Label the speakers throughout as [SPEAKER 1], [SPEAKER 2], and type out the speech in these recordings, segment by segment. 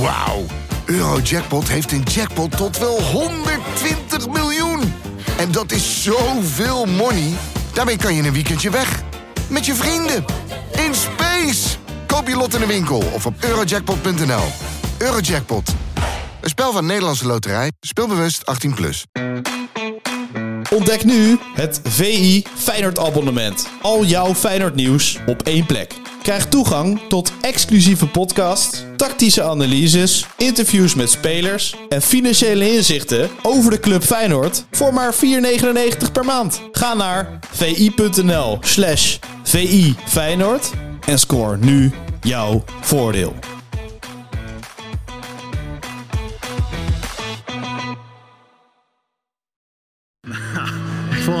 [SPEAKER 1] Wauw. Eurojackpot heeft een jackpot tot wel 120 miljoen. En dat is zoveel money. Daarmee kan je in een weekendje weg. Met je vrienden. In space. Koop je lot in de winkel of op eurojackpot.nl. Eurojackpot. Een spel van Nederlandse Loterij. Speelbewust 18+. Plus.
[SPEAKER 2] Ontdek nu het VI Feyenoord abonnement. Al jouw Feyenoord nieuws op één plek. Krijg toegang tot exclusieve podcasts, tactische analyses, interviews met spelers en financiële inzichten over de club Feyenoord voor maar 4,99 per maand. Ga naar vi.nl slash vi Feyenoord en score nu jouw voordeel.
[SPEAKER 3] Ik vond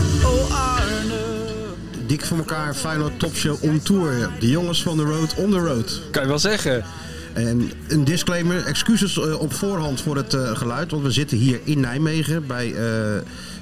[SPEAKER 4] Oh Arne.
[SPEAKER 5] Dik voor elkaar, Feyenoord Topshow on Tour. De jongens van de road on the road.
[SPEAKER 6] Kan je wel zeggen.
[SPEAKER 5] En een disclaimer, excuses eh, op voorhand voor het eh, geluid. Want we zitten hier in Nijmegen bij eh,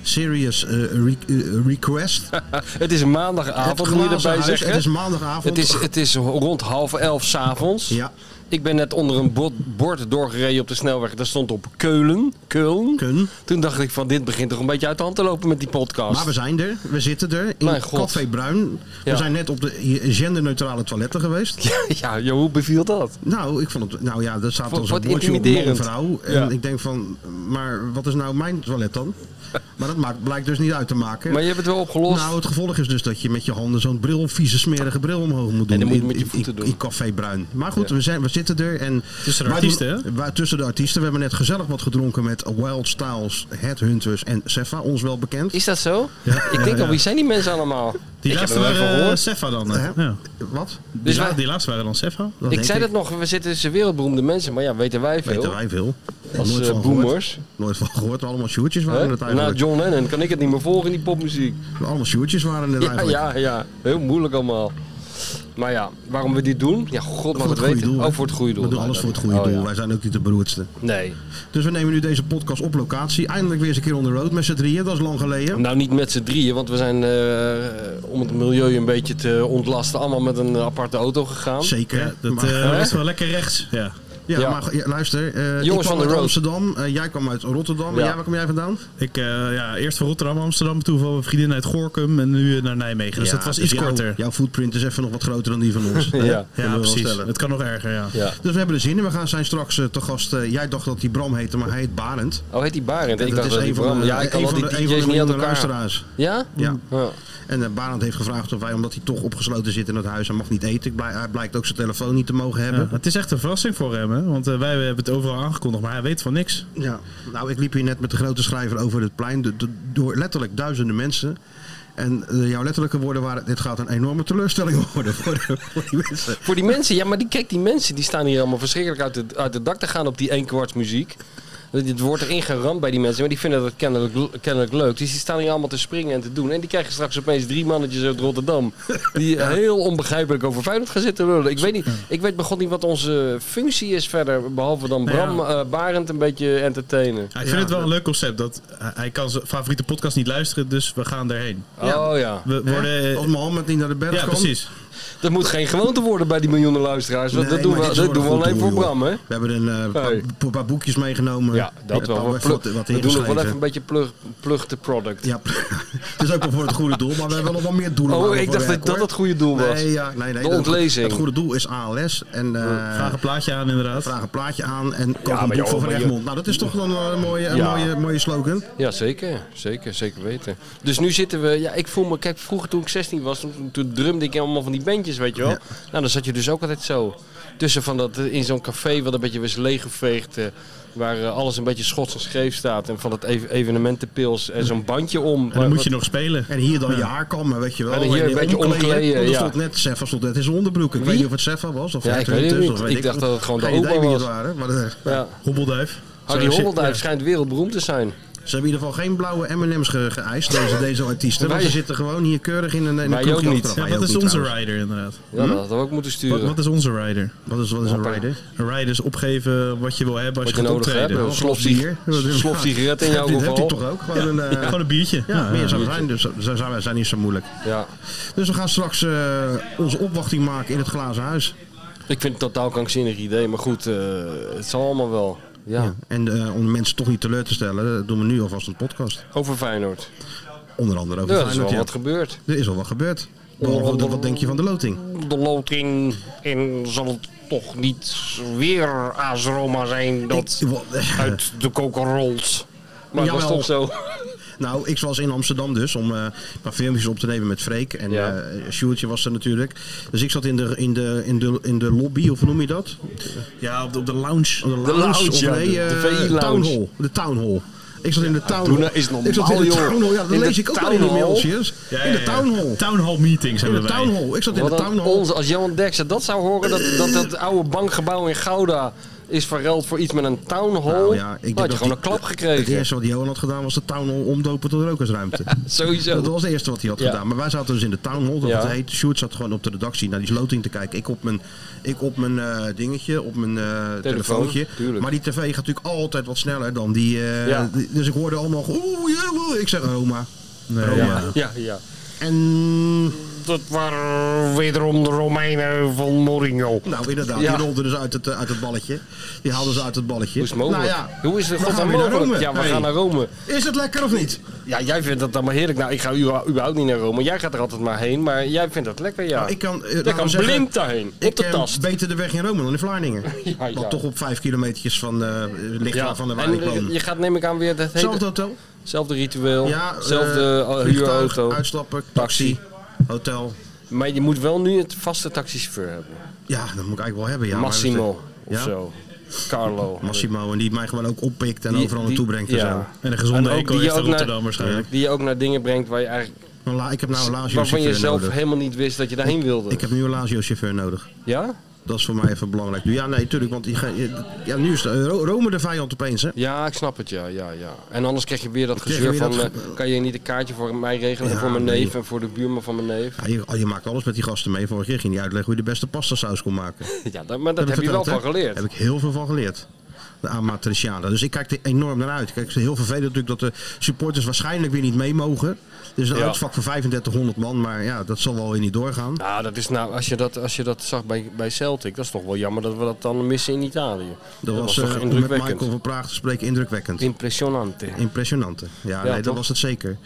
[SPEAKER 5] Serious eh, Re- eh, Request.
[SPEAKER 6] Het is
[SPEAKER 5] Het
[SPEAKER 6] maandagavond, moet je
[SPEAKER 5] glazen
[SPEAKER 6] erbij
[SPEAKER 5] huis,
[SPEAKER 6] zeggen.
[SPEAKER 5] het is maandagavond.
[SPEAKER 6] Het is, het is rond half elf s'avonds.
[SPEAKER 5] Ja.
[SPEAKER 6] Ik ben net onder een bord, bord doorgereden op de snelweg. Daar stond op Keulen. Keulen.
[SPEAKER 5] Kun.
[SPEAKER 6] Toen dacht ik van dit begint toch een beetje uit de hand te lopen met die podcast.
[SPEAKER 5] Maar we zijn er, we zitten er in
[SPEAKER 6] Mijn god.
[SPEAKER 5] Café Bruin.
[SPEAKER 6] Ja.
[SPEAKER 5] We zijn net op de genderneutrale toiletten geweest.
[SPEAKER 6] Ja, joh, hoe beviel dat?
[SPEAKER 5] Nou, ik vond het, nou ja, dat staat
[SPEAKER 6] Vond-
[SPEAKER 5] als
[SPEAKER 6] wat
[SPEAKER 5] een bordje op man en
[SPEAKER 6] intimiderend.
[SPEAKER 5] vrouw. En
[SPEAKER 6] Ja.
[SPEAKER 5] ik denk van, maar wat is nou mijn toilet dan? Maar dat maakt, blijkt dus niet uit te maken.
[SPEAKER 6] Maar je hebt het wel opgelost.
[SPEAKER 5] Nou, het gevolg is dus dat je met je handen zo'n bril, vieze smerige bril omhoog moet doen.
[SPEAKER 6] dan moet je
[SPEAKER 5] In-
[SPEAKER 6] met je
[SPEAKER 5] in-
[SPEAKER 6] voeten
[SPEAKER 5] in,
[SPEAKER 6] doen.
[SPEAKER 5] In café bruin. Maar goed, we, zijn, we zitten er. En
[SPEAKER 7] Tussen de
[SPEAKER 5] waar-
[SPEAKER 7] artiesten, hè?
[SPEAKER 5] waar- tussen de artiesten. We hebben net gezellig wat gedronken met Wild Styles, Headhunters en Sefa, ons wel bekend.
[SPEAKER 6] Is dat zo? ik denk al, wie zijn die mensen allemaal?
[SPEAKER 7] Die
[SPEAKER 6] ik heb
[SPEAKER 7] laatste
[SPEAKER 6] er wel van
[SPEAKER 7] waren eh,
[SPEAKER 6] gehoord.
[SPEAKER 7] Sefa dan. eh.
[SPEAKER 5] Hè?
[SPEAKER 7] Ja.
[SPEAKER 5] Wat?
[SPEAKER 7] Die,
[SPEAKER 6] Dus
[SPEAKER 7] la-
[SPEAKER 6] wij-
[SPEAKER 7] die laatste waren dan Sefa.
[SPEAKER 5] Dat
[SPEAKER 6] Ik
[SPEAKER 5] denk
[SPEAKER 6] zei dat nog, we zitten tussen wereldberoemde mensen. Maar ja, weten wij veel.
[SPEAKER 5] Weten wij veel.
[SPEAKER 6] Als
[SPEAKER 5] Nooit
[SPEAKER 6] eh,
[SPEAKER 5] van gehoord.
[SPEAKER 6] boomers.
[SPEAKER 5] Nooit van gehoord. Allemaal shootjes
[SPEAKER 6] hè? Nou,
[SPEAKER 5] waren het
[SPEAKER 6] Na
[SPEAKER 5] eigenlijk.
[SPEAKER 6] John Lennon kan ik het niet meer volgen in die popmuziek.
[SPEAKER 5] Allemaal shootjes waren het
[SPEAKER 6] Ja,
[SPEAKER 5] eigenlijk.
[SPEAKER 6] ja, ja. Heel moeilijk allemaal. Maar ja, waarom we dit doen? Ja, god
[SPEAKER 5] Voor
[SPEAKER 6] mag het
[SPEAKER 5] het goede
[SPEAKER 6] weten.
[SPEAKER 5] doel.
[SPEAKER 6] Ook voor het goede doel.
[SPEAKER 5] We doen
[SPEAKER 6] Nou,
[SPEAKER 5] alles
[SPEAKER 6] dat-
[SPEAKER 5] voor het goede
[SPEAKER 6] oh,
[SPEAKER 5] doel.
[SPEAKER 6] ja.
[SPEAKER 5] Wij zijn ook niet de beroerdste.
[SPEAKER 6] Nee.
[SPEAKER 5] Dus we nemen nu deze podcast op locatie. Eindelijk weer eens een keer on the road met z'n drieën. Dat is lang geleden.
[SPEAKER 6] Nou, niet met z'n drieën, want we zijn, eh, om het milieu een beetje te ontlasten, allemaal met een aparte auto gegaan.
[SPEAKER 5] Zeker.
[SPEAKER 7] Ja, dat
[SPEAKER 5] maar,
[SPEAKER 7] eh,
[SPEAKER 6] Hè?
[SPEAKER 7] was wel lekker rechts. Ja.
[SPEAKER 5] ja,
[SPEAKER 6] ja.
[SPEAKER 5] maar ja, luister. eh, ik
[SPEAKER 6] Jongens
[SPEAKER 5] kwam
[SPEAKER 6] van de
[SPEAKER 5] uit
[SPEAKER 6] road.
[SPEAKER 5] Amsterdam. eh, jij kwam uit Rotterdam.
[SPEAKER 6] Ja.
[SPEAKER 5] En jij, waar kom jij vandaan?
[SPEAKER 7] Ik, eh, ja, eerst van Rotterdam, Amsterdam, toen van mijn vriendin uit Gorkum en nu eh, naar Nijmegen. Dus
[SPEAKER 5] Ja,
[SPEAKER 7] dat was iets
[SPEAKER 5] jouw-
[SPEAKER 7] korter.
[SPEAKER 5] Jouw footprint is even nog wat groter dan die van ons.
[SPEAKER 6] Ja.
[SPEAKER 5] Hè?
[SPEAKER 6] Ja,
[SPEAKER 5] Kunnen we
[SPEAKER 7] Ja,
[SPEAKER 5] wel
[SPEAKER 7] precies.
[SPEAKER 5] stellen.
[SPEAKER 7] Het kan nog erger, ja.
[SPEAKER 6] Ja.
[SPEAKER 5] Dus we hebben er zin in. We gaan zijn straks eh, te gast. eh, jij dacht dat die Bram heette, maar hij heet Barend.
[SPEAKER 6] Oh, heet die Barend? Ik dacht dat die
[SPEAKER 5] een van
[SPEAKER 6] Bram.
[SPEAKER 5] de-
[SPEAKER 6] Ja, ik
[SPEAKER 5] een
[SPEAKER 6] kan al
[SPEAKER 5] van
[SPEAKER 6] die
[SPEAKER 5] de- een van de
[SPEAKER 6] DJ's niet uit
[SPEAKER 5] miljoenen
[SPEAKER 6] elkaar.
[SPEAKER 5] luisteraars.
[SPEAKER 6] Ja?
[SPEAKER 5] Ja.
[SPEAKER 6] Ja.
[SPEAKER 5] En eh, Barend heeft gevraagd of wij, omdat hij toch opgesloten zit in het huis, hij mag niet eten. Ik blij- Hij blijkt ook zijn telefoon niet te mogen hebben.
[SPEAKER 7] Ja, het is echt een verrassing voor hem, hè? want eh, wij hebben het overal aangekondigd, maar hij weet van niks.
[SPEAKER 5] Ja, nou, ik liep hier net met de grote schrijver over het plein. de- de- door letterlijk duizenden mensen. En eh, jouw letterlijke woorden waren: dit gaat een enorme teleurstelling worden voor, de- voor die mensen.
[SPEAKER 6] Voor die mensen, ja, maar die, kijk, die mensen die staan hier allemaal verschrikkelijk uit het, uit het dak te gaan op die één kwarts muziek. Het wordt erin geramd bij die mensen, maar die vinden dat kennelijk, kennelijk leuk. Dus die staan hier allemaal te springen en te doen. En die krijgen straks opeens drie mannetjes uit Rotterdam. Die heel onbegrijpelijk over Feyenoord gaan zitten lullen. Ik weet, niet, ik weet begon niet wat onze functie is verder. Behalve dan
[SPEAKER 7] Nou ja.
[SPEAKER 6] Bram eh, Barend een beetje entertainen.
[SPEAKER 7] Ja, ik vind
[SPEAKER 5] Ja,
[SPEAKER 7] het wel
[SPEAKER 5] dat-
[SPEAKER 7] een leuk concept, dat hij- hij kan zijn favoriete podcast niet luisteren, dus we gaan erheen.
[SPEAKER 6] Oh ja.
[SPEAKER 7] We worden...
[SPEAKER 5] Als Mohammed niet naar de berg
[SPEAKER 7] ja,
[SPEAKER 5] kwam.
[SPEAKER 7] precies.
[SPEAKER 6] Dat moet geen gewoonte worden bij die miljoenen luisteraars. want dat doen we, dat doen we alleen voor Bram, hè?
[SPEAKER 5] We hebben een eh, paar-
[SPEAKER 6] Hey.
[SPEAKER 5] paar, paar boekjes meegenomen.
[SPEAKER 6] Ja, dat
[SPEAKER 5] Eh,
[SPEAKER 6] wel.
[SPEAKER 5] Paul
[SPEAKER 6] We,
[SPEAKER 5] heeft
[SPEAKER 6] plug-
[SPEAKER 5] wat, wat
[SPEAKER 6] we doen nog wel even
[SPEAKER 5] ingeschreven.
[SPEAKER 6] een beetje plug, plug the product.
[SPEAKER 5] Ja, het is ook wel voor het goede doel, maar we hebben nog wel meer doelen.
[SPEAKER 6] Oh,
[SPEAKER 5] waar we
[SPEAKER 6] ik
[SPEAKER 5] voor
[SPEAKER 6] dacht dat
[SPEAKER 5] werken,
[SPEAKER 6] dat
[SPEAKER 5] hoor.
[SPEAKER 6] het goede doel was.
[SPEAKER 5] Nee, ja, nee, nee.
[SPEAKER 6] De
[SPEAKER 5] dat-
[SPEAKER 6] ontlezing.
[SPEAKER 5] Het goede doel is ALS en eh,
[SPEAKER 7] Vraag een plaatje aan, inderdaad.
[SPEAKER 5] vraag een plaatje aan en koop
[SPEAKER 6] maar
[SPEAKER 5] een boek
[SPEAKER 6] joh,
[SPEAKER 5] van Van
[SPEAKER 6] maar je-
[SPEAKER 5] Egmond. Nou, dat is toch wel een eh, mooie, een
[SPEAKER 6] Ja.
[SPEAKER 5] mooie, mooie slogan.
[SPEAKER 6] Ja, zeker. Zeker, zeker weten. Dus nu zitten we... Ja, ik voel me... Kijk, vroeger toen ik 16 was, toen, toen drumde ik allemaal van die bandjes, weet je wel. Nou, dan zat je dus ook altijd zo. Tussen van dat... eh, In zo'n café wat een beetje was leeggeveegd. eh, waar eh, alles een beetje schots en scheef staat. En van dat ev- evenementenpils en zo'n bandje om.
[SPEAKER 7] En dan moet je nog spelen.
[SPEAKER 5] En hier dan je haarkammen, weet je wel.
[SPEAKER 6] En hier
[SPEAKER 5] En
[SPEAKER 6] een
[SPEAKER 5] je
[SPEAKER 6] beetje omkleden,
[SPEAKER 5] want er
[SPEAKER 6] ja.
[SPEAKER 5] stond net, Seffa stond net in zijn onderbroek. Ik weet niet of het Seffa was of
[SPEAKER 6] Ja, ik
[SPEAKER 5] Gertrude
[SPEAKER 6] weet het
[SPEAKER 5] dus,
[SPEAKER 6] niet.
[SPEAKER 5] of weet
[SPEAKER 6] Ik dacht
[SPEAKER 5] wat.
[SPEAKER 6] dat het gewoon de
[SPEAKER 5] Geen idee
[SPEAKER 6] opa
[SPEAKER 5] wie het
[SPEAKER 6] was.
[SPEAKER 5] waren, maar eh,
[SPEAKER 6] Ja.
[SPEAKER 7] Hobbelduif.
[SPEAKER 6] Harry
[SPEAKER 7] Zo zit-
[SPEAKER 6] Hobbeldijf
[SPEAKER 7] ja.
[SPEAKER 6] schijnt wereldberoemd te zijn.
[SPEAKER 5] Ze hebben in ieder geval geen blauwe M&M's ge- geëist, deze, deze artiesten.
[SPEAKER 6] Wij-
[SPEAKER 5] want ze zitten gewoon hier keurig in een, in een
[SPEAKER 6] Wij
[SPEAKER 5] kroegje
[SPEAKER 6] ook niet.
[SPEAKER 5] achteraf.
[SPEAKER 7] Ja,
[SPEAKER 5] Wij
[SPEAKER 7] wat
[SPEAKER 5] ook
[SPEAKER 7] is
[SPEAKER 5] niet,
[SPEAKER 7] onze
[SPEAKER 5] trouwens.
[SPEAKER 7] rider, inderdaad?
[SPEAKER 5] Hm?
[SPEAKER 6] Ja, dat hadden we ook moeten
[SPEAKER 7] Wat,
[SPEAKER 6] sturen.
[SPEAKER 7] wat is onze rider?
[SPEAKER 5] Wat is, wat is een rider?
[SPEAKER 7] Een rider is opgeven wat je wil hebben als
[SPEAKER 6] Wat
[SPEAKER 7] je
[SPEAKER 6] je
[SPEAKER 7] gaat
[SPEAKER 6] nodig hebt.
[SPEAKER 7] optreden.
[SPEAKER 6] Een slof sig-
[SPEAKER 5] Bier. Wat is-
[SPEAKER 6] slof sigaret in jouw
[SPEAKER 5] Dit heeft hij
[SPEAKER 6] geval.
[SPEAKER 5] toch ook? Gewoon een... eh,
[SPEAKER 7] Gewoon een biertje.
[SPEAKER 5] Ja, meer zou het zijn, dus ze zijn, wij zijn niet zo moeilijk.
[SPEAKER 6] Ja.
[SPEAKER 5] Dus we gaan straks eh, onze opwachting maken in het glazen huis.
[SPEAKER 6] Ik vind het een totaal krankzinnig idee. Maar goed, eh, het zal allemaal wel. ja.
[SPEAKER 5] En eh, om de mensen toch niet teleur te stellen, eh, doen we nu alvast een podcast.
[SPEAKER 6] Over Feyenoord.
[SPEAKER 5] Onder andere over
[SPEAKER 6] Ja, er is
[SPEAKER 5] Feyenoord,
[SPEAKER 6] wel
[SPEAKER 5] ja.
[SPEAKER 6] wat gebeurd.
[SPEAKER 5] Er is al wat gebeurd. Door- wat- wat denk je van de loting?
[SPEAKER 6] De loting en zal het toch niet weer AS Roma zijn dat
[SPEAKER 5] Ik- wa-
[SPEAKER 6] uit de koker rolt. Maar het was
[SPEAKER 5] Jawel.
[SPEAKER 6] toch zo.
[SPEAKER 5] nou, ik was in Amsterdam dus om eh, een paar filmpjes op te nemen met Freek. En
[SPEAKER 6] Ja.
[SPEAKER 5] ja. was er natuurlijk. Dus ik zat in de, in de, in de, in de lobby, of hoe noem je dat?
[SPEAKER 7] Ja, op de, op de lounge.
[SPEAKER 5] De lounge,
[SPEAKER 6] lounge,
[SPEAKER 5] of
[SPEAKER 6] ja,
[SPEAKER 5] nee,
[SPEAKER 6] de- de
[SPEAKER 5] eh,
[SPEAKER 6] VI lounge.
[SPEAKER 5] Town hall. De town hall. Ik zat in de town
[SPEAKER 6] doe
[SPEAKER 5] hall.
[SPEAKER 6] nou- is normaal,
[SPEAKER 5] ik zat in de
[SPEAKER 6] joh.
[SPEAKER 5] town hall. Ja, dat
[SPEAKER 6] In de
[SPEAKER 5] lees ik ook al
[SPEAKER 6] town
[SPEAKER 5] in die
[SPEAKER 6] hall?
[SPEAKER 5] mailtjes.
[SPEAKER 7] Ja,
[SPEAKER 5] in de
[SPEAKER 7] ja, ja.
[SPEAKER 5] town hall.
[SPEAKER 7] Town hall meetings
[SPEAKER 5] In de
[SPEAKER 7] hebben wij.
[SPEAKER 5] town hall. Ik zat in de
[SPEAKER 6] Wat
[SPEAKER 5] town
[SPEAKER 6] een
[SPEAKER 5] hall.
[SPEAKER 6] ons, als Johan Derksen dat zou horen, dat, dat dat oude bankgebouw in Gouda is verruild voor iets met een town hall.
[SPEAKER 5] Nou ja, ik denk
[SPEAKER 6] had
[SPEAKER 5] dat
[SPEAKER 6] je gewoon
[SPEAKER 5] die-
[SPEAKER 6] een klap
[SPEAKER 5] Het
[SPEAKER 6] gekregen.
[SPEAKER 5] eerste wat Johan had gedaan was de town hall omdopen tot rokersruimte.
[SPEAKER 6] Sowieso.
[SPEAKER 5] Dat was het eerste wat hij had
[SPEAKER 6] Ja.
[SPEAKER 5] gedaan. Maar wij zaten dus in de town hall, dat
[SPEAKER 6] Ja.
[SPEAKER 5] het heet. Sjoerd zat gewoon op de redactie naar die loting te kijken. Ik op mijn, ik op mijn eh, dingetje, op mijn eh, telefoontje.
[SPEAKER 6] tuurlijk.
[SPEAKER 5] Maar die tv gaat natuurlijk altijd wat sneller dan die... eh,
[SPEAKER 6] Ja.
[SPEAKER 5] die- dus ik hoorde allemaal... Oeh, ja, oeh." ik zeg Roma. Roma.
[SPEAKER 6] Ja, ja.
[SPEAKER 5] En
[SPEAKER 6] Dat waren wederom de Romeinen van Mourinho.
[SPEAKER 5] Nou, inderdaad.
[SPEAKER 6] Ja.
[SPEAKER 5] Die rolden dus uit het, eh, uit het balletje. Die haalden ze uit het balletje.
[SPEAKER 6] Hoe is het mogelijk?
[SPEAKER 5] Nou ja,
[SPEAKER 6] Hoe is het
[SPEAKER 5] we gaan
[SPEAKER 6] godsnaam
[SPEAKER 5] weer naar
[SPEAKER 6] mogelijk?
[SPEAKER 5] Rome.
[SPEAKER 6] Ja, we
[SPEAKER 5] Hey.
[SPEAKER 6] gaan naar Rome.
[SPEAKER 5] Is het lekker of niet?
[SPEAKER 6] Ja, jij vindt dat allemaal heerlijk. Nou, ik ga u- überhaupt niet naar Rome. Jij gaat er altijd maar heen, maar jij vindt dat lekker, ja.
[SPEAKER 5] Nou, ik kan, eh,
[SPEAKER 6] Jij
[SPEAKER 5] laten
[SPEAKER 6] kan
[SPEAKER 5] we zeggen,
[SPEAKER 6] blind daarheen,
[SPEAKER 5] Ik
[SPEAKER 6] op de
[SPEAKER 5] ken
[SPEAKER 6] tast.
[SPEAKER 5] beter de weg in Rome dan in Vlaardingen.
[SPEAKER 6] Ja, ja.
[SPEAKER 5] Want toch op vijf kilometertjes van, eh ligt
[SPEAKER 6] Ja,
[SPEAKER 5] daar van de waar
[SPEAKER 6] en
[SPEAKER 5] ik woon.
[SPEAKER 6] eh, je gaat neem ik aan weer dat hele,
[SPEAKER 5] Hetzelfde hotel.
[SPEAKER 6] hetzelfde ritueel,
[SPEAKER 5] Ja,
[SPEAKER 6] hetzelfde
[SPEAKER 5] eh,
[SPEAKER 6] eh,
[SPEAKER 5] vliegtuig,
[SPEAKER 6] huurauto.
[SPEAKER 5] Uitstappen,
[SPEAKER 6] Taxi.
[SPEAKER 5] taxi, hotel.
[SPEAKER 6] Maar je moet wel nu een vaste taxichauffeur hebben.
[SPEAKER 5] Ja, dat moet ik eigenlijk wel hebben. Ja, maar dat is-
[SPEAKER 6] Massimo of
[SPEAKER 5] ja?
[SPEAKER 6] zo. Carlo.
[SPEAKER 5] Massimo. En die mij gewoon ook oppikt en
[SPEAKER 6] Die-
[SPEAKER 5] overal
[SPEAKER 6] die-
[SPEAKER 5] naartoe brengt. dus
[SPEAKER 6] ja.
[SPEAKER 5] En zo.
[SPEAKER 7] En een gezonde
[SPEAKER 6] En ook
[SPEAKER 7] eco
[SPEAKER 6] die
[SPEAKER 7] heeft in
[SPEAKER 6] ook naar-
[SPEAKER 7] Rotterdam waarschijnlijk.
[SPEAKER 6] Die je ook naar dingen brengt waar je eigenlijk,
[SPEAKER 5] Een la- Ik heb nou een
[SPEAKER 6] waarvan je
[SPEAKER 5] Lazio-chauffeur
[SPEAKER 6] zelf
[SPEAKER 5] nodig.
[SPEAKER 6] helemaal niet wist dat je daarheen wilde.
[SPEAKER 5] Ik heb nu een Lazio-chauffeur nodig.
[SPEAKER 6] Ja?
[SPEAKER 5] Dat is voor mij even belangrijk. Ja, nee, tuurlijk. Want die ga- ja, nu is de- Ro- Rome de vijand opeens, hè?
[SPEAKER 6] Ja, ik snap het, ja, ja, ja. En anders krijg je weer dat
[SPEAKER 5] krijg je
[SPEAKER 6] gezeur
[SPEAKER 5] weer
[SPEAKER 6] van,
[SPEAKER 5] dat
[SPEAKER 6] eh,
[SPEAKER 5] ge-
[SPEAKER 6] kan je niet een kaartje voor mij regelen en
[SPEAKER 5] Ja,
[SPEAKER 6] voor mijn
[SPEAKER 5] nee.
[SPEAKER 6] neef en voor de buurman van mijn neef.
[SPEAKER 5] Ja, Ah, je, je maakt alles met die gasten mee. Vorige keer ging die uitleggen hoe je de beste pastasaus kon maken.
[SPEAKER 6] Ja, dat- maar dat
[SPEAKER 5] ik
[SPEAKER 6] heb je wel
[SPEAKER 5] verteld,
[SPEAKER 6] van
[SPEAKER 5] hè?
[SPEAKER 6] geleerd.
[SPEAKER 5] Daar heb ik heel veel van geleerd. De Amatriciana. Dus ik kijk er enorm naar uit. Kijk, het is heel vervelend natuurlijk dat de supporters waarschijnlijk weer niet mee mogen. Er is een
[SPEAKER 6] Ja.
[SPEAKER 5] uitvak voor 3500 man, maar ja, dat zal wel weer niet doorgaan.
[SPEAKER 6] Nou, dat is nou, als je dat, als je dat zag bij, bij Celtic, dat is toch wel jammer dat we dat dan missen in Italië.
[SPEAKER 5] Dat was,
[SPEAKER 6] toch
[SPEAKER 5] eh, om met
[SPEAKER 6] indrukwekkend.
[SPEAKER 5] Michael van Praag te spreken indrukwekkend.
[SPEAKER 6] Impressionante.
[SPEAKER 5] Impressionante. Ja,
[SPEAKER 6] Ja,
[SPEAKER 5] nee, dat
[SPEAKER 6] toch?
[SPEAKER 5] was het zeker.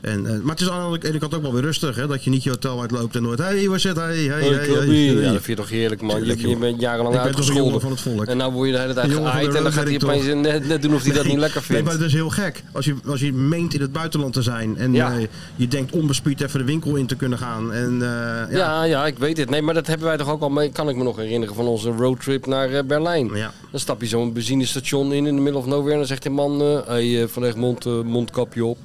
[SPEAKER 5] En, eh, maar het is aan de ene kant ook wel weer rustig, hè? Dat je niet je hotel uitloopt en nooit... hey, waar zit hij? Hey, hey,
[SPEAKER 6] Hey,
[SPEAKER 5] hey,
[SPEAKER 6] Clubby.
[SPEAKER 5] hey.
[SPEAKER 6] Ja, dat vind je toch heerlijk, man.
[SPEAKER 5] Tuurlijk,
[SPEAKER 6] Je, je
[SPEAKER 5] joh.
[SPEAKER 6] bent jarenlang
[SPEAKER 5] Ik ben toch een
[SPEAKER 6] uitgescholden.
[SPEAKER 5] jongen van het volk.
[SPEAKER 6] En nou word je de hele tijd
[SPEAKER 5] Een jongen van de
[SPEAKER 6] geaaid en dan
[SPEAKER 5] road
[SPEAKER 6] gaat hij
[SPEAKER 5] ben ik
[SPEAKER 6] opeens net, net doen of hij dat niet lekker
[SPEAKER 5] Nee,
[SPEAKER 6] vindt.
[SPEAKER 5] maar dat is heel gek. Als je, als je meent in het buitenland te zijn en
[SPEAKER 6] Ja.
[SPEAKER 5] eh, je denkt onbespied even de winkel in te kunnen gaan. En, eh, ja. Ja.
[SPEAKER 6] ja, ja, ik weet het. Nee, maar dat hebben wij toch ook al mee, kan ik me nog herinneren, van onze roadtrip naar eh, Berlijn.
[SPEAKER 5] Ja.
[SPEAKER 6] Dan stap je zo'n benzinestation in, in de middle of nowhere, en dan zegt die man, eh hey, eh, Van Egmond, eh, mondkapje op.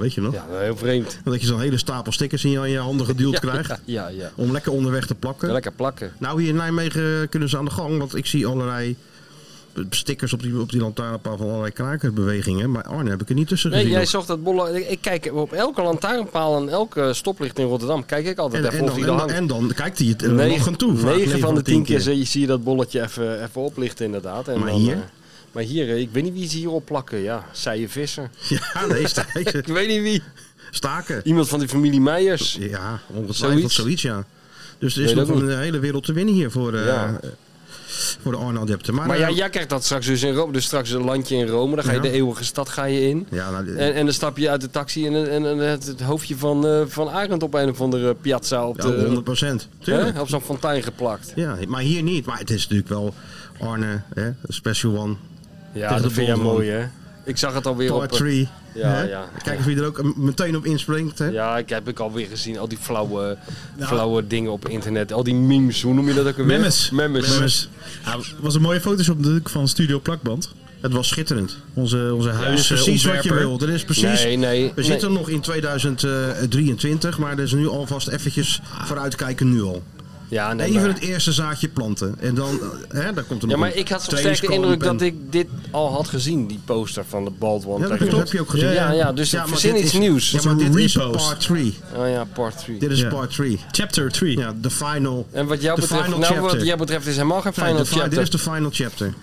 [SPEAKER 5] weet je nog?
[SPEAKER 6] Ja, heel vreemd.
[SPEAKER 5] Dat je zo'n hele stapel stickers in je, in je handen geduwd krijgt.
[SPEAKER 6] Ja, ja.
[SPEAKER 5] Om lekker onderweg te plakken.
[SPEAKER 6] Lekker plakken.
[SPEAKER 5] Nou, hier in Nijmegen kunnen ze aan de gang, want ik zie allerlei stickers op die, op die lantaarnpaal van allerlei krakersbewegingen. Maar Arne heb ik er niet tussen
[SPEAKER 6] Nee,
[SPEAKER 5] gezien.
[SPEAKER 6] jij
[SPEAKER 5] nog.
[SPEAKER 6] zocht dat bolle. Ik kijk op elke lantaarnpaal en elke eh, stoplicht in Rotterdam. Kijk ik altijd
[SPEAKER 5] en,
[SPEAKER 6] even
[SPEAKER 5] en,
[SPEAKER 6] of
[SPEAKER 5] dan,
[SPEAKER 6] die
[SPEAKER 5] en,
[SPEAKER 6] er
[SPEAKER 5] dan,
[SPEAKER 6] hangt.
[SPEAKER 5] en dan kijkt hij het er nog aan toe. vaak
[SPEAKER 6] 9 van de 10 keer zie- zie je dat bolletje even, even oplichten, inderdaad. En
[SPEAKER 5] Maar
[SPEAKER 6] dan,
[SPEAKER 5] hier?
[SPEAKER 6] eh, maar hier, eh, ik weet niet wie ze hier opplakken. Ja, je Visser.
[SPEAKER 5] Ja, nee, sta-
[SPEAKER 6] Ik weet niet wie.
[SPEAKER 5] staken.
[SPEAKER 6] Iemand van die familie Meijers.
[SPEAKER 5] Ja, ongetwijfeld
[SPEAKER 6] Zoiets.
[SPEAKER 5] zoiets, ja. Dus er is
[SPEAKER 6] Nee, dat
[SPEAKER 5] nog
[SPEAKER 6] niet.
[SPEAKER 5] een hele wereld te winnen hier voor, eh,
[SPEAKER 6] Ja.
[SPEAKER 5] voor de Arno-adepten. Maar,
[SPEAKER 6] Maar
[SPEAKER 5] eh,
[SPEAKER 6] jij, jij krijgt dat straks dus in Rome. Dus straks een landje in Rome. Dan ga je
[SPEAKER 5] Ja.
[SPEAKER 6] de eeuwige stad ga je in.
[SPEAKER 5] ja, nou,
[SPEAKER 6] En, en dan stap je uit de taxi en, en, en het, het hoofdje van, eh van Arend op een of andere piazza op,
[SPEAKER 5] ja,
[SPEAKER 6] de-
[SPEAKER 5] 100 procent. Tuurlijk.
[SPEAKER 6] hè, op zo'n fontein geplakt.
[SPEAKER 5] Ja, maar hier niet. Maar het is natuurlijk wel Arne, hè, Special One,
[SPEAKER 6] Ja,
[SPEAKER 5] is
[SPEAKER 6] dat
[SPEAKER 5] de
[SPEAKER 6] vind jij
[SPEAKER 5] bol van.
[SPEAKER 6] mooi, hè? Ik zag het alweer
[SPEAKER 5] Part
[SPEAKER 6] op... eh,
[SPEAKER 5] 3.
[SPEAKER 6] Ja,
[SPEAKER 5] hè?
[SPEAKER 6] ja.
[SPEAKER 5] Kijk of je er ook eh, meteen op inspringt. Hè?
[SPEAKER 6] Ja, ik heb ik alweer gezien. Al die flauwe, flauwe dingen op internet. Al die memes. Hoe noem je dat ook weer?
[SPEAKER 7] Memes.
[SPEAKER 6] Memes.
[SPEAKER 7] Memes. Ja, was een mooie Photoshop natuurlijk van Studio Plakband.
[SPEAKER 5] Het was schitterend.
[SPEAKER 7] Onze, onze
[SPEAKER 5] Dat is
[SPEAKER 7] huis.
[SPEAKER 5] precies wat eh, je wil. Dat is precies.
[SPEAKER 6] Nee, nee.
[SPEAKER 5] We zitten nog in 2023, maar er is nu alvast eventjes vooruitkijken nu al.
[SPEAKER 6] Ja, nee,
[SPEAKER 5] Even
[SPEAKER 7] eh,
[SPEAKER 6] maar-
[SPEAKER 5] het eerste zaadje planten. En dan, eh, hè, dan komt er nog
[SPEAKER 6] Ja, maar
[SPEAKER 5] een
[SPEAKER 6] ik had zo sterk de
[SPEAKER 5] trainingskamp
[SPEAKER 6] indruk
[SPEAKER 5] en-
[SPEAKER 6] dat ik dit al had gezien, die poster van de Bald One.
[SPEAKER 5] Ja, dat
[SPEAKER 6] Tattoo.
[SPEAKER 5] heb je ook gezien.
[SPEAKER 6] Ja, ja, dus
[SPEAKER 5] Ja, maar
[SPEAKER 6] verzin
[SPEAKER 5] dit
[SPEAKER 6] iets
[SPEAKER 5] is-
[SPEAKER 6] nieuws.
[SPEAKER 5] Ja, maar dit is
[SPEAKER 7] Repost.
[SPEAKER 5] part 3.
[SPEAKER 6] Oh ja, part 3.
[SPEAKER 5] Dit is
[SPEAKER 7] Ja.
[SPEAKER 5] part 3.
[SPEAKER 7] Chapter 3.
[SPEAKER 5] Ja, de final.
[SPEAKER 6] En wat jou
[SPEAKER 5] de
[SPEAKER 6] betreft,
[SPEAKER 5] final
[SPEAKER 6] nou, wat
[SPEAKER 5] chapter.
[SPEAKER 6] jou betreft is helemaal geen
[SPEAKER 5] Nee,
[SPEAKER 6] final
[SPEAKER 5] de fi-
[SPEAKER 6] chapter.
[SPEAKER 5] Dit is de final chapter.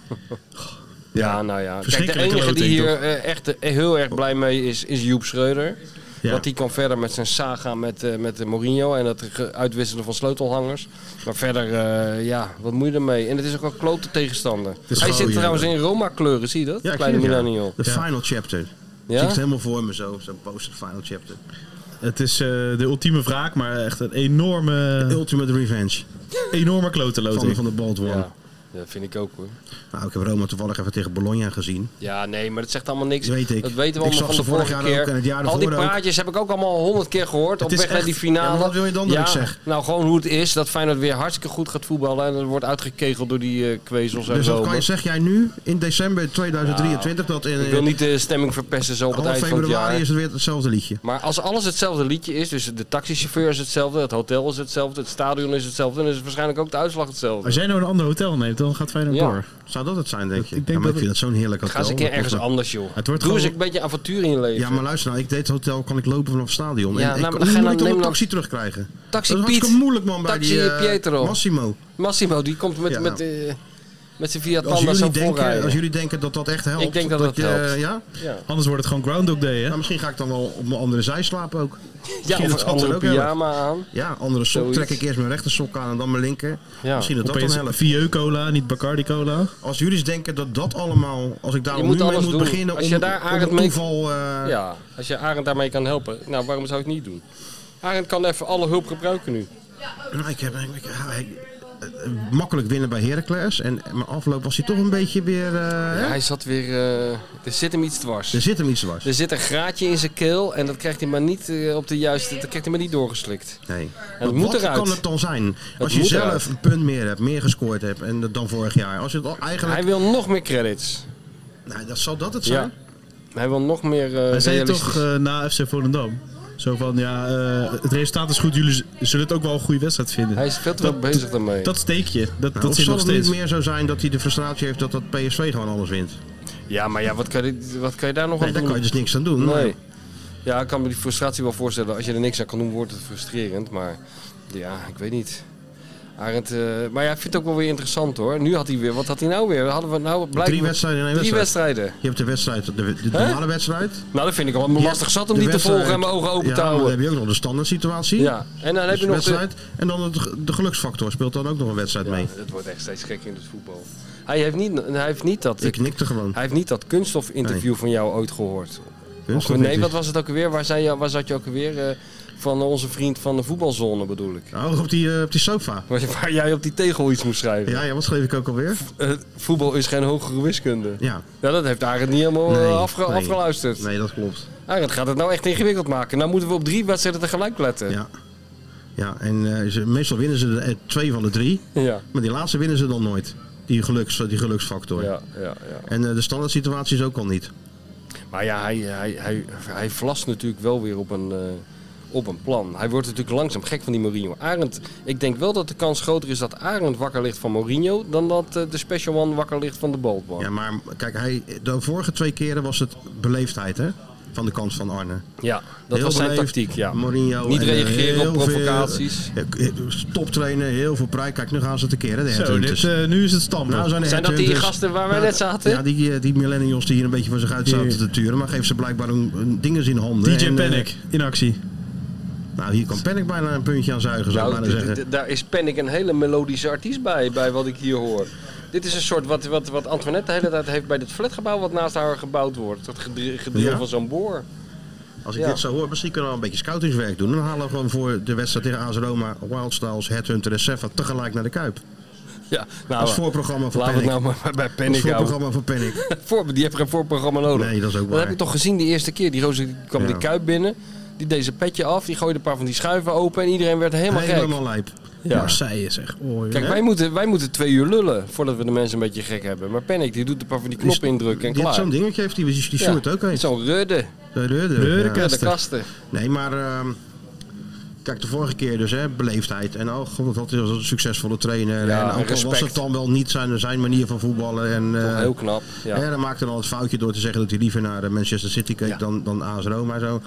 [SPEAKER 6] ja. nou ja. Kijk, de
[SPEAKER 7] Verschrikkelijke
[SPEAKER 6] enige die
[SPEAKER 7] loting,
[SPEAKER 6] hier eh, echt eh, heel erg blij mee is, is Joep Schreuder.
[SPEAKER 5] Ja.
[SPEAKER 6] Want die kan verder met zijn saga met, eh met eh, Mourinho en het ge- uitwisselen van sleutelhangers. Maar verder, eh, ja, wat moet je ermee? En het is ook een klote tegenstander.
[SPEAKER 5] is
[SPEAKER 6] Hij
[SPEAKER 5] gewoon,
[SPEAKER 6] zit
[SPEAKER 5] ja.
[SPEAKER 6] trouwens in Roma-kleuren, zie je dat?
[SPEAKER 5] Ja, ik
[SPEAKER 6] Kleine
[SPEAKER 5] zie het, ja.
[SPEAKER 6] Milanio.
[SPEAKER 5] De final chapter.
[SPEAKER 6] Ja?
[SPEAKER 5] Zie ik het helemaal voor me zo. Zo'n poster, final chapter.
[SPEAKER 7] Het is eh, de ultieme wraak, maar echt een enorme,
[SPEAKER 5] Ultimate revenge.
[SPEAKER 7] enorme klote
[SPEAKER 5] Van,
[SPEAKER 7] loting.
[SPEAKER 5] van de Bold One.
[SPEAKER 6] Ja, dat vind ik ook hoor.
[SPEAKER 5] Nou, ik heb Roma toevallig even tegen Bologna gezien.
[SPEAKER 6] Ja, nee, maar dat zegt allemaal niks.
[SPEAKER 5] Dat weet ik.
[SPEAKER 6] Dat weten
[SPEAKER 5] Ik
[SPEAKER 6] we allemaal
[SPEAKER 5] zag
[SPEAKER 6] van de
[SPEAKER 5] ze vorig
[SPEAKER 6] vorige
[SPEAKER 5] jaar
[SPEAKER 6] keer.
[SPEAKER 5] ook en het jaar
[SPEAKER 6] Al die
[SPEAKER 5] daarvoor ook.
[SPEAKER 6] praatjes heb ik ook allemaal honderd keer gehoord. op
[SPEAKER 5] is
[SPEAKER 6] weg naar
[SPEAKER 5] echt-
[SPEAKER 6] die finale.
[SPEAKER 5] Ja, maar wat wil je dan dat
[SPEAKER 6] Ja,
[SPEAKER 5] ik zeg?
[SPEAKER 6] Nou, gewoon hoe het is. Dat Feyenoord weer hartstikke goed gaat voetballen. En dat wordt uitgekegeld door die eh kwezels en
[SPEAKER 5] Dus dat
[SPEAKER 6] zo.
[SPEAKER 5] kan je, zeg jij nu in december 2023 dat in,
[SPEAKER 6] Ik wil niet de stemming verpesten zo op het
[SPEAKER 5] half
[SPEAKER 6] eind van het jaar.
[SPEAKER 5] februari is het weer hetzelfde liedje.
[SPEAKER 6] Maar als alles hetzelfde liedje is, dus de taxichauffeur is hetzelfde, het hotel is hetzelfde, het stadion is hetzelfde, dan is het waarschijnlijk ook de uitslag hetzelfde.
[SPEAKER 7] Als jij nou een ander hotel neemt, dan gaat Feyenoord
[SPEAKER 6] Ja.
[SPEAKER 7] door.
[SPEAKER 5] Zou dat het zijn, denk je?
[SPEAKER 7] Ik denk
[SPEAKER 5] ja, maar
[SPEAKER 7] dat
[SPEAKER 5] ik vind het zo'n heerlijk
[SPEAKER 6] Ga
[SPEAKER 5] hotel.
[SPEAKER 6] eens een keer
[SPEAKER 5] Dat
[SPEAKER 6] ergens
[SPEAKER 5] was-
[SPEAKER 6] anders, joe.
[SPEAKER 7] wordt
[SPEAKER 6] Doe
[SPEAKER 7] gewoon-
[SPEAKER 6] eens een beetje avontuur in je leven.
[SPEAKER 5] Ja, maar luister nou, ik deed hotel, kan ik lopen vanaf het stadion.
[SPEAKER 6] Ja,
[SPEAKER 5] en
[SPEAKER 6] nou,
[SPEAKER 5] ik
[SPEAKER 6] maar
[SPEAKER 5] hoe
[SPEAKER 6] ga
[SPEAKER 5] moet
[SPEAKER 6] dan-
[SPEAKER 5] ik dan
[SPEAKER 6] neem
[SPEAKER 5] een
[SPEAKER 6] dan-
[SPEAKER 5] taxi terugkrijgen.
[SPEAKER 6] Taxi
[SPEAKER 5] dat is
[SPEAKER 6] Piet.
[SPEAKER 5] hartstikke moeilijk, man, bij
[SPEAKER 6] Taxi
[SPEAKER 5] die eh,
[SPEAKER 6] Pietro.
[SPEAKER 5] Massimo.
[SPEAKER 6] Massimo, die komt met,
[SPEAKER 5] Ja,
[SPEAKER 6] met, eh, met zijn Fiat
[SPEAKER 5] Als
[SPEAKER 6] Panda zo
[SPEAKER 5] jullie, denken,
[SPEAKER 6] voorrijden.
[SPEAKER 5] als jullie denken dat dat echt helpt.
[SPEAKER 6] Ik denk dat dat
[SPEAKER 5] je,
[SPEAKER 6] helpt.
[SPEAKER 5] Ja?
[SPEAKER 7] Anders wordt het gewoon Groundhog Day, hè?
[SPEAKER 5] Nou, misschien ga ik dan wel op mijn andere zij slapen ook.
[SPEAKER 6] Ja,
[SPEAKER 5] Misschien dat
[SPEAKER 6] of een
[SPEAKER 5] het
[SPEAKER 6] andere
[SPEAKER 5] ook helpt.
[SPEAKER 6] pyjama aan.
[SPEAKER 5] Ja, andere sok.
[SPEAKER 6] Zoiets.
[SPEAKER 5] Trek ik eerst mijn rechter sok aan en dan mijn linker.
[SPEAKER 6] Ja.
[SPEAKER 5] Misschien dat dat dan
[SPEAKER 7] Opeens
[SPEAKER 5] helpt.
[SPEAKER 7] Vieux Cola, niet Bacardi Cola.
[SPEAKER 5] Als jullie eens denken dat dat allemaal, als ik daar
[SPEAKER 6] Je
[SPEAKER 5] nu
[SPEAKER 6] moet
[SPEAKER 5] mee
[SPEAKER 6] alles
[SPEAKER 5] moet
[SPEAKER 6] doen.
[SPEAKER 5] beginnen
[SPEAKER 6] Als
[SPEAKER 5] om,
[SPEAKER 6] je daar
[SPEAKER 5] om
[SPEAKER 6] Arend
[SPEAKER 5] het
[SPEAKER 6] mee-
[SPEAKER 5] toeval... eh,
[SPEAKER 6] Ja, als je Arend daarmee kan helpen, nou waarom zou ik het niet doen? Arend kan even alle hulp gebruiken nu.
[SPEAKER 5] Nou, ik heb, ik- ik- ja, ik- eh, eh, makkelijk winnen bij Heracles. En mijn afloop was hij toch een beetje weer... eh, hè? Dus-
[SPEAKER 6] Hij zat weer, eh, er zit hem iets dwars.
[SPEAKER 5] Er zit hem iets dwars.
[SPEAKER 6] Er zit een graadje in zijn keel en dat krijgt hij maar niet eh, op de juiste, dat krijgt hij maar niet doorgeslikt.
[SPEAKER 5] Nee.
[SPEAKER 6] het
[SPEAKER 5] Maar
[SPEAKER 6] moet
[SPEAKER 5] wat
[SPEAKER 6] eruit.
[SPEAKER 5] kan het dan zijn? Als je
[SPEAKER 6] moet
[SPEAKER 5] zelf
[SPEAKER 6] eruit.
[SPEAKER 5] een punt meer hebt, meer gescoord hebt en dat dan vorig jaar. Als je het al eigenlijk...
[SPEAKER 6] Hij wil nog meer credits.
[SPEAKER 5] Nou, dat zal dat het zijn.
[SPEAKER 6] Ja. Hij wil nog meer eh
[SPEAKER 7] Hij zei
[SPEAKER 6] realistisch-
[SPEAKER 7] toch eh, na FC Volendam. Zo van, ja, eh, het resultaat is goed. Jullie z- zullen het ook wel een goede wedstrijd vinden.
[SPEAKER 6] Hij is veel te veel bezig daarmee.
[SPEAKER 7] Dat steek je. Dat,
[SPEAKER 5] Nou,
[SPEAKER 7] dat
[SPEAKER 5] of
[SPEAKER 7] zit
[SPEAKER 5] zal
[SPEAKER 7] nog
[SPEAKER 5] het niet
[SPEAKER 7] steeds.
[SPEAKER 5] meer zo zijn dat hij de frustratie heeft dat dat PSV gewoon alles wint?
[SPEAKER 6] Ja, maar ja, wat kan je, wat kan je daar nog
[SPEAKER 5] Nee,
[SPEAKER 6] aan
[SPEAKER 5] daar
[SPEAKER 6] doen?
[SPEAKER 5] kan je dus niks aan doen.
[SPEAKER 6] Nee. Ja, ik kan me die frustratie wel voorstellen. Als je er niks aan kan doen, wordt het frustrerend. Maar ja, ik weet niet. Arend, eh, maar ja, ik vind het ook wel weer interessant hoor. Nu had hij weer, wat had hij nou weer? Hadden we nou blijkbaar...
[SPEAKER 5] Drie wedstrijden in één
[SPEAKER 6] Drie
[SPEAKER 5] wedstrijd.
[SPEAKER 6] wedstrijden.
[SPEAKER 5] Je hebt de wedstrijd, de, de
[SPEAKER 6] Hè?
[SPEAKER 5] normale wedstrijd.
[SPEAKER 6] Nou, dat vind ik wel lastig zat
[SPEAKER 5] De
[SPEAKER 6] om die te
[SPEAKER 5] wedstrijd-
[SPEAKER 6] volgen en mijn ogen open
[SPEAKER 5] ja,
[SPEAKER 6] te
[SPEAKER 5] maar Dan
[SPEAKER 6] houden.
[SPEAKER 5] heb je ook nog de standaard situatie. Dus
[SPEAKER 6] Ja, en dan heb je nog de...
[SPEAKER 5] wedstrijd. En dan het, de geluksfactor speelt dan ook nog een wedstrijd
[SPEAKER 6] Ja,
[SPEAKER 5] mee.
[SPEAKER 6] het wordt echt steeds gekker in het voetbal. Hij heeft niet, hij heeft niet dat...
[SPEAKER 5] Ik knikte gewoon.
[SPEAKER 6] Hij heeft niet dat kunststof-interview van jou ooit gehoord. Of,
[SPEAKER 5] Kunststof
[SPEAKER 6] nee,
[SPEAKER 5] interview.
[SPEAKER 6] wat was het ook alweer? Waar, zei je, waar zat je ook alweer? eh, van onze vriend van de voetbalzone bedoel ik.
[SPEAKER 5] Oh, op die, eh, op die sofa.
[SPEAKER 6] Waar, waar jij op die tegel iets moest schrijven.
[SPEAKER 5] Ja, ja, wat schreef ik ook alweer?
[SPEAKER 6] Eh, voetbal is geen hogere wiskunde.
[SPEAKER 5] Ja.
[SPEAKER 6] Ja, dat heeft Arend niet helemaal eh,
[SPEAKER 5] Nee,
[SPEAKER 6] afge-
[SPEAKER 5] nee.
[SPEAKER 6] afgeluisterd.
[SPEAKER 5] Nee, dat klopt.
[SPEAKER 6] Arend gaat het nou echt ingewikkeld maken. Nou moeten we op drie wedstrijden tegelijk letten.
[SPEAKER 5] Ja. Ja, en eh, ze- meestal winnen ze de, eh, twee van de drie.
[SPEAKER 6] ja,
[SPEAKER 5] Maar die laatste winnen ze dan nooit. Die, geluks, eh, die geluksfactor.
[SPEAKER 6] ja, ja. ja.
[SPEAKER 5] En eh, de standaard situatie is ook al niet.
[SPEAKER 6] Maar ja, hij, hij, hij, hij vlast natuurlijk wel weer op een, eh, op een plan. Hij wordt natuurlijk langzaam gek van die Mourinho. Arend, ik denk wel dat de kans groter is dat Arend wakker ligt van Mourinho... dan dat eh, de Special One wakker ligt van de Baldwin.
[SPEAKER 5] Ja,
[SPEAKER 6] Ja.
[SPEAKER 5] maar kijk, hij, de vorige twee keren was het beleefdheid hè? van de kant van Arne.
[SPEAKER 6] dat
[SPEAKER 5] Heel
[SPEAKER 6] was zijn
[SPEAKER 5] beleefd,
[SPEAKER 6] tactiek, ja.
[SPEAKER 5] Mourinho
[SPEAKER 6] Niet
[SPEAKER 5] en, eh,
[SPEAKER 6] reageren op
[SPEAKER 5] heel veel-
[SPEAKER 6] provocaties.
[SPEAKER 5] eh, Toptrainen, heel veel prij. Kijk, nu gaan ze te keren. De
[SPEAKER 7] Zo, dit,
[SPEAKER 5] headhunters.
[SPEAKER 7] eh, nu is het stampen.
[SPEAKER 5] Nou, zijn de
[SPEAKER 6] Zijn dat die
[SPEAKER 5] headhunters-
[SPEAKER 6] gasten waar wij
[SPEAKER 5] Ja,
[SPEAKER 6] net zaten?
[SPEAKER 5] Ja, die, eh, die millennials die hier een beetje eh, voor zich uit zaten te turen. Maar geeft ze blijkbaar hun, hun dinges in handen.
[SPEAKER 7] DJ
[SPEAKER 5] En, eh,
[SPEAKER 7] Panic in actie.
[SPEAKER 5] Nou, hier kan Panic bijna een puntje aan zuigen, zou ik
[SPEAKER 6] Nou,
[SPEAKER 5] bijna
[SPEAKER 6] d- d-
[SPEAKER 5] zeggen.
[SPEAKER 6] d- daar is Panic een hele melodische artiest bij, bij wat ik hier hoor. Dit is een soort wat, wat, wat Antoinette de hele tijd heeft bij dat flatgebouw wat naast haar gebouwd wordt. Dat gedri- gedrill
[SPEAKER 5] Ja?
[SPEAKER 6] van zo'n boor.
[SPEAKER 5] Als ik
[SPEAKER 6] Ja.
[SPEAKER 5] dit zou horen, misschien kunnen we al een beetje scoutingswerk doen. Dan halen we gewoon voor de wedstrijd tegen AS Roma, Wild Styles, Headhunter en Sefa tegelijk naar de Kuip.
[SPEAKER 6] Ja, nou,
[SPEAKER 5] Als voorprogramma voor
[SPEAKER 6] laten we het
[SPEAKER 5] Panic.
[SPEAKER 6] nou maar bij
[SPEAKER 5] Als
[SPEAKER 6] Panic houden.
[SPEAKER 5] voorprogramma voor Panic.
[SPEAKER 6] Voor, die heeft geen voorprogramma nodig.
[SPEAKER 5] Nee, dat is ook
[SPEAKER 6] Dat
[SPEAKER 5] waar.
[SPEAKER 6] heb je toch gezien die eerste keer. Die roze die kwam
[SPEAKER 5] Ja.
[SPEAKER 6] die kuip binnen. Die deed zijn petje af. Die gooide een paar van die schuiven open. En iedereen werd helemaal gek.
[SPEAKER 5] Helemaal lijp.
[SPEAKER 6] Ja.
[SPEAKER 7] Marseille zeg. Oh,
[SPEAKER 6] Kijk, wij moeten, wij moeten twee uur lullen voordat we de mensen een beetje gek hebben. Maar Panic, die doet een paar van die knoppen indrukken en
[SPEAKER 5] Die had
[SPEAKER 6] klaar.
[SPEAKER 5] Zo'n dingetje heeft die, die
[SPEAKER 6] Ja,
[SPEAKER 5] Sjoerd ook eens.
[SPEAKER 6] Zo'n rudde.
[SPEAKER 5] De Reurde. Ja.
[SPEAKER 6] Rudde kasten.
[SPEAKER 5] Nee, maar ehm, kijk, de vorige keer dus, hè, beleefdheid. En oh, god, wat is een succesvolle trainer.
[SPEAKER 6] Ja,
[SPEAKER 5] en ook
[SPEAKER 6] en
[SPEAKER 5] al was
[SPEAKER 6] respect.
[SPEAKER 5] het dan wel niet zijn, zijn manier van voetballen. En, eh,
[SPEAKER 6] Heel knap. Ja.
[SPEAKER 5] hè, dan maakte hij al het foutje door te zeggen dat hij liever naar eh, Manchester City keek
[SPEAKER 6] Ja.
[SPEAKER 5] dan, dan AS Roma en zo.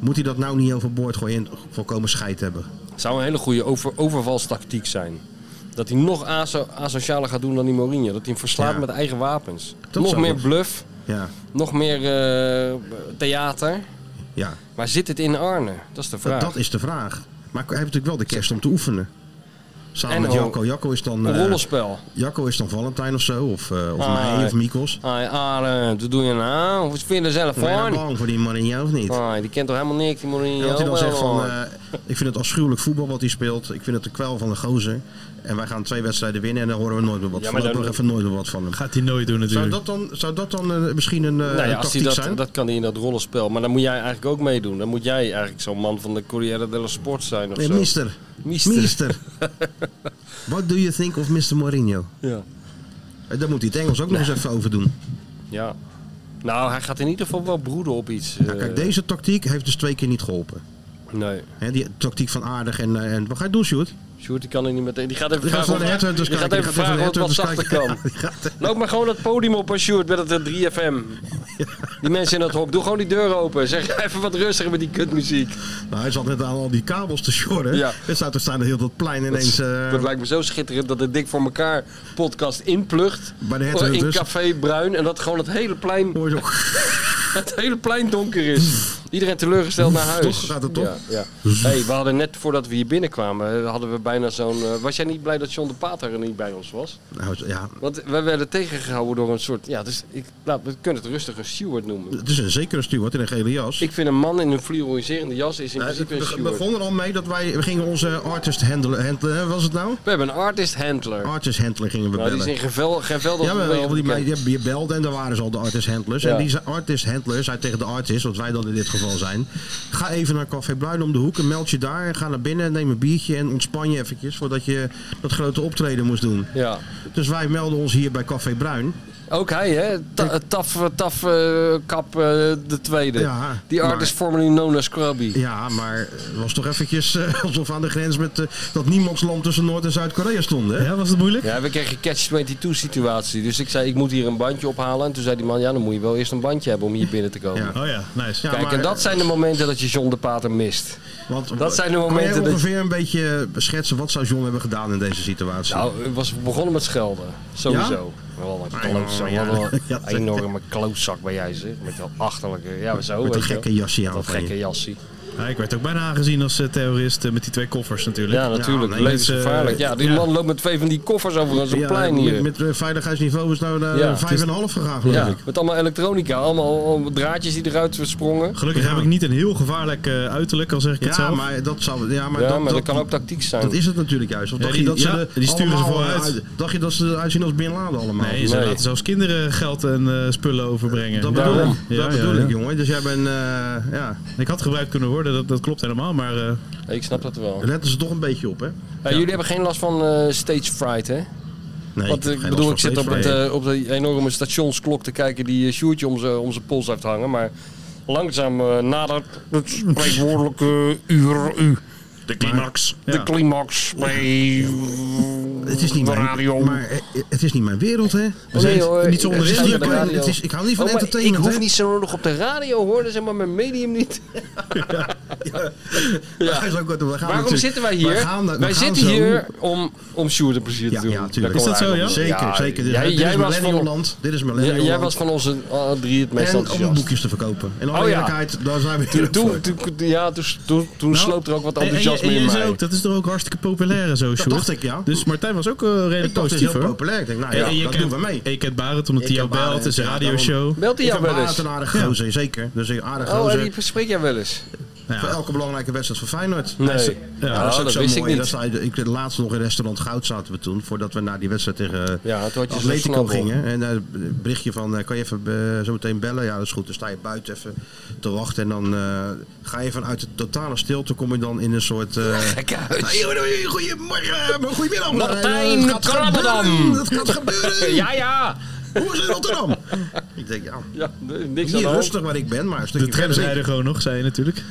[SPEAKER 5] Moet hij dat nou niet overboord gooien en volkomen scheid hebben?
[SPEAKER 6] Zou een hele goede over, overvalstactiek zijn. Dat hij nog aso- asocialer gaat doen dan die Mourinho. Dat hij hem verslaat
[SPEAKER 5] Ja.
[SPEAKER 6] met eigen wapens.
[SPEAKER 5] Dat
[SPEAKER 6] nog
[SPEAKER 5] zou
[SPEAKER 6] meer
[SPEAKER 5] het.
[SPEAKER 6] bluff.
[SPEAKER 5] Ja,
[SPEAKER 6] Nog meer eh, theater.
[SPEAKER 5] ja.
[SPEAKER 6] Maar zit het in Arne? Dat is de vraag.
[SPEAKER 5] dat is de vraag. Maar hij heeft natuurlijk wel de kerst om te oefenen. Samen
[SPEAKER 6] En
[SPEAKER 5] met
[SPEAKER 6] ook-
[SPEAKER 5] Jacco. Jacco is dan,
[SPEAKER 6] Een
[SPEAKER 5] eh,
[SPEAKER 6] rollenspel.
[SPEAKER 5] Jacco is dan Valentijn of zo. Of, eh, of
[SPEAKER 6] Ah,
[SPEAKER 5] mij,
[SPEAKER 6] ja.
[SPEAKER 5] of Mikos.
[SPEAKER 6] Ai, Arne, wat doe je nou? Hoe vind je er zelf
[SPEAKER 5] Ben je nou
[SPEAKER 6] van?
[SPEAKER 5] bang voor die Mourinho of niet?
[SPEAKER 6] Ai, die kent toch helemaal niks, die Mourinho?
[SPEAKER 5] En dat hij dan
[SPEAKER 6] Wel,
[SPEAKER 5] zegt van,
[SPEAKER 6] hoor.
[SPEAKER 5] eh, ik vind het afschuwelijk voetbal wat hij speelt. Ik vind het de kwel van de gozer. En wij gaan twee wedstrijden winnen en dan horen we nooit meer wat
[SPEAKER 6] Ja,
[SPEAKER 5] van.
[SPEAKER 6] maar
[SPEAKER 5] Dan...
[SPEAKER 6] dan-
[SPEAKER 5] even nooit meer wat van hem.
[SPEAKER 7] Gaat hij nooit doen
[SPEAKER 5] Zou
[SPEAKER 7] natuurlijk.
[SPEAKER 5] dat dan, zou dat dan eh, misschien een, eh,
[SPEAKER 6] nou ja,
[SPEAKER 5] een
[SPEAKER 6] als hij
[SPEAKER 5] tactiek
[SPEAKER 6] dat,
[SPEAKER 5] zijn?
[SPEAKER 6] dat kan hij in dat rollenspel. Maar dan moet jij eigenlijk ook meedoen. Dan moet jij eigenlijk zo'n man van de Corriere dello Sport zijn of
[SPEAKER 5] Eh,
[SPEAKER 6] zo.
[SPEAKER 5] mister,
[SPEAKER 6] Mister.
[SPEAKER 5] mister. What do you think of Mr. Mourinho?
[SPEAKER 6] Ja.
[SPEAKER 5] Eh, Daar moet hij het Engels ook nog eens even over doen.
[SPEAKER 6] ja. Nou, hij gaat in ieder geval wel broeden op iets.
[SPEAKER 5] Ja,
[SPEAKER 6] eh,
[SPEAKER 5] Nou, kijk, deze tactiek heeft dus twee keer niet geholpen.
[SPEAKER 6] Nee,
[SPEAKER 5] Hè, die tactiek van aardig en, eh, en wat ga je doen, Sjoerd?
[SPEAKER 6] Sjoerd die kan er niet meteen. Die gaat even
[SPEAKER 5] Die gaat
[SPEAKER 6] vragen,
[SPEAKER 5] naar de
[SPEAKER 6] of-
[SPEAKER 5] headhunters
[SPEAKER 6] die gaat
[SPEAKER 5] kijken.
[SPEAKER 6] even
[SPEAKER 5] Die gaat
[SPEAKER 6] vragen
[SPEAKER 5] even
[SPEAKER 6] of het wat
[SPEAKER 5] naar de
[SPEAKER 6] zachter kan.
[SPEAKER 5] headhunters kijken.
[SPEAKER 6] Loop maar gewoon het podium op, hè, Sjoerd, met het eh, 3FM. Die mensen in dat hok, doe gewoon die deur open. Zeg even wat rustiger met die kutmuziek.
[SPEAKER 5] Nou, hij zat net aan al die kabels te sjorren.
[SPEAKER 6] Ja.
[SPEAKER 5] Er staat er staan heel dat plein ineens... eh,
[SPEAKER 6] Dat lijkt me zo schitterend dat de Dik voor elkaar podcast inplucht.
[SPEAKER 5] Bij de
[SPEAKER 6] in
[SPEAKER 5] headhunters.
[SPEAKER 6] Café Bruin. En dat gewoon het hele plein,
[SPEAKER 5] Hoor je zo-
[SPEAKER 6] het hele plein donker is. Iedereen teleurgesteld naar huis.
[SPEAKER 5] Toch? Gaat het toch?
[SPEAKER 6] Ja, ja. Hey, we hadden net voordat we hier binnenkwamen, eh, hadden we bijna zo'n... eh, was jij niet blij dat John de Pater er niet bij ons was?
[SPEAKER 5] Nou, ja,
[SPEAKER 6] Want wij werden tegengehouden door een soort... Ja, dus ik, nou, we kunnen het rustig een steward noemen.
[SPEAKER 5] het is een zekere steward in een gele jas.
[SPEAKER 6] Ik vind een man in een fluoriserende jas is in
[SPEAKER 5] Nou,
[SPEAKER 6] principe een
[SPEAKER 5] we we
[SPEAKER 6] steward.
[SPEAKER 5] begonnen al mee dat wij we gingen onze artist handelen. handelen hè, was het nou?
[SPEAKER 6] We hebben een artist handler.
[SPEAKER 5] Artist handler gingen we
[SPEAKER 6] Nou, die
[SPEAKER 5] bellen.
[SPEAKER 6] is in gevel, gevel dat
[SPEAKER 5] Oh, ja,
[SPEAKER 6] we
[SPEAKER 5] maar wel, die
[SPEAKER 6] bekend.
[SPEAKER 5] meid, die- je belde en daar waren ze al de artist handlers.
[SPEAKER 6] Ja.
[SPEAKER 5] En die ze- artist handler zei tegen de artist, wat wij dan in dit geval zijn. Ga even naar Café Bruin om de hoek en meld je daar. En ga naar binnen en neem een biertje en ontspan je eventjes voordat je dat grote optreden moest doen.
[SPEAKER 6] Ja.
[SPEAKER 5] Dus wij melden ons hier bij Café Bruin.
[SPEAKER 6] Ook hij, hè? Ta- eh, taf, eh, taf eh, Kap eh, de tweede.
[SPEAKER 5] Ja,
[SPEAKER 6] die artist formerly known as Krabby.
[SPEAKER 5] Ja, maar het was toch eventjes eh, alsof we aan de grens met eh, dat niemandsland tussen Noord- en Zuid-Korea stonden. Hè?
[SPEAKER 7] Ja, was het moeilijk?
[SPEAKER 6] Ja, we kregen een catch-22 situatie. Dus ik zei, ik moet hier een bandje ophalen. En toen zei die man, ja, dan moet je wel eerst een bandje hebben om hier binnen te komen.
[SPEAKER 5] Ja.
[SPEAKER 7] Oh ja, nice.
[SPEAKER 5] Ja,
[SPEAKER 6] Kijk,
[SPEAKER 5] maar- eh,
[SPEAKER 6] en dat zijn de momenten dat je John de Pater mist.
[SPEAKER 5] Want,
[SPEAKER 6] Dat zijn de
[SPEAKER 5] Kan
[SPEAKER 6] momenten
[SPEAKER 5] jij
[SPEAKER 6] dat-
[SPEAKER 5] ongeveer een beetje schetsen wat zou John hebben gedaan in deze situatie?
[SPEAKER 6] Nou, het was begonnen met schelden. Sowieso. Wel een klootzak.
[SPEAKER 5] Ah, ja.
[SPEAKER 6] Wat een
[SPEAKER 5] Ja, zeg.
[SPEAKER 6] enorme klootzak bij jij, zeg. Met dat achterlijke... Ja, zo, weet
[SPEAKER 5] met dat
[SPEAKER 6] je wel.
[SPEAKER 5] gekke jasje aan
[SPEAKER 6] Dat
[SPEAKER 5] van je.
[SPEAKER 6] gekke jassie.
[SPEAKER 7] Ja, ik werd ook bijna aangezien als eh, terrorist eh, met die twee koffers natuurlijk.
[SPEAKER 6] Ja, natuurlijk.
[SPEAKER 5] nee,
[SPEAKER 6] Leuk
[SPEAKER 5] dit
[SPEAKER 6] is
[SPEAKER 5] is, eh,
[SPEAKER 6] gevaarlijk. Ja, die
[SPEAKER 7] ja.
[SPEAKER 6] man loopt met twee van die koffers over aan zo'n
[SPEAKER 5] Ja,
[SPEAKER 6] plein hier.
[SPEAKER 5] Met, met eh, veiligheidsniveau is nou naar
[SPEAKER 6] Ja.
[SPEAKER 5] 5,5 gegaan geloof
[SPEAKER 6] ja,
[SPEAKER 5] ik.
[SPEAKER 6] met allemaal elektronica. Allemaal, allemaal draadjes die eruit sprongen.
[SPEAKER 7] Gelukkig
[SPEAKER 5] Ja.
[SPEAKER 7] heb ik niet een heel gevaarlijk eh, uiterlijk, al zeg ik het
[SPEAKER 5] Ja,
[SPEAKER 7] zelf.
[SPEAKER 5] maar dat zou... Ja, maar,
[SPEAKER 6] ja,
[SPEAKER 5] dat,
[SPEAKER 6] maar dat,
[SPEAKER 5] dat,
[SPEAKER 6] kan ook tactiek zijn.
[SPEAKER 5] dat is het natuurlijk juist. Of
[SPEAKER 7] Ja,
[SPEAKER 5] dacht
[SPEAKER 7] die-
[SPEAKER 5] je dat ze
[SPEAKER 7] ja,
[SPEAKER 5] er
[SPEAKER 7] die sturen ze
[SPEAKER 5] allemaal
[SPEAKER 7] vooruit.
[SPEAKER 5] uit- Dacht je dat ze eruit zien als Bin Laden allemaal?
[SPEAKER 7] Nee, ze
[SPEAKER 6] Nee.
[SPEAKER 7] laten zelfs kinderen geld en eh, spullen overbrengen.
[SPEAKER 5] dat
[SPEAKER 7] Ja.
[SPEAKER 5] bedoel, ik.
[SPEAKER 7] Ja,
[SPEAKER 5] dat
[SPEAKER 7] ja,
[SPEAKER 5] bedoel
[SPEAKER 7] ja.
[SPEAKER 5] ik, jongen. Dus jij bent... eh, ja,
[SPEAKER 7] Ik had gebruikt kunnen worden, dat, dat klopt helemaal, maar... eh,
[SPEAKER 6] Ja, ik snap dat wel.
[SPEAKER 5] letten ze toch een beetje op, hè?
[SPEAKER 6] Eh, Jullie hebben geen last van eh, stage fright, hè?
[SPEAKER 5] Nee,
[SPEAKER 6] Want eh, ik
[SPEAKER 5] geen
[SPEAKER 6] bedoel, ik
[SPEAKER 5] last van
[SPEAKER 6] zit op, het,
[SPEAKER 5] steeds
[SPEAKER 6] eh, op die enorme stationsklok te kijken die eh, Sjoerdje om zijn om zijn pols heeft hangen. Maar langzaam eh, nadert het spreekwoordelijke uur u. De climax. De
[SPEAKER 7] Ja.
[SPEAKER 6] climax bij
[SPEAKER 5] Het is niet
[SPEAKER 6] de
[SPEAKER 5] mijn,
[SPEAKER 6] radio.
[SPEAKER 5] maar eh, het is niet mijn wereld, hè?
[SPEAKER 6] Oh,
[SPEAKER 5] zijn
[SPEAKER 6] nee, hoor.
[SPEAKER 5] niet zo
[SPEAKER 6] Ik-
[SPEAKER 5] onderin.
[SPEAKER 6] ik- ik-
[SPEAKER 5] Het is-
[SPEAKER 6] radio.
[SPEAKER 5] het is- ik hou niet van
[SPEAKER 6] Oh, maar
[SPEAKER 5] entertainment.
[SPEAKER 6] Ik hoef
[SPEAKER 5] hè?
[SPEAKER 6] niet zo nodig op de radio hoor, dat is helemaal mijn medium niet. Ja.
[SPEAKER 5] Hij is ook wat we gaan
[SPEAKER 6] Waarom
[SPEAKER 5] natuurlijk-
[SPEAKER 6] zitten wij
[SPEAKER 5] we
[SPEAKER 6] hier?
[SPEAKER 5] gaan- we
[SPEAKER 6] wij
[SPEAKER 5] gaan
[SPEAKER 6] zitten
[SPEAKER 5] zo-
[SPEAKER 6] hier om, om Sjoerd een plezier te
[SPEAKER 5] Ja,
[SPEAKER 6] doen.
[SPEAKER 5] ja,
[SPEAKER 6] Daar
[SPEAKER 5] tuurlijk.
[SPEAKER 6] komt
[SPEAKER 7] Is dat
[SPEAKER 6] het
[SPEAKER 7] zo,
[SPEAKER 6] eigenlijk
[SPEAKER 5] Zeker,
[SPEAKER 6] op neer.
[SPEAKER 5] zeker. Dit,
[SPEAKER 6] jij,
[SPEAKER 5] dit
[SPEAKER 6] jij
[SPEAKER 5] is
[SPEAKER 6] was van,
[SPEAKER 5] Millenniumland. Dit is
[SPEAKER 6] jij,
[SPEAKER 5] Millenniumland.
[SPEAKER 6] jij was van onze alle drie het meest
[SPEAKER 5] en om
[SPEAKER 6] enthousiast.
[SPEAKER 5] boekjes te verkopen. En alle
[SPEAKER 6] Oh ja.
[SPEAKER 5] eerlijkheid, daar zijn we
[SPEAKER 6] Toen,
[SPEAKER 5] natuurlijk
[SPEAKER 6] toen,
[SPEAKER 5] voor.
[SPEAKER 6] toen- ja, toen, toen, toen
[SPEAKER 7] Nou,
[SPEAKER 6] sloopt er ook wat
[SPEAKER 7] En- en je-
[SPEAKER 6] enthousiasme
[SPEAKER 7] en je
[SPEAKER 6] in
[SPEAKER 7] zei
[SPEAKER 6] mij.
[SPEAKER 7] ook, dat is toch ook hartstikke populair en zo, Sjoerd?
[SPEAKER 5] dacht ik, ja.
[SPEAKER 7] Dus Martijn was ook eh, redelijk
[SPEAKER 5] Ik dacht, dit is
[SPEAKER 7] positief,
[SPEAKER 5] heel
[SPEAKER 7] hoor.
[SPEAKER 5] populair. Ik denk, nou
[SPEAKER 7] En-
[SPEAKER 5] ja,
[SPEAKER 7] en je
[SPEAKER 5] dat
[SPEAKER 7] kent-
[SPEAKER 5] doen we mee.
[SPEAKER 7] en Je kent Barend, omdat hij jou
[SPEAKER 5] ken Barend,
[SPEAKER 7] belt. Het is een
[SPEAKER 5] ja,
[SPEAKER 7] radioshow.
[SPEAKER 6] Belt hij
[SPEAKER 5] Ik vind
[SPEAKER 6] jou wel
[SPEAKER 5] Barend
[SPEAKER 6] eens?
[SPEAKER 5] een aardige gozer, zeker. Dus een aardige
[SPEAKER 6] Oh, en
[SPEAKER 5] gozer.
[SPEAKER 6] die spreekt jij wel eens?
[SPEAKER 5] Voor elke belangrijke wedstrijd van Feyenoord.
[SPEAKER 6] Nee.
[SPEAKER 5] Hij is-
[SPEAKER 6] Ja,
[SPEAKER 5] dat is ook
[SPEAKER 6] dat
[SPEAKER 5] zo
[SPEAKER 6] wist
[SPEAKER 5] mooi.
[SPEAKER 6] ik niet.
[SPEAKER 5] Dat zei- ik weet laatst nog in restaurant Goud zaten we toen, voordat we naar die wedstrijd tegen eh,
[SPEAKER 6] Ja, toen had je
[SPEAKER 5] dus
[SPEAKER 6] zo'n
[SPEAKER 5] Atletico
[SPEAKER 6] snabbel.
[SPEAKER 5] gingen. En eh, een berichtje van, eh, kan je even eh, zo meteen bellen? Ja, dat is goed. Dan sta je buiten even te wachten. En dan eh, ga je vanuit de totale stilte, kom je dan in een soort... eh,
[SPEAKER 6] Gekhuis.
[SPEAKER 5] Hey, hoi, Goedemorgen, maar goedemiddag.
[SPEAKER 6] Martijn
[SPEAKER 5] Eh, het gaat
[SPEAKER 6] Krabbedam.
[SPEAKER 5] gebeuren, Het gaat gebeuren.
[SPEAKER 6] Ja, ja.
[SPEAKER 5] Hoe is het in Rotterdam? Ik denk, ja,
[SPEAKER 6] Ja, nee, niks aan
[SPEAKER 5] niet
[SPEAKER 6] de hand.
[SPEAKER 5] rustig waar ik ben, maar een
[SPEAKER 7] De
[SPEAKER 5] stukje
[SPEAKER 7] tram
[SPEAKER 5] verder.
[SPEAKER 7] rijden gewoon nog, zei je natuurlijk.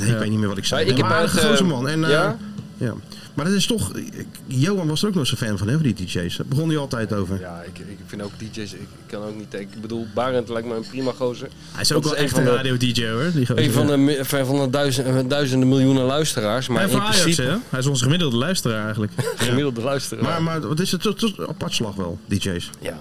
[SPEAKER 5] Nee, ik weet niet meer wat ik zei.
[SPEAKER 6] Maar ik
[SPEAKER 5] Nee,
[SPEAKER 6] heb
[SPEAKER 5] maar
[SPEAKER 6] uit,
[SPEAKER 5] een grote
[SPEAKER 6] eh,
[SPEAKER 5] man. En, eh,
[SPEAKER 6] ja?
[SPEAKER 5] ja? Maar dat is toch... Johan was er ook nog zo'n fan van, hè, van die DJ's. Daar begon hij altijd over.
[SPEAKER 6] Ja, ik, ik vind ook DJ's, ik kan ook niet tegen. Ik bedoel, Barend lijkt me een prima gozer.
[SPEAKER 7] Hij is ook
[SPEAKER 6] Dat
[SPEAKER 7] wel
[SPEAKER 6] is
[SPEAKER 7] echt
[SPEAKER 6] een
[SPEAKER 7] een
[SPEAKER 6] van de-
[SPEAKER 7] radio-dj, hoor. Die gozer.
[SPEAKER 6] Een van de, mi- van van de duizenden, duizenden miljoenen luisteraars, maar
[SPEAKER 7] en van
[SPEAKER 6] in
[SPEAKER 7] Ajax,
[SPEAKER 6] principe
[SPEAKER 7] hè? Hij is onze gemiddelde luisteraar eigenlijk.
[SPEAKER 6] gemiddelde luisteraar.
[SPEAKER 5] Maar, maar wat is het? Het is een apart slag wel, DJ's.
[SPEAKER 6] ja,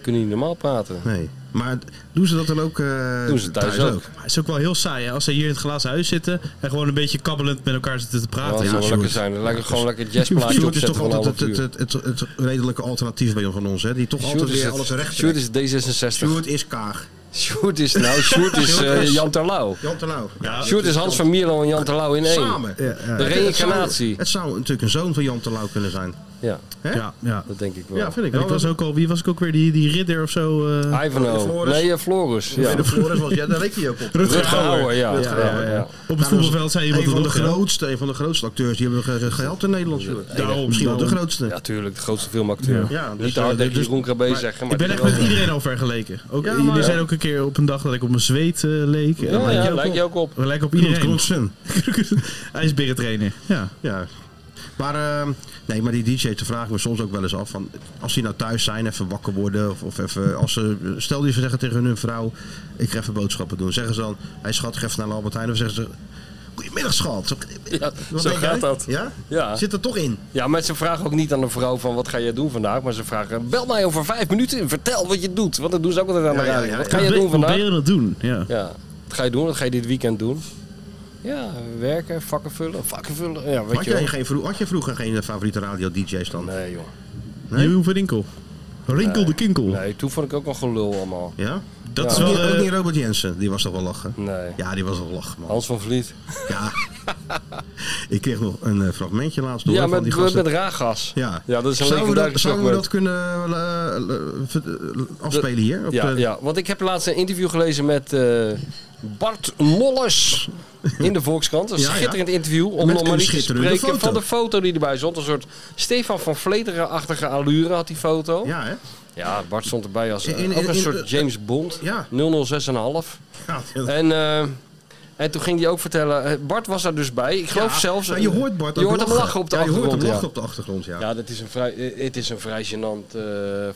[SPEAKER 6] kunnen niet normaal praten.
[SPEAKER 5] Nee. Maar doen ze dat dan ook eh,
[SPEAKER 6] Doen ze thuis ook.
[SPEAKER 7] Maar het is ook wel heel saai, hè? Als ze hier in het glazen huis zitten en gewoon een beetje kabbelend met elkaar zitten te
[SPEAKER 6] Dat
[SPEAKER 7] praten.
[SPEAKER 6] zou
[SPEAKER 7] Ja,
[SPEAKER 6] wel lekker
[SPEAKER 7] Sjoerd.
[SPEAKER 6] zijn. Lekker, gewoon lekker jazzplaatje
[SPEAKER 5] Sjoerd is
[SPEAKER 6] opzetten
[SPEAKER 5] toch
[SPEAKER 6] van een
[SPEAKER 5] altijd
[SPEAKER 6] half
[SPEAKER 5] het,
[SPEAKER 6] uur.
[SPEAKER 5] het, het, het redelijke alternatief bij van ons, hè? Die toch
[SPEAKER 6] Sjoerd
[SPEAKER 5] altijd
[SPEAKER 6] is
[SPEAKER 5] weer
[SPEAKER 6] het-
[SPEAKER 5] alles recht
[SPEAKER 6] Sjoerd
[SPEAKER 5] trekt.
[SPEAKER 6] is D66.
[SPEAKER 5] Sjoerd is Kaag.
[SPEAKER 6] Sjoerd is, nou, Sjoerd is eh, Jan Terlouw.
[SPEAKER 5] Jan Terlouw. Ja,
[SPEAKER 6] Sjoerd is Hans van Mierlo en Jan Terlouw in één.
[SPEAKER 5] Samen.
[SPEAKER 6] De
[SPEAKER 5] Het zou,
[SPEAKER 6] reïncarnatie.
[SPEAKER 5] het zou natuurlijk een zoon van Jan Terlouw kunnen zijn.
[SPEAKER 6] Ja,
[SPEAKER 5] hè?
[SPEAKER 7] Ja, ja.
[SPEAKER 6] dat denk ik wel.
[SPEAKER 5] Ja, vind ik
[SPEAKER 7] En
[SPEAKER 5] wel. Ah,
[SPEAKER 7] ik was ook al, wie was ik ook weer, die, die ridder of zo? eh?
[SPEAKER 6] Ivanhoe.
[SPEAKER 5] Floris.
[SPEAKER 6] Nee, eh, Flores. Ja.
[SPEAKER 5] Bij de Flores was, ja, daar leek hij ook op.
[SPEAKER 6] Rutger Hauer, ja.
[SPEAKER 5] Rutger Hauer,
[SPEAKER 6] Ja, ja, ja.
[SPEAKER 7] Op het voetbalveld zei iemand
[SPEAKER 5] een
[SPEAKER 7] het
[SPEAKER 5] van de
[SPEAKER 7] nog, hè?
[SPEAKER 5] grootste, een van de grootste acteurs die hebben we ge- ge- gehad in Nederland. joh.
[SPEAKER 7] Daarom,
[SPEAKER 5] Misschien wel de
[SPEAKER 7] daarom.
[SPEAKER 5] grootste.
[SPEAKER 6] Ja, tuurlijk, de grootste filmacteur.
[SPEAKER 5] Ja,
[SPEAKER 6] Niet
[SPEAKER 5] dus,
[SPEAKER 6] te hard
[SPEAKER 5] eh,
[SPEAKER 6] tegen
[SPEAKER 5] dus-
[SPEAKER 6] Jeroen Krabbe zeggen, maar...
[SPEAKER 7] Ik ben
[SPEAKER 6] die
[SPEAKER 7] echt met
[SPEAKER 6] wel-
[SPEAKER 7] iedereen al vergeleken. Ook,
[SPEAKER 5] Ja,
[SPEAKER 7] jullie
[SPEAKER 5] maar-
[SPEAKER 7] zijn ook een keer op een dag dat ik op mijn zweet eh, leek. En
[SPEAKER 6] Ja,
[SPEAKER 7] lijk je
[SPEAKER 6] ja,
[SPEAKER 7] ook
[SPEAKER 6] lijkt
[SPEAKER 7] op.
[SPEAKER 6] je ook op.
[SPEAKER 7] We lijken op
[SPEAKER 5] Iedereen.
[SPEAKER 7] iedereen.
[SPEAKER 5] Knutsen.
[SPEAKER 7] IJsberentrainer. Ja.
[SPEAKER 5] Ja. Maar, eh, nee, maar die DJ, te vragen we soms ook wel eens af. Van, als die nou thuis zijn, even wakker worden. Of, of even, als ze, stel die ze zeggen tegen hun vrouw, ik ga even boodschappen doen. Zeggen ze dan, hij schat, ik ga even naar de Albert Heijn. Of zeggen ze, goedemiddag schat. Zo-
[SPEAKER 6] Ja,
[SPEAKER 5] Wat
[SPEAKER 6] zo
[SPEAKER 5] denk jij?
[SPEAKER 6] gaat dat.
[SPEAKER 5] Ja?
[SPEAKER 6] Ja.
[SPEAKER 5] Zit er toch in?
[SPEAKER 6] Ja, maar ze vragen ook niet aan de vrouw van wat ga jij doen vandaag. Maar ze vragen, bel mij over vijf minuten en vertel wat je doet. Want dat doen ze ook altijd aan de
[SPEAKER 5] Ja, ja,
[SPEAKER 6] radio.
[SPEAKER 5] ja,
[SPEAKER 6] Wat
[SPEAKER 5] ja.
[SPEAKER 6] ga je
[SPEAKER 7] Probeer-
[SPEAKER 6] doen vandaag?
[SPEAKER 7] Proberen dat doen. Ja.
[SPEAKER 6] Ja, wat ga je doen? Wat ga je dit weekend doen? Ja, werken, vakken vullen, vakken vullen. Ja, weet
[SPEAKER 5] Had
[SPEAKER 6] je
[SPEAKER 5] jij,
[SPEAKER 6] wel.
[SPEAKER 5] geen, vro- had je vroeger geen eh, favoriete radio-dj's dan?
[SPEAKER 6] Nee joh.
[SPEAKER 7] Jeroen van Rinkel. Rinkel de Kinkel.
[SPEAKER 6] Nee, toen vond ik ook al gelul allemaal.
[SPEAKER 5] Ja?
[SPEAKER 7] Dat
[SPEAKER 6] Ja.
[SPEAKER 7] is
[SPEAKER 5] Ook
[SPEAKER 7] wel...
[SPEAKER 5] niet- ook
[SPEAKER 7] eh,
[SPEAKER 5] niet Robert Jensen, die was toch wel lachen?
[SPEAKER 6] Nee. Oh.
[SPEAKER 5] Ja, die was wel lachen, man.
[SPEAKER 6] Hans van Vliet.
[SPEAKER 5] Ja. ik kreeg nog een eh, fragmentje laatst door
[SPEAKER 6] Ja,
[SPEAKER 5] van
[SPEAKER 6] met,
[SPEAKER 5] die gasten.
[SPEAKER 6] met raaggas.
[SPEAKER 5] Ja.
[SPEAKER 6] ja, dat is een
[SPEAKER 5] zouden we dat,
[SPEAKER 6] legendarisch
[SPEAKER 5] zouden we
[SPEAKER 6] fragment.
[SPEAKER 5] dat kunnen eh, eh, ver- eh, afspelen hier? Op
[SPEAKER 6] Ja,
[SPEAKER 5] de-
[SPEAKER 6] ja, want ik heb laatst een interview gelezen met eh, Bart Molles in de Volkskrant. Een
[SPEAKER 5] Ja, ja.
[SPEAKER 6] schitterend interview, om
[SPEAKER 5] Met
[SPEAKER 6] nog maar
[SPEAKER 5] een
[SPEAKER 6] niet te
[SPEAKER 5] schitterende
[SPEAKER 6] spreken
[SPEAKER 5] foto.
[SPEAKER 6] van de foto die erbij stond. Een soort Stefan van Vleteren-achtige allure had die foto. Ja,
[SPEAKER 5] Ja, hè?
[SPEAKER 6] Bart stond erbij als eh,
[SPEAKER 5] In- in-
[SPEAKER 6] ook een
[SPEAKER 5] in-
[SPEAKER 6] soort James Bond,
[SPEAKER 5] Ja.
[SPEAKER 6] 006,5. En... eh, en toen ging hij ook vertellen, eh, Bart was daar dus bij. Ik geloof
[SPEAKER 5] Ja,
[SPEAKER 6] zelfs.
[SPEAKER 5] maar je hoort Bart
[SPEAKER 6] je
[SPEAKER 5] ook
[SPEAKER 6] hoort hem lachen op de
[SPEAKER 5] Ja,
[SPEAKER 6] achtergrond.
[SPEAKER 5] Je hoort hem
[SPEAKER 6] ja.
[SPEAKER 5] lachen op de achtergrond, ja.
[SPEAKER 6] Ja, dat is een vrij, eh, het is een vrij gênant eh,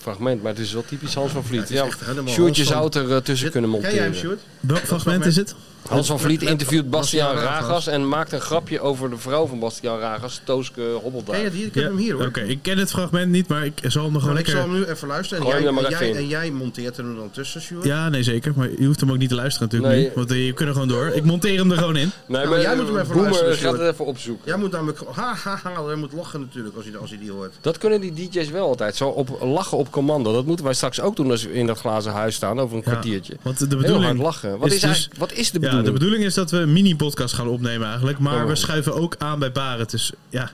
[SPEAKER 6] fragment, maar het is wel typisch Hans van Vliet.
[SPEAKER 5] het is
[SPEAKER 6] Ja,
[SPEAKER 5] echt helemaal
[SPEAKER 6] Sjoerdje
[SPEAKER 5] Hans van-
[SPEAKER 6] zou het er eh, tussen
[SPEAKER 5] Dit-
[SPEAKER 6] kunnen
[SPEAKER 5] Ken
[SPEAKER 6] monteren.
[SPEAKER 5] jij hem, Sjoerd?
[SPEAKER 7] Welk fragment is het?
[SPEAKER 6] Hans van Vliet
[SPEAKER 5] Met-
[SPEAKER 6] interviewt Bastiaan
[SPEAKER 5] Bastiaan Ragas.
[SPEAKER 6] Ragas en maakt een grapje over de vrouw van Bastiaan Ragas, Tooske Hobbeldaar.
[SPEAKER 5] Ken je die? Ik heb hem hier, hoor.
[SPEAKER 7] Oké, ik ken het fragment niet, maar ik zal hem nog wel
[SPEAKER 5] Maar ik zal
[SPEAKER 7] lekker...
[SPEAKER 5] hem nu even luisteren. En
[SPEAKER 6] Gooi
[SPEAKER 5] jij,
[SPEAKER 6] hem er
[SPEAKER 5] en,
[SPEAKER 6] maar even
[SPEAKER 5] jij,
[SPEAKER 6] in.
[SPEAKER 5] en jij monteert hem dan tussen, Sjoerd?
[SPEAKER 7] Ja, nee, zeker. Maar je hoeft hem ook niet te luisteren natuurlijk
[SPEAKER 6] Nee.
[SPEAKER 7] nu. Want eh, je kunt er gewoon door. Ik monteer hem er gewoon in.
[SPEAKER 6] Nee,
[SPEAKER 5] Nou,
[SPEAKER 6] maar
[SPEAKER 5] jij
[SPEAKER 6] eh,
[SPEAKER 5] moet hem even
[SPEAKER 6] Boemer
[SPEAKER 5] luisteren,
[SPEAKER 6] gaat
[SPEAKER 5] Sjoerd.
[SPEAKER 6] het even opzoeken.
[SPEAKER 5] Jij moet namelijk... Ha, ha, ha. Jij moet lachen natuurlijk als hij, als hij die hoort.
[SPEAKER 6] Dat kunnen die DJ's wel altijd, zo op, lachen op commando. Dat moeten wij straks ook doen als we in dat glazen huis staan over een
[SPEAKER 7] Ja,
[SPEAKER 6] kwartiertje.
[SPEAKER 7] Want de
[SPEAKER 6] Heel hard
[SPEAKER 7] bedoeling
[SPEAKER 6] lachen. Wat is,
[SPEAKER 7] is dus-
[SPEAKER 6] eigenlijk, wat is
[SPEAKER 7] Ja,
[SPEAKER 6] de bedoeling?
[SPEAKER 7] de bedoeling is dat we een mini-podcast gaan opnemen eigenlijk. Maar
[SPEAKER 6] Oh.
[SPEAKER 7] we schuiven ook aan bij Barend. Dus ja,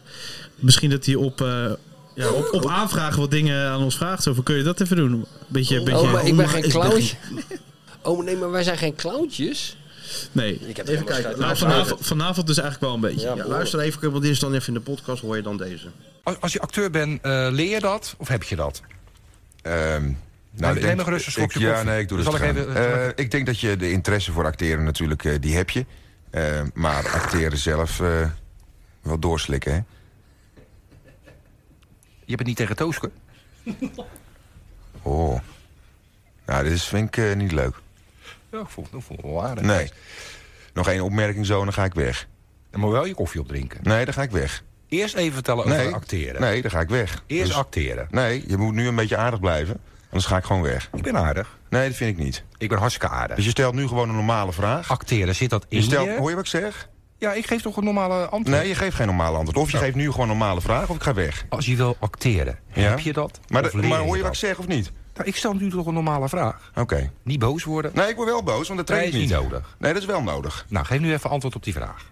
[SPEAKER 7] misschien dat hij op, eh, ja, op, op aanvraag wat dingen aan ons vraagt. Zo van, kun je dat even doen? Beetje, beetje,
[SPEAKER 6] oh, maar ik ben
[SPEAKER 5] Omar
[SPEAKER 6] geen
[SPEAKER 5] is
[SPEAKER 6] clownje. Oh nee, maar wij zijn geen clowntjes.
[SPEAKER 7] Nee.
[SPEAKER 6] Ik heb
[SPEAKER 5] Even
[SPEAKER 6] er helemaal
[SPEAKER 5] kijken,
[SPEAKER 6] schijt aan.
[SPEAKER 7] Nou, vanavond, vanavond dus eigenlijk wel een beetje.
[SPEAKER 6] Ja,
[SPEAKER 5] Ja,
[SPEAKER 6] Boemer.
[SPEAKER 5] luister even, want dit is dan even in de podcast, hoor je dan deze.
[SPEAKER 8] Als, als je acteur bent, eh, leer je dat of heb je dat?
[SPEAKER 9] Ehm,
[SPEAKER 8] Nou,
[SPEAKER 9] ik
[SPEAKER 8] neem
[SPEAKER 9] denk-
[SPEAKER 8] nog rustig een
[SPEAKER 9] ik,
[SPEAKER 8] slokje
[SPEAKER 9] Ja,
[SPEAKER 8] koffie.
[SPEAKER 9] nee, ik doe
[SPEAKER 8] Zal
[SPEAKER 9] dat
[SPEAKER 8] ik even- zal ik even-
[SPEAKER 9] ik denk dat je de interesse voor acteren natuurlijk, eh, die heb je. Eh, maar acteren zelf eh, wel doorslikken, hè?
[SPEAKER 8] Je hebt het niet tegen Tooske.
[SPEAKER 9] Oh. Nou, dit is, vind ik eh, niet leuk.
[SPEAKER 8] Ja, ik voel, ik voel me wel aardig.
[SPEAKER 9] Nee. nog één opmerking zo en dan ga ik weg.
[SPEAKER 8] Dan moet je wel je koffie opdrinken.
[SPEAKER 9] Nee, dan ga ik weg.
[SPEAKER 8] Eerst even vertellen over
[SPEAKER 9] Nee.
[SPEAKER 8] acteren.
[SPEAKER 9] Nee, dan ga ik weg.
[SPEAKER 8] Eerst
[SPEAKER 9] Dus-
[SPEAKER 8] acteren.
[SPEAKER 9] nee, je moet nu een beetje aardig blijven. Anders ga ik gewoon weg.
[SPEAKER 8] Ik ben aardig.
[SPEAKER 9] Nee, dat vind ik niet.
[SPEAKER 8] Ik ben hartstikke aardig.
[SPEAKER 9] Dus je stelt nu gewoon een normale vraag.
[SPEAKER 8] acteren, zit dat in
[SPEAKER 9] Je
[SPEAKER 8] je?
[SPEAKER 9] stelt, hoor je wat ik zeg?
[SPEAKER 8] Ja, ik geef toch een normale antwoord. Oh.
[SPEAKER 9] Nee, je geeft geen normale antwoord. Of je geeft nu gewoon een normale vraag of ik ga weg.
[SPEAKER 8] Als je wil acteren,
[SPEAKER 9] Ja.
[SPEAKER 8] heb je dat?
[SPEAKER 9] Maar,
[SPEAKER 8] Of
[SPEAKER 9] de-
[SPEAKER 8] leer
[SPEAKER 9] maar
[SPEAKER 8] je
[SPEAKER 9] hoor je wat ik
[SPEAKER 8] dat?
[SPEAKER 9] zeg of niet?
[SPEAKER 8] Nou, ik stel nu toch een normale vraag.
[SPEAKER 9] Oké.
[SPEAKER 8] Niet boos worden.
[SPEAKER 9] Nee, ik word wel boos, want dat train
[SPEAKER 8] Nee,
[SPEAKER 9] ik
[SPEAKER 8] is
[SPEAKER 9] niet.
[SPEAKER 8] niet nodig.
[SPEAKER 9] Nee, dat is wel nodig.
[SPEAKER 8] Nou, geef nu even antwoord op die vraag.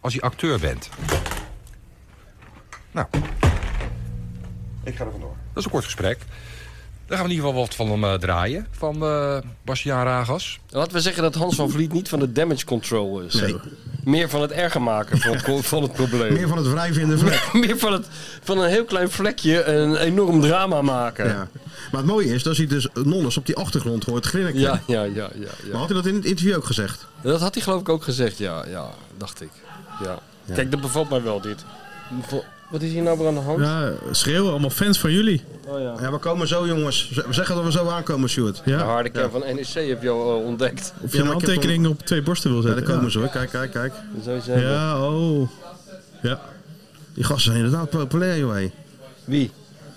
[SPEAKER 8] Als je acteur bent. Nou,
[SPEAKER 9] Ik ga er vandoor.
[SPEAKER 8] dat is een kort gesprek. Daar gaan we in ieder geval wat van hem eh, draaien. Van eh Bastiaan Ragas.
[SPEAKER 6] Laten we zeggen dat Hans van Vliet niet van de damage control is.
[SPEAKER 5] Nee.
[SPEAKER 6] Meer van het erger maken van, het pro- van het probleem.
[SPEAKER 5] Meer van het wrijven in de vlek.
[SPEAKER 6] Meer van, het, van een heel klein vlekje een enorm drama maken. Ja,
[SPEAKER 5] Ja. Maar het mooie is, dat hij dus Nolles op die achtergrond hoort grinniken.
[SPEAKER 6] ja, ja, ja. ja,
[SPEAKER 5] Maar had hij dat in het interview ook gezegd?
[SPEAKER 6] Dat had hij geloof ik ook gezegd, ja, ja dacht ik. Ja. Kijk, dat bevalt mij wel, dit. Bevo- Wat is hier nou weer aan de hand?
[SPEAKER 7] Ja, schreeuwen, allemaal fans van jullie.
[SPEAKER 6] Oh, ja.
[SPEAKER 5] Ja, we komen zo jongens. Z- We zeggen dat we zo aankomen, Stuart.
[SPEAKER 6] De
[SPEAKER 7] Ja.
[SPEAKER 6] harde kern van NEC heb je al eh, ontdekt.
[SPEAKER 7] Of je
[SPEAKER 5] Ja,
[SPEAKER 7] een
[SPEAKER 5] maar ik heb
[SPEAKER 7] handtekening op twee borsten wil
[SPEAKER 5] Ja, daar
[SPEAKER 7] zetten.
[SPEAKER 5] komen ze hoor. Kijk, kijk, kijk.
[SPEAKER 6] Zo
[SPEAKER 7] Ja.
[SPEAKER 6] zeggen.
[SPEAKER 7] Ja, oh. Ja.
[SPEAKER 5] Die gasten zijn inderdaad populair, joh. hé.
[SPEAKER 6] Wie?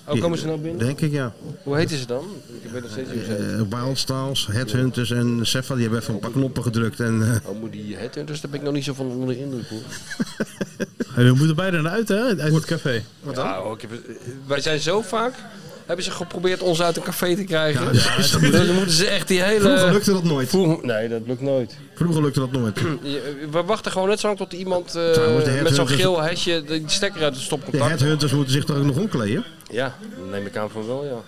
[SPEAKER 6] Oh, komen ze nou binnen?
[SPEAKER 5] Denk ik, ja.
[SPEAKER 6] Hoe heten ze dan? Ik weet nog steeds niet hoe ze heten.
[SPEAKER 5] Eh Wildstyles, Headhunters en Sefa, die hebben even een paar knoppen gedrukt. En, eh,
[SPEAKER 6] Oh, moet die headhunters, daar ben ik nog niet zo van onder de indruk hoor.
[SPEAKER 7] En we moeten bijna naar uit, hè? Uit het café.
[SPEAKER 6] Ja, hoor, ik heb, eh, wij zijn zo vaak... Hebben ze geprobeerd ons uit een café te krijgen.
[SPEAKER 5] Ja,
[SPEAKER 6] Dus dan moeten ze echt die hele...
[SPEAKER 5] vroeger lukte dat nooit.
[SPEAKER 6] Vroeg- nee, dat lukt nooit.
[SPEAKER 5] Vroeger lukte dat nooit.
[SPEAKER 6] Je- eh, We wachten gewoon net zo lang tot iemand eh,
[SPEAKER 5] Trouwens, de
[SPEAKER 6] met zo'n
[SPEAKER 5] headhunters-
[SPEAKER 6] geel hesje de die stekker uit het
[SPEAKER 5] De
[SPEAKER 6] stopcontact.
[SPEAKER 5] Headhunters moeten zich toch ook nog omkleden?
[SPEAKER 6] Ja, dat neem ik aan van wel, ja.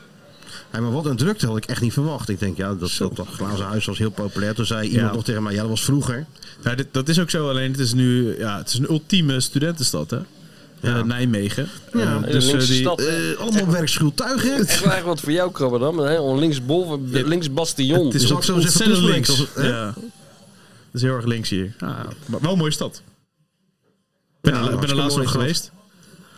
[SPEAKER 5] Hé, maar wat een drukte had ik echt niet verwacht. Ik denk, ja, dat, dat, dat glazen huis was heel populair. Toen zei iemand
[SPEAKER 7] Ja.
[SPEAKER 5] nog tegen mij, ja, dat was vroeger.
[SPEAKER 7] Nou, dit, dat is ook zo, alleen het is nu ja, het is een ultieme studentenstad, hè? Eh, Nijmegen.
[SPEAKER 5] Ja.
[SPEAKER 7] Eh,
[SPEAKER 6] Hele
[SPEAKER 7] dus eh,
[SPEAKER 6] linkse
[SPEAKER 7] die,
[SPEAKER 6] stad.
[SPEAKER 5] Eh, allemaal werkschuw tuig, hè?
[SPEAKER 6] Ik wil eigenlijk wat voor jou, Krabberdam. hè? Een links bol, links bastion.
[SPEAKER 7] het is
[SPEAKER 5] Zal
[SPEAKER 7] ook
[SPEAKER 5] ik zo
[SPEAKER 7] zo
[SPEAKER 5] eens even
[SPEAKER 7] ontzettend links.
[SPEAKER 5] toespreken? Als- hè?
[SPEAKER 7] ja. Dat is heel erg links hier. Ja, maar wel een mooie stad. Ik ben,
[SPEAKER 5] Ja,
[SPEAKER 7] er- ik ben er
[SPEAKER 5] hartstikke
[SPEAKER 7] laatst nog
[SPEAKER 5] mooie stad.
[SPEAKER 7] geweest.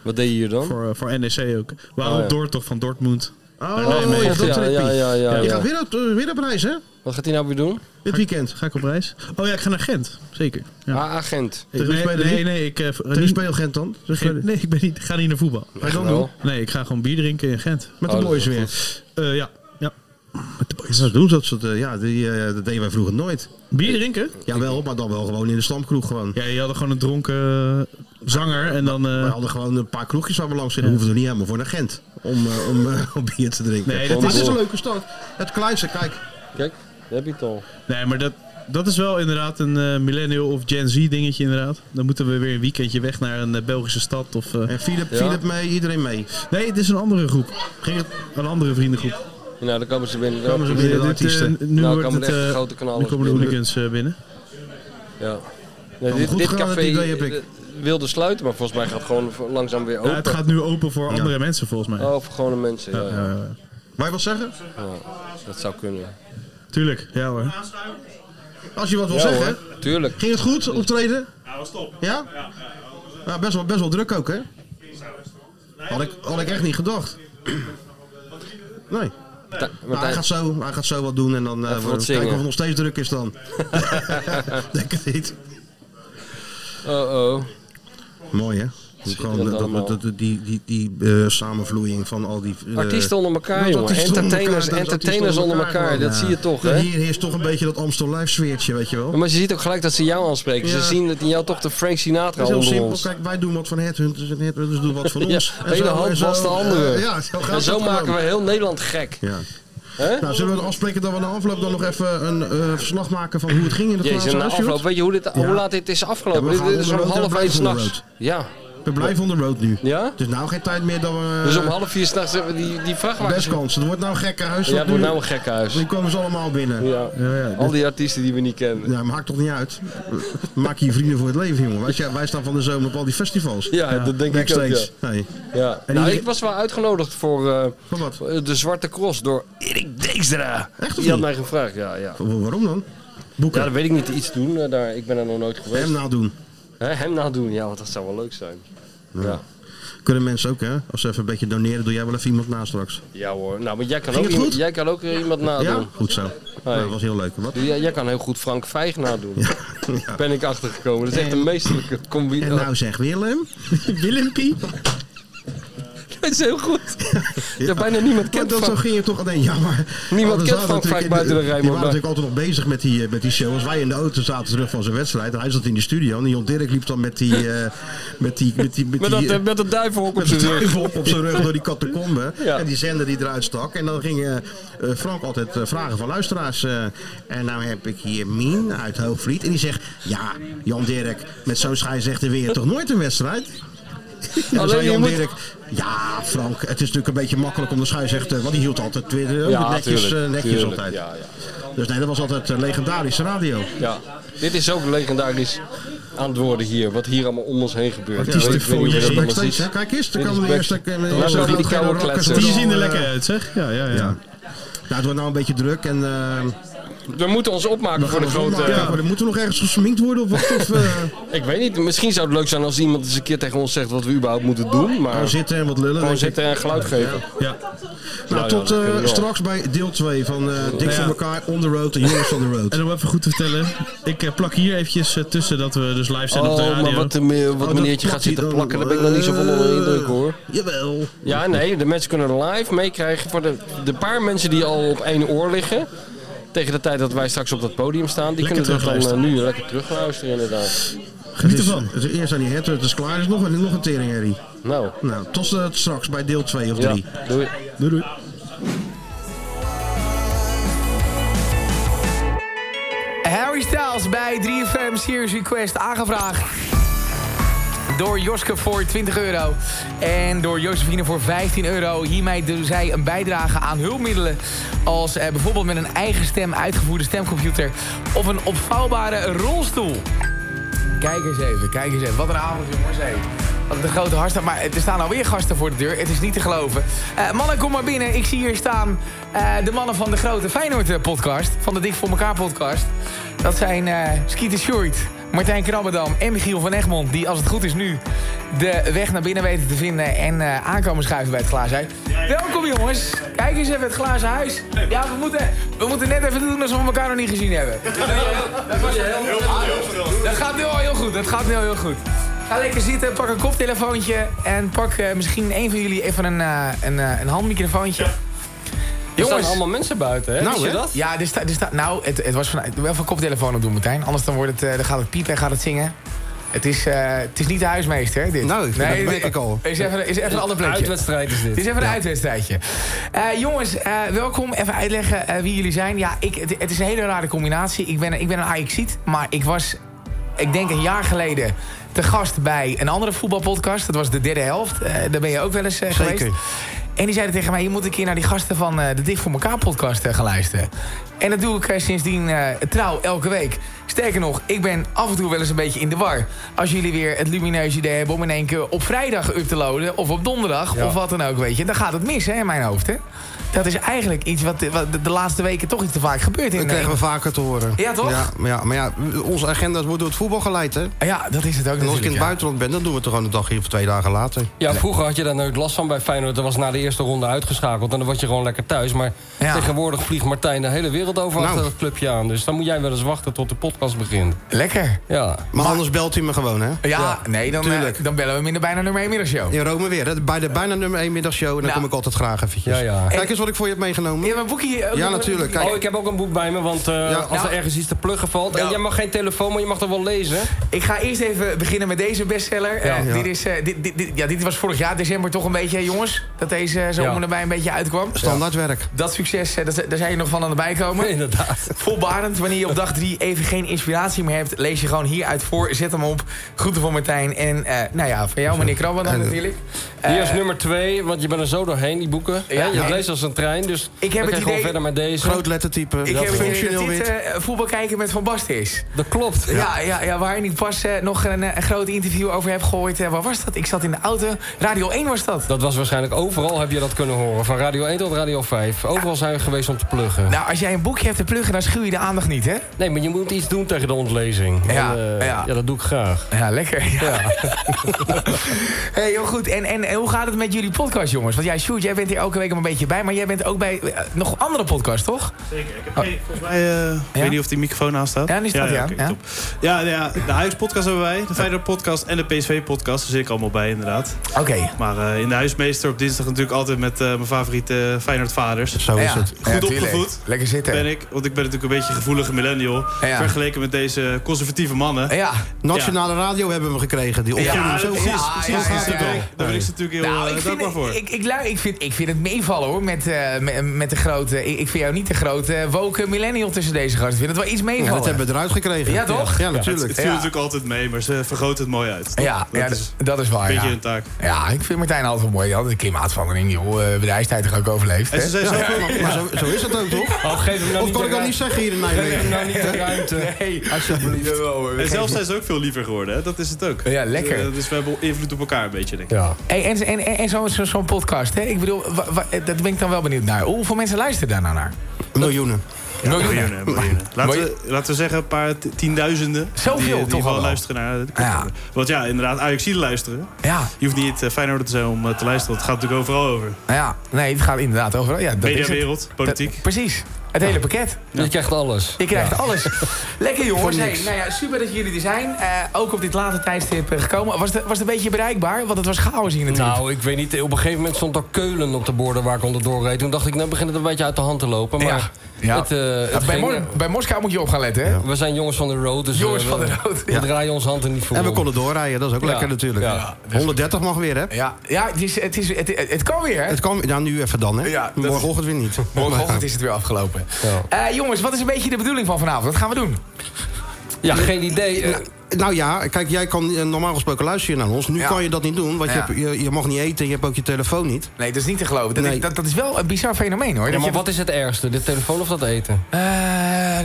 [SPEAKER 6] Wat deed je hier dan?
[SPEAKER 7] Voor, eh, voor NEC ook. We waren
[SPEAKER 6] Oh, ja.
[SPEAKER 7] op doortocht van Dortmund.
[SPEAKER 5] Oh,
[SPEAKER 7] Nee, nee,
[SPEAKER 5] ja, dat
[SPEAKER 6] ja,
[SPEAKER 5] trippie.
[SPEAKER 6] ja, ja, ja,
[SPEAKER 5] Je
[SPEAKER 6] ja.
[SPEAKER 5] gaat weer op, eh, weer op reis, hè?
[SPEAKER 6] Wat gaat hij nou weer doen?
[SPEAKER 5] Dit weekend.
[SPEAKER 7] Ga ik op reis? Oh ja, ik ga naar Gent. Zeker. Ja.
[SPEAKER 6] Ah, agent.
[SPEAKER 5] Tegen wie
[SPEAKER 7] nee,
[SPEAKER 5] spelen
[SPEAKER 7] nee,
[SPEAKER 5] die?
[SPEAKER 7] nee, ik, eh, v-
[SPEAKER 5] Tegen
[SPEAKER 7] niet-
[SPEAKER 5] Eh, speel Gent dan? Tegen
[SPEAKER 7] geen-
[SPEAKER 5] spelen-
[SPEAKER 7] nee, ik ben niet, ik ga niet naar voetbal.
[SPEAKER 6] Ga dan wel.
[SPEAKER 7] Nee, ik ga gewoon bier drinken in Gent.
[SPEAKER 5] Met de
[SPEAKER 6] Oh, dat
[SPEAKER 5] boys
[SPEAKER 6] is
[SPEAKER 5] weer.
[SPEAKER 7] Eh, ja. ja.
[SPEAKER 5] Dat doen ze dat soort, eh, ja, die, eh, dat deden wij vroeger nooit.
[SPEAKER 7] Bier drinken?
[SPEAKER 5] Jawel, maar dan wel gewoon in de stamkroeg gewoon.
[SPEAKER 7] Ja, je had gewoon een dronken eh, zanger en dan... eh,
[SPEAKER 5] We hadden gewoon een paar kroegjes waar we langs zitten. Hoeven we er niet helemaal voor naar Gent om, eh, om, eh, om bier te drinken.
[SPEAKER 7] Nee,
[SPEAKER 5] maar
[SPEAKER 7] dat
[SPEAKER 5] het
[SPEAKER 7] is-
[SPEAKER 5] is een leuke stad. Het kleinste, kijk.
[SPEAKER 6] Kijk, daar heb je het al.
[SPEAKER 7] Nee, maar dat, dat is wel inderdaad een eh, millennial of Gen Z dingetje inderdaad. Dan moeten we weer een weekendje weg naar een eh, Belgische stad of... eh,
[SPEAKER 5] En Philip,
[SPEAKER 6] Ja.
[SPEAKER 5] Philip mee, iedereen mee.
[SPEAKER 7] Nee, het is een andere groep. Ging het een andere vriendengroep.
[SPEAKER 6] Nou, dan komen ze binnen.
[SPEAKER 5] Komen ze
[SPEAKER 7] Dit,
[SPEAKER 5] binnen.
[SPEAKER 7] dit,
[SPEAKER 5] de
[SPEAKER 7] eh,
[SPEAKER 5] artiesten.
[SPEAKER 7] nu
[SPEAKER 6] Nou,
[SPEAKER 7] wordt
[SPEAKER 6] komen
[SPEAKER 7] het,
[SPEAKER 6] de echte
[SPEAKER 7] eh,
[SPEAKER 6] grote knallers
[SPEAKER 7] nu komen de
[SPEAKER 6] binnen.
[SPEAKER 7] hooligans eh, binnen.
[SPEAKER 6] Ja. Nee,
[SPEAKER 5] Kan
[SPEAKER 6] dit,
[SPEAKER 5] goed
[SPEAKER 6] dit
[SPEAKER 5] gaan, dat
[SPEAKER 6] café
[SPEAKER 5] idee heb ik.
[SPEAKER 6] eh, wilde sluiten, maar volgens mij gaat het gewoon voor- langzaam weer
[SPEAKER 7] Ja,
[SPEAKER 6] open.
[SPEAKER 7] het gaat nu open voor andere mensen volgens mij.
[SPEAKER 6] Oh, voor gewone mensen. Ja, ja.
[SPEAKER 5] Maar je wat zeggen?
[SPEAKER 6] Dat zou kunnen.
[SPEAKER 7] Tuurlijk, ja hoor.
[SPEAKER 5] Als je wat wil
[SPEAKER 6] Ja,
[SPEAKER 5] zeggen.
[SPEAKER 6] hoor. Tuurlijk.
[SPEAKER 5] Ging het goed, optreden? Ja, was top. Ja? Nou, best, wel, best wel druk ook, hè? Had ik, had ik echt niet gedacht. Nee.
[SPEAKER 6] Ta-
[SPEAKER 5] Maar hij,
[SPEAKER 6] Martijn,
[SPEAKER 5] gaat zo, hij gaat zo wat doen en dan eh
[SPEAKER 6] Even
[SPEAKER 5] we
[SPEAKER 6] wat
[SPEAKER 5] kijken of
[SPEAKER 6] zingen.
[SPEAKER 5] het nog steeds druk is dan. Denk het niet.
[SPEAKER 6] oh oh.
[SPEAKER 5] Mooi hè?
[SPEAKER 6] Schitterend
[SPEAKER 5] Gewoon dat- dat-
[SPEAKER 6] allemaal.
[SPEAKER 5] dat- dat- die die, die eh, samenvloeiing van al die... eh,
[SPEAKER 6] Artiesten onder elkaar,
[SPEAKER 5] dat
[SPEAKER 6] jongen.
[SPEAKER 5] artiesten onder
[SPEAKER 6] Entertainers,
[SPEAKER 5] elkaar, dat
[SPEAKER 6] entertainers
[SPEAKER 5] artiesten
[SPEAKER 6] onder elkaar.
[SPEAKER 5] gewoon.
[SPEAKER 6] Dat
[SPEAKER 5] Ja.
[SPEAKER 6] zie je toch,
[SPEAKER 5] Ja,
[SPEAKER 6] hè?
[SPEAKER 5] Hier heerst toch een beetje dat Amstel Live sfeertje, weet je wel.
[SPEAKER 6] Maar je ziet ook gelijk dat ze jou aanspreken.
[SPEAKER 5] Ja.
[SPEAKER 6] Ze zien dat in jou toch de Frank Sinatra
[SPEAKER 5] Het is heel
[SPEAKER 6] onder
[SPEAKER 5] simpel.
[SPEAKER 6] ons.
[SPEAKER 5] Kijk, wij doen wat van Headhunters en Headhunters doen dus wat van
[SPEAKER 6] Ja,
[SPEAKER 5] ons.
[SPEAKER 6] de ene
[SPEAKER 5] zo-
[SPEAKER 6] hand
[SPEAKER 5] zo-
[SPEAKER 6] was de andere.
[SPEAKER 5] eh, ja, zo gaat
[SPEAKER 6] en zo
[SPEAKER 5] het gewoon.
[SPEAKER 6] maken we heel Nederland gek.
[SPEAKER 5] Ja.
[SPEAKER 6] Hè?
[SPEAKER 5] Nou, zullen we afspreken dat we na afloop dan nog even een eh, verslag maken van hoe het ging in de
[SPEAKER 6] Jezus,
[SPEAKER 5] glazen
[SPEAKER 6] na
[SPEAKER 5] huis, Sjoerd?
[SPEAKER 6] afloop, weet je hoe, dit, hoe laat dit is
[SPEAKER 5] Ja,
[SPEAKER 6] afgelopen?
[SPEAKER 5] we
[SPEAKER 6] dit
[SPEAKER 5] gaan
[SPEAKER 6] dit is om
[SPEAKER 5] onder de rood
[SPEAKER 6] half
[SPEAKER 5] en
[SPEAKER 6] één
[SPEAKER 5] blijven onder de
[SPEAKER 6] s'nachts. Ja.
[SPEAKER 5] We blijven on the road nu.
[SPEAKER 6] ja?
[SPEAKER 5] Het is nou geen tijd meer dat we...
[SPEAKER 6] Dus om half vier s'nachts hebben we die, die vrachtwagens...
[SPEAKER 5] Best kans. Het wordt nou een gekke huis.
[SPEAKER 6] Ja, het
[SPEAKER 5] want
[SPEAKER 6] wordt
[SPEAKER 5] nu-
[SPEAKER 6] nou een gek huis.
[SPEAKER 5] Nu komen ze allemaal binnen. Ja.
[SPEAKER 6] Ja.
[SPEAKER 5] Ja, dit-
[SPEAKER 6] Al die artiesten die we niet kennen.
[SPEAKER 5] Ja, maakt toch niet uit. Maak je vrienden voor het leven, jongen. Wij, wij staan van de zomer op al die festivals.
[SPEAKER 6] Ja, dat denk ik ook, ja.
[SPEAKER 5] Backstage. Nee.
[SPEAKER 6] ja.
[SPEAKER 5] En
[SPEAKER 6] Nou,
[SPEAKER 5] die-
[SPEAKER 6] ik was wel uitgenodigd voor eh,
[SPEAKER 5] Maar wat?
[SPEAKER 6] de Zwarte Cross door Erik Deekstra.
[SPEAKER 5] Echt of
[SPEAKER 6] Die had
[SPEAKER 5] niet?
[SPEAKER 6] mij gevraagd, ja, ja.
[SPEAKER 5] Wa- Waarom dan?
[SPEAKER 6] Ja,
[SPEAKER 5] Boeken.
[SPEAKER 6] dat weet ik niet. Iets doen, eh, daar. ik ben er nog nooit geweest.
[SPEAKER 5] Hem nadoen.
[SPEAKER 6] Hè, hem nadoen, ja, want dat zou wel leuk zijn. Ja.
[SPEAKER 5] kunnen mensen ook, hè? Als ze even een beetje doneren, doe jij wel even iemand na straks.
[SPEAKER 6] Ja hoor. Nou, maar jij kan,
[SPEAKER 5] Ging
[SPEAKER 6] ook
[SPEAKER 5] het
[SPEAKER 6] iemand,
[SPEAKER 5] goed?
[SPEAKER 6] jij kan ook eh, iemand nadoen.
[SPEAKER 5] ja? Goed zo. Nou, dat was heel leuk. Wat?
[SPEAKER 6] Jij, jij kan heel goed Frank Vijg nadoen.
[SPEAKER 5] Ja.
[SPEAKER 6] Ben ik achtergekomen. Dat is echt een meesterlijke combi.
[SPEAKER 5] En nou zeg Willem.
[SPEAKER 2] Willempie?
[SPEAKER 6] Dat is heel goed. Ja, bijna niemand
[SPEAKER 5] Ja,
[SPEAKER 6] kent
[SPEAKER 5] dat zo
[SPEAKER 6] Frank.
[SPEAKER 5] ging je toch... Nee, ja, maar...
[SPEAKER 6] Niemand
[SPEAKER 5] anders
[SPEAKER 6] kent
[SPEAKER 5] waren
[SPEAKER 6] Frank
[SPEAKER 5] natuurlijk
[SPEAKER 6] Vaak buiten de
[SPEAKER 5] in Die
[SPEAKER 6] Rijnmond,
[SPEAKER 5] waren
[SPEAKER 6] maar-
[SPEAKER 5] natuurlijk altijd nog bezig met die, eh, met die show. Als wij in de auto zaten terug van zijn wedstrijd... en hij zat in de studio... en die Jon Dirk liep dan met die... eh, met die, met die, met
[SPEAKER 6] Met
[SPEAKER 5] die
[SPEAKER 6] dat,
[SPEAKER 5] eh,
[SPEAKER 6] eh, met dat duivenhok op
[SPEAKER 5] met
[SPEAKER 6] zijn
[SPEAKER 5] zijn
[SPEAKER 6] rug.
[SPEAKER 5] duivel op, op zijn rug door die catacombe.
[SPEAKER 6] Ja.
[SPEAKER 5] En die zender die eruit stak. En dan ging eh, eh, Frank altijd eh, vragen van luisteraars. eh, en nou heb ik hier Mien uit Hoogvliet. En die zegt, ja, Jan Dirk, met zo'n scheidsrechter weer toch nooit een wedstrijd? En dan
[SPEAKER 6] Alleen
[SPEAKER 5] zei
[SPEAKER 6] je
[SPEAKER 5] Jan
[SPEAKER 6] moet-
[SPEAKER 5] Dirk, ja Frank, het is natuurlijk een beetje makkelijk om de scheidsrechter... want die hield altijd weer eh,
[SPEAKER 6] Ja,
[SPEAKER 5] netjes,
[SPEAKER 6] tuurlijk,
[SPEAKER 5] eh, netjes
[SPEAKER 6] tuurlijk,
[SPEAKER 5] altijd.
[SPEAKER 6] ja, ja.
[SPEAKER 5] Dus nee, dat was altijd eh, legendarische radio.
[SPEAKER 6] Ja, dit is ook legendarisch aan het worden hier. Wat hier allemaal om ons heen gebeurt. Ja, weet ik weet niet
[SPEAKER 5] Hier
[SPEAKER 6] hoe
[SPEAKER 5] is
[SPEAKER 6] dat allemaal
[SPEAKER 5] backstage,
[SPEAKER 6] is.
[SPEAKER 5] hè. Kijk eens,
[SPEAKER 6] Dit
[SPEAKER 5] daar
[SPEAKER 6] is
[SPEAKER 5] kan de
[SPEAKER 6] back-
[SPEAKER 5] eerste... eh,
[SPEAKER 6] Laten we
[SPEAKER 5] eerste
[SPEAKER 6] die
[SPEAKER 5] rood-
[SPEAKER 6] koude
[SPEAKER 5] rockers
[SPEAKER 6] kletsen.
[SPEAKER 5] door,
[SPEAKER 2] Die zien er
[SPEAKER 5] eh,
[SPEAKER 2] lekker uit, zeg. Ja, ja, ja.
[SPEAKER 5] Ja. Nou, het wordt nou een beetje druk en... eh,
[SPEAKER 6] We moeten ons opmaken voor de grote...
[SPEAKER 5] Ja, maar er moet er nog ergens gesminkt worden of wat? Of, eh
[SPEAKER 6] Ik weet niet, misschien zou het leuk zijn als iemand eens een keer tegen ons zegt wat we überhaupt moeten doen. Maar
[SPEAKER 5] nou,
[SPEAKER 6] gewoon
[SPEAKER 5] zitten en wat lullen. denk ik.
[SPEAKER 6] zitten en geluid geven.
[SPEAKER 2] Ja.
[SPEAKER 5] Nou,
[SPEAKER 6] Nou ja,
[SPEAKER 5] tot
[SPEAKER 6] dat
[SPEAKER 5] eh,
[SPEAKER 6] kunnen we wel.
[SPEAKER 5] straks bij deel 2 van eh Dik
[SPEAKER 2] Nou
[SPEAKER 5] voor
[SPEAKER 2] ja.
[SPEAKER 5] elkaar, On the Road en Jongens van de Road.
[SPEAKER 2] En om even goed te vertellen, ik eh, plak hier eventjes eh, tussen dat we dus live zijn op de
[SPEAKER 6] Oh,
[SPEAKER 2] radio.
[SPEAKER 6] maar wat, de me- wat
[SPEAKER 5] Nou, dat
[SPEAKER 6] meneertje
[SPEAKER 5] plakt
[SPEAKER 6] gaat zitten
[SPEAKER 5] hij dan.
[SPEAKER 6] plakken, daar ben ik nog niet zo van onder de indruk hoor.
[SPEAKER 5] Jawel.
[SPEAKER 6] Ja, nee, de mensen kunnen er live meekrijgen. Voor de, de paar mensen die al op één oor liggen, tegen de tijd dat wij straks op dat podium staan, die
[SPEAKER 2] Lekker
[SPEAKER 6] kunnen dat dan eh,
[SPEAKER 2] terugluisteren.
[SPEAKER 6] nu lekker terugluisteren inderdaad.
[SPEAKER 5] Geniet ervan. Het is eerst aan die herten, het is klaar. Er is nog een, nog een tering, Harry.
[SPEAKER 6] Nou,
[SPEAKER 5] Nou, tot eh, straks bij deel 2 of
[SPEAKER 6] ja,
[SPEAKER 5] 3.
[SPEAKER 6] doei.
[SPEAKER 5] Doei doei.
[SPEAKER 10] Harry Styles bij 3FM Serious Request aangevraagd. Door Joske voor 20 euro en door Josephine voor 15 euro. Hiermee doen zij een bijdrage aan hulpmiddelen. Als eh, bijvoorbeeld met een eigen stem uitgevoerde stemcomputer. Of een opvouwbare rolstoel. Kijk eens even, kijk eens even. Wat een avond, jongens. hé. Wat een grote hartstikke. Maar er staan alweer gasten voor de deur. Het is niet te geloven. Eh, mannen, kom maar binnen. Ik zie hier staan eh, de mannen van de grote Feyenoord-podcast. Van de Dik voor elkaar podcast. Dat zijn eh Skeeter Short, Martijn Krabbedam en Michiel van Egmond. Die, als het goed is nu, de weg naar binnen weten te vinden. En eh aankomen schuiven bij het glazen huis. Welkom, jongens. Kijk eens even het glazen huis. Ja, we moeten, we moeten net even doen alsof we elkaar nog niet gezien hebben. Dat was heel dat gaat nu al heel goed. Dat gaat nu al heel goed. Ga lekker zitten, pak een koptelefoontje en pak eh, misschien een van jullie even een, eh, een, eh, een handmicrofoontje.
[SPEAKER 6] Er staan
[SPEAKER 10] Jongens,
[SPEAKER 6] allemaal mensen buiten, hè? Wist je
[SPEAKER 10] Nou, hè?
[SPEAKER 6] dat?
[SPEAKER 10] Ja, er staat, er staat, nou, het, het was van, doe wel even een koptelefoon op doen, Martijn. Anders dan, wordt het, eh, dan gaat het piepen en gaat het zingen. Het is, eh, het is niet de huismeester, dit.
[SPEAKER 1] Nou, dat merk
[SPEAKER 10] dit-
[SPEAKER 1] ik al.
[SPEAKER 10] Is even, is even een ander plekje.
[SPEAKER 6] Uitwedstrijd is dit.
[SPEAKER 10] Dit is even een uitwedstrijdje. Eh, jongens, eh, welkom. Even uitleggen eh, wie jullie zijn. Ja, ik, het, het is een hele rare combinatie. Ik ben, ik ben een Ajaxiet, maar ik was, ik denk een jaar geleden... te gast bij een andere voetbalpodcast. Dat was de derde helft. Eh, daar ben je ook wel eens eh,
[SPEAKER 1] Zeker.
[SPEAKER 10] geweest. En die zeiden tegen mij, je moet een keer naar die gasten van eh, de Dicht voor elkaar podcast eh, gaan luisteren. En dat doe ik eh, sindsdien eh, trouw elke week. Sterker nog, ik ben af en toe wel eens een beetje in de war. Als jullie weer het lumineus idee hebben om in één keer op vrijdag up te loaden... of op donderdag, of wat dan ook, weet je. Dan gaat het mis, hè, in mijn hoofd, hè. Dat is eigenlijk iets wat, wat de- de laatste weken toch iets te vaak gebeurt. In eh,
[SPEAKER 1] Dat kregen we vaker te horen.
[SPEAKER 10] Ja, toch?
[SPEAKER 1] Ja, maar ja, maar ja, onze agenda's worden door het voetbal geleid, hè?
[SPEAKER 10] Ja, dat is het ook
[SPEAKER 1] En als ik in
[SPEAKER 10] natuurlijk,
[SPEAKER 1] het
[SPEAKER 10] ja.
[SPEAKER 1] buitenland ben, dan doen we het toch gewoon een dag hier of twee dagen later.
[SPEAKER 6] Ja, vroeger had je daar nooit last van bij Feyenoord. Dat was na de eerste ronde uitgeschakeld en dan was je gewoon lekker thuis. Maar
[SPEAKER 10] Ja.
[SPEAKER 6] tegenwoordig vliegt Martijn de hele wereld over
[SPEAKER 1] Nou.
[SPEAKER 6] achter dat clubje aan. Dus dan moet jij wel eens wachten tot de podcast begint.
[SPEAKER 10] Lekker.
[SPEAKER 6] Ja.
[SPEAKER 1] Maar, anders belt hij me gewoon, hè?
[SPEAKER 10] Ja, nee, dan, eh,
[SPEAKER 1] Tuurlijk.
[SPEAKER 10] dan bellen we minder bijna nummer 1 middagshow.
[SPEAKER 1] In Rome weer, hè? Bij de bijna nummer 1 middagshow. En dan
[SPEAKER 10] Nou.
[SPEAKER 1] kom ik altijd graag eventjes.
[SPEAKER 6] Ja, ja.
[SPEAKER 1] Kijk eens wat ik voor je heb meegenomen.
[SPEAKER 10] Ja, maar Boekie... eh,
[SPEAKER 1] Ja, natuurlijk.
[SPEAKER 6] Oh,
[SPEAKER 1] Kijk,
[SPEAKER 6] ik heb ook een boek bij me, want eh, als er
[SPEAKER 10] nou.
[SPEAKER 6] ergens iets te pluggen valt... en
[SPEAKER 10] Ja.
[SPEAKER 6] jij mag geen telefoon, maar je mag er wel lezen.
[SPEAKER 10] Ik ga eerst even beginnen met deze bestseller. Eh,
[SPEAKER 6] Ja.
[SPEAKER 10] Dit, is, eh, dit, dit, dit- ja, dit was vorig jaar december toch een beetje, hè, jongens. Dat deze eh, zo
[SPEAKER 6] Ja.
[SPEAKER 10] om en nabij een beetje uitkwam.
[SPEAKER 1] standaardwerk.
[SPEAKER 10] Dat succes, eh, dat, daar zijn je nog van aan de bijkomen.
[SPEAKER 6] Inderdaad.
[SPEAKER 10] Volbarend, wanneer je op dag 3 even geen inspiratie meer hebt... lees je gewoon hieruit voor, zet hem op. Groeten van Martijn en, eh, nou ja, van jou meneer Krabben dan natuurlijk. Eh,
[SPEAKER 6] Hier is nummer twee, want je bent er zo doorheen, die boeken.
[SPEAKER 10] Ja.
[SPEAKER 6] Hè, je
[SPEAKER 10] Ja.
[SPEAKER 6] leest als een trein, dus
[SPEAKER 10] Ik heb
[SPEAKER 6] we gaan
[SPEAKER 10] het idee-
[SPEAKER 6] gewoon verder met deze.
[SPEAKER 1] Groot lettertype.
[SPEAKER 10] Ik heb het idee
[SPEAKER 1] functioneel
[SPEAKER 10] dat dit
[SPEAKER 1] wit.
[SPEAKER 10] eh, voetbal kijken met Van Basten is.
[SPEAKER 6] Dat klopt.
[SPEAKER 10] Ja, ja, ja waarin ik pas eh, nog een, eh, een groot interview over heb gehoord. Eh, waar was dat? Ik zat in de auto. Radio 1 was dat.
[SPEAKER 6] Dat was waarschijnlijk overal, heb je dat kunnen horen. Van Radio 1 tot Radio 5. Overal zijn we geweest om te pluggen.
[SPEAKER 10] Nou, als jij een boekje hebt te pluggen, dan schuw je de aandacht niet, hè?
[SPEAKER 6] Nee, maar je moet iets doen tegen de ontlezing. En,
[SPEAKER 10] Ja,
[SPEAKER 6] eh,
[SPEAKER 10] ja.
[SPEAKER 6] dat doe ik graag.
[SPEAKER 10] Ja, lekker. hey, heel goed. En, en hoe gaat het met jullie podcast, jongens? Want jij, Sjoerd, jij bent hier elke week een beetje bij. Maar jij bent ook bij eh, nog andere podcasts, toch?
[SPEAKER 7] Zeker. Ik heb
[SPEAKER 10] Oh.
[SPEAKER 7] geen- volgens mij, eh, ik weet niet of die microfoon aan staat.
[SPEAKER 10] Ja, die staat hij aan,
[SPEAKER 7] oké,
[SPEAKER 10] ja.
[SPEAKER 7] top. ja, nou ja, de huispodcast hebben wij, de Feyenoord podcast en de PSV podcast. Daar zit ik allemaal bij inderdaad.
[SPEAKER 10] Oké.
[SPEAKER 7] Maar eh, in de huismeester op dinsdag natuurlijk altijd met eh, mijn favoriete Feyenoord vaders.
[SPEAKER 10] Zo is Ja. het.
[SPEAKER 7] Goed
[SPEAKER 10] Ja, tuurlijk.
[SPEAKER 7] opgevoed.
[SPEAKER 10] Lekker zitten.
[SPEAKER 7] Ben ik, want ik ben natuurlijk een beetje een gevoelige millennial.
[SPEAKER 10] Ja.
[SPEAKER 7] Vergeleken met deze conservatieve mannen.
[SPEAKER 10] Ja.
[SPEAKER 5] Nationale radio hebben we hem gekregen. Die opvoeding
[SPEAKER 7] Ja,
[SPEAKER 5] zo
[SPEAKER 7] precies.
[SPEAKER 5] goed.
[SPEAKER 7] Precies,
[SPEAKER 10] ja,
[SPEAKER 7] dat
[SPEAKER 10] ja,
[SPEAKER 7] is
[SPEAKER 10] ja,
[SPEAKER 7] natuurlijk-
[SPEAKER 10] ja.
[SPEAKER 7] Daar ben ik ze natuurlijk heel
[SPEAKER 10] Nou,
[SPEAKER 7] eh,
[SPEAKER 10] ik vind,
[SPEAKER 7] dankbaar voor.
[SPEAKER 10] ik, ik, lui- ik, vind, ik vind het meevallen hoor, met, eh, me- met de grote... Ik, ik vind jou niet de grote eh, woke millennial tussen deze gasten. Ik vind het wel iets meevallen.
[SPEAKER 5] Ja, dat hebben we eruit gekregen.
[SPEAKER 10] Oh, Ja, toch?
[SPEAKER 5] Ja,
[SPEAKER 7] Het,
[SPEAKER 5] natuurlijk.
[SPEAKER 7] het viel natuurlijk altijd mee, maar ze vergroten het mooi uit.
[SPEAKER 10] Ja, ja, dat, is, waar.
[SPEAKER 7] Beetje
[SPEAKER 10] ja.
[SPEAKER 7] hun taak.
[SPEAKER 10] Ja, ik vind Martijn altijd wel mooi. Ja, de klimaatverandering, joh. eh, De ijstijd toch ook overleefd.
[SPEAKER 7] En ze zijn
[SPEAKER 10] hè?
[SPEAKER 7] zo
[SPEAKER 5] Maar, maar zo, zo is het ook, toch?
[SPEAKER 6] Oh, geef hem nou
[SPEAKER 5] of kan
[SPEAKER 6] niet de
[SPEAKER 5] ik dat
[SPEAKER 6] ruimte.
[SPEAKER 5] niet zeggen hier in Nijmegen?
[SPEAKER 6] hem nou niet de ruimte.
[SPEAKER 10] Nee,
[SPEAKER 6] alsjeblieft.
[SPEAKER 7] En zelf zijn ze ook veel liever geworden, hè? dat is het ook.
[SPEAKER 10] Ja, lekker.
[SPEAKER 7] Eh, Dus we hebben invloed op elkaar een beetje, denk ik.
[SPEAKER 6] Ja.
[SPEAKER 10] Hey, en en, en, en zo- zo- zo'n podcast, hè? Ik bedoel, wa- wa- eh, dat ben ik dan wel benieuwd naar. Hoeveel mensen luisteren daar nou naar?
[SPEAKER 5] Miljoenen.
[SPEAKER 7] Miljoenen, miljoenen. Laten we, laten we zeggen een paar t- tienduizenden.
[SPEAKER 10] Zoveel
[SPEAKER 7] die, die
[SPEAKER 10] toch
[SPEAKER 7] wel
[SPEAKER 10] al wel.
[SPEAKER 7] luisteren naar de cultuur. Want ja, inderdaad, ajax luisteren.
[SPEAKER 10] Ja.
[SPEAKER 7] Je hoeft niet eh, Feyenoorder te zijn om eh, te luisteren. want Het gaat natuurlijk overal over.
[SPEAKER 10] Nou ja, nee, het gaat inderdaad overal. Ja, dat is het.
[SPEAKER 7] Mediawereld, politiek.
[SPEAKER 10] Dat- precies. Het hele pakket.
[SPEAKER 6] Je krijgt alles.
[SPEAKER 10] Je krijgt
[SPEAKER 6] Ja.
[SPEAKER 10] alles. Lekker jongens.
[SPEAKER 6] Voor
[SPEAKER 10] Hey,
[SPEAKER 6] niks.
[SPEAKER 10] nou ja, super dat jullie er zijn. Eh, ook op dit late tijdstip eh, gekomen. Was het, was het een beetje bereikbaar? Want het was chaos hier natuurlijk.
[SPEAKER 6] Nou, ik weet niet. Op een gegeven moment stond er Keulen op de borden waar ik onderdoor reed. Toen dacht ik, nou begint het een beetje uit de hand te lopen. Maar
[SPEAKER 10] Ja. Ja.
[SPEAKER 6] Het, eh, het
[SPEAKER 10] Ja, bij,
[SPEAKER 6] ging-
[SPEAKER 10] Mos- bij Moskou moet je op gaan letten, hè?
[SPEAKER 6] We zijn jongens van de road. Dus
[SPEAKER 10] Jongens
[SPEAKER 6] eh,
[SPEAKER 10] van
[SPEAKER 6] we-
[SPEAKER 10] de road,
[SPEAKER 6] We
[SPEAKER 10] ja.
[SPEAKER 6] draaien ons hand in niet voor.
[SPEAKER 5] En we konden doorrijden, dat is ook
[SPEAKER 6] Ja.
[SPEAKER 5] lekker natuurlijk.
[SPEAKER 6] Ja.
[SPEAKER 5] 130 mag weer, hè?
[SPEAKER 10] Ja, ja het, is, het, is, het, het kan weer, hè?
[SPEAKER 5] Het kan ja, nu even dan, hè?
[SPEAKER 10] Ja, dat-
[SPEAKER 5] Morgenochtend weer niet.
[SPEAKER 10] Morgenochtend is het weer afgelopen.
[SPEAKER 6] Ja.
[SPEAKER 10] Eh, jongens, wat is een beetje de bedoeling van vanavond? Wat gaan we doen?
[SPEAKER 6] Ja, geen idee. eh,
[SPEAKER 5] Nou ja, kijk, jij kan eh, normaal gesproken luisteren naar ons. Nu
[SPEAKER 10] Ja.
[SPEAKER 5] kan je dat niet doen, want
[SPEAKER 10] Ja.
[SPEAKER 5] je, hebt- je, je mag niet eten, je hebt ook je telefoon niet.
[SPEAKER 10] Nee, dat is niet te geloven. Dat,
[SPEAKER 5] Nee.
[SPEAKER 10] is, dat, dat is wel een bizar fenomeen, hoor.
[SPEAKER 6] ja,
[SPEAKER 10] Dat
[SPEAKER 6] maar
[SPEAKER 10] je-
[SPEAKER 6] wat is het ergste? De telefoon of dat eten?
[SPEAKER 10] Eh,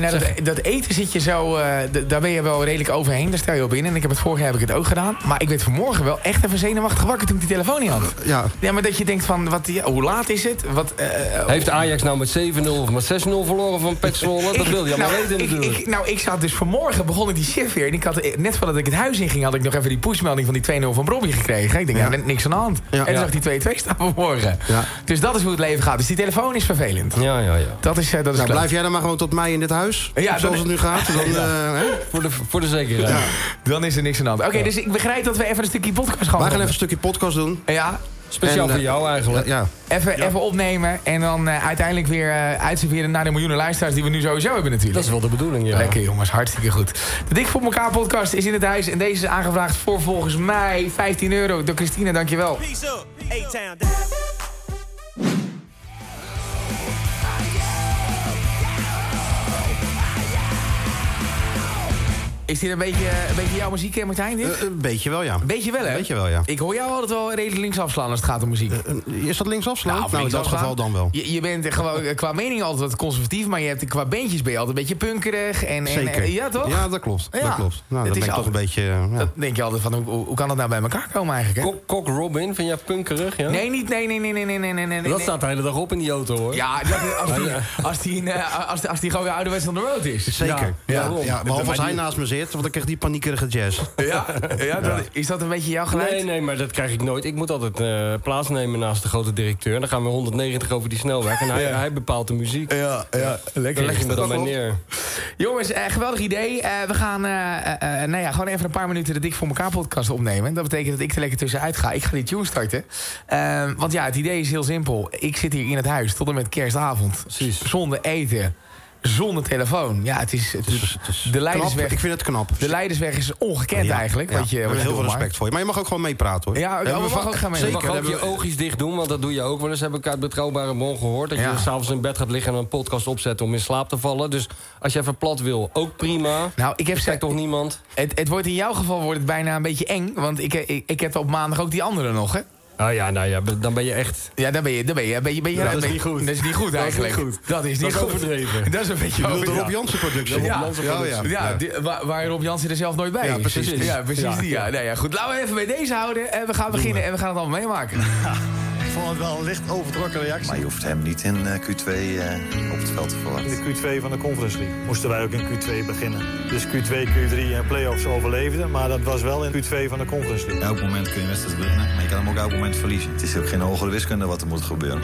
[SPEAKER 10] nou, dat, dat eten zit je zo, eh, d- daar ben je wel redelijk overheen. Daar stel je op in. En ik heb het vorig jaar heb ik het ook gedaan. Maar ik werd vanmorgen wel echt even zenuwachtig wakker toen ik die telefoon niet had.
[SPEAKER 5] Ja, Nou,
[SPEAKER 10] Ja, maar dat je denkt van, wat, ja, hoe laat is het? Wat, eh,
[SPEAKER 6] Heeft Ajax nou met 7-0 of met 6-0 verloren van Pek Zwolle? Dat
[SPEAKER 10] ik-
[SPEAKER 6] wil je allemaal
[SPEAKER 10] nou,
[SPEAKER 6] weten
[SPEAKER 10] ik,
[SPEAKER 6] natuurlijk.
[SPEAKER 10] ik- nou, ik zat dus vanmorgen, begon ik die shift weer. En ik had, eh, net voordat ik het huis inging, had ik nog even die pushmelding van die 2-0 van Bobby gekregen. Ik denk, ja, net niks aan de hand. En toen
[SPEAKER 6] Ja.
[SPEAKER 10] zag die 2-2 staan vanmorgen.
[SPEAKER 5] Ja.
[SPEAKER 10] Dus dat is hoe het leven gaat. Dus die telefoon is vervelend.
[SPEAKER 6] Ja, ja, ja.
[SPEAKER 10] Dat is, eh, dat is
[SPEAKER 5] nou,
[SPEAKER 10] kloot.
[SPEAKER 5] blijf jij dan maar gewoon tot mei in dit huis.
[SPEAKER 10] Ja,
[SPEAKER 5] zoals
[SPEAKER 10] dan-
[SPEAKER 5] het nu gaat. Dan, eh, hè?
[SPEAKER 6] Voor de, voor de zekerheid.
[SPEAKER 10] Dan is er niks aan de hand. Oké, dus ik begrijp dat we even een stukje podcast gaan
[SPEAKER 5] Wij gaan even
[SPEAKER 10] doen.
[SPEAKER 5] een stukje podcast doen.
[SPEAKER 10] Ja,
[SPEAKER 6] Speciaal
[SPEAKER 5] En,
[SPEAKER 6] voor
[SPEAKER 5] eh,
[SPEAKER 6] jou eigenlijk.
[SPEAKER 5] Ja,
[SPEAKER 10] even, even opnemen. En dan eh, uiteindelijk weer eh uitserveren naar de miljoenen luisteraars die we nu sowieso hebben natuurlijk.
[SPEAKER 6] Dat is wel de bedoeling, ja.
[SPEAKER 10] Lekker jongens, hartstikke goed. De Dik voor elkaar podcast is in het huis. En deze is aangevraagd voor volgens mij 15 euro. Door Christine, dankjewel. Is dit een beetje, een beetje jouw muziek, hè, Martijn? Dit?
[SPEAKER 5] Eh, een beetje wel, ja.
[SPEAKER 10] Beetje wel, hè?
[SPEAKER 5] beetje wel, ja.
[SPEAKER 10] Ik hoor jou altijd wel redelijk links afslaan als het gaat om muziek.
[SPEAKER 5] Eh, Is dat linksafslaan?
[SPEAKER 10] Nou,
[SPEAKER 5] Nou,
[SPEAKER 10] of
[SPEAKER 5] in dat
[SPEAKER 10] linksafslaan.
[SPEAKER 5] geval dan wel.
[SPEAKER 10] Je, je bent er gewoon eh, qua mening altijd wat conservatief, maar je hebt, qua bandjes ben je altijd een beetje punkerig. En, en,
[SPEAKER 5] Zeker.
[SPEAKER 10] eh, ja, toch?
[SPEAKER 5] Ja, dat klopt.
[SPEAKER 10] Ja.
[SPEAKER 5] Dat klopt. Nou, dat
[SPEAKER 10] Het is
[SPEAKER 5] ben ik toch
[SPEAKER 10] al-
[SPEAKER 5] een beetje... eh, ja.
[SPEAKER 10] Dat denk je altijd van, hoe- hoe, hoe kan dat nou bij elkaar komen eigenlijk, hè?
[SPEAKER 6] Kok, Kok Robin, vind jij punkerig? Ja?
[SPEAKER 10] Nee, niet, nee, nee, nee, nee, nee, nee, nee, nee.
[SPEAKER 6] dat
[SPEAKER 10] nee.
[SPEAKER 6] staat de hele dag op in die auto hoor.
[SPEAKER 10] Ja, dat- als die, als die, een, eh, als, als die gewoon weer ouderwets on the road is.
[SPEAKER 5] Zeker.
[SPEAKER 6] Ja,
[SPEAKER 5] Ja, ja,
[SPEAKER 6] daarom.
[SPEAKER 5] behalve als
[SPEAKER 6] Maar
[SPEAKER 5] hij
[SPEAKER 6] die-
[SPEAKER 5] naast me zit, want dan krijg die paniekerige jazz.
[SPEAKER 10] Ja, ja, dat- is dat een beetje jouw geluid?
[SPEAKER 6] Nee, nee, maar dat krijg ik nooit. Ik moet altijd eh, plaatsnemen naast de grote directeur. En dan gaan we 190 over die snelweg. En hij, hij bepaalt de muziek.
[SPEAKER 10] Ja, ja, lekker.
[SPEAKER 6] Daar leg ik me dan bij neer.
[SPEAKER 10] Jongens, eh, geweldig idee. Eh, we gaan eh, eh, eh, nou ja, gewoon even een paar minuten de Dik voor elkaar podcast opnemen. Dat betekent dat ik er lekker tussenuit ga. Ik ga die tune starten. Eh, want ja, het idee is heel simpel. Ik zit hier in het huis tot en met kerstavond.
[SPEAKER 6] Precies.
[SPEAKER 10] Zonder eten. Zonder telefoon. Ja, het is, het is- de
[SPEAKER 5] Knap.
[SPEAKER 10] leidersweg.
[SPEAKER 5] Ik vind het knap.
[SPEAKER 10] De leidersweg is ongekend
[SPEAKER 5] Ja,
[SPEAKER 10] eigenlijk.
[SPEAKER 5] ja.
[SPEAKER 10] Wat je,
[SPEAKER 5] We
[SPEAKER 10] wat
[SPEAKER 5] hebben
[SPEAKER 10] je
[SPEAKER 5] heel veel
[SPEAKER 10] doet, maar-
[SPEAKER 5] respect voor je. Maar je mag ook gewoon meepraten
[SPEAKER 1] Eh,
[SPEAKER 5] hoor.
[SPEAKER 10] Ja,
[SPEAKER 5] Hebben
[SPEAKER 10] oh, we
[SPEAKER 5] vaak-
[SPEAKER 10] mogen ook gaan mee.
[SPEAKER 6] Je
[SPEAKER 5] Zeker.
[SPEAKER 6] mag ook
[SPEAKER 5] hebben
[SPEAKER 6] je
[SPEAKER 5] we-
[SPEAKER 6] oogjes dicht doen, want dat doe je ook wel eens. Heb ik uit betrouwbare bron gehoord. Dat
[SPEAKER 10] Ja.
[SPEAKER 6] je s'avonds in bed gaat liggen en een podcast opzet om in slaap te vallen. Dus als je even plat wil, ook prima.
[SPEAKER 10] Nou, ik heb
[SPEAKER 6] Er kijkt
[SPEAKER 10] ze-
[SPEAKER 6] toch niemand?
[SPEAKER 10] het, het wordt in jouw geval wordt het bijna een beetje eng. Want ik, eh, ik, ik heb op maandag ook die andere nog, hè?
[SPEAKER 6] Ah ja, nou ja, dan ben je echt...
[SPEAKER 10] Ja, dan ben je, dan ben je, ben je, ben je,
[SPEAKER 6] dat is niet goed.
[SPEAKER 10] Dat is niet goed
[SPEAKER 6] Dat is
[SPEAKER 10] eigenlijk.
[SPEAKER 6] niet goed.
[SPEAKER 10] Dat is
[SPEAKER 6] Dat
[SPEAKER 10] niet
[SPEAKER 6] is
[SPEAKER 10] goed.
[SPEAKER 6] overdreven.
[SPEAKER 10] Dat is een
[SPEAKER 5] Je
[SPEAKER 10] beetje
[SPEAKER 5] bedoelt de Rob
[SPEAKER 10] overdreven.
[SPEAKER 5] Jansen productie.
[SPEAKER 10] Ja,
[SPEAKER 5] ja, ja.
[SPEAKER 10] Ja, die- waar, waar Rob Jansen er zelf nooit bij
[SPEAKER 5] Ja,
[SPEAKER 10] is.
[SPEAKER 5] precies.
[SPEAKER 10] Ja, precies die. Ja. Nou ja, goed, laten we even bij deze houden. En we gaan beginnen en we gaan het allemaal meemaken.
[SPEAKER 7] vond het wel een licht overtrokken reactie.
[SPEAKER 11] Maar je hoeft hem niet in eh, Q2 eh, op het veld te verwachten.
[SPEAKER 7] In de Q2 van de Conference League moesten wij ook in Q2 beginnen. Dus Q2, Q3 en play-offs overleefden, maar dat was wel in Q2 van de Conference League.
[SPEAKER 12] Elk moment kun je wedstrijd winnen, maar je kan hem ook elk moment verliezen. Het is ook geen hogere wiskunde wat er moet gebeuren.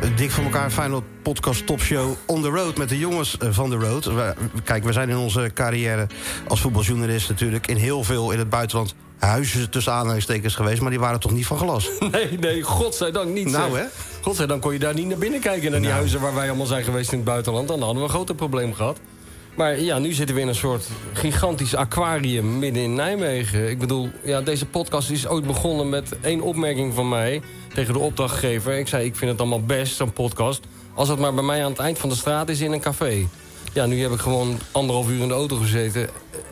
[SPEAKER 1] Een dik voor elkaar Final Podcast Topshow on the road met de jongens eh, van de road. We- Kijk, we zijn in onze carrière als voetbaljournalist natuurlijk in heel veel in het buitenland huizen tussen aanhalingstekens geweest, maar die waren toch niet van glas.
[SPEAKER 6] Nee, nee, godzijdank niet.
[SPEAKER 1] Nou,
[SPEAKER 6] zeg. Godzijdank kon je daar niet naar binnen kijken... naar die huizen waar wij allemaal zijn geweest in het buitenland. Dan hadden we een groter probleem gehad. Maar ja, nu zitten we in een soort gigantisch aquarium midden in Nijmegen. Ik bedoel, ja, deze podcast is ooit begonnen met één opmerking van mij... tegen de opdrachtgever. Ik zei, ik vind het allemaal best, zo'n podcast... als het maar bij mij aan het eind van de straat is in een café. Ja, nu heb ik gewoon anderhalf uur in de auto gezeten...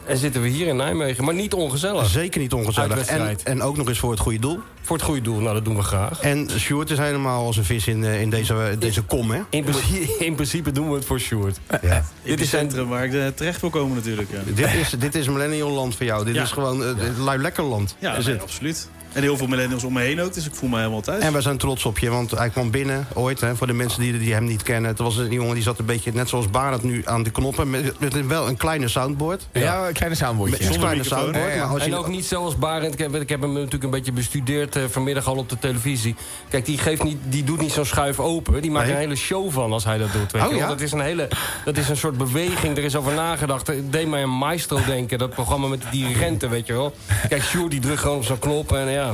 [SPEAKER 6] en zitten we hier in Nijmegen. Maar niet ongezellig.
[SPEAKER 1] Zeker niet ongezellig. En,
[SPEAKER 6] Uitwedstrijd.
[SPEAKER 1] en ook nog eens voor het goede doel.
[SPEAKER 6] Voor het goede doel, nou dat doen we graag.
[SPEAKER 1] En Sjoerd is helemaal als een vis in, eh, in deze, deze kom, hè?
[SPEAKER 6] In principe, in principe doen we het voor Sjoerd.
[SPEAKER 1] Ja.
[SPEAKER 2] Dit is centrum waar ik eh, terecht wil komen natuurlijk. Ja,
[SPEAKER 1] Dit is, dit is millennial land voor jou. Dit
[SPEAKER 2] Ja.
[SPEAKER 1] is gewoon eh, het lui lekker land.
[SPEAKER 2] ja
[SPEAKER 1] is
[SPEAKER 2] nee,
[SPEAKER 1] het.
[SPEAKER 2] absoluut. En heel veel millennials om me heen ook, dus ik voel me helemaal thuis.
[SPEAKER 1] En wij zijn trots op je, want hij kwam binnen ooit. Hè, voor de mensen die, die hem niet kennen. Het was een jongen die zat een beetje, net zoals Barend nu, aan de knoppen. Met, met een- wel een kleine soundboard.
[SPEAKER 10] Ja, een kleine soundboardje.
[SPEAKER 1] Met een kleine soundboard. Maar als
[SPEAKER 6] en
[SPEAKER 1] je,
[SPEAKER 6] ook niet zoals Barend. Ik heb, ik heb hem natuurlijk een beetje bestudeerd eh, vanmiddag al op de televisie. Kijk, die, geeft niet, die doet niet zo'n schuif open. Die maakt
[SPEAKER 1] Nee.
[SPEAKER 6] een hele show van als hij dat doet. Weet
[SPEAKER 1] Oh,
[SPEAKER 6] je wel.
[SPEAKER 1] ja?
[SPEAKER 6] dat, is een hele, dat is een soort beweging. Er is over nagedacht. Het deed mij een maestro denken. Dat programma met die rente, weet je wel. Kijk, Sjoerd die drukt gewoon op zo'n knop. En ja,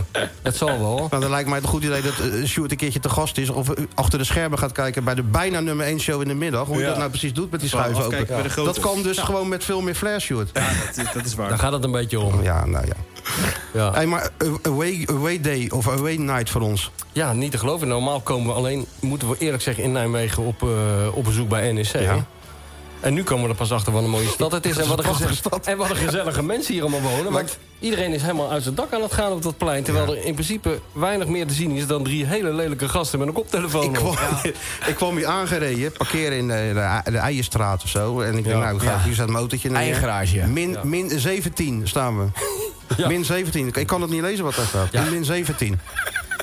[SPEAKER 6] dat zal wel.
[SPEAKER 1] nou, dan lijkt mij het een goed idee dat eh, Sjoerd een keertje te gast is... of eh, achter de schermen gaat kijken bij de bijna nummer 1 show in de middag... hoe je
[SPEAKER 2] Ja.
[SPEAKER 1] dat nou precies doet met die
[SPEAKER 2] Gewoon
[SPEAKER 1] schuiven
[SPEAKER 2] afkijken bij de
[SPEAKER 1] open.
[SPEAKER 2] grote.
[SPEAKER 1] Dat kan dus gewoon met veel meer flair, Sjoerd.
[SPEAKER 2] Dat is, dat is waar.
[SPEAKER 6] Daar gaat het een beetje om.
[SPEAKER 1] Ja, nou ja.
[SPEAKER 6] Ja.
[SPEAKER 1] Hey, maar eh, away, away day of away night voor ons.
[SPEAKER 6] Ja, niet te geloven. Normaal komen we alleen, moeten we eerlijk zeggen, in Nijmegen op, eh, op bezoek bij NEC. En nu komen we er pas achter wat een mooie stad het is. En wat een, geze- en wat een gezellige mensen hier allemaal wonen. Want iedereen is helemaal uit zijn dak aan het gaan op dat plein. Terwijl er in principe weinig meer te zien is dan drie hele lelijke gasten met een koptelefoon.
[SPEAKER 1] Ik
[SPEAKER 6] op.
[SPEAKER 1] kwam, ik kwam hier aangereden, parkeren in de, de, de Eierstraat of zo. En ik dacht,
[SPEAKER 6] Ja.
[SPEAKER 1] nou, ik ga
[SPEAKER 6] Ja.
[SPEAKER 1] hier staat een motortje neer.
[SPEAKER 10] Eiergarage, ja.
[SPEAKER 1] Min,
[SPEAKER 6] Ja.
[SPEAKER 1] min 17 staan we. Min 17. Ik- Ik kan het niet lezen wat daar staat. Min 17.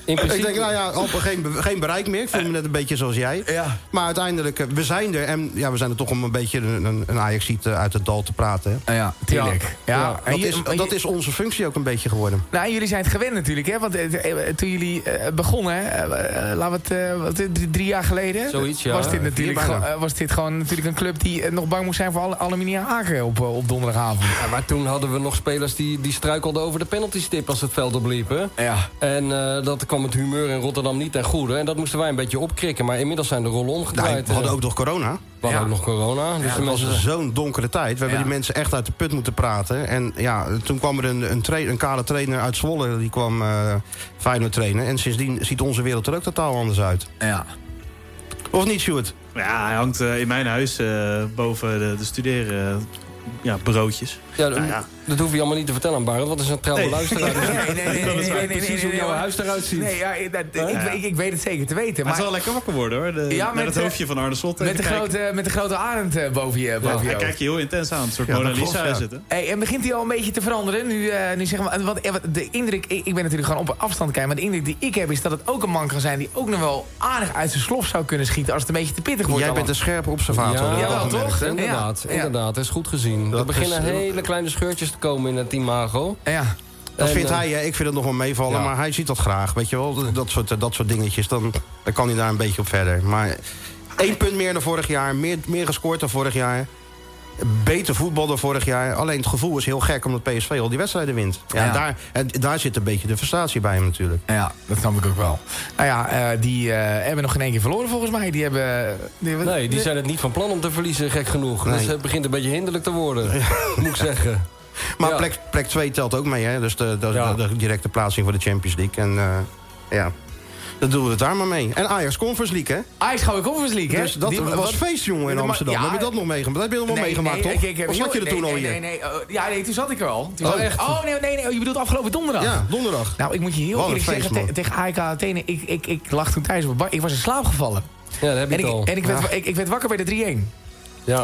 [SPEAKER 6] In principe,
[SPEAKER 1] Ik denk, nou ja, op, geen, be- geen bereik meer. Ik voel me net een beetje zoals jij. Maar uiteindelijk, eh, we zijn er. En ja, we zijn er toch om een beetje een, een- een Ajaxiet eh, uit het dal te praten. hè.
[SPEAKER 10] Ja, tuurlijk. Ja.
[SPEAKER 6] Ja.
[SPEAKER 10] En
[SPEAKER 1] Dat,
[SPEAKER 10] je-
[SPEAKER 1] is,
[SPEAKER 10] maar je-
[SPEAKER 1] dat is onze functie ook een beetje geworden.
[SPEAKER 10] Nou, en jullie zijn het gewend natuurlijk, hè? Want eh, eh, toen jullie eh, begonnen, hè, eh, eh, laten we het, eh, wat, eh, drie, drie jaar geleden...
[SPEAKER 6] Zoiets, ja.
[SPEAKER 10] Was dit,
[SPEAKER 6] Vier
[SPEAKER 10] natuurlijk
[SPEAKER 6] bijna.
[SPEAKER 10] gewoon- eh, was dit gewoon natuurlijk een club die eh, nog bang moest zijn voor alle aluminium haken op, eh, op donderdagavond.
[SPEAKER 6] Ja, maar toen hadden we nog spelers die, die struikelden over de penaltystip als het veld opliepen.
[SPEAKER 10] Ja.
[SPEAKER 6] En eh, dat kwam het humeur in Rotterdam niet ten goede. En dat moesten wij een beetje opkrikken. Maar inmiddels zijn de rollen
[SPEAKER 1] Nou,
[SPEAKER 6] omgedraaid. eh.
[SPEAKER 1] we hadden ook nog corona.
[SPEAKER 6] We hadden ook nog corona. Dus de
[SPEAKER 1] Het was
[SPEAKER 6] mensen...
[SPEAKER 1] zo'n donkere tijd. We hebben
[SPEAKER 10] Ja.
[SPEAKER 1] die mensen echt uit de put moeten praten. En ja, toen kwam er een, een, tra- een kale trainer uit Zwolle. Die kwam eh Feyenoord trainen. En sindsdien ziet onze wereld er ook totaal anders uit.
[SPEAKER 10] Ja.
[SPEAKER 1] Of niet, Sjoerd?
[SPEAKER 2] Ja, hij hangt eh, in mijn huis eh, boven de, de studeren, eh, ja, bureautjes.
[SPEAKER 6] Ja,
[SPEAKER 2] Nou ja.
[SPEAKER 6] Dat hoef je allemaal niet te vertellen aan Barend, want dat is een trouwe
[SPEAKER 2] Nee.
[SPEAKER 6] luisteraar. Dus
[SPEAKER 10] Nee, nee, nee, nee, nee, nee,
[SPEAKER 6] precies
[SPEAKER 10] nee,
[SPEAKER 6] hoe
[SPEAKER 10] nee,
[SPEAKER 6] jouw
[SPEAKER 10] maar-
[SPEAKER 6] huis eruit ziet.
[SPEAKER 10] Nee, ja, ik, dat- ik,
[SPEAKER 2] Ja.
[SPEAKER 10] weet- ik weet het zeker te weten.
[SPEAKER 2] Maar het
[SPEAKER 10] Maar
[SPEAKER 2] zal wel lekker wakker worden hoor. De,
[SPEAKER 10] Ja,
[SPEAKER 2] met,
[SPEAKER 10] met,
[SPEAKER 2] het
[SPEAKER 10] eh,
[SPEAKER 2] hoofdje van Arne Slot.
[SPEAKER 10] met de, grote, met de grote arend eh, boven je. Boven je
[SPEAKER 2] Hij
[SPEAKER 10] ook.
[SPEAKER 2] kijkt je heel intens aan. Een soort
[SPEAKER 1] Ja, dat
[SPEAKER 2] Mona Lisa
[SPEAKER 1] klopt, ja.
[SPEAKER 2] is het, hè?
[SPEAKER 10] Hey, en begint hij al een beetje te veranderen? Nu, eh, nu zeg maar, want eh, wat de indruk, ik, ik ben natuurlijk gewoon op afstand kijken, maar de indruk die ik heb is dat het ook een man kan zijn die ook nog wel aardig uit zijn slof zou kunnen schieten als het een beetje te pittig wordt.
[SPEAKER 1] Jij bent een
[SPEAKER 10] allemaal.
[SPEAKER 1] scherpe observator.
[SPEAKER 6] Ja,
[SPEAKER 1] dat
[SPEAKER 10] jawel,
[SPEAKER 1] heb ik gemerkt,
[SPEAKER 10] toch?
[SPEAKER 1] hè?
[SPEAKER 6] Inderdaad,
[SPEAKER 10] Ja.
[SPEAKER 6] inderdaad. Dat is goed gezien.
[SPEAKER 1] Dat
[SPEAKER 6] er beginnen
[SPEAKER 1] is-
[SPEAKER 6] hele kleine scheurtjes te komen in het imago.
[SPEAKER 1] dus-
[SPEAKER 10] Ja.
[SPEAKER 1] Dat
[SPEAKER 6] En,
[SPEAKER 1] vindt
[SPEAKER 6] eh,
[SPEAKER 1] hij, hè? ik vind het nog wel meevallen.
[SPEAKER 6] Ja.
[SPEAKER 1] Maar hij ziet dat graag, weet je wel. Dat- Dat soort, eh, dat soort dingetjes. Dan, dan kan hij daar een beetje op verder. Maar één punt meer dan vorig jaar. Meer, meer gescoord dan vorig jaar. Beter voetbal dan vorig jaar. Alleen het gevoel is heel gek omdat PSV al die wedstrijden wint. Ja,
[SPEAKER 10] Ja.
[SPEAKER 1] En, daar, en daar zit een beetje de frustratie bij hem natuurlijk.
[SPEAKER 10] Ja, dat snap ik ook wel. Nou ja, eh, die eh, hebben nog geen één keer verloren volgens mij. Die hebben... Die hebben-
[SPEAKER 6] Nee, die zijn het niet van plan om te verliezen, gek genoeg. Dus
[SPEAKER 1] Nee.
[SPEAKER 6] het begint een beetje hinderlijk te worden, moet ik zeggen.
[SPEAKER 1] Maar
[SPEAKER 6] Ja.
[SPEAKER 1] plek, plek 2 telt ook mee, hè? Dus de, de,
[SPEAKER 6] Ja.
[SPEAKER 1] de directe plaatsing voor de Champions League. En eh, ja, dan doen we het daar maar mee. En Ajax Conference League, hè?
[SPEAKER 10] Ajax Gouden Conference League, hè?
[SPEAKER 1] Dus dat
[SPEAKER 10] Die-
[SPEAKER 1] was
[SPEAKER 10] wat-
[SPEAKER 1] feest, jongen, in
[SPEAKER 10] Ja,
[SPEAKER 1] Amsterdam.
[SPEAKER 10] ja.
[SPEAKER 1] heb je dat nog meegemaakt? Dat heb je nog wel meegemaakt,
[SPEAKER 10] nee,
[SPEAKER 1] toch?
[SPEAKER 10] ik- ik heb-
[SPEAKER 1] of zat je er
[SPEAKER 10] nee,
[SPEAKER 1] toen
[SPEAKER 10] nee,
[SPEAKER 1] al hier?
[SPEAKER 10] Nee, nee, eh, ja, nee, toen zat ik er al. Toen
[SPEAKER 1] Oh,
[SPEAKER 10] zat ik-
[SPEAKER 1] echt?
[SPEAKER 10] oh, nee, nee, nee, oh, je bedoelt afgelopen donderdag.
[SPEAKER 1] Ja, donderdag.
[SPEAKER 10] Nou, ik moet je heel
[SPEAKER 1] Wat een
[SPEAKER 10] eerlijk
[SPEAKER 1] feest,
[SPEAKER 10] zeggen, te-
[SPEAKER 1] man.
[SPEAKER 10] tegen AEK Athene, ik, ik, ik lag toen thuis op een bank. Ik was in slaap gevallen.
[SPEAKER 6] Ja, dat heb je
[SPEAKER 10] En
[SPEAKER 6] het al.
[SPEAKER 10] ik, en ik, werd, wa- ik, ik werd wakker bij de 3-1.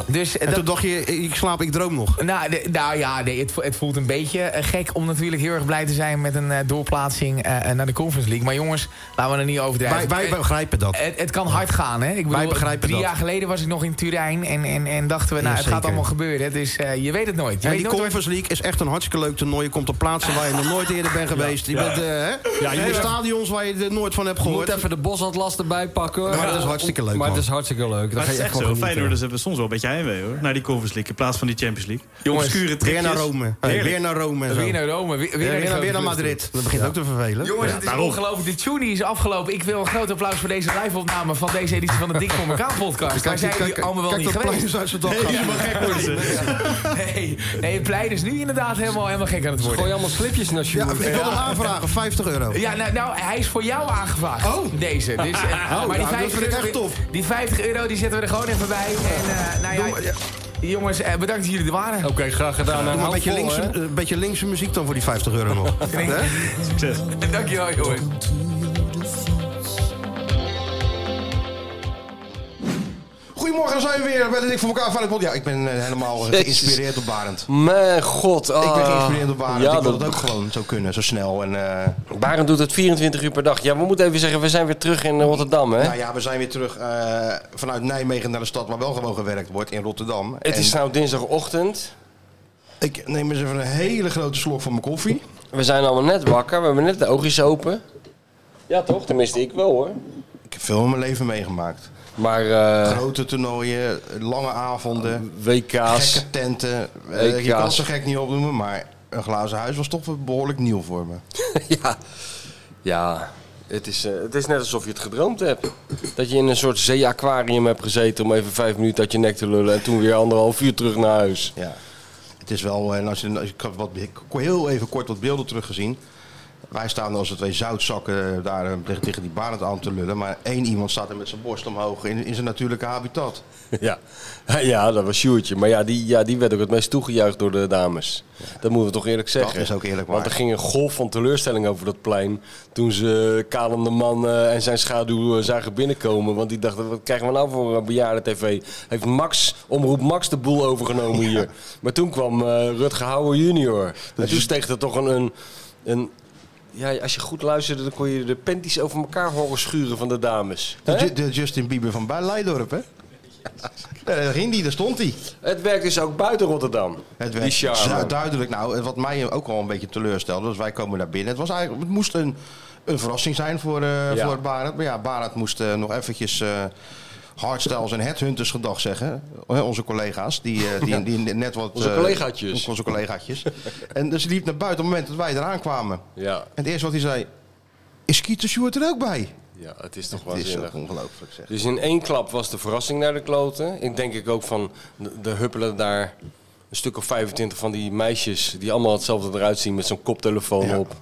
[SPEAKER 10] Dus
[SPEAKER 1] En toen dacht je, ik slaap, ik droom nog.
[SPEAKER 10] Nou, de- nou ja, nee, het, vo- het voelt een beetje eh, gek om natuurlijk heel erg blij te zijn met een eh, doorplaatsing eh, eh, naar de Conference League. Maar jongens, laten we er niet overdrijven.
[SPEAKER 1] Wij- wij
[SPEAKER 10] Het- eh,
[SPEAKER 1] begrijpen dat.
[SPEAKER 10] Het, het kan hard gaan, hè? Ik bedoel,
[SPEAKER 1] Wij begrijpen
[SPEAKER 10] drie
[SPEAKER 1] dat.
[SPEAKER 10] jaar geleden was ik nog in Turijn en, en, en dachten we, nou,
[SPEAKER 1] Ja,
[SPEAKER 10] het gaat
[SPEAKER 1] zeker.
[SPEAKER 10] allemaal gebeuren. Dus eh, je weet het nooit. Je
[SPEAKER 1] En
[SPEAKER 10] weet
[SPEAKER 1] die
[SPEAKER 10] nooit waar-
[SPEAKER 1] Conference League is echt een hartstikke leuk toernooi. Je komt op plaatsen waar je nog nooit eerder bent geweest. Je
[SPEAKER 10] Ja.
[SPEAKER 1] bent eh, hè?
[SPEAKER 13] Ja, je
[SPEAKER 1] in
[SPEAKER 13] moet-
[SPEAKER 1] stadions waar je er nooit van hebt
[SPEAKER 13] Je
[SPEAKER 1] gehoord.
[SPEAKER 13] moet even de bosatlas erbij pakken. hoor.
[SPEAKER 1] Maar dat is hartstikke leuk,
[SPEAKER 13] Maar
[SPEAKER 1] man.
[SPEAKER 13] het is hartstikke leuk. Dan
[SPEAKER 2] Maar
[SPEAKER 13] ga
[SPEAKER 2] het
[SPEAKER 13] je
[SPEAKER 2] is
[SPEAKER 13] echt
[SPEAKER 2] echt
[SPEAKER 13] wel
[SPEAKER 2] zo.
[SPEAKER 13] genieten.
[SPEAKER 2] Feyenoorders hebben soms wel een beetje heimwee hoor. Naar die Conference League in plaats van die Champions League.
[SPEAKER 1] Jongens,
[SPEAKER 2] Obscure
[SPEAKER 1] weer
[SPEAKER 2] trucjes.
[SPEAKER 1] naar Rome. Hey,
[SPEAKER 2] Heerlijk.
[SPEAKER 1] weer naar Rome en zo.
[SPEAKER 10] Weer naar Rome. Weer,
[SPEAKER 1] Ja, weer naar- weer naar
[SPEAKER 10] grote
[SPEAKER 1] Madrid.
[SPEAKER 10] clubs.
[SPEAKER 1] Dat begint ook te vervelen.
[SPEAKER 10] Jongens,
[SPEAKER 1] Ja,
[SPEAKER 10] het is
[SPEAKER 1] daarom.
[SPEAKER 10] ongelooflijk. De tuning is afgelopen. Ik wil een groot applaus voor deze live-opname van deze editie van de Dik voor elkaar podcast.
[SPEAKER 1] Kijk,
[SPEAKER 10] Daar zijn
[SPEAKER 1] kijk,
[SPEAKER 10] jullie
[SPEAKER 1] kijk,
[SPEAKER 10] allemaal wel
[SPEAKER 1] kijk
[SPEAKER 10] niet
[SPEAKER 1] dat
[SPEAKER 10] geweest.
[SPEAKER 1] plein uit zijn dak gaan.
[SPEAKER 10] Nee, nee, Plein is nu inderdaad helemaal, helemaal gek aan het worden.
[SPEAKER 13] Gooi allemaal slipjes naar
[SPEAKER 1] Ja,
[SPEAKER 13] Sjoerd.
[SPEAKER 1] ik wil hem aanvragen, 50 euro.
[SPEAKER 10] Ja, nou, nou, hij is voor jou aangevraagd. Oh. Deze. Dus, eh,
[SPEAKER 1] Oh, nou, dat vind ik echt tof.
[SPEAKER 10] die 50 euro die zetten we er gewoon even bij. En eh, nou ja, jongens, eh, bedankt dat jullie er waren. Oké, graag eh,
[SPEAKER 1] Doe maar een beetje, linkse, een beetje linkse muziek dan voor die 50 euro nog.
[SPEAKER 10] Succes. Dankjewel, jongens.
[SPEAKER 1] Goedemorgen, zijn we weer bij de Dik voor elkaar Veilig Pod. Ja, ik ben eh, helemaal eh,
[SPEAKER 13] Jezus.
[SPEAKER 1] geïnspireerd door Barend.
[SPEAKER 6] Mijn god.
[SPEAKER 1] Ik ben
[SPEAKER 6] ah.
[SPEAKER 1] geïnspireerd door Barend.
[SPEAKER 6] Ja,
[SPEAKER 1] ik wil
[SPEAKER 6] dat-
[SPEAKER 1] dat ook gewoon zo kunnen, zo snel. En, eh,
[SPEAKER 6] Barend doet het 24 uur per dag. Ja, we moeten even zeggen, we zijn weer terug in Rotterdam, hè?
[SPEAKER 1] Nou ja, we zijn weer terug eh, vanuit Nijmegen naar de stad waar wel gewoon gewerkt wordt in Rotterdam.
[SPEAKER 6] Het
[SPEAKER 1] En
[SPEAKER 6] is nou dinsdagochtend.
[SPEAKER 1] Ik neem eens even een hele grote slok van mijn koffie.
[SPEAKER 6] We zijn allemaal net wakker. We hebben net de oogjes open. Ja, toch? Tenminste, ik wel, hoor.
[SPEAKER 1] Ik heb veel in mijn leven meegemaakt.
[SPEAKER 6] Maar... eh,
[SPEAKER 1] Grote toernooien, lange avonden.
[SPEAKER 6] WK's.
[SPEAKER 1] Gekke tenten. Eh, je
[SPEAKER 6] WK's.
[SPEAKER 1] kan ze gek niet opnoemen, maar een glazen huis was toch wel behoorlijk nieuw voor me.
[SPEAKER 6] ja. Ja. Het is, eh, het is net alsof je het gedroomd hebt. Dat je in een soort zee-aquarium hebt gezeten om even vijf minuten uit je nek te lullen. En toen weer anderhalf uur terug naar huis.
[SPEAKER 1] Ja. Het is wel, en als je, als ik, had wat, ik heb heel even kort wat beelden teruggezien. Wij staan als de twee zoutzakken daar eh, tegen, tegen die barend aan te lullen. Maar één iemand staat er met zijn borst omhoog in, in zijn natuurlijke habitat.
[SPEAKER 6] Ja, ja dat was Sjoertje. Maar ja die, ja, die werd ook het meest toegejuicht door de dames. Dat moeten we toch eerlijk zeggen.
[SPEAKER 1] is ook eerlijk waar.
[SPEAKER 6] Want er ging een golf van teleurstelling over dat plein. Toen ze eh, Kalem de Man eh, en zijn schaduw eh, zagen binnenkomen. Want die dachten, wat krijgen we nou voor een bejaarde tv? Heeft Max, omroep Max de boel overgenomen hier. Maar toen kwam eh Rutger Hauer junior. en toen steeg er toch een... een, een Dus ja, als je goed luisterde, dan kon je de panties over elkaar horen schuren van de dames.
[SPEAKER 1] De,
[SPEAKER 6] Hè?
[SPEAKER 1] Ju- de Justin Bieber van Bij- Leidorp, hè? Ja, daar ging die, daar stond hij.
[SPEAKER 6] Het werkt dus ook buiten Rotterdam.
[SPEAKER 1] Het
[SPEAKER 6] Die
[SPEAKER 1] werd
[SPEAKER 6] charme.
[SPEAKER 1] zo duidelijk. Nou, wat mij ook al een beetje teleurstelde, was wij komen daar binnen. Het, was eigenlijk, het moest een, een verrassing zijn voor, eh
[SPEAKER 6] Ja.
[SPEAKER 1] voor Barend. Maar ja, Barend moest eh, nog eventjes eh hardstyles en headhunters gedag zeggen. Eh, onze collega's, die, eh, die, die, net wat...
[SPEAKER 6] Onze
[SPEAKER 1] eh,
[SPEAKER 6] collegaatjes.
[SPEAKER 1] onze collegaatjes. en dus liep naar buiten op het moment dat wij eraan kwamen.
[SPEAKER 6] Ja.
[SPEAKER 1] En het eerste wat hij zei, is Kieter Sjoerd er ook bij?
[SPEAKER 6] Ja, het is toch
[SPEAKER 1] Het is
[SPEAKER 6] waanzinnig.
[SPEAKER 1] ook ongelooflijk zeg.
[SPEAKER 6] Dus in één klap was de verrassing naar de kloten. Ik denk ik ook van, de- de huppelen daar een stuk of 25 van die meisjes... die allemaal hetzelfde eruit zien met zo'n koptelefoon op.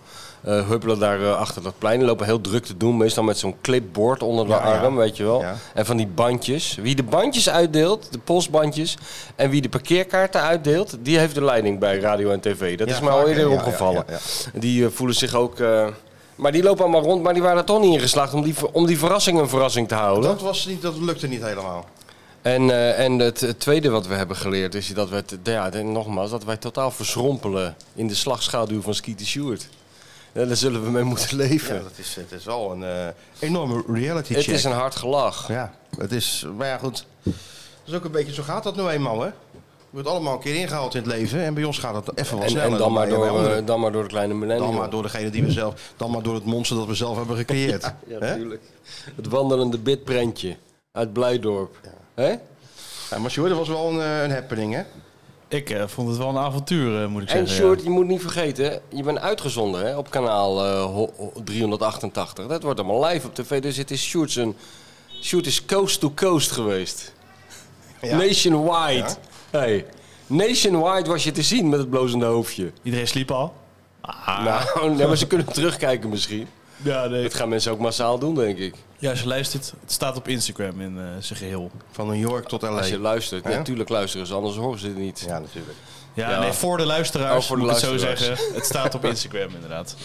[SPEAKER 6] eh, huppelen daar eh, achter dat plein. Lopen heel druk te doen, meestal met zo'n clipboard onder de
[SPEAKER 1] ja.
[SPEAKER 6] arm, weet je wel. En van die bandjes. Wie de bandjes uitdeelt, de postbandjes... en wie de parkeerkaarten uitdeelt, die heeft de leiding bij radio en tv. Dat
[SPEAKER 1] Ja,
[SPEAKER 6] is mij al
[SPEAKER 1] vaak,
[SPEAKER 6] eerder
[SPEAKER 1] hè? Ja,
[SPEAKER 6] opgevallen.
[SPEAKER 1] ja,
[SPEAKER 6] Die eh, voelen zich ook... eh, maar die lopen allemaal rond, maar die waren er toch niet in geslaagd om die, ver- om die verrassing een verrassing te houden.
[SPEAKER 1] Dat, was niet, dat lukte niet helemaal.
[SPEAKER 6] En, eh, en het, het tweede wat we hebben geleerd is dat we, t- ja, en nogmaals, dat wij totaal verschrompelen in de slagschaduw van Skeeter Stewart. Ja, daar zullen we mee moeten leven.
[SPEAKER 1] Ja, dat is, het is wel een eh, enorme reality
[SPEAKER 6] het
[SPEAKER 1] check.
[SPEAKER 6] is een hard gelach.
[SPEAKER 1] Ja, het is, maar ja goed. Dat is ook een beetje, zo gaat dat nou eenmaal hè. Je wordt allemaal een keer ingehaald in het leven en bij ons gaat het even wat
[SPEAKER 6] En,
[SPEAKER 1] sneller.
[SPEAKER 6] en dan, maar
[SPEAKER 1] bij- bij
[SPEAKER 6] door,
[SPEAKER 1] anderen.
[SPEAKER 6] eh, dan maar door de kleine millennium.
[SPEAKER 1] dan maar door degene die we zelf, dan maar door het monster dat we zelf hebben gecreëerd.
[SPEAKER 6] Ja,
[SPEAKER 1] Hè?
[SPEAKER 6] natuurlijk. Het wandelende bitprentje uit Blijdorp. Hè?
[SPEAKER 1] Ja, maar Sjoerd, dat was wel een, eh, een happening hè.
[SPEAKER 2] Ik eh, vond het wel een avontuur, eh, moet ik
[SPEAKER 6] En
[SPEAKER 2] zeggen.
[SPEAKER 6] Sjoerd, je moet niet vergeten, je bent uitgezonden hè, op kanaal eh, ho- ho- 388. Dat wordt allemaal live op tv, dus het is Sjoerd zijn... Sjoerd is coast to coast geweest.
[SPEAKER 2] Ja.
[SPEAKER 6] Nationwide. Hey. Nationwide was je te zien met het blozende hoofdje.
[SPEAKER 2] Iedereen sliep al.
[SPEAKER 6] Nou, nee, maar ze kunnen terugkijken misschien.
[SPEAKER 2] Ja, nee.
[SPEAKER 6] Dat gaan mensen ook massaal doen, denk ik.
[SPEAKER 2] Ja, ze luistert. Het staat op Instagram in eh, zijn geheel.
[SPEAKER 1] Van New York tot LA.
[SPEAKER 6] Als je Nou, luistert.
[SPEAKER 2] Hè?
[SPEAKER 6] Natuurlijk luisteren ze, anders horen ze het niet.
[SPEAKER 1] Ja, natuurlijk.
[SPEAKER 2] Ja, nee, voor de luisteraars,
[SPEAKER 6] Oh, voor de
[SPEAKER 2] moet ik het zo
[SPEAKER 6] luisteraars.
[SPEAKER 2] zeggen. Het staat op Instagram inderdaad.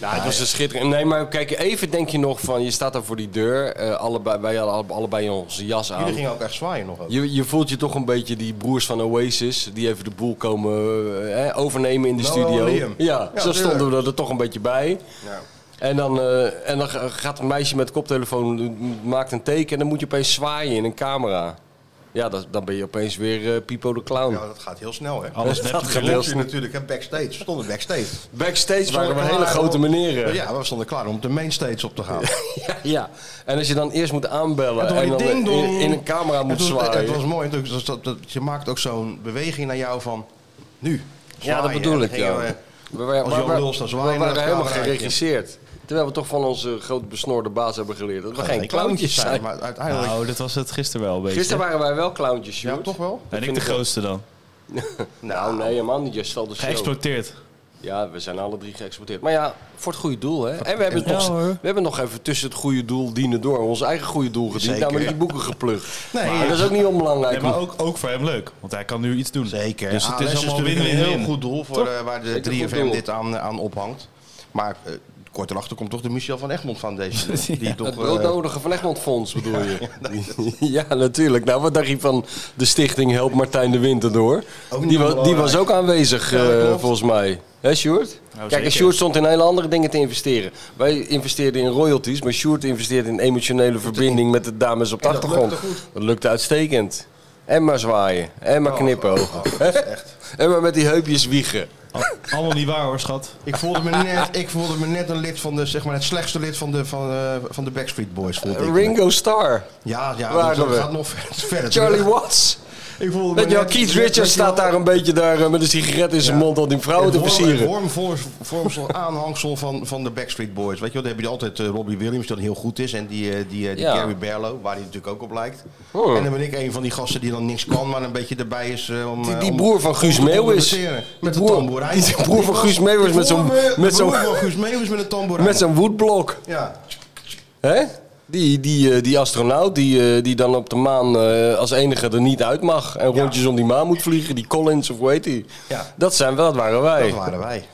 [SPEAKER 6] Ja, het was een schitterend. Nee, maar kijk, even denk je nog van, je staat daar voor die deur. eh, allebei, wij hadden allebei onze jas aan.
[SPEAKER 1] Jullie gingen ook echt zwaaien nog. Ook.
[SPEAKER 6] Je, je voelt je toch een beetje die broers van Oasis, die even de boel komen eh, hè, overnemen in de
[SPEAKER 1] Noah
[SPEAKER 6] studio.
[SPEAKER 1] en
[SPEAKER 6] Ja,
[SPEAKER 1] Liam. Ja,
[SPEAKER 6] zo stonden we
[SPEAKER 1] tuurlijk.
[SPEAKER 6] er toch een beetje bij.
[SPEAKER 1] Ja.
[SPEAKER 6] En dan, eh, en dan ga- gaat een meisje met koptelefoon, eh, maakt een teken en dan moet je opeens zwaaien in een camera. Ja, dat, dan ben je opeens weer eh, Pipo de Clown.
[SPEAKER 1] Ja, dat gaat heel snel, hè?
[SPEAKER 6] Alles net
[SPEAKER 1] dat
[SPEAKER 6] op
[SPEAKER 1] gaat
[SPEAKER 6] de
[SPEAKER 1] heel
[SPEAKER 6] rond.
[SPEAKER 1] snel. natuurlijk, hè, backstage. We stonden backstage.
[SPEAKER 6] Backstage waren we
[SPEAKER 1] stonden
[SPEAKER 6] hele
[SPEAKER 1] klaar
[SPEAKER 6] grote
[SPEAKER 1] om-
[SPEAKER 6] meneren.
[SPEAKER 1] Ja, we stonden klaar om de mainstage op te gaan.
[SPEAKER 6] Ja, en als je dan eerst moet aanbellen en,
[SPEAKER 1] En
[SPEAKER 6] dan
[SPEAKER 1] toen ding
[SPEAKER 6] in,
[SPEAKER 1] dong.
[SPEAKER 6] in een camera
[SPEAKER 1] En
[SPEAKER 6] moet
[SPEAKER 1] toen-
[SPEAKER 6] zwaaien.
[SPEAKER 1] Het was mooi. en toen- dat- dat- dat- Je maakt ook zo'n beweging naar jou van nu.
[SPEAKER 6] Ja, dat
[SPEAKER 1] zwaaien.
[SPEAKER 6] bedoel
[SPEAKER 1] En
[SPEAKER 6] ik,
[SPEAKER 1] dan eh, gingen
[SPEAKER 6] ja.
[SPEAKER 1] we-
[SPEAKER 6] We waren-
[SPEAKER 1] Als
[SPEAKER 6] maar-
[SPEAKER 1] Jan
[SPEAKER 6] maar-
[SPEAKER 1] Luls dan
[SPEAKER 6] we
[SPEAKER 1] zwaaien.
[SPEAKER 6] waren
[SPEAKER 1] naar het
[SPEAKER 6] helemaal
[SPEAKER 1] cameraatje.
[SPEAKER 6] geregisseerd. Terwijl we toch van onze grote besnorde baas hebben geleerd dat we
[SPEAKER 1] Dat
[SPEAKER 6] geen
[SPEAKER 1] geen
[SPEAKER 6] clowntjes
[SPEAKER 1] clowntjes zijn,
[SPEAKER 6] zijn.
[SPEAKER 1] maar uiteindelijk-
[SPEAKER 2] Nou, dat was het gisteren wel een beetje.
[SPEAKER 6] Gisteren waren wij wel clowntjes, Sjoerd.
[SPEAKER 1] Ja, toch wel?
[SPEAKER 6] Dat
[SPEAKER 2] En ik
[SPEAKER 6] vind
[SPEAKER 2] de
[SPEAKER 6] wel.
[SPEAKER 2] grootste dan.
[SPEAKER 6] Nou, nee, helemaal niet. Je stelt de show.
[SPEAKER 2] Geëxploiteerd.
[SPEAKER 6] Ja, we zijn alle drie geëxporteerd. Maar ja, voor het goede doel, hè. En we hebben, het nog, we hebben nog even tussen het goede doel dienen door ons eigen goede doel gediend.
[SPEAKER 2] Zeker.
[SPEAKER 6] Namelijk die boeken geplukt.
[SPEAKER 2] Nee,
[SPEAKER 6] maar dat is ook niet onbelangrijk.
[SPEAKER 2] Nee, maar ook, ook voor hem leuk, want hij kan nu iets doen. Zeker. Dus het
[SPEAKER 1] ALS
[SPEAKER 2] is allemaal
[SPEAKER 1] natuurlijk
[SPEAKER 2] win-win.
[SPEAKER 1] een heel goed doel voor eh, waar de
[SPEAKER 6] Zeker een goed
[SPEAKER 1] 3FM
[SPEAKER 6] doel.
[SPEAKER 1] dit aan, eh, aan ophangt. Maar eh, kort erachter komt toch de Michel van Egmond Foundation. Die toch,
[SPEAKER 6] het
[SPEAKER 1] eh,
[SPEAKER 6] broodnodige Van Egmond Fonds bedoel je? ja, natuurlijk. Nou, wat dacht je van de stichting Help Martijn de Winter door?
[SPEAKER 1] Ook
[SPEAKER 6] Die,
[SPEAKER 1] niet
[SPEAKER 6] wa- die
[SPEAKER 1] belangrijk.
[SPEAKER 6] was ook aanwezig,
[SPEAKER 1] Ja, dat
[SPEAKER 6] eh,
[SPEAKER 1] klopt.
[SPEAKER 6] volgens mij. Hè, Sjoerd? Kijk, en
[SPEAKER 1] zeker.
[SPEAKER 6] Sjoerd stond in hele andere dingen te investeren. Wij investeerden in royalties, maar Sjoerd investeerde in emotionele verbinding met de dames op de
[SPEAKER 1] En dat
[SPEAKER 6] achtergrond.
[SPEAKER 1] lukte goed.
[SPEAKER 6] Dat lukte uitstekend. En maar zwaaien. En maar
[SPEAKER 1] Oh,
[SPEAKER 6] knipogen.
[SPEAKER 1] oh, oh, dat is echt.
[SPEAKER 6] en maar met die heupjes wiegen.
[SPEAKER 2] Allemaal niet waar hoor, schat.
[SPEAKER 1] Ik voelde, me net, ik voelde me net een lid van de, zeg maar, het slechtste lid van de, van, eh, van de Backstreet Boys. voelde ik me.
[SPEAKER 6] Ringo Starr.
[SPEAKER 1] Ja, ja
[SPEAKER 6] Waren
[SPEAKER 1] dat, dat
[SPEAKER 6] we.
[SPEAKER 1] gaat nog ver- verder.
[SPEAKER 6] Charlie
[SPEAKER 1] terug.
[SPEAKER 6] Watts.
[SPEAKER 1] Ik voelde me
[SPEAKER 6] Weet je wel,
[SPEAKER 1] net-
[SPEAKER 6] Keith
[SPEAKER 1] net- net-
[SPEAKER 6] Richards staat daar een beetje daar, eh, met een sigaret in zijn mond al die vrouwen
[SPEAKER 1] Het
[SPEAKER 6] te
[SPEAKER 1] worm-
[SPEAKER 6] versieren.
[SPEAKER 1] het wormvormsel, aanhangsel van, van de Backstreet Boys. Weet je wel, dan heb je altijd eh, Robbie Williams, die dan heel goed is. En die, eh, die, eh, die
[SPEAKER 6] Ja.
[SPEAKER 1] Gary Barlow, waar hij natuurlijk ook op lijkt.
[SPEAKER 6] Oh.
[SPEAKER 1] En dan ben ik een van die gasten die dan niks kan, maar een beetje erbij is eh, om...
[SPEAKER 6] Die,
[SPEAKER 1] eh,
[SPEAKER 6] die
[SPEAKER 1] om-
[SPEAKER 6] broer van
[SPEAKER 1] om
[SPEAKER 6] Guus
[SPEAKER 1] te
[SPEAKER 6] Meeuwis.
[SPEAKER 1] compenseren.
[SPEAKER 6] Die
[SPEAKER 1] Met de
[SPEAKER 6] broer-
[SPEAKER 1] tamboerijn.
[SPEAKER 6] die broer van Guus Meeuwis met zo'n-
[SPEAKER 1] Die broer-
[SPEAKER 6] met
[SPEAKER 1] de
[SPEAKER 6] zo'n-
[SPEAKER 1] broer van Guus Meeuwis met een tamboerijn.
[SPEAKER 6] Met zo'n woodblok.
[SPEAKER 1] Ja.
[SPEAKER 6] Hè? Die, die, eh, die astronaut die, eh, die dan op de maan eh, als enige er niet uit mag. En rondjes om die maan moet vliegen. Die Collins of hoe heet die?
[SPEAKER 1] Ja.
[SPEAKER 6] Dat, zijn, we- dat waren wij.
[SPEAKER 1] Dat waren wij.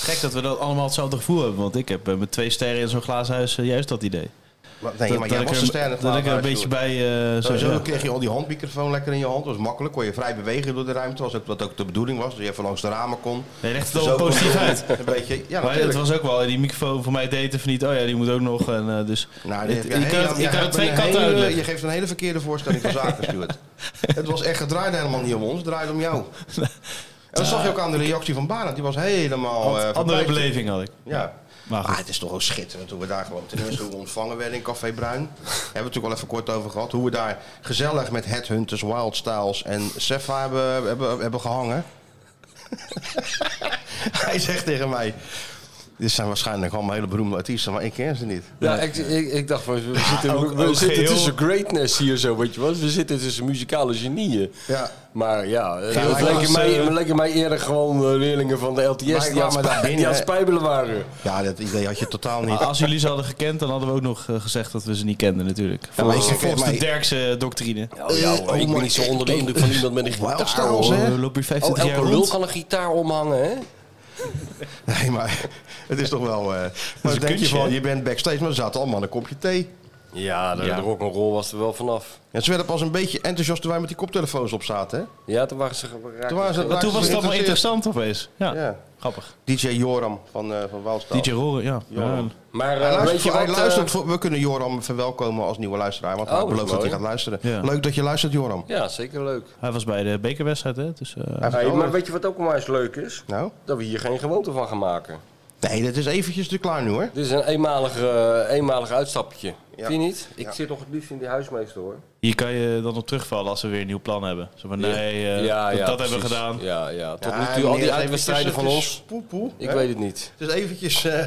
[SPEAKER 2] Gek dat we dat allemaal hetzelfde gevoel hebben, want ik heb eh, met twee sterren in zo'n glazen huis eh, juist dat idee.
[SPEAKER 1] Maar, nee,
[SPEAKER 2] Dat-
[SPEAKER 1] maar
[SPEAKER 2] dat
[SPEAKER 1] jij
[SPEAKER 2] ik
[SPEAKER 1] was
[SPEAKER 2] er-
[SPEAKER 1] de ster.
[SPEAKER 2] Dat ik er een beetje bij... eh, zo,
[SPEAKER 1] Sowieso
[SPEAKER 2] ja.
[SPEAKER 1] kreeg je al die handmicrofoon lekker in je hand. Dat was makkelijk. Kon je vrij bewegen door de ruimte. Was ook, wat ook de bedoeling was. Dat je even langs de ramen kon.
[SPEAKER 2] Nee, legt het
[SPEAKER 1] Dus
[SPEAKER 2] wel
[SPEAKER 1] ook-
[SPEAKER 2] positief uit.
[SPEAKER 1] Een beetje, ja,
[SPEAKER 2] maar het
[SPEAKER 1] natuurlijk.
[SPEAKER 2] was ook wel, die microfoon voor mij deed het niet. Oh ja, die moet ook nog. En, eh, dus,
[SPEAKER 1] Nou, dit-
[SPEAKER 2] het- je
[SPEAKER 1] ja,
[SPEAKER 2] kan
[SPEAKER 1] hey, ja,
[SPEAKER 2] het- je kan
[SPEAKER 1] je
[SPEAKER 2] het
[SPEAKER 1] hebt
[SPEAKER 2] twee
[SPEAKER 1] een
[SPEAKER 2] kanten
[SPEAKER 1] hele-
[SPEAKER 2] uitleggen.
[SPEAKER 1] Je geeft een hele verkeerde voorstelling van zaken, Stuart. het was echt, het draaide helemaal niet om ons. Het draaide om jou. En dat zag je ook aan de reactie van Barend. Die was helemaal... eh,
[SPEAKER 2] Want andere
[SPEAKER 1] verbijsterd.
[SPEAKER 2] beleving had ik.
[SPEAKER 1] Ja.
[SPEAKER 2] Maar
[SPEAKER 1] Maar
[SPEAKER 2] goed.
[SPEAKER 1] het is toch ook schitterend hoe we daar gewoon ten eerste hoe we ontvangen werden in Café Bruin. Daar hebben we het natuurlijk al even kort over gehad. Hoe we daar gezellig met Headhunters, Wild Styles en Sefa hebben, hebben, hebben gehangen. Hij zegt tegen mij... Dit zijn waarschijnlijk allemaal hele beroemde artiesten, maar ik ken ze niet.
[SPEAKER 6] Ja, ik, ik, ik dacht van, we zitten,
[SPEAKER 1] ook-
[SPEAKER 6] we
[SPEAKER 1] ook
[SPEAKER 6] zitten
[SPEAKER 1] geheel-
[SPEAKER 6] tussen greatness hier zo, weet je wel. We zitten tussen muzikale genieën.
[SPEAKER 1] Ja.
[SPEAKER 6] Maar ja, eh,
[SPEAKER 1] Geheel
[SPEAKER 6] het
[SPEAKER 1] was,
[SPEAKER 6] leken, mij,
[SPEAKER 1] eh,
[SPEAKER 6] het leken mij eerder gewoon eh, leerlingen van de
[SPEAKER 1] Wij
[SPEAKER 6] LTS die aan,
[SPEAKER 1] kwamen daar
[SPEAKER 6] spij- die
[SPEAKER 1] binnen,
[SPEAKER 6] aan
[SPEAKER 1] hè.
[SPEAKER 6] spijbelen waren.
[SPEAKER 1] Ja, dat idee had je totaal niet.
[SPEAKER 2] Maar als jullie ze hadden gekend, dan hadden we ook nog eh, gezegd dat we ze niet kenden natuurlijk.
[SPEAKER 1] maar
[SPEAKER 2] Volgens,
[SPEAKER 1] ik-
[SPEAKER 2] volgens de
[SPEAKER 1] maar-
[SPEAKER 2] Derkse eh, doctrine.
[SPEAKER 6] Oh
[SPEAKER 1] Eh,
[SPEAKER 6] ja, hoor, ik ben niet zo onder de indruk van iemand met een
[SPEAKER 1] Wild
[SPEAKER 6] gitaar.
[SPEAKER 1] Styles,
[SPEAKER 6] hoor.
[SPEAKER 1] hè?
[SPEAKER 2] We lopen hier 25
[SPEAKER 6] oh,
[SPEAKER 2] jaar
[SPEAKER 6] elke lul
[SPEAKER 2] rond.
[SPEAKER 6] kan een gitaar omhangen, hè?
[SPEAKER 1] Nee, maar het is toch wel... eh, maar
[SPEAKER 6] een
[SPEAKER 1] dan denk je
[SPEAKER 6] kunstje,
[SPEAKER 1] van,
[SPEAKER 6] hè?
[SPEAKER 1] je bent backstage, maar er zaten allemaal aan een kopje thee.
[SPEAKER 6] Ja, de,
[SPEAKER 1] Ja.
[SPEAKER 6] de rock'n'roll was er wel vanaf.
[SPEAKER 1] En ze werden pas een beetje enthousiast toen wij met die koptelefoons op zaten, hè?
[SPEAKER 6] Ja, toen waren ze geraakt.
[SPEAKER 1] Toen waren ze-
[SPEAKER 2] Maar toen was het allemaal
[SPEAKER 1] Geïnteresseerd.
[SPEAKER 2] interessant opeens. Ja,
[SPEAKER 1] Ja.
[SPEAKER 2] grappig.
[SPEAKER 1] DJ Joram van, eh van Wildstyle.
[SPEAKER 2] DJ Roren, ja.
[SPEAKER 1] Joram.
[SPEAKER 2] Ja.
[SPEAKER 6] Maar
[SPEAKER 1] Hij
[SPEAKER 6] eh,
[SPEAKER 1] luistert
[SPEAKER 6] weet je
[SPEAKER 1] voor- hij
[SPEAKER 6] wat...
[SPEAKER 1] luistert
[SPEAKER 6] eh,
[SPEAKER 1] voor- we kunnen Joram verwelkomen als nieuwe luisteraar, want
[SPEAKER 6] Oh,
[SPEAKER 1] hij
[SPEAKER 6] dat is
[SPEAKER 1] belooft dat hij
[SPEAKER 6] mooi.
[SPEAKER 1] gaat luisteren.
[SPEAKER 2] Ja.
[SPEAKER 1] Leuk dat je luistert, Joram.
[SPEAKER 6] ja, zeker leuk.
[SPEAKER 2] Hij was bij de bekerwedstrijd, hè? Dus, eh,
[SPEAKER 6] Hey, maar weet je wat ook maar eens leuk is?
[SPEAKER 1] Nou?
[SPEAKER 6] Dat we hier geen gewoonte van gaan maken.
[SPEAKER 1] Nee, dat is eventjes te klaar nu, hoor.
[SPEAKER 6] Dit is een eenmalig, eh, eenmalig uitstapje. Vind je niet? Ik
[SPEAKER 1] Ja.
[SPEAKER 6] zit nog het liefst in die huismeester hoor.
[SPEAKER 2] Hier kan je dan op terugvallen als ze weer een nieuw plan hebben. Zo van, nee, eh, dat, dat hebben we
[SPEAKER 6] precies.
[SPEAKER 2] gedaan.
[SPEAKER 6] Ja, ja. Tot
[SPEAKER 1] Ja,
[SPEAKER 6] nu toe al
[SPEAKER 1] meneer,
[SPEAKER 6] die uitwedstrijden van
[SPEAKER 1] het is-
[SPEAKER 6] ons.
[SPEAKER 1] het is poe, poe,
[SPEAKER 6] Ik
[SPEAKER 1] hè?
[SPEAKER 6] weet het niet.
[SPEAKER 1] Het is eventjes eh,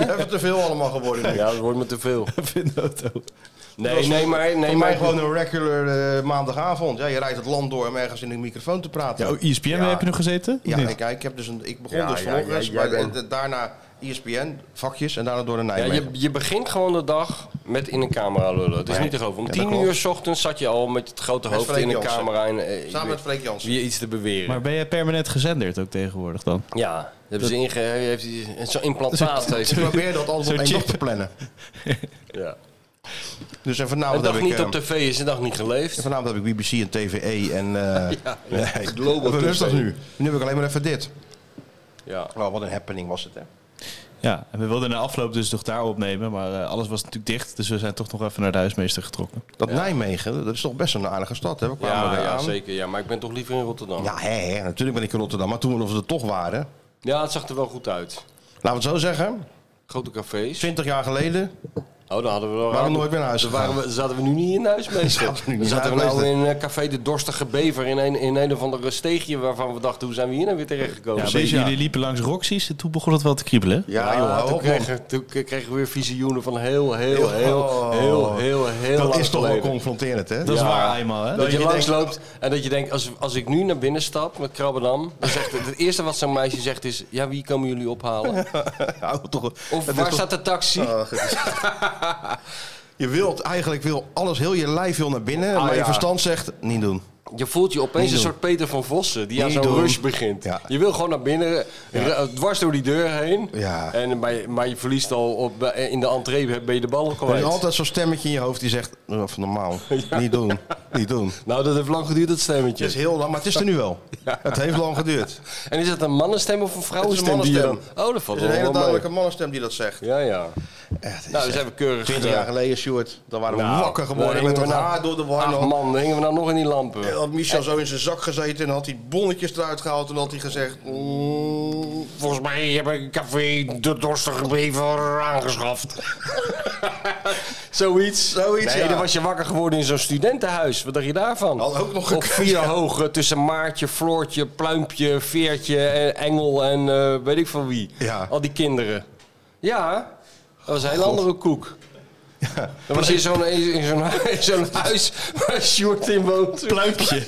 [SPEAKER 1] even te veel allemaal geworden nu.
[SPEAKER 6] Ja, dat wordt me te veel.
[SPEAKER 2] Vind dat ook.
[SPEAKER 6] Nee,
[SPEAKER 1] Dat was
[SPEAKER 6] nee,
[SPEAKER 1] voor-
[SPEAKER 6] maar- nee,
[SPEAKER 1] voor
[SPEAKER 6] maar-
[SPEAKER 1] mij gewoon een regular eh, maandagavond. Ja, je rijdt het land door om ergens in de microfoon te praten.
[SPEAKER 2] Ja,
[SPEAKER 6] E
[SPEAKER 2] oh, ESPN waar heb je nog gezeten?
[SPEAKER 1] Ja,
[SPEAKER 2] Of niet?
[SPEAKER 1] ik, ik, heb dus een, ik begon
[SPEAKER 2] Ja,
[SPEAKER 1] dus
[SPEAKER 2] ja,
[SPEAKER 1] vanochtend.
[SPEAKER 2] ja, jij
[SPEAKER 1] maar,
[SPEAKER 2] bent-
[SPEAKER 1] en daarna E ESPN, vakjes en daarna door naar
[SPEAKER 6] Ja,
[SPEAKER 1] Nijmegen.
[SPEAKER 6] je, je begint gewoon de dag met in een camera lullen. Het is
[SPEAKER 1] Ja.
[SPEAKER 6] niet te geloven. Om
[SPEAKER 1] Ja, dat
[SPEAKER 6] tien
[SPEAKER 1] klopt.
[SPEAKER 6] uur 's ochtends zat je al met het grote
[SPEAKER 1] Met
[SPEAKER 6] hoofd
[SPEAKER 1] Freek
[SPEAKER 6] in een
[SPEAKER 1] Jansen.
[SPEAKER 6] camera. En, eh,
[SPEAKER 1] Samen
[SPEAKER 6] je-
[SPEAKER 1] met Freek Jansen.
[SPEAKER 6] Weer iets te beweren.
[SPEAKER 2] Maar ben jij permanent gezenderd ook tegenwoordig dan?
[SPEAKER 6] Ja, dat hebben ze inge... Heeft hij zo'n implantaat.
[SPEAKER 1] Zo-
[SPEAKER 6] heeft
[SPEAKER 1] Ik
[SPEAKER 6] hij.
[SPEAKER 1] probeer dat alles op
[SPEAKER 6] Zo'n
[SPEAKER 1] één
[SPEAKER 6] chip.
[SPEAKER 1] dag te plannen.
[SPEAKER 6] Ja.
[SPEAKER 1] Dus en
[SPEAKER 6] Een
[SPEAKER 1] vanavond
[SPEAKER 6] dag
[SPEAKER 1] heb
[SPEAKER 6] niet
[SPEAKER 1] ik... eh,
[SPEAKER 6] op tv is een dag niet geleefd.
[SPEAKER 1] en vanavond heb ik BBC en TVE en... eh
[SPEAKER 6] Ja.
[SPEAKER 1] nee,
[SPEAKER 6] Global
[SPEAKER 1] even rustig
[SPEAKER 6] TV.
[SPEAKER 1] nu. Nu heb ik alleen maar even dit.
[SPEAKER 6] Ja.
[SPEAKER 1] Oh, wat een happening was het, hè.
[SPEAKER 2] Ja, en we wilden na afloop dus nog daar opnemen, maar eh, alles was natuurlijk dicht. Dus we zijn toch nog even naar de huismeester getrokken.
[SPEAKER 1] Dat Nijmegen, dat is toch best een aardige stad, hè? We kwamen
[SPEAKER 6] Ja,
[SPEAKER 1] er
[SPEAKER 6] ja,
[SPEAKER 1] aan.
[SPEAKER 6] zeker. Ja, maar ik ben toch liever in Rotterdam.
[SPEAKER 1] Ja, hè, hè, natuurlijk ben ik in Rotterdam. Maar toen we er toch waren...
[SPEAKER 6] Ja, het zag er wel goed uit.
[SPEAKER 1] Laten we het zo zeggen.
[SPEAKER 6] Grote cafés.
[SPEAKER 1] 20 jaar geleden.
[SPEAKER 6] Oh, dan hadden we wel...
[SPEAKER 1] Waren we nooit meer naar huis
[SPEAKER 6] Dan
[SPEAKER 1] gegaan.
[SPEAKER 6] waren we, zaten we nu niet in huis meester.
[SPEAKER 1] Zaten we nu
[SPEAKER 6] Dan
[SPEAKER 1] niet
[SPEAKER 6] zaten we
[SPEAKER 1] in huis,
[SPEAKER 6] nou in
[SPEAKER 1] meester.
[SPEAKER 6] eh, Café de Dorstige Bever in een, in een of andere steegje waarvan we dachten, hoe zijn we hier nou weer terechtgekomen?
[SPEAKER 2] Ja, maar Jullie liepen langs Roxy's en toen begon het wel te kriebelen. hè?
[SPEAKER 6] Ja, joh,
[SPEAKER 1] oh,
[SPEAKER 6] toen, kregen, toen k- kregen we weer visioenen van heel, heel, heel, heel, heel,
[SPEAKER 1] oh.
[SPEAKER 6] heel,
[SPEAKER 1] Dat
[SPEAKER 6] lang
[SPEAKER 1] is toch wel
[SPEAKER 6] geleden.
[SPEAKER 1] confronterend, hè?
[SPEAKER 2] Dat is waar eenmaal, hè?
[SPEAKER 6] Dat je
[SPEAKER 1] denkt-
[SPEAKER 6] langs loopt en dat je denkt, als, als ik nu naar binnen stap met Krabbedam, dan zegt het, het eerste wat zo'n meisje zegt is, ja, wie komen jullie ophalen?
[SPEAKER 1] Hou toch-
[SPEAKER 6] Of
[SPEAKER 1] het is
[SPEAKER 6] waar
[SPEAKER 1] toch-
[SPEAKER 6] staat de taxi?
[SPEAKER 1] Oh, het is- je wilt eigenlijk wil alles, heel je lijf wil naar binnen,
[SPEAKER 6] Ah,
[SPEAKER 1] maar je
[SPEAKER 6] ja.
[SPEAKER 1] verstand zegt niet doen.
[SPEAKER 6] Je voelt je opeens
[SPEAKER 1] Niet
[SPEAKER 6] een
[SPEAKER 1] doen.
[SPEAKER 6] soort Peter van Vossen die aan
[SPEAKER 1] Niet
[SPEAKER 6] zo'n
[SPEAKER 1] doen.
[SPEAKER 6] rush begint.
[SPEAKER 1] Ja.
[SPEAKER 6] Je wil gewoon naar binnen,
[SPEAKER 1] Ja.
[SPEAKER 6] ra- dwars door die deur heen.
[SPEAKER 1] Ja.
[SPEAKER 6] En, maar, je- maar je verliest al op, in de entree ben je de bal al
[SPEAKER 1] Er is
[SPEAKER 6] kwijt.
[SPEAKER 1] altijd zo'n stemmetje in je hoofd die zegt, "Doe even normaal, niet doen, niet doen.
[SPEAKER 6] Nou, dat heeft lang geduurd, dat stemmetje.
[SPEAKER 1] Het is heel lang, maar het is er nu wel. Het heeft lang geduurd.
[SPEAKER 6] En is dat een mannenstem of een
[SPEAKER 1] Het is een
[SPEAKER 6] vrouwenstem? die je
[SPEAKER 1] mannenstem.
[SPEAKER 6] dan- Oh, dat
[SPEAKER 1] Het
[SPEAKER 6] valt
[SPEAKER 1] is een
[SPEAKER 6] wel
[SPEAKER 1] hele
[SPEAKER 6] wel mee.
[SPEAKER 1] duidelijke mannenstem die dat zegt.
[SPEAKER 6] Ja, ja. nou, we zijn we keurig...
[SPEAKER 1] 20 jaar geleden, Stuart, dan waren we
[SPEAKER 6] Nou,
[SPEAKER 1] wakker
[SPEAKER 6] dan
[SPEAKER 1] geworden
[SPEAKER 6] hingen
[SPEAKER 1] met
[SPEAKER 6] we
[SPEAKER 1] ons
[SPEAKER 6] nou-
[SPEAKER 1] haar door de war.
[SPEAKER 6] Ach
[SPEAKER 1] nog.
[SPEAKER 6] man, dan hingen we nou nog in die lampen.
[SPEAKER 1] En Had Michel zo in zijn zak gezeten en had hij bonnetjes eruit gehaald en had hij gezegd... "Mm,
[SPEAKER 6] Volgens mij heb ik café de dorstige bever aangeschaft. Zoiets.
[SPEAKER 1] Zoiets,
[SPEAKER 6] nee,
[SPEAKER 1] ja.
[SPEAKER 6] dan was je wakker geworden in zo'n studentenhuis. Wat dacht je daarvan?
[SPEAKER 1] Had ook nog
[SPEAKER 6] Op
[SPEAKER 1] gekund,
[SPEAKER 6] vier
[SPEAKER 1] ja.
[SPEAKER 6] hoog, tussen Maartje, Floortje, Pluimpje, Veertje, eh, Engel en eh, weet ik van wie.
[SPEAKER 1] Ja.
[SPEAKER 6] Al die kinderen. Ja, dat was een hele andere koek. Dan was je in zo'n in zo'n in zo'n huis waar Sjoerd in woont.
[SPEAKER 2] Pluimpje.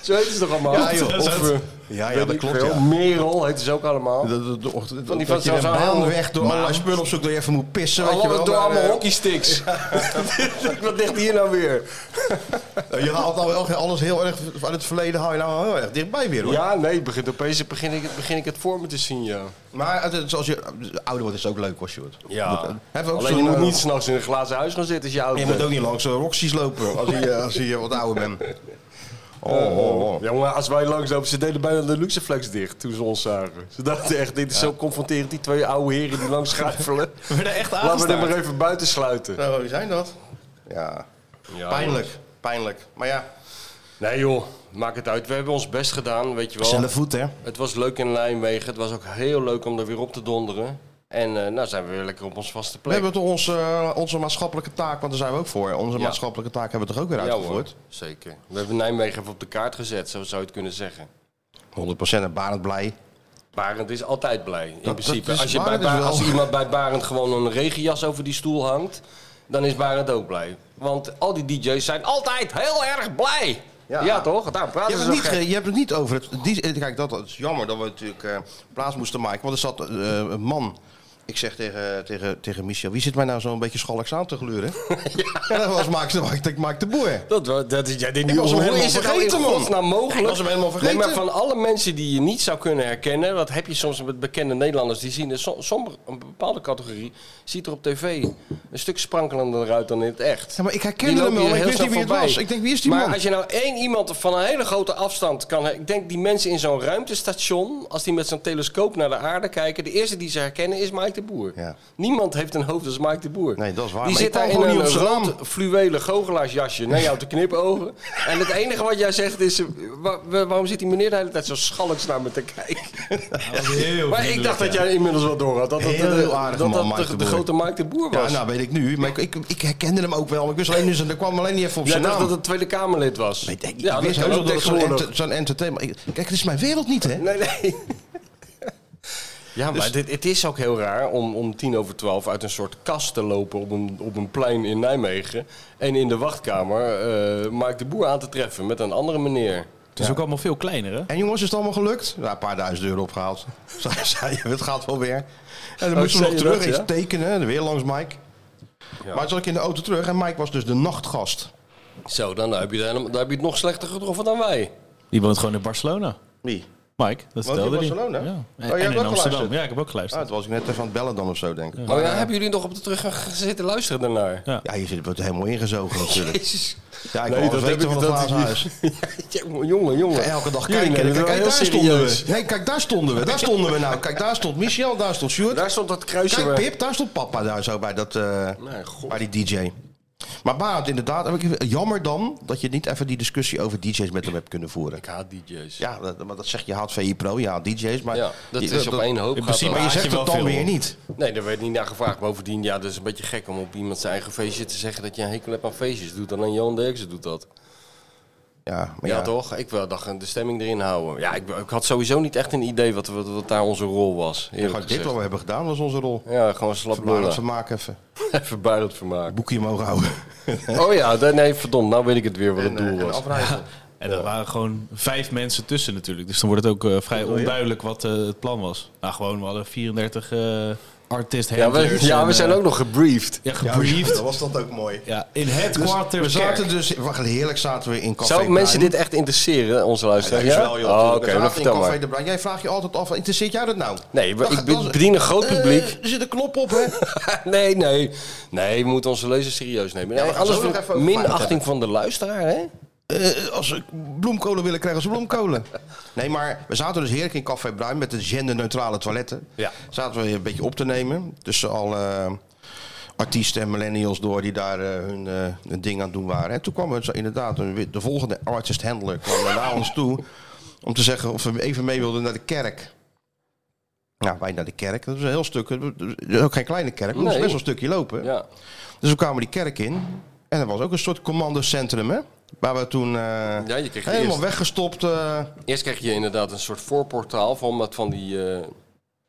[SPEAKER 6] Zo heet ze toch allemaal?
[SPEAKER 1] Ja, joh.
[SPEAKER 6] Of, eh,
[SPEAKER 1] Ja, ja,
[SPEAKER 6] weet
[SPEAKER 1] dat
[SPEAKER 6] ik
[SPEAKER 1] klopt,
[SPEAKER 6] veel.
[SPEAKER 1] ja.
[SPEAKER 6] Merel heet ze ook allemaal.
[SPEAKER 1] Dat, dat, dat, dat,
[SPEAKER 6] Oh. Van die
[SPEAKER 1] dat je
[SPEAKER 6] van
[SPEAKER 1] de
[SPEAKER 6] zo'n
[SPEAKER 1] baan
[SPEAKER 6] heel-
[SPEAKER 1] weg door
[SPEAKER 6] maar-
[SPEAKER 1] allerlei spullen op zoek dat je even moet pissen. weet je
[SPEAKER 6] Allemaal
[SPEAKER 1] wel,
[SPEAKER 6] door
[SPEAKER 1] maar,
[SPEAKER 6] allemaal
[SPEAKER 1] eh,
[SPEAKER 6] hockeysticks. Wat ligt hier nou weer?
[SPEAKER 1] Je haalt nou wel alles heel erg uit het verleden haal je nou wel heel erg dichtbij weer hoor.
[SPEAKER 6] Ja, nee, het begint opeens begin ik, begin ik het voor me te zien, ja.
[SPEAKER 1] Maar het, is- zoals je ouder wordt is het ook leuk hoor, Sjoerd.
[SPEAKER 6] ja.
[SPEAKER 1] Hebben we ook
[SPEAKER 6] Alleen je
[SPEAKER 1] zo'n,
[SPEAKER 6] moet
[SPEAKER 1] eh,
[SPEAKER 6] niet s'nachts in een glazen huis gaan zitten als je oud
[SPEAKER 1] Je
[SPEAKER 6] bent.
[SPEAKER 1] moet ook niet langs eh, Roxy's lopen als je, als je wat ouder bent. Oh, oh, oh.
[SPEAKER 6] Jongen, als wij langslopen, ze deden bijna de Luxeflex dicht toen ze ons zagen. Ze dachten echt, dit is zo confronterend, die twee oude heren die langs schuifelen.
[SPEAKER 2] We werden echt
[SPEAKER 6] Laten we
[SPEAKER 2] aangestaard.
[SPEAKER 6] hem maar even buiten sluiten.
[SPEAKER 1] Nou, wie zijn dat? Ja,
[SPEAKER 6] Ja,
[SPEAKER 1] pijnlijk. Pijnlijk. Maar ja,
[SPEAKER 6] Nee joh, maak het uit. We hebben ons best gedaan, weet je wel.
[SPEAKER 1] zelf voet hè.
[SPEAKER 6] Het was leuk in Nijmegen. Het was ook heel leuk om er weer op te donderen. En eh, nou zijn we weer lekker op ons vaste
[SPEAKER 1] We
[SPEAKER 6] plek.
[SPEAKER 1] hebben toch onze, eh, onze maatschappelijke taak, want daar zijn we ook voor. Onze
[SPEAKER 6] Ja.
[SPEAKER 1] maatschappelijke taak hebben we toch ook weer
[SPEAKER 6] Ja, hoor.
[SPEAKER 1] uitgevoerd?
[SPEAKER 6] Zeker. We hebben Nijmegen even op de kaart gezet, zo zou je het kunnen zeggen.
[SPEAKER 1] 100% en Barend blij.
[SPEAKER 6] Barend is altijd blij, in
[SPEAKER 1] dat
[SPEAKER 6] principe.
[SPEAKER 1] is-
[SPEAKER 6] als, je bij
[SPEAKER 1] Barend is
[SPEAKER 6] Barend,
[SPEAKER 1] wel-
[SPEAKER 6] als iemand bij Barend gewoon een regenjas over die stoel hangt, dan is Barend ook blij. Want al die DJ's zijn altijd heel erg blij. Ja,
[SPEAKER 1] Ja.
[SPEAKER 6] toch? Daar
[SPEAKER 1] Je
[SPEAKER 6] praten
[SPEAKER 1] hebt,
[SPEAKER 6] ze
[SPEAKER 1] het
[SPEAKER 6] zo
[SPEAKER 1] niet,
[SPEAKER 6] gek.
[SPEAKER 1] ge- je hebt het niet over het. Die, eh, kijk, dat, dat is jammer dat we natuurlijk eh, plaats moesten maken. Want er zat eh, een man. Ik zeg tegen, tegen, tegen Michel: wie zit mij nou zo'n beetje schalks aan te gluren? ja. dat was Maak, de- Maak, de- Maak de Boer.
[SPEAKER 6] Dat, wa- dat is, ja, dit
[SPEAKER 1] Ik was hem
[SPEAKER 6] hoe
[SPEAKER 1] helemaal
[SPEAKER 6] is het nou
[SPEAKER 1] vergeten,
[SPEAKER 6] in
[SPEAKER 1] man.
[SPEAKER 6] godsnaam mogelijk?
[SPEAKER 1] Ik was hem helemaal vergeten.
[SPEAKER 6] Nee, maar van alle mensen die je niet zou kunnen herkennen... dat heb je soms met bekende Nederlanders. Die zien er som- sommige, een bepaalde categorie... ziet er op tv een stuk sprankelender uit dan in het echt.
[SPEAKER 1] Ja, maar ik
[SPEAKER 6] Die
[SPEAKER 1] herkende hem
[SPEAKER 6] lopen
[SPEAKER 1] wel,
[SPEAKER 6] hier
[SPEAKER 1] maar ik
[SPEAKER 6] heel
[SPEAKER 1] wist niet wie
[SPEAKER 6] snel
[SPEAKER 1] het
[SPEAKER 6] voorbij.
[SPEAKER 1] was. Ik denk, wie is die
[SPEAKER 6] maar
[SPEAKER 1] man?
[SPEAKER 6] als je nou één iemand van een hele grote afstand kan... Ik denk die mensen in zo'n ruimtestation... als die met zo'n telescoop naar de aarde kijken... de eerste die ze herkennen is Mike de Boer.
[SPEAKER 1] Ja.
[SPEAKER 6] Niemand heeft een hoofd als Mike de Boer.
[SPEAKER 1] Nee, dat is waar.
[SPEAKER 6] Die
[SPEAKER 1] maar
[SPEAKER 6] zit
[SPEAKER 1] ik
[SPEAKER 6] daar
[SPEAKER 1] kwam
[SPEAKER 6] in
[SPEAKER 1] gewoon niet
[SPEAKER 6] een
[SPEAKER 1] op zijn naam.
[SPEAKER 6] rood fluwelen gogelaarsjasje naar jou te knipogen. en het enige wat jij zegt is... eh, wa- wa- waarom zit die meneer de hele tijd zo schalks naar me te kijken? maar ik dacht dat jij inmiddels wel door had. Dat dat,
[SPEAKER 1] Heel,
[SPEAKER 6] de-
[SPEAKER 1] heel aardig
[SPEAKER 6] dat,
[SPEAKER 1] man,
[SPEAKER 6] dat
[SPEAKER 1] Mike
[SPEAKER 6] de,
[SPEAKER 1] de
[SPEAKER 6] de
[SPEAKER 1] Boer.
[SPEAKER 6] grote Mike de Boer was.
[SPEAKER 1] Ja, nou weet ik nu. Maar ik, ik, ik herkende hem ook wel. Maar ik wist alleen, dus, er kwam alleen niet even op
[SPEAKER 6] jij
[SPEAKER 1] zijn
[SPEAKER 6] dacht
[SPEAKER 1] naam.
[SPEAKER 6] dat het Tweede Kamerlid was.
[SPEAKER 1] Ik denk, ik
[SPEAKER 6] ja,
[SPEAKER 1] wist
[SPEAKER 6] kan
[SPEAKER 1] heus wel
[SPEAKER 6] ook
[SPEAKER 1] dat het zo'n
[SPEAKER 6] tegenwoordig.
[SPEAKER 1] enter- zo'n entertainment... Kijk, het is mijn wereld niet, hè?
[SPEAKER 6] Nee, nee. Ja, maar
[SPEAKER 14] Dus-
[SPEAKER 6] dit, het is ook heel raar om om tien over twaalf uit een soort kast te lopen op een, op een plein in Nijmegen. En in de wachtkamer eh Mike de Boer aan te treffen met een andere meneer.
[SPEAKER 2] Het is ook allemaal veel kleiner, hè?
[SPEAKER 6] En jongens, is het allemaal gelukt?
[SPEAKER 1] Ja, een paar duizend euro opgehaald. Zei- zei je, het gaat wel weer. En dan
[SPEAKER 6] Oh,
[SPEAKER 1] moesten we
[SPEAKER 6] zei
[SPEAKER 1] nog
[SPEAKER 6] je
[SPEAKER 1] terug
[SPEAKER 6] dat,
[SPEAKER 1] eens
[SPEAKER 6] ja?
[SPEAKER 1] tekenen. En weer langs Mike. Maar toen zat ik in de auto terug en Mike was dus de nachtgast.
[SPEAKER 6] Zo, dan heb, je, het helemaal- dan heb je het nog slechter getroffen dan wij.
[SPEAKER 2] Die woont gewoon in Barcelona.
[SPEAKER 1] Wie?
[SPEAKER 2] Mike, dat
[SPEAKER 1] Woont hij in
[SPEAKER 2] vertelde hij.
[SPEAKER 1] Barcelona? Oh,
[SPEAKER 2] Ja. En,
[SPEAKER 1] jij hebt
[SPEAKER 2] en in
[SPEAKER 1] ook
[SPEAKER 2] Amsterdam.
[SPEAKER 1] geluisterd?
[SPEAKER 2] Ja, ik heb ook
[SPEAKER 1] Ah,
[SPEAKER 2] geluisterd.
[SPEAKER 1] dat was ik net even aan het bellen dan of zo, denk ik.
[SPEAKER 6] Maar ja, hebben jullie nog op de terug zitten luisteren daarnaar?
[SPEAKER 1] ja. je zit wordt helemaal ingezogen natuurlijk.
[SPEAKER 6] Jezus.
[SPEAKER 1] Ja, ik
[SPEAKER 6] Nee,
[SPEAKER 1] wil
[SPEAKER 6] dat
[SPEAKER 1] alles
[SPEAKER 6] heb
[SPEAKER 1] weten
[SPEAKER 6] ik-
[SPEAKER 1] van het
[SPEAKER 6] dat
[SPEAKER 1] glazen
[SPEAKER 6] heb
[SPEAKER 1] huis.
[SPEAKER 6] jongen, jongen, jongen.
[SPEAKER 1] Elke dag
[SPEAKER 6] Jullie
[SPEAKER 1] kijken.
[SPEAKER 6] nemen het
[SPEAKER 1] Kijk,
[SPEAKER 6] wel
[SPEAKER 1] daar
[SPEAKER 6] heel
[SPEAKER 1] stonden
[SPEAKER 6] serieus.
[SPEAKER 1] we. Nee, kijk, daar stonden we. Daar stonden we nou. Kijk, daar stond Michel, daar stond Sjoerd.
[SPEAKER 6] Daar stond dat kruisje
[SPEAKER 1] Kijk,
[SPEAKER 6] waar-
[SPEAKER 1] Pip, daar stond papa daar zo bij, dat, eh,
[SPEAKER 6] Nee, god.
[SPEAKER 1] bij die DJ. Maar Barend, inderdaad, heb ik- jammer dan dat je niet even die discussie over DJ's met hem hebt kunnen voeren.
[SPEAKER 6] Ik haat DJ's.
[SPEAKER 1] Ja, dat, maar dat zeg je, je haat VI Pro, je haat DJ's, maar...
[SPEAKER 6] Ja, dat
[SPEAKER 1] je-
[SPEAKER 6] is op één hoop.
[SPEAKER 1] In
[SPEAKER 6] gaat
[SPEAKER 1] principe
[SPEAKER 6] dat.
[SPEAKER 1] maar je zegt het dan weer niet.
[SPEAKER 6] Nee, daar werd niet naar gevraagd. Bovendien, ja, dat is een beetje gek om op iemand zijn eigen feestje te zeggen dat je een hekel hebt aan feestjes. Doet alleen Johan Derksen doet dat.
[SPEAKER 1] Ja, maar
[SPEAKER 6] Ja, toch? Ik wil dacht, de stemming erin houden. Ja, ik, ik had sowieso niet echt een idee wat, wat, wat daar onze rol was.
[SPEAKER 1] Ja,
[SPEAKER 6] eerlijk
[SPEAKER 1] gewoon dit
[SPEAKER 6] gezegd.
[SPEAKER 1] wat we hebben gedaan was onze rol.
[SPEAKER 6] Ja, gewoon slap
[SPEAKER 1] Verbarend
[SPEAKER 6] lullen.
[SPEAKER 1] vermaak even.
[SPEAKER 6] Even buiten het vermaak.
[SPEAKER 1] Boekje mogen houden.
[SPEAKER 6] Oh ja, nee, nee, verdomd. Nou weet ik het weer wat het
[SPEAKER 2] eh,
[SPEAKER 6] doel
[SPEAKER 2] en
[SPEAKER 6] was.
[SPEAKER 2] afreizen. En er waren gewoon vijf mensen tussen natuurlijk. Dus dan wordt het ook eh, vrij
[SPEAKER 6] bedoel je?
[SPEAKER 2] onduidelijk wat eh, het plan was. Nou, gewoon, we hadden 34 eh artist
[SPEAKER 6] Ja, we,
[SPEAKER 2] handlers
[SPEAKER 6] ja,
[SPEAKER 2] en,
[SPEAKER 6] we zijn
[SPEAKER 2] eh,
[SPEAKER 6] ook nog gebriefd.
[SPEAKER 2] Ja, gebriefd.
[SPEAKER 1] Dat was dat ook mooi.
[SPEAKER 2] Ja, in het
[SPEAKER 1] Dus
[SPEAKER 2] quarter
[SPEAKER 1] we zaten dus, wacht, heerlijk zaten we in Café
[SPEAKER 6] Zou mensen
[SPEAKER 1] Bruin.
[SPEAKER 6] dit echt interesseren, onze luisteraars?
[SPEAKER 1] Ja, wel, joh.
[SPEAKER 6] Oh,
[SPEAKER 1] We
[SPEAKER 6] Oké,
[SPEAKER 1] zaten
[SPEAKER 6] dan
[SPEAKER 1] in
[SPEAKER 6] vertel
[SPEAKER 1] Café
[SPEAKER 6] maar.
[SPEAKER 1] de Bruin. Jij vraagt je altijd af, interesseert jou dat nou?
[SPEAKER 6] Nee, we-
[SPEAKER 1] Dan-
[SPEAKER 6] ik be-
[SPEAKER 1] dan-
[SPEAKER 6] bedien een groot
[SPEAKER 1] Eh,
[SPEAKER 6] publiek.
[SPEAKER 1] er zit een klop op, hè?
[SPEAKER 6] nee, nee. Nee, we moeten onze lezers serieus nemen.
[SPEAKER 1] Ja, we
[SPEAKER 6] Nee,
[SPEAKER 1] gaan
[SPEAKER 6] alles
[SPEAKER 1] zo nog
[SPEAKER 6] voor-
[SPEAKER 1] even over Feyenoord
[SPEAKER 6] minachting
[SPEAKER 1] hebben.
[SPEAKER 6] van de luisteraar, hè?
[SPEAKER 1] Eh, als ze bloemkolen willen, krijgen ze bloemkolen. Nee, maar we zaten dus heerlijk in Café Bruin met de genderneutrale toiletten.
[SPEAKER 6] Ja.
[SPEAKER 1] Zaten we een beetje op te nemen. Tussen al eh, artiesten en millennials door die daar eh, hun, eh, hun ding aan het doen waren. En toen kwam er zo inderdaad een wit- de volgende artist-handler kwam naar ons toe. Om te zeggen of we even mee wilden naar de kerk. Nou, wij naar de kerk. Dat is een heel stuk. dat is Ook geen kleine kerk. We moesten
[SPEAKER 6] Nee.
[SPEAKER 1] best wel een stukje lopen.
[SPEAKER 6] Ja.
[SPEAKER 1] Dus we kwamen die kerk in. En dat was ook een soort commandocentrum, hè? Waar we toen eh,
[SPEAKER 6] je kreeg
[SPEAKER 1] helemaal
[SPEAKER 6] eerst-
[SPEAKER 1] weggestopt... eh,
[SPEAKER 6] Eerst krijg je inderdaad een soort voorportaal van, met van die eh,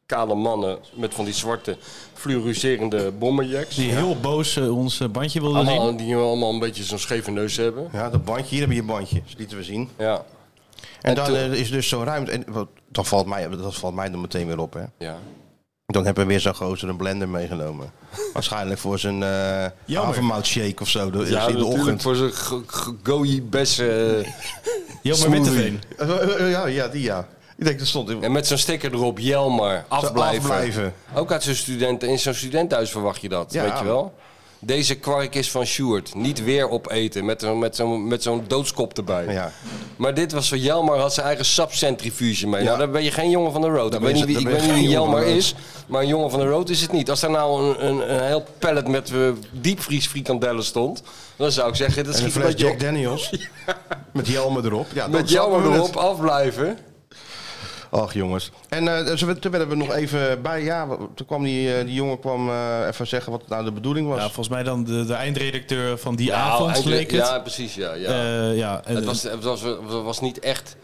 [SPEAKER 6] kale mannen met van die zwarte fluoriserende bomberjacks.
[SPEAKER 2] Die heel boos eh, ons eh, bandje wilden
[SPEAKER 6] allemaal,
[SPEAKER 2] zien.
[SPEAKER 6] die allemaal een beetje zo'n scheve neus hebben.
[SPEAKER 1] Ja, dat bandje. Hier heb je je bandje. Dat lieten we zien.
[SPEAKER 6] Ja.
[SPEAKER 1] En,
[SPEAKER 6] En
[SPEAKER 1] dan
[SPEAKER 6] toen-
[SPEAKER 1] eh, is dus zo'n ruimte... En, wat, dat, valt mij, dat valt mij dan meteen weer op, hè?
[SPEAKER 6] Ja.
[SPEAKER 1] Dan hebben we weer zo'n gozer een blender meegenomen. Waarschijnlijk voor zijn eh
[SPEAKER 6] Jammer.
[SPEAKER 1] havermoutshake of zo. Dat is
[SPEAKER 6] Ja,
[SPEAKER 1] in de
[SPEAKER 6] natuurlijk
[SPEAKER 1] ochtend.
[SPEAKER 6] voor zo'n ge- ge- goji bessen. eh,
[SPEAKER 2] Jelmer Witteveen.
[SPEAKER 1] Eh, Ja, ja, die ja. Ik denk, dat stond... in-
[SPEAKER 6] En met zo'n sticker erop, Jelmer, afblijven.
[SPEAKER 1] afblijven.
[SPEAKER 6] Ook uit zo'n studenten, in zo'n studentenhuis verwacht je dat,
[SPEAKER 1] Ja.
[SPEAKER 6] weet je wel? Deze kwark is van Sjoerd, niet weer opeten met, een- met zo'n met zo'n doodskop erbij.
[SPEAKER 1] Ja.
[SPEAKER 6] Maar dit was van Jelmer, had zijn eigen sapcentrifuge mee.
[SPEAKER 1] Ja.
[SPEAKER 6] Nou, dan ben je geen jongen van de road.
[SPEAKER 1] Dan
[SPEAKER 6] Ik
[SPEAKER 1] ben
[SPEAKER 6] weet
[SPEAKER 1] je-
[SPEAKER 6] niet wie,
[SPEAKER 1] dan
[SPEAKER 6] ik
[SPEAKER 1] ben je
[SPEAKER 6] weet niet wie
[SPEAKER 1] geen jongen
[SPEAKER 6] Jelmer
[SPEAKER 1] van de
[SPEAKER 6] is, maar een jongen van de road is het niet. Als daar nou een, een, een heel pallet met eh, diepvriesfrikandellen stond, dan zou ik zeggen, dat
[SPEAKER 1] en een
[SPEAKER 6] schiet een
[SPEAKER 1] fles
[SPEAKER 6] beetje
[SPEAKER 1] Jack
[SPEAKER 6] op.
[SPEAKER 1] Daniels. Met Jelme erop. Ja, dan
[SPEAKER 6] Met Jelmer
[SPEAKER 1] snappen we het.
[SPEAKER 6] erop, afblijven.
[SPEAKER 1] Ach jongens. En eh, ze- toen werden we nog even bij. Ja, toen kwam die, eh, die jongen kwam, eh, even zeggen wat nou de bedoeling was.
[SPEAKER 2] Ja, volgens mij dan de, de eindredacteur van die
[SPEAKER 6] Nou,
[SPEAKER 2] avond,
[SPEAKER 6] eindelijk-
[SPEAKER 2] leek het.
[SPEAKER 6] Ja, precies, ja. ja.
[SPEAKER 2] Eh, ja, en-
[SPEAKER 6] het, was, het, was, het was niet echt,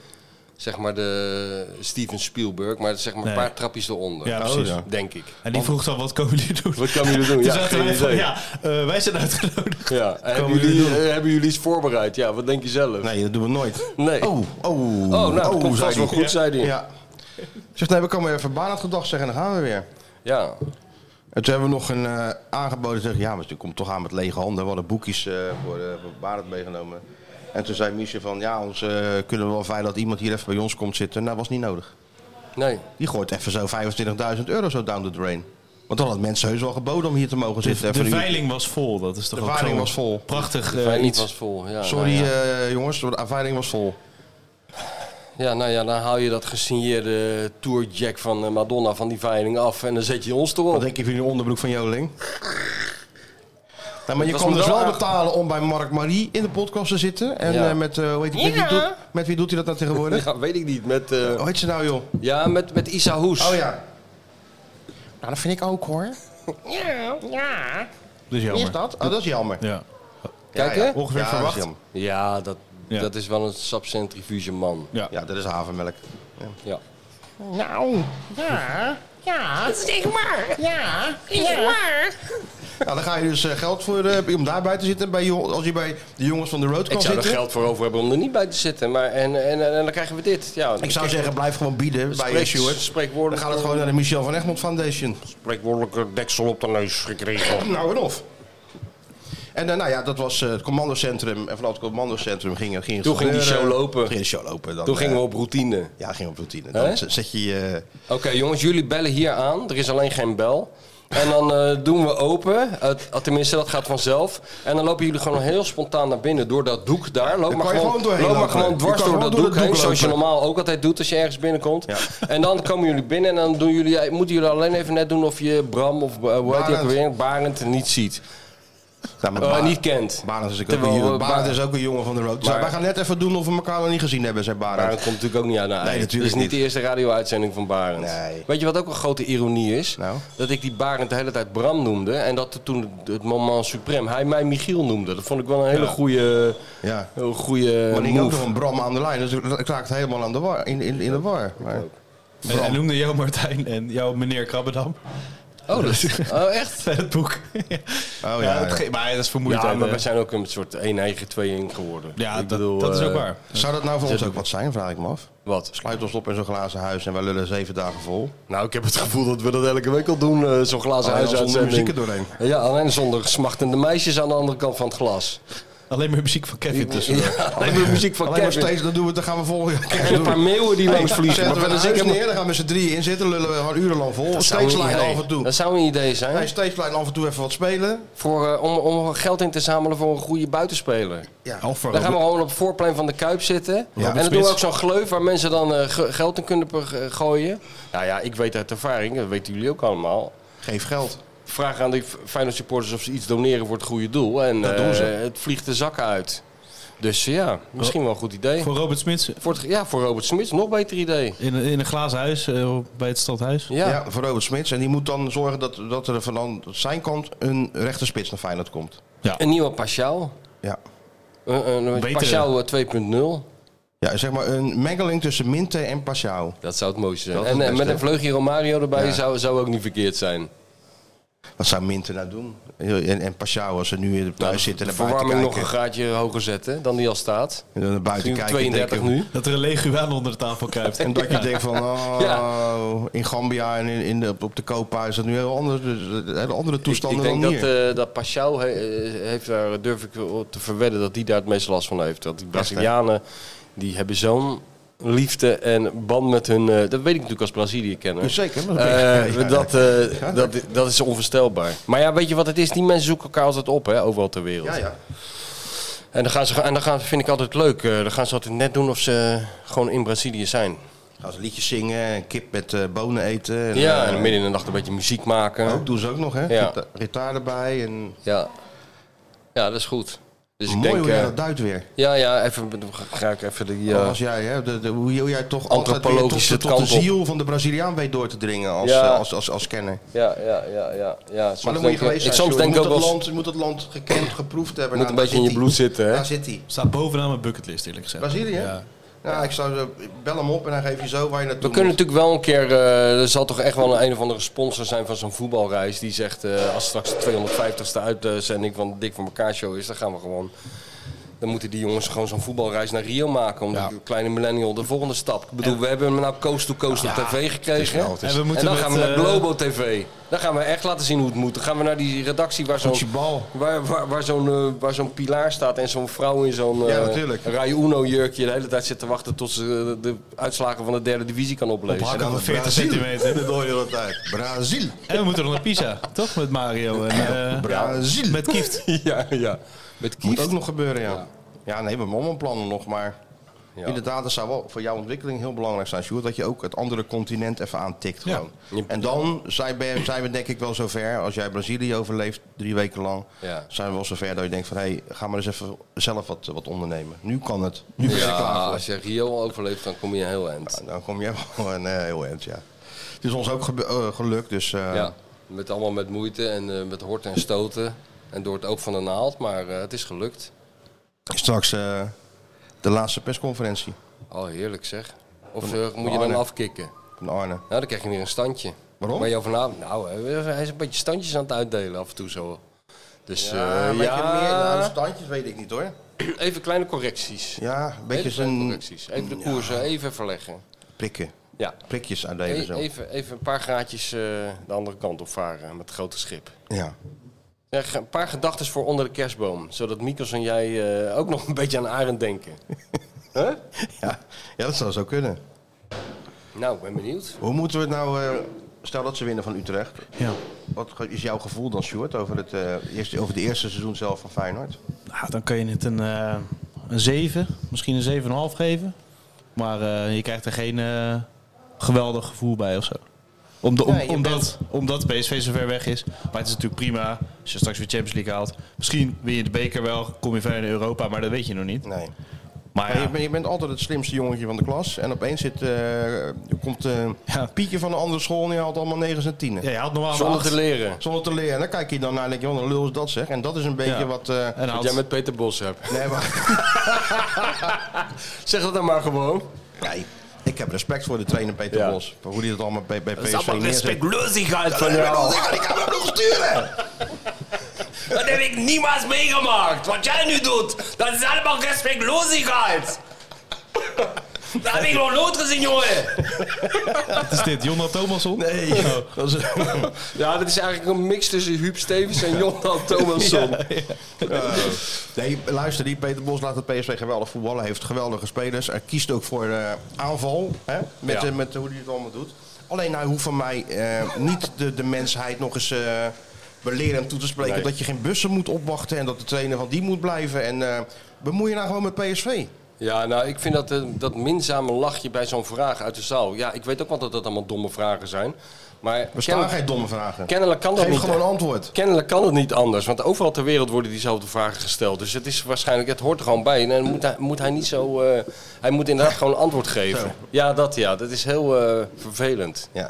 [SPEAKER 6] zeg maar, de Steven Spielberg, maar zeg maar
[SPEAKER 2] Nee.
[SPEAKER 6] een paar trapjes eronder. Oh,
[SPEAKER 2] Ja, precies.
[SPEAKER 6] Denk ik.
[SPEAKER 2] En die vroeg dan, wat komen jullie doen?
[SPEAKER 6] Wat komen jullie doen?
[SPEAKER 2] Toen
[SPEAKER 6] Ja,
[SPEAKER 2] zaten
[SPEAKER 6] geen
[SPEAKER 2] wij van,
[SPEAKER 6] idee.
[SPEAKER 2] ja, eh, wij zijn uitgenodigd.
[SPEAKER 6] Ja, en hebben
[SPEAKER 2] Komen jullie
[SPEAKER 6] jullie,
[SPEAKER 2] doen?
[SPEAKER 6] eh, hebben jullie iets voorbereid? Ja, wat denk je zelf?
[SPEAKER 1] Nee, dat doen we nooit.
[SPEAKER 6] Nee.
[SPEAKER 1] Oh, oh.
[SPEAKER 6] Oh, nou, dat komt
[SPEAKER 1] zei
[SPEAKER 6] vast wel
[SPEAKER 1] die.
[SPEAKER 6] goed, zei die.
[SPEAKER 1] Ja. Zegt nee, we komen even baan gedag zeggen en dan gaan we weer.
[SPEAKER 6] Ja.
[SPEAKER 1] En toen hebben we nog een eh, aangeboden. Zeg, ja, maar toen komt toch aan met lege handen. We hadden boekjes eh, voor, eh voor Barend meegenomen. En toen zei Miesje van, ja, ons eh, kunnen we wel veilig dat iemand hier even bij ons komt zitten. Nou, was niet nodig.
[SPEAKER 6] Nee.
[SPEAKER 1] Die gooit even zo 25.000 euro zo down the drain. Want dan had mensen heus wel geboden om hier te mogen
[SPEAKER 2] De,
[SPEAKER 1] zitten.
[SPEAKER 2] de
[SPEAKER 1] Even een uur-
[SPEAKER 2] veiling was vol, dat is toch
[SPEAKER 1] De
[SPEAKER 2] ook
[SPEAKER 1] veiling
[SPEAKER 2] zo'n
[SPEAKER 1] was vol.
[SPEAKER 2] Prachtig
[SPEAKER 6] De
[SPEAKER 2] eh,
[SPEAKER 6] veiling
[SPEAKER 2] iets.
[SPEAKER 6] was vol. Ja,
[SPEAKER 1] Sorry
[SPEAKER 6] nou ja.
[SPEAKER 1] eh, jongens, de aanveiling was vol.
[SPEAKER 6] ja, nou ja, dan haal je dat gesigneerde tourjack van eh, Madonna van die veiling af en dan zet je ons
[SPEAKER 1] Wat
[SPEAKER 6] erop.
[SPEAKER 1] denk je van die onderbroek van Joling? Nou, maar je
[SPEAKER 6] was
[SPEAKER 1] kon
[SPEAKER 6] me
[SPEAKER 1] dus
[SPEAKER 6] wel
[SPEAKER 1] wel
[SPEAKER 6] aan-
[SPEAKER 1] betalen om bij Mark Marie in de podcast te zitten. En
[SPEAKER 6] Ja.
[SPEAKER 1] eh, met, eh, hoe heet die, met, wie doet, met wie doet hij dat nou tegenwoordig?
[SPEAKER 6] Ja, weet ik niet. Met, eh,
[SPEAKER 1] Hoe heet ze nou, joh?
[SPEAKER 6] ja, met, met Isa Hoes.
[SPEAKER 1] Oh ja. Nou, dat vind ik ook, hoor.
[SPEAKER 5] Ja, ja.
[SPEAKER 1] Dus jammer. Is dat? Oh, dat is jammer.
[SPEAKER 2] Ja.
[SPEAKER 6] Kijk,
[SPEAKER 1] Ja, ja.
[SPEAKER 6] hè?
[SPEAKER 1] Ongeveer Ja, dat is verwacht. jammer.
[SPEAKER 6] Ja, dat,
[SPEAKER 1] Ja.
[SPEAKER 6] dat is wel een sapcentrifuge man.
[SPEAKER 1] Ja, dat is havermelk. Ja.
[SPEAKER 6] Ja.
[SPEAKER 5] Nou, ja.
[SPEAKER 15] Ja.
[SPEAKER 5] Dat is echt waar.
[SPEAKER 15] Ja.
[SPEAKER 5] Is het waar?
[SPEAKER 1] Nou, dan ga je dus eh, geld voor eh, om daar bij te zitten. Bij, jo- als je bij de jongens van de road kan
[SPEAKER 6] Ik zou er
[SPEAKER 1] zitten.
[SPEAKER 6] geld voor over hebben om er niet bij te zitten. Maar en, en, en, dan krijgen we dit. Ja,
[SPEAKER 1] Ik zou zeggen, blijf gewoon bieden bij je
[SPEAKER 6] Spreek-
[SPEAKER 1] Stuart.
[SPEAKER 6] spreekwoordelijk-
[SPEAKER 1] Dan gaat het gewoon naar de Michel van Egmond Foundation.
[SPEAKER 6] spreekwoordelijke deksel op de neus gekregen.
[SPEAKER 1] Nou en of. En eh, nou ja, dat was eh, het commandocentrum. En vanuit het commandocentrum ging, ging het
[SPEAKER 6] Toen ging die
[SPEAKER 1] gebeuren.
[SPEAKER 6] show lopen.
[SPEAKER 1] Ging de show lopen. Dan,
[SPEAKER 6] Toen gingen we
[SPEAKER 1] eh,
[SPEAKER 6] op routine.
[SPEAKER 1] Ja, ging op routine.
[SPEAKER 6] Hè?
[SPEAKER 1] Dan z- zet je eh, je...
[SPEAKER 6] Oké, jongens, jullie bellen hier aan. Er is alleen geen bel. En dan eh, doen we open. Het- eh, tenminste, dat gaat vanzelf. En dan lopen jullie gewoon heel spontaan naar binnen door dat doek daar. Loop,
[SPEAKER 1] Dan
[SPEAKER 6] maar
[SPEAKER 1] kan je
[SPEAKER 6] gewoon,
[SPEAKER 1] gewoon doorheen
[SPEAKER 6] loop maar
[SPEAKER 1] lopen.
[SPEAKER 6] gewoon
[SPEAKER 1] Je
[SPEAKER 6] dwars
[SPEAKER 1] kan
[SPEAKER 6] door
[SPEAKER 1] gewoon
[SPEAKER 6] dat
[SPEAKER 1] door
[SPEAKER 6] doek
[SPEAKER 1] dat
[SPEAKER 6] heen.
[SPEAKER 1] doek
[SPEAKER 6] Zoals je
[SPEAKER 1] lopen.
[SPEAKER 6] normaal ook altijd doet als je ergens binnenkomt. En dan komen jullie binnen en dan doen jullie, moeten jullie alleen even net doen of je Bram of eh, hoe heet die ook
[SPEAKER 1] Barend.
[SPEAKER 6] weer? Barend niet ziet.
[SPEAKER 1] maar
[SPEAKER 6] Eh,
[SPEAKER 1] Barend-
[SPEAKER 6] niet kent.
[SPEAKER 1] nou, Barend is, ook
[SPEAKER 6] Terwijl,
[SPEAKER 1] een,
[SPEAKER 6] eh,
[SPEAKER 1] jongen- Barend
[SPEAKER 6] Ba-
[SPEAKER 1] is ook een jongen van de road. Dus
[SPEAKER 6] Maar-
[SPEAKER 1] wij gaan net even doen of we elkaar nog niet gezien hebben, zei Barend.
[SPEAKER 6] Barend komt natuurlijk ook niet aan. Nee,
[SPEAKER 1] Nee, natuurlijk
[SPEAKER 6] Dit is niet,
[SPEAKER 1] niet.
[SPEAKER 6] de eerste radio-uitzending van Barend. Weet je wat ook een grote ironie is?
[SPEAKER 1] Nou?
[SPEAKER 6] Dat ik die Barend de hele tijd Bram noemde. En dat toen het moment suprem hij mij Michiel noemde. Dat vond ik wel een hele
[SPEAKER 1] Ja.
[SPEAKER 6] goede,
[SPEAKER 1] Ja.
[SPEAKER 6] heel goede
[SPEAKER 1] maar die ging ook
[SPEAKER 6] Eh, move.
[SPEAKER 1] nog een Bram aan de lijn. Dus ik ik raakte helemaal aan de war, in, in, in de war. Maar,
[SPEAKER 2] En hij noemde jou Martijn en jou meneer Krabbedam.
[SPEAKER 6] Oh, dat- oh, echt?
[SPEAKER 2] Bij het boek. oh
[SPEAKER 1] ja.
[SPEAKER 2] dat ge- Maar dat is vermoeidheid.
[SPEAKER 6] Ja, maar
[SPEAKER 2] hè.
[SPEAKER 6] we zijn ook een soort 1-9-2-1 geworden.
[SPEAKER 2] Ja,
[SPEAKER 6] Ik
[SPEAKER 2] dat-
[SPEAKER 6] bedoel,
[SPEAKER 2] dat is ook
[SPEAKER 6] eh,
[SPEAKER 2] waar.
[SPEAKER 1] zou dat nou voor
[SPEAKER 6] dat-
[SPEAKER 1] ons ook wat zijn, vraag ik me af.
[SPEAKER 6] Wat?
[SPEAKER 1] Sluit ons op in zo'n glazen huis en wij lullen zeven dagen vol.
[SPEAKER 6] Nou, ik heb het gevoel dat we dat elke week al doen, eh, zo'n glazen
[SPEAKER 1] Alleen al
[SPEAKER 6] huis
[SPEAKER 1] Oh, zonder
[SPEAKER 6] uitzending.
[SPEAKER 1] muziek er doorheen.
[SPEAKER 6] Ja, alleen zonder smachtende meisjes aan de andere kant van het glas.
[SPEAKER 2] Alleen maar muziek van Kevin
[SPEAKER 6] Ja,
[SPEAKER 2] tussen.
[SPEAKER 6] alleen maar muziek van
[SPEAKER 1] Alleen maar
[SPEAKER 6] Kevin.
[SPEAKER 1] steeds, dan doen we, dan gaan we volgende keer
[SPEAKER 6] En een
[SPEAKER 1] doen.
[SPEAKER 6] paar meeuwen die
[SPEAKER 1] Hey,
[SPEAKER 6] langs vliegen,
[SPEAKER 1] Zetten
[SPEAKER 6] maar
[SPEAKER 1] we
[SPEAKER 6] verder
[SPEAKER 1] een
[SPEAKER 6] zit ik
[SPEAKER 1] huis
[SPEAKER 6] helemaal-
[SPEAKER 1] neer, dan gaan we z'n drieën in zitten, lullen we gewoon urenlang vol.
[SPEAKER 6] Dat zou een
[SPEAKER 1] Steeds lijn
[SPEAKER 6] idee-
[SPEAKER 1] af en toe.
[SPEAKER 6] Dat zou een idee zijn.
[SPEAKER 1] Hij steeds lijn af en toe even wat spelen.
[SPEAKER 6] Voor, eh, om, om geld in te zamelen voor een goede buitenspeler.
[SPEAKER 1] Ja.
[SPEAKER 6] Dan gaan we gewoon op het voorplein van de Kuip zitten.
[SPEAKER 1] Ja.
[SPEAKER 6] en dan doen
[SPEAKER 1] Spits.
[SPEAKER 6] we ook zo'n gleuf waar mensen dan eh, ge- geld in kunnen pe- ge- gooien. Nou ja, ik weet uit ervaring, dat weten jullie ook allemaal.
[SPEAKER 1] Geef geld.
[SPEAKER 6] Vraag aan de F- Feyenoord supporters of ze iets doneren voor het goede doel. En
[SPEAKER 1] Dat doen
[SPEAKER 6] eh,
[SPEAKER 1] ze.
[SPEAKER 6] het vliegt de zakken uit. Dus eh, ja, misschien
[SPEAKER 1] Oh.
[SPEAKER 6] wel een goed idee.
[SPEAKER 2] Voor Robert Smits.
[SPEAKER 6] Voor het- ja, voor Robert Smits, nog beter idee.
[SPEAKER 2] In, een- in een glazen huis eh, bij het stadhuis.
[SPEAKER 1] Ja. voor Robert Smits. En die moet dan zorgen dat, dat er van zijn kant een rechte spits naar Feyenoord komt.
[SPEAKER 6] Een nieuwe Pascal.
[SPEAKER 1] Ja.
[SPEAKER 6] Eh, Een, een, een
[SPEAKER 1] Betere.
[SPEAKER 6] Paschal, eh, 2.0.
[SPEAKER 1] Ja, zeg maar een mengeling tussen Minte en Pashao.
[SPEAKER 6] Dat zou het mooiste zijn.
[SPEAKER 1] Dat is
[SPEAKER 6] En
[SPEAKER 1] het
[SPEAKER 6] eh, met
[SPEAKER 1] beste.
[SPEAKER 6] een vleugje Romario erbij
[SPEAKER 1] Ja.
[SPEAKER 6] zou, zou ook niet verkeerd zijn.
[SPEAKER 1] Wat zou Minte nou doen? En, en Pashao, als ze nu in de thuis zitten en naar buiten
[SPEAKER 6] Nou, Verwarming
[SPEAKER 1] kijken.
[SPEAKER 6] nog een graadje hoger zetten dan die al staat.
[SPEAKER 1] En dan naar buiten
[SPEAKER 6] Nu
[SPEAKER 1] kijken.
[SPEAKER 6] 32
[SPEAKER 1] denken-
[SPEAKER 6] nu.
[SPEAKER 2] Dat er een leguaan onder de tafel kruipt.
[SPEAKER 1] En dat je denkt van, oh,
[SPEAKER 6] Ja.
[SPEAKER 1] in Gambia en in, in de, op de Copa is dat nu heel andere, hele andere
[SPEAKER 6] Ik
[SPEAKER 1] toestanden
[SPEAKER 6] denk
[SPEAKER 1] dan
[SPEAKER 6] dat,
[SPEAKER 1] hier.
[SPEAKER 6] eh dat Pashao he- eh, heeft daar, durf ik op te verwedden, dat die daar het meeste last van heeft. Dat die Brazilianen, die hebben zo'n liefde en band met hun... eh, dat weet ik natuurlijk als Brazilië kennen.
[SPEAKER 1] Zeker, maar dat weet ik. Ja, ja.
[SPEAKER 6] Eh dat, eh, dat, dat is onvoorstelbaar. Maar ja, weet je wat het is? Die mensen zoeken elkaar altijd op, hè, overal ter wereld.
[SPEAKER 1] Ja, ja.
[SPEAKER 6] En dan, gaan ze, en dan gaan, vind ik altijd leuk. eh, dan gaan ze altijd net doen of ze gewoon in Brazilië zijn.
[SPEAKER 1] Gaan ze liedjes zingen, en kip met eh, bonen eten. En,
[SPEAKER 6] ja,
[SPEAKER 1] eh,
[SPEAKER 6] en dan midden in de nacht een beetje muziek maken.
[SPEAKER 1] Ook doen ze ook nog, hè?
[SPEAKER 6] Ja.
[SPEAKER 1] Gita- Gitaar erbij. En...
[SPEAKER 6] Ja. ja, dat is goed. Dus ik
[SPEAKER 1] Mooi
[SPEAKER 6] denk,
[SPEAKER 1] hoe jij
[SPEAKER 6] eh,
[SPEAKER 1] dat duidt weer.
[SPEAKER 6] Ja, ja, even, ga ik even die... eh,
[SPEAKER 1] Als jij, hè, de, de, hoe hoe jij toch altijd weer tot,
[SPEAKER 6] Antropologische
[SPEAKER 1] de- tot de
[SPEAKER 6] kant op.
[SPEAKER 1] ziel van de Braziliaan weet door te dringen als,
[SPEAKER 6] Ja.
[SPEAKER 1] eh, als, als, als kenner.
[SPEAKER 6] ja, ja, ja, ja, ja. Soms
[SPEAKER 1] Maar dan moet
[SPEAKER 6] denk eh,
[SPEAKER 1] je geweest zijn.
[SPEAKER 6] ik, soms
[SPEAKER 1] Sjoerd.
[SPEAKER 6] denk
[SPEAKER 1] je, moet
[SPEAKER 6] ik ook wel
[SPEAKER 1] dat
[SPEAKER 6] eens-
[SPEAKER 1] land, je moet dat land gekend, geproefd hebben.
[SPEAKER 6] Moet
[SPEAKER 1] Nou,
[SPEAKER 6] een
[SPEAKER 1] daar
[SPEAKER 6] beetje in je
[SPEAKER 1] zit
[SPEAKER 6] bloed
[SPEAKER 1] hij.
[SPEAKER 6] zitten, hè?
[SPEAKER 1] Daar zit hij.
[SPEAKER 2] Staat bovenaan mijn bucketlist, eerlijk gezegd.
[SPEAKER 1] Brazilië?
[SPEAKER 2] Ja.
[SPEAKER 1] Ja. ik zou eh, bel hem op en dan geef je zo waar je naartoe
[SPEAKER 6] We kunnen
[SPEAKER 1] moet.
[SPEAKER 6] natuurlijk wel een keer, eh, er zal toch echt wel een, een of andere sponsor zijn van zo'n voetbalreis. Die zegt, eh, als straks de 250ste uitzending van de Dik voor elkaar show is, dan gaan we gewoon... Dan moeten die jongens gewoon zo'n voetbalreis naar Rio maken. Om de kleine millennial de volgende stap. Ik bedoel, we hebben hem nou coast to coast op tv gekregen.
[SPEAKER 1] wel, het is-
[SPEAKER 6] en,
[SPEAKER 1] En we
[SPEAKER 2] moeten
[SPEAKER 6] dan
[SPEAKER 2] met,
[SPEAKER 6] gaan we naar
[SPEAKER 2] eh,
[SPEAKER 6] Globo TV. Dan gaan we echt laten zien hoe het moet. Dan gaan we naar die redactie waar zo'n... Waar, waar, waar zo'n eh, waar zo'n pilaar staat en zo'n vrouw in zo'n
[SPEAKER 1] Ja,
[SPEAKER 6] eh,
[SPEAKER 1] natuurlijk.
[SPEAKER 6] Rai Uno jurkje de hele tijd zit te wachten tot ze eh, de uitslagen van de derde divisie kan oplezen.
[SPEAKER 2] Op hakken
[SPEAKER 6] En
[SPEAKER 2] van 40
[SPEAKER 6] dan-
[SPEAKER 1] Brazil.
[SPEAKER 2] centimeter.
[SPEAKER 1] Dat hoor je dat uit. Brazil.
[SPEAKER 2] En we moeten nog naar Pisa, toch? Met Mario en eh,
[SPEAKER 1] Brazil.
[SPEAKER 2] met Kieft.
[SPEAKER 6] ja, ja. Met
[SPEAKER 1] Moet
[SPEAKER 6] Kieft.
[SPEAKER 1] ook nog gebeuren, ja. Ja, nee, we hebben allemaal plannen nog, maar...
[SPEAKER 6] Ja.
[SPEAKER 1] Inderdaad, dat zou wel voor jouw ontwikkeling heel belangrijk zijn, Sjoerd. Dat je ook het andere continent even aantikt
[SPEAKER 6] Ja.
[SPEAKER 1] gewoon. En dan zijn we, zijn we denk ik wel zover, als jij Brazilië overleeft drie weken lang...
[SPEAKER 6] Ja.
[SPEAKER 1] zijn we wel zover dat je denkt van, hé, hey, ga maar eens even zelf wat, wat ondernemen. Nu kan het. Nu ben je
[SPEAKER 6] Ja,
[SPEAKER 1] klaar voor.
[SPEAKER 6] als je Rio overleeft, dan kom je een heel eind.
[SPEAKER 1] Dan kom je wel een eh, heel eind, ja. Het is ons ook gebe- eh, gelukt, dus... eh,
[SPEAKER 6] Ja, met allemaal met moeite en eh, met horten en stoten. En door het oog van de naald, maar eh, het is gelukt.
[SPEAKER 1] Straks eh, de laatste persconferentie.
[SPEAKER 6] Oh, heerlijk zeg. Of
[SPEAKER 1] Van-
[SPEAKER 6] eh,
[SPEAKER 1] van
[SPEAKER 6] moet je dan
[SPEAKER 1] Arne.
[SPEAKER 6] afkicken?
[SPEAKER 1] Van Arne.
[SPEAKER 6] Nou, dan krijg je weer een standje.
[SPEAKER 1] Waarom?
[SPEAKER 6] Maar vanavond, nou, hij is een beetje standjes aan het uitdelen af en toe zo. Dus eh,
[SPEAKER 1] Ja, een beetje
[SPEAKER 6] ja.
[SPEAKER 1] meer nou, standjes weet ik niet hoor.
[SPEAKER 6] Even kleine correcties.
[SPEAKER 1] Ja, een beetje
[SPEAKER 6] Hele kleine
[SPEAKER 1] zijn
[SPEAKER 6] correcties. Even de koersen even verleggen.
[SPEAKER 1] prikken.
[SPEAKER 6] Ja.
[SPEAKER 1] Prikjes
[SPEAKER 6] E-
[SPEAKER 1] uitdelen zo.
[SPEAKER 6] even, even een paar gaatjes eh, de andere kant op varen met het grote schip.
[SPEAKER 1] Ja.
[SPEAKER 6] Zeg, een paar gedachten voor onder de kerstboom. Zodat Mikos en jij eh, ook nog een beetje aan Arend denken. Huh?
[SPEAKER 1] Ja. ja, dat zou zo kunnen.
[SPEAKER 6] Nou, ik ben benieuwd.
[SPEAKER 1] Hoe moeten we het nou, eh, stel dat ze winnen van Utrecht. Ja. Wat ge- is jouw gevoel dan, Sjoerd, over het eh, eerste, over de eerste seizoen zelf van Feyenoord?
[SPEAKER 2] Nou, dan kan je het een, eh, een 7, misschien een 7,5 geven. Maar eh, je krijgt er geen eh, geweldig gevoel bij of zo. Om de- om-
[SPEAKER 1] Nee, je
[SPEAKER 2] omdat, omdat PSV zo ver weg is. Maar het is natuurlijk prima als je straks weer Champions League haalt. Misschien win je de beker wel, kom je verder in Europa, maar dat weet je nog niet.
[SPEAKER 1] Nee.
[SPEAKER 2] Maar,
[SPEAKER 1] Maar je, bent- je bent altijd het slimste jongetje van de klas. En opeens zit, eh, komt eh, Pietje van een andere school en die haalt allemaal negens en tienen.
[SPEAKER 2] Ja, je haalt normaal een
[SPEAKER 1] Zonder
[SPEAKER 2] acht.
[SPEAKER 1] te leren. Zonder te leren. En dan kijk je dan naar en denk je, wat een lul is dat zeg. En dat is een beetje
[SPEAKER 6] Ja.
[SPEAKER 1] wat... eh,
[SPEAKER 6] Wat jij met Peter Bos hebt.
[SPEAKER 1] Nee, maar...
[SPEAKER 6] zeg dat dan maar gewoon.
[SPEAKER 1] Nee, ik heb respect voor de trainer Peter Bos. Voor hoe die dat allemaal bij, bij
[SPEAKER 6] is
[SPEAKER 1] PSV
[SPEAKER 6] allemaal
[SPEAKER 1] neerzet.
[SPEAKER 6] respectloosheid van
[SPEAKER 1] Ja,
[SPEAKER 6] jou.
[SPEAKER 1] Ik ik heb hem nog sturen!
[SPEAKER 6] Dat heb ik niemals meegemaakt. Wat jij nu doet, dat is allemaal respectloosheid. Dat heb ik nog nooit gezien, jongen.
[SPEAKER 2] Wat is dit, Jonna Thomasson?
[SPEAKER 1] Nee.
[SPEAKER 6] Oh.
[SPEAKER 1] Dat is,
[SPEAKER 6] Ja, dat is eigenlijk een mix tussen Huub Stevens en Jonathan Thomasson.
[SPEAKER 1] Eh, nee, luister, die Peter Bos laat het PSV geweldig voetballen. Heeft geweldige spelers. Er kiest ook voor eh, aanval. Hè? Met,
[SPEAKER 6] Ja.
[SPEAKER 1] eh, met hoe hij het allemaal doet. Alleen nou, hij hoeft van mij eh, niet de, de mensheid nog eens eh belerend toe te spreken.
[SPEAKER 6] Nee.
[SPEAKER 1] Dat je geen bussen moet opwachten en dat de trainer van die moet blijven. En eh bemoei je nou gewoon met PSV.
[SPEAKER 6] Ja, nou, ik vind dat, eh, dat minzame lachje bij zo'n vraag uit de zaal. Ja, ik weet ook wel dat dat allemaal domme vragen zijn. Maar
[SPEAKER 1] Bestaan
[SPEAKER 6] kennelijk-
[SPEAKER 1] geen domme vragen.
[SPEAKER 6] Kennelijk kan dat
[SPEAKER 1] Geef
[SPEAKER 6] niet.
[SPEAKER 1] gewoon een antwoord.
[SPEAKER 6] Kennelijk kan het niet anders, want overal ter wereld worden diezelfde vragen gesteld. Dus het is waarschijnlijk, het hoort er gewoon bij. En dan moet hij, moet hij niet zo. eh, hij moet inderdaad gewoon een antwoord geven. Ja, dat ja. Dat is heel eh, vervelend.
[SPEAKER 1] Ja.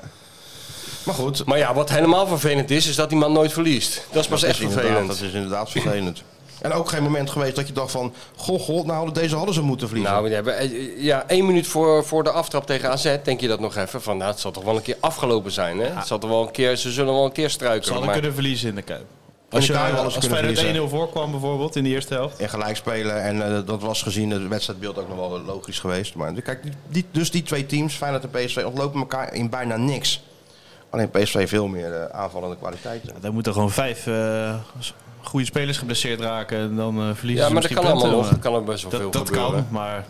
[SPEAKER 1] Maar goed.
[SPEAKER 6] Maar ja, wat helemaal vervelend is, is dat die man nooit verliest. Dat is pas
[SPEAKER 1] Dat
[SPEAKER 6] echt
[SPEAKER 1] is inderdaad-
[SPEAKER 6] vervelend.
[SPEAKER 1] Dat is inderdaad vervelend. En ook geen moment geweest dat je dacht van... Goh, goh, nou, deze hadden ze moeten vliegen.
[SPEAKER 6] Nou, ja, we- eh, ja, één minuut voor, voor de aftrap tegen AZ denk je dat nog even. Van, nou, het zal toch wel een keer afgelopen zijn, hè? Het zal toch wel een keer, ze zullen wel een keer
[SPEAKER 2] Ze
[SPEAKER 6] struikelen.
[SPEAKER 2] hadden
[SPEAKER 6] maar-
[SPEAKER 2] kunnen verliezen in de Kuip.
[SPEAKER 1] de
[SPEAKER 2] Als, je,
[SPEAKER 1] Kuip hadden ze
[SPEAKER 2] als
[SPEAKER 1] kunnen
[SPEAKER 2] Feyenoord 1-0
[SPEAKER 1] verliezen.
[SPEAKER 2] voorkwam bijvoorbeeld in de eerste helft.
[SPEAKER 1] En gelijk spelen. En eh, dat was gezien het wedstrijdbeeld ook nog wel logisch geweest. Maar kijk, die, die- dus die twee teams, Feyenoord en PSV, ontlopen elkaar in bijna niks. Alleen PSV veel meer eh, aanvallende kwaliteiten.
[SPEAKER 2] Dan moeten gewoon vijf eh, s- goede spelers geblesseerd raken en dan eh verliezen
[SPEAKER 6] Ja,
[SPEAKER 2] ze
[SPEAKER 6] maar dat
[SPEAKER 2] misschien
[SPEAKER 6] kan allemaal
[SPEAKER 2] punten,
[SPEAKER 6] nog.
[SPEAKER 2] maar
[SPEAKER 6] Dat kan ook best wel
[SPEAKER 2] dat,
[SPEAKER 6] veel
[SPEAKER 2] dat
[SPEAKER 6] gebeuren.
[SPEAKER 2] kan, maar...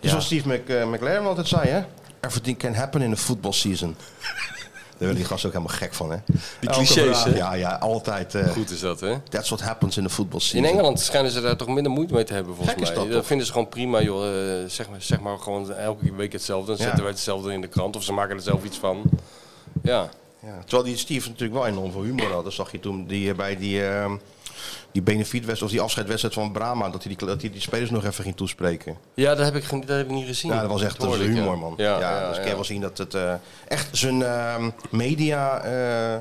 [SPEAKER 1] Dus Zoals Steve Mc, eh, McLaren altijd zei, hè? Everything can happen in a football season. Daar werden die gasten ook helemaal gek van, hè?
[SPEAKER 6] Die
[SPEAKER 1] Elke
[SPEAKER 6] clichés,
[SPEAKER 1] vraag-
[SPEAKER 6] hè?
[SPEAKER 1] Ja, ja, altijd. eh,
[SPEAKER 6] Goed is dat, hè?
[SPEAKER 1] That's what happens in a football
[SPEAKER 6] In
[SPEAKER 1] season.
[SPEAKER 6] Engeland schijnen ze daar toch minder moeite mee te hebben, volgens
[SPEAKER 1] Gek is
[SPEAKER 6] mij.
[SPEAKER 1] dat
[SPEAKER 6] Dat,
[SPEAKER 1] toch?
[SPEAKER 6] vinden ze gewoon prima, joh. Eh, zeg, maar, zeg maar gewoon elke week hetzelfde. Dan
[SPEAKER 1] Ja.
[SPEAKER 6] zetten wij hetzelfde in de krant. Of ze maken er zelf iets van. Ja.
[SPEAKER 1] Ja, terwijl die Steve natuurlijk wel enorm veel humor had. Dat zag je toen die, eh, bij die, eh, die benefietwedstrijd of die afscheidwedstrijd van Brama. Dat hij die, dat hij die spelers nog even ging toespreken.
[SPEAKER 6] Ja, dat heb ik, ge- dat heb ik niet gezien.
[SPEAKER 1] Ja, dat was echt
[SPEAKER 6] hoorde
[SPEAKER 1] een
[SPEAKER 6] ik, ja.
[SPEAKER 1] humor, man. Ja,
[SPEAKER 6] Ja, ja,
[SPEAKER 1] dus ik
[SPEAKER 6] ja.
[SPEAKER 1] kan wel zien dat het eh, echt zijn ehm, media eh,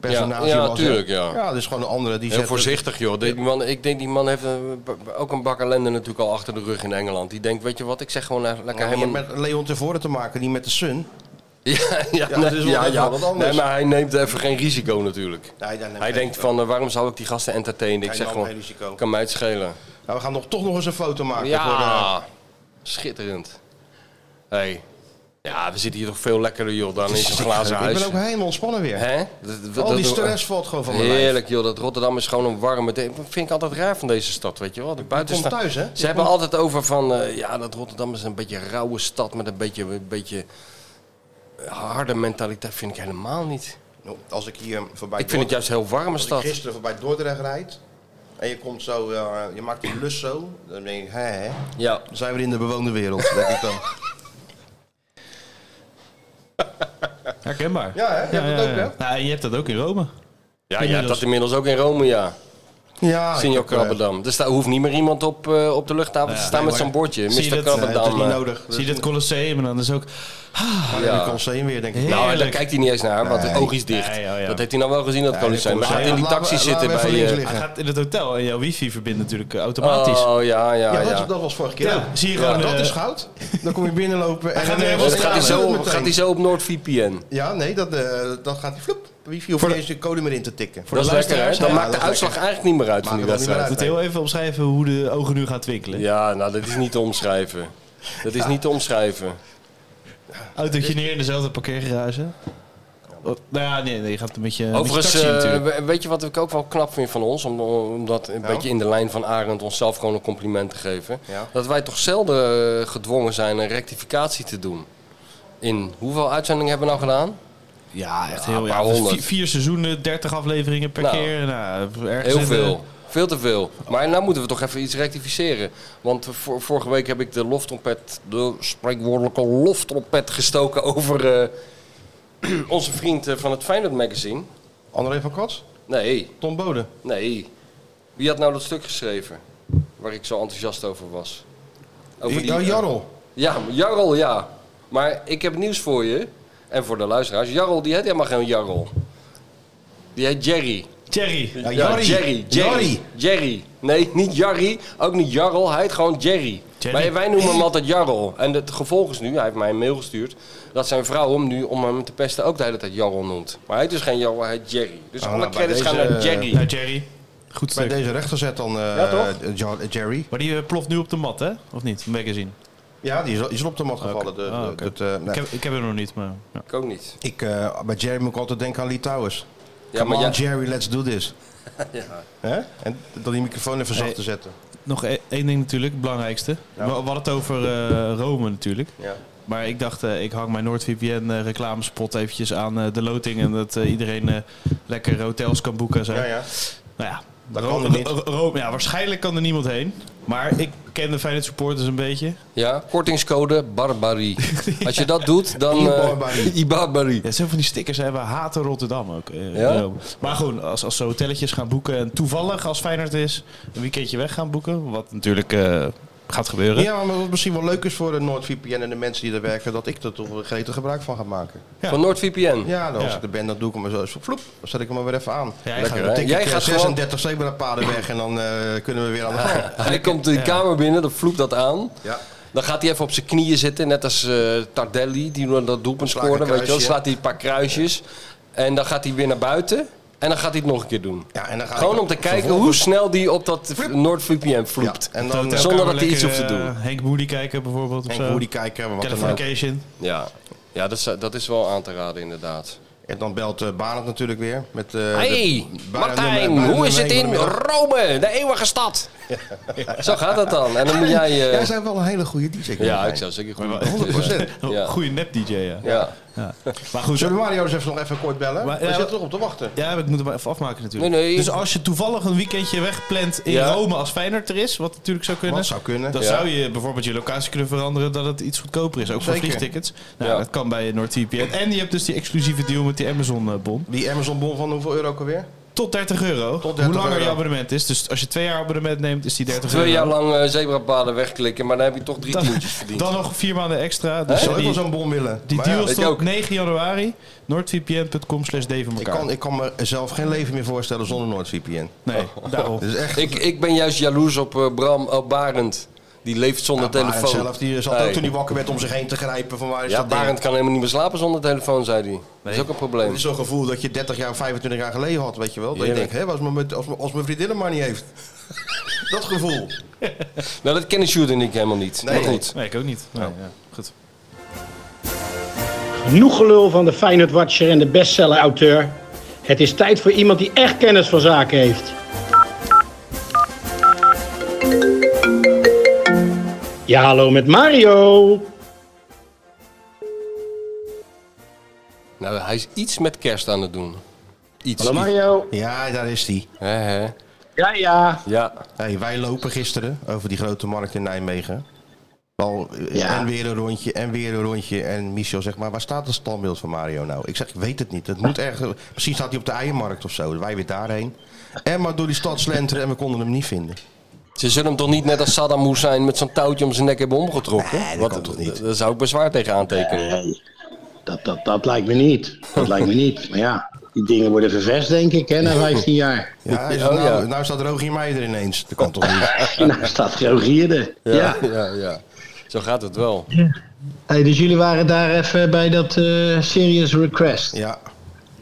[SPEAKER 1] personage
[SPEAKER 6] Ja, ja,
[SPEAKER 1] was. hè.
[SPEAKER 6] tuurlijk, ja.
[SPEAKER 1] Ja, dat is gewoon een andere. Die
[SPEAKER 6] Heel
[SPEAKER 1] zet-
[SPEAKER 6] voorzichtig, joh. Die man, ik denk die man heeft een- ook een bak ellende natuurlijk al achter de rug in Engeland. Die denkt, weet je wat, ik zeg gewoon eh,
[SPEAKER 1] Ja,
[SPEAKER 6] lekker
[SPEAKER 1] je hebt
[SPEAKER 6] helemaal...
[SPEAKER 1] met Leon tevoren te maken, die met de Sun.
[SPEAKER 6] Ja, ja,
[SPEAKER 1] Ja, dat is
[SPEAKER 6] nee,
[SPEAKER 1] wel
[SPEAKER 6] ja,
[SPEAKER 1] even
[SPEAKER 6] ja.
[SPEAKER 1] wat anders.
[SPEAKER 6] Nee, maar hij neemt even geen risico natuurlijk.
[SPEAKER 1] hij neemt
[SPEAKER 6] hij
[SPEAKER 1] geen
[SPEAKER 6] denkt
[SPEAKER 1] risico.
[SPEAKER 6] van, eh, waarom zou ik die gasten entertainen? Ik
[SPEAKER 1] Hij
[SPEAKER 6] zeg
[SPEAKER 1] nam
[SPEAKER 6] gewoon,
[SPEAKER 1] geen risico.
[SPEAKER 6] kan mij het schelen.
[SPEAKER 1] Nou, we gaan nog, toch nog eens een foto maken.
[SPEAKER 6] Ja,
[SPEAKER 1] Voor, eh,
[SPEAKER 6] schitterend. Hey. Ja, we zitten hier toch veel lekkerder, joh, dan in zo'n glazen
[SPEAKER 1] ik
[SPEAKER 6] huis.
[SPEAKER 1] ben ook helemaal ontspannen weer.
[SPEAKER 6] Hè? Dat- dat-
[SPEAKER 1] Al die
[SPEAKER 6] dat-
[SPEAKER 1] stress valt gewoon van mijn lijf.
[SPEAKER 6] Heerlijk, joh. Dat Rotterdam is gewoon een warme... de- Dat vind ik altijd raar van deze stad, weet je wel. De buitenstad.
[SPEAKER 1] komt thuis, hè?
[SPEAKER 6] Ze
[SPEAKER 1] Je
[SPEAKER 6] hebben
[SPEAKER 1] komt-
[SPEAKER 6] altijd over van... eh, ja, dat Rotterdam is een beetje een rauwe stad met een beetje... Een beetje harde mentaliteit vind ik helemaal niet.
[SPEAKER 1] Nou, Als ik hier voorbij
[SPEAKER 2] Ah,
[SPEAKER 6] Ik vind het juist een heel warme
[SPEAKER 1] als ik
[SPEAKER 6] stad.
[SPEAKER 1] gisteren voorbij Dordrecht rijd en je komt zo, eh, je maakt die lus zo, dan denk ik, hè, hè,
[SPEAKER 6] Ja.
[SPEAKER 1] dan zijn we in de bewoonde wereld, denk ik dan.
[SPEAKER 2] Herkenbaar.
[SPEAKER 1] Ja, hè? Je hebt het ook, hè?
[SPEAKER 2] Nou, en je hebt dat ook in Rome.
[SPEAKER 6] Ja, je
[SPEAKER 2] Inmiddels.
[SPEAKER 6] hebt dat inmiddels ook in Rome, ja. Ja,
[SPEAKER 1] Ah, ik
[SPEAKER 6] Senior
[SPEAKER 1] heb, eh,
[SPEAKER 6] Krabbendam. Dus daar hoeft niet meer iemand op, eh, op de luchthaven te staan
[SPEAKER 2] Nou nee,
[SPEAKER 6] met
[SPEAKER 2] maar-
[SPEAKER 6] zo'n bordje.
[SPEAKER 2] Zie je
[SPEAKER 6] Mr.
[SPEAKER 2] dat-
[SPEAKER 6] Krabbendam.
[SPEAKER 2] Nee, dat nou is niet
[SPEAKER 6] eh.
[SPEAKER 2] nodig. Zie je dat Colosseum en dan is ook... Ah,
[SPEAKER 6] Ja. Nou, daar
[SPEAKER 2] Heerlijk.
[SPEAKER 6] kijkt hij niet eens naar, want het
[SPEAKER 2] Nee.
[SPEAKER 6] oog is dicht.
[SPEAKER 2] Nee, ja, ja.
[SPEAKER 6] Dat heeft hij nou wel gezien, dat
[SPEAKER 2] Nee,
[SPEAKER 6] Colosseum. Maar hij gaat in die taxi zitten bij... eh,
[SPEAKER 2] Hij gaat in het hotel en jouw wifi verbindt natuurlijk eh, automatisch.
[SPEAKER 6] Oh, ja, ja,
[SPEAKER 2] ja.
[SPEAKER 1] dat, dat was vorige keer.
[SPEAKER 2] Ja,
[SPEAKER 1] ook.
[SPEAKER 2] zie je
[SPEAKER 1] Ja,
[SPEAKER 2] gewoon,
[SPEAKER 1] dat
[SPEAKER 2] eh,
[SPEAKER 1] is goud. Dan kom je binnenlopen. En
[SPEAKER 6] Gaat
[SPEAKER 1] dan,
[SPEAKER 6] hij-
[SPEAKER 1] eh,
[SPEAKER 6] Dus gaat,
[SPEAKER 1] was-
[SPEAKER 6] hij
[SPEAKER 1] ja,
[SPEAKER 6] zo,
[SPEAKER 1] meteen.
[SPEAKER 6] gaat hij zo op NordVPN?
[SPEAKER 1] Ja, nee, dat, eh, dat gaat hij vloep. Wifi hoeft
[SPEAKER 6] Voor
[SPEAKER 1] niet
[SPEAKER 6] de-
[SPEAKER 1] eens de code meer in te tikken.
[SPEAKER 6] Dat is lekker, hè?
[SPEAKER 1] luisteraars,
[SPEAKER 6] Dan
[SPEAKER 1] ja,
[SPEAKER 6] maakt
[SPEAKER 1] dat
[SPEAKER 6] de
[SPEAKER 1] is
[SPEAKER 6] uitslag
[SPEAKER 1] lekker.
[SPEAKER 6] eigenlijk niet meer uit van
[SPEAKER 1] Maakt
[SPEAKER 6] die
[SPEAKER 1] het wel
[SPEAKER 6] wedstrijd.
[SPEAKER 1] niet
[SPEAKER 2] moet heel even omschrijven hoe de ogen nu gaan twinkelen.
[SPEAKER 6] Ja, nou, dat is niet te omschrijven. Dat is niet te omschrijven.
[SPEAKER 2] Autootje neer in dezelfde parkeergarage. Oh, nou ja, nee, nee, je gaat een beetje. een
[SPEAKER 6] Overigens,
[SPEAKER 2] beetje taxi
[SPEAKER 6] eh,
[SPEAKER 2] natuurlijk.
[SPEAKER 6] we- weet je wat ik ook wel knap vind van ons? Om, om dat een
[SPEAKER 1] Nou?
[SPEAKER 6] beetje in de lijn van Arend onszelf gewoon een compliment te geven.
[SPEAKER 1] Ja.
[SPEAKER 6] Dat wij toch zelden eh, gedwongen zijn een rectificatie te doen. In hoeveel uitzendingen hebben we nou gedaan?
[SPEAKER 2] Ja, echt
[SPEAKER 6] een
[SPEAKER 2] heel
[SPEAKER 6] paar
[SPEAKER 2] ja, dus
[SPEAKER 6] honderd.
[SPEAKER 2] Vier, vier seizoenen, 30 afleveringen per
[SPEAKER 6] Nou,
[SPEAKER 2] keer. Nou, ergens
[SPEAKER 6] Heel
[SPEAKER 2] in de-
[SPEAKER 6] veel. Veel te veel. Maar nou moeten we toch even iets rectificeren. Want vor- vorige week heb ik de loftrompet, de spreekwoordelijke loftrompet gestoken over eh, onze vriend eh, van het Feyenoord magazine.
[SPEAKER 1] André van Kots?
[SPEAKER 6] Nee.
[SPEAKER 1] Tom Bode?
[SPEAKER 6] Nee. Wie had nou dat stuk geschreven waar ik zo enthousiast over was? eh,
[SPEAKER 1] Die- nou, Jarl.
[SPEAKER 6] Ja, Jarl, ja. Maar ik heb nieuws voor je en voor de luisteraars. Jarl, die heet helemaal geen Jarl. Die heet Jerry.
[SPEAKER 2] Jerry.
[SPEAKER 6] Ja,
[SPEAKER 1] Jarry.
[SPEAKER 6] Jerry. Jerry.
[SPEAKER 1] Jarry.
[SPEAKER 6] Jerry. Nee, niet Jarry, ook niet Jarl. Hij heet gewoon Jerry. Maar wij noemen hem altijd Jarl. En het gevolg is nu, hij heeft mij een mail gestuurd... dat zijn vrouw hem nu, om hem te pesten, ook de hele tijd Jarl noemt. Maar hij is dus geen Jarl, hij heet Jerry. Dus
[SPEAKER 1] Oh,
[SPEAKER 6] alle
[SPEAKER 1] nou, bij
[SPEAKER 6] credits gaan
[SPEAKER 1] deze,
[SPEAKER 6] naar
[SPEAKER 1] eh,
[SPEAKER 6] Jerry.
[SPEAKER 1] naar
[SPEAKER 2] Nou, Jerry. Goed
[SPEAKER 1] Bij
[SPEAKER 2] stuk.
[SPEAKER 1] deze rechter zet dan eh,
[SPEAKER 2] Ja, toch?
[SPEAKER 1] eh, Ja- eh, Jerry.
[SPEAKER 2] Maar die eh, ploft nu op de mat, hè? Of niet? Magazine.
[SPEAKER 1] Ja, die is, die is op de mat gevallen. De,
[SPEAKER 2] Ah,
[SPEAKER 1] de-
[SPEAKER 2] oké.
[SPEAKER 1] het, eh, nee.
[SPEAKER 2] ik, heb, ik heb hem nog niet, maar. Ja.
[SPEAKER 6] Ik ook niet.
[SPEAKER 1] Ik, eh, bij Jerry moet ik altijd denken aan Lee Towers.
[SPEAKER 6] Ja,
[SPEAKER 1] Come
[SPEAKER 6] maar
[SPEAKER 1] on,
[SPEAKER 6] jij-
[SPEAKER 1] Jerry, let's do this.
[SPEAKER 6] ja.
[SPEAKER 1] Hè? En dan die microfoon even zacht
[SPEAKER 2] Hey.
[SPEAKER 1] te zetten.
[SPEAKER 2] Nog e- één ding natuurlijk, het belangrijkste. We, we hadden het over eh, Rome natuurlijk.
[SPEAKER 1] Ja.
[SPEAKER 2] Maar ik dacht, eh, ik hang mijn NordVPN eh reclamespot eventjes aan eh, de loting. En dat eh, iedereen eh, lekker hotels kan boeken en zo.
[SPEAKER 1] Ja, ja.
[SPEAKER 2] Nou ja,
[SPEAKER 1] Dat
[SPEAKER 2] Rome,
[SPEAKER 1] kan er niet.
[SPEAKER 2] Ro- Rome- ja, waarschijnlijk kan er niemand heen. Maar ik ken de Feyenoord supporters een beetje.
[SPEAKER 6] Ja, kortingscode Barbarie. Als je dat doet, dan... eh,
[SPEAKER 2] Ibarbarie.
[SPEAKER 6] Ibarbarie.
[SPEAKER 2] Ja, zo van die stickers hebben haten Rotterdam ook. eh,
[SPEAKER 6] Ja?
[SPEAKER 2] Rome. Maar goed, als, als ze hotelletjes gaan boeken en toevallig als Feyenoord is... een weekendje weg gaan boeken, wat natuurlijk eh, gaat gebeuren.
[SPEAKER 1] Ja, maar wat misschien wel leuk is voor de NordVPN en de mensen die er werken, dat ik er toch wel gretig gebruik van ga maken.
[SPEAKER 6] Van NordVPN.
[SPEAKER 1] Ja, dan als
[SPEAKER 6] Ja.
[SPEAKER 1] ik er ben, dan doe ik hem zo eens vloep. Dan zet ik hem er weer even aan.
[SPEAKER 6] jij
[SPEAKER 1] Lekker,
[SPEAKER 6] gaat-
[SPEAKER 1] dan tik
[SPEAKER 6] jij
[SPEAKER 1] ik, eh,
[SPEAKER 6] gaat gewoon-
[SPEAKER 1] 36 zebrapaden weg en dan eh, kunnen we weer aan de gang.
[SPEAKER 6] Hij komt de kamer binnen, dan vloept dat aan.
[SPEAKER 1] Ja.
[SPEAKER 6] Dan gaat hij even op zijn knieën zitten, net als eh, Tardelli, die door dat doelpunt
[SPEAKER 1] een
[SPEAKER 6] scoorde. Weet je wel,
[SPEAKER 1] kruisje.
[SPEAKER 6] slaat hij een paar kruisjes. En dan gaat hij weer naar buiten. En dan gaat hij het nog een keer doen.
[SPEAKER 1] Ja, en dan ga
[SPEAKER 6] Gewoon
[SPEAKER 1] ik-
[SPEAKER 6] om te kijken
[SPEAKER 1] vervolgens-
[SPEAKER 6] hoe snel die op dat NordVPN vloept.
[SPEAKER 1] Ja, en dan-
[SPEAKER 2] Hotelkamer
[SPEAKER 6] Zonder dat hij iets
[SPEAKER 2] eh, lekker,
[SPEAKER 6] hoeft te doen.
[SPEAKER 2] eh, Henk Moody kijken bijvoorbeeld. of
[SPEAKER 1] Henk
[SPEAKER 2] zo.
[SPEAKER 1] Moody kijken, maar wat dan ook.
[SPEAKER 2] Californication.
[SPEAKER 6] Ja, ja dat, is, eh, dat is wel aan te raden inderdaad.
[SPEAKER 1] En dan belt eh Barend natuurlijk weer. Met, eh,
[SPEAKER 6] hey,
[SPEAKER 1] de- Barend
[SPEAKER 6] Martijn,
[SPEAKER 1] nummer- Barend
[SPEAKER 6] hoe is het
[SPEAKER 1] nummer
[SPEAKER 6] in
[SPEAKER 1] één van de middag.
[SPEAKER 6] Rome, de eeuwige stad? Zo gaat dat dan. En dan moet jij...
[SPEAKER 1] Jij
[SPEAKER 6] eh,
[SPEAKER 1] bent wel een hele goede DJ.
[SPEAKER 6] ja,
[SPEAKER 1] Martijn.
[SPEAKER 6] ik zou zeker goed
[SPEAKER 1] 100%.
[SPEAKER 6] Ja.
[SPEAKER 2] Goeie nep-DJ, ja.
[SPEAKER 6] Ja.
[SPEAKER 2] Maar goed,
[SPEAKER 1] Zullen we Mario eens even nog even kort bellen?
[SPEAKER 2] Maar-
[SPEAKER 1] Hij
[SPEAKER 2] ja,
[SPEAKER 1] zit toch op te wachten.
[SPEAKER 2] ja, maar ik moet hem even afmaken natuurlijk.
[SPEAKER 6] Nee, nee.
[SPEAKER 2] Dus als je toevallig een weekendje wegplant in
[SPEAKER 6] Ja.
[SPEAKER 2] Rome als Feyenoord er is, wat natuurlijk zou kunnen.
[SPEAKER 1] Wat zou kunnen,
[SPEAKER 2] Dan
[SPEAKER 1] ja.
[SPEAKER 2] zou je bijvoorbeeld je locatie kunnen veranderen dat het iets goedkoper is. Ook voor
[SPEAKER 1] Zeker.
[SPEAKER 2] vliegtickets. Nou, Dat kan bij NordVPN. En je hebt dus die exclusieve deal met die Amazon-bon.
[SPEAKER 1] Die Amazon-bon van hoeveel euro ook alweer?
[SPEAKER 2] Tot 30 euro.
[SPEAKER 1] Tot 30
[SPEAKER 2] Hoe langer
[SPEAKER 1] euro.
[SPEAKER 2] je abonnement is. Dus als je twee jaar abonnement neemt, is die 30
[SPEAKER 6] Twee
[SPEAKER 2] euro.
[SPEAKER 6] jaar lang eh, zebrapaden wegklikken, maar dan heb je toch drie tientjes verdiend.
[SPEAKER 2] Dan nog vier maanden extra.
[SPEAKER 1] Ik
[SPEAKER 2] Dus
[SPEAKER 1] zou ook wel
[SPEAKER 2] die,
[SPEAKER 1] zo'n bon willen.
[SPEAKER 2] die
[SPEAKER 1] Maar ja,
[SPEAKER 2] deal
[SPEAKER 1] ik
[SPEAKER 2] staat
[SPEAKER 1] ook.
[SPEAKER 2] 9 januari. NordVPN.com slash
[SPEAKER 1] Ik kan, ik kan me zelf geen leven meer voorstellen zonder NordVPN.
[SPEAKER 2] Nee, daarom.
[SPEAKER 1] Dus echt,
[SPEAKER 6] Ik, ik ben juist jaloers op eh, Bram op Barend. Die leeft zonder
[SPEAKER 1] Barend
[SPEAKER 6] telefoon.
[SPEAKER 1] zelf, die zat
[SPEAKER 6] Nee.
[SPEAKER 1] ook toen hij wakker werd om zich heen te grijpen van waar is
[SPEAKER 6] Ja,
[SPEAKER 1] dat ding?
[SPEAKER 6] Barend kan helemaal niet meer slapen zonder telefoon, zei hij. Dat is ook een probleem.
[SPEAKER 1] Het is zo'n gevoel dat je 30 jaar, 25 jaar geleden had, weet je wel. Dat je
[SPEAKER 6] Heerlijk.
[SPEAKER 1] denkt, hè, als, mijn, als, mijn, als mijn vriendin hem maar niet heeft. dat gevoel.
[SPEAKER 6] Nou, dat kennen Sjoerd en ik helemaal niet.
[SPEAKER 1] Nee.
[SPEAKER 6] maar goed.
[SPEAKER 2] Nee, ik ook niet.
[SPEAKER 1] Oh.
[SPEAKER 2] Nou, ja, goed.
[SPEAKER 5] Genoeg gelul van de Feyenoord-watcher en de bestseller-auteur. Het is tijd voor iemand die echt kennis van zaken heeft. Ja, hallo met Mario.
[SPEAKER 6] Nou, hij is iets met kerst aan het doen. Iets.
[SPEAKER 5] Hallo Mario.
[SPEAKER 1] Ja, daar is hij.
[SPEAKER 6] Hè, hè.
[SPEAKER 5] Ja, ja.
[SPEAKER 6] Ja.
[SPEAKER 1] Hey, wij lopen gisteren over die grote markt in Nijmegen. Al, eh,
[SPEAKER 5] Ja.
[SPEAKER 1] En weer een rondje, en weer een rondje. En Michel zegt, maar waar staat het standbeeld van Mario nou? Ik zeg, ik weet het niet. Het moet ergens, misschien staat hij op de eiermarkt of zo. Wij weer daarheen. En maar door die stad slenteren en we konden hem niet vinden.
[SPEAKER 6] Ze zullen hem toch niet net als Saddam Hussein met zo'n touwtje om zijn nek hebben omgetrokken? Wat, Daar zou ik bezwaar tegen aantekenen.
[SPEAKER 5] Dat, dat, dat lijkt me niet. Dat lijkt me niet. Maar ja, die dingen worden vervest, denk ik, hè, na 15 jaar.
[SPEAKER 1] Ja, hij is-
[SPEAKER 5] oh
[SPEAKER 1] nou, nou staat Rogier Meijer ineens. Dat kan toch niet?
[SPEAKER 5] nou staat Rogier er. Ja.
[SPEAKER 6] Ja, ja, ja. Zo gaat het wel.
[SPEAKER 5] Hey, dus jullie waren daar even bij dat eh, Serious Request.
[SPEAKER 1] Ja.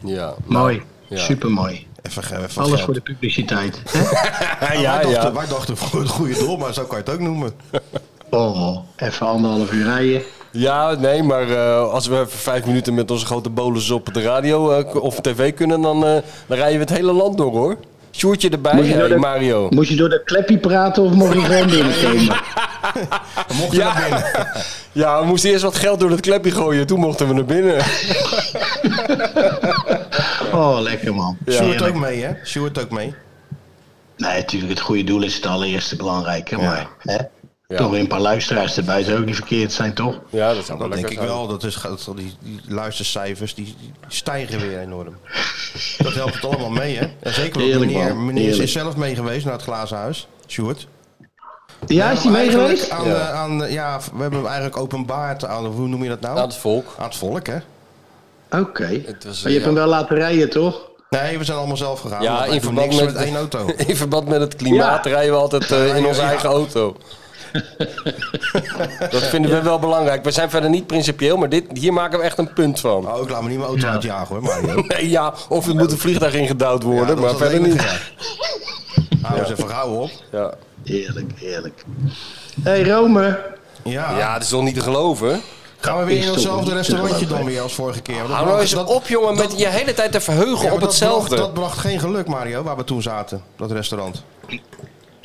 [SPEAKER 6] Ja.
[SPEAKER 5] Mooi.
[SPEAKER 6] Ja.
[SPEAKER 5] Supermooi.
[SPEAKER 1] Even, ge- even
[SPEAKER 5] Alles
[SPEAKER 1] geld.
[SPEAKER 5] voor de publiciteit.
[SPEAKER 1] Ja, wij, dachten, wij dachten voor een goede doel, maar zo kan je het ook noemen.
[SPEAKER 5] Oh, even anderhalf uur rijden.
[SPEAKER 6] Ja, nee, maar eh, als we even vijf minuten met onze grote bolus op de radio eh, k- of tv kunnen, dan, eh, dan rijden we het hele land door hoor. Sjoertje erbij,
[SPEAKER 5] Moet je door
[SPEAKER 6] hey,
[SPEAKER 5] de-
[SPEAKER 6] Mario.
[SPEAKER 5] Moest je door de kleppie praten of mocht je gewoon binnenkomen?
[SPEAKER 6] Mochten ja. ja, we moesten eerst wat geld door dat klepje gooien, toen mochten we naar binnen.
[SPEAKER 5] Oh, lekker man.
[SPEAKER 1] Ja. Sjoerd ook
[SPEAKER 5] Heerlijk.
[SPEAKER 1] mee, hè? Sjoerd ook mee.
[SPEAKER 5] Nee, natuurlijk, het goede doel is het allereerste belangrijke. Maar hè?
[SPEAKER 1] Ja.
[SPEAKER 5] toch weer een paar luisteraars erbij zou ook niet verkeerd zijn, toch?
[SPEAKER 6] Ja, dat zou
[SPEAKER 1] Dat Nou, denk ik
[SPEAKER 5] zijn.
[SPEAKER 1] wel. Dat is, dat, die, die luistercijfers die, die stijgen weer enorm. Dat helpt het allemaal mee, hè? En zeker ook
[SPEAKER 5] Heerlijk,
[SPEAKER 1] meneer,
[SPEAKER 5] man.
[SPEAKER 1] meneer
[SPEAKER 5] Heerlijk.
[SPEAKER 1] is zelf mee geweest naar het glazen huis. Sjoerd.
[SPEAKER 5] Ja, is hij
[SPEAKER 1] maar
[SPEAKER 5] mee
[SPEAKER 1] eigenlijk
[SPEAKER 5] geweest?
[SPEAKER 1] Aan,
[SPEAKER 5] Ja.
[SPEAKER 1] eh, aan, eh, ja, we hebben hem eigenlijk openbaard aan, hoe noem je dat nou? Aan het
[SPEAKER 6] volk. eh,
[SPEAKER 1] Aan het volk, hè?
[SPEAKER 5] Oké. Maar je hebt hem wel laten rijden, toch?
[SPEAKER 1] Nee, we zijn allemaal zelf gegaan.
[SPEAKER 6] Ja, in verband
[SPEAKER 1] met,
[SPEAKER 6] met,
[SPEAKER 1] met één auto.
[SPEAKER 6] in verband met het klimaat
[SPEAKER 1] Ja.
[SPEAKER 6] rijden we altijd eh, in onze
[SPEAKER 1] Ja.
[SPEAKER 6] eigen auto. dat vinden we wel belangrijk. We zijn verder niet principieel, maar dit, hier maken we echt een punt van.
[SPEAKER 1] Oh, ik laat me niet mijn auto uitjagen hoor, Mario.
[SPEAKER 6] nee, ja, of er moet een vliegtuig ingedouwd worden, maar verder niet.
[SPEAKER 1] Hou eens even gauw op.
[SPEAKER 6] Ja.
[SPEAKER 5] Heerlijk, heerlijk. hey, Rome.
[SPEAKER 1] Ja.
[SPEAKER 6] ja, dat is nog niet te geloven.
[SPEAKER 1] Gaan we weer in hetzelfde restaurantje dan weer als vorige keer? Want dat
[SPEAKER 6] Hou nou
[SPEAKER 1] bracht-
[SPEAKER 6] eens op, jongen, met je hele tijd te verheugen
[SPEAKER 1] Ja, maar
[SPEAKER 6] op
[SPEAKER 1] dat
[SPEAKER 6] hetzelfde.
[SPEAKER 1] Bracht, dat bracht geen geluk, Mario, waar we toen zaten, dat restaurant.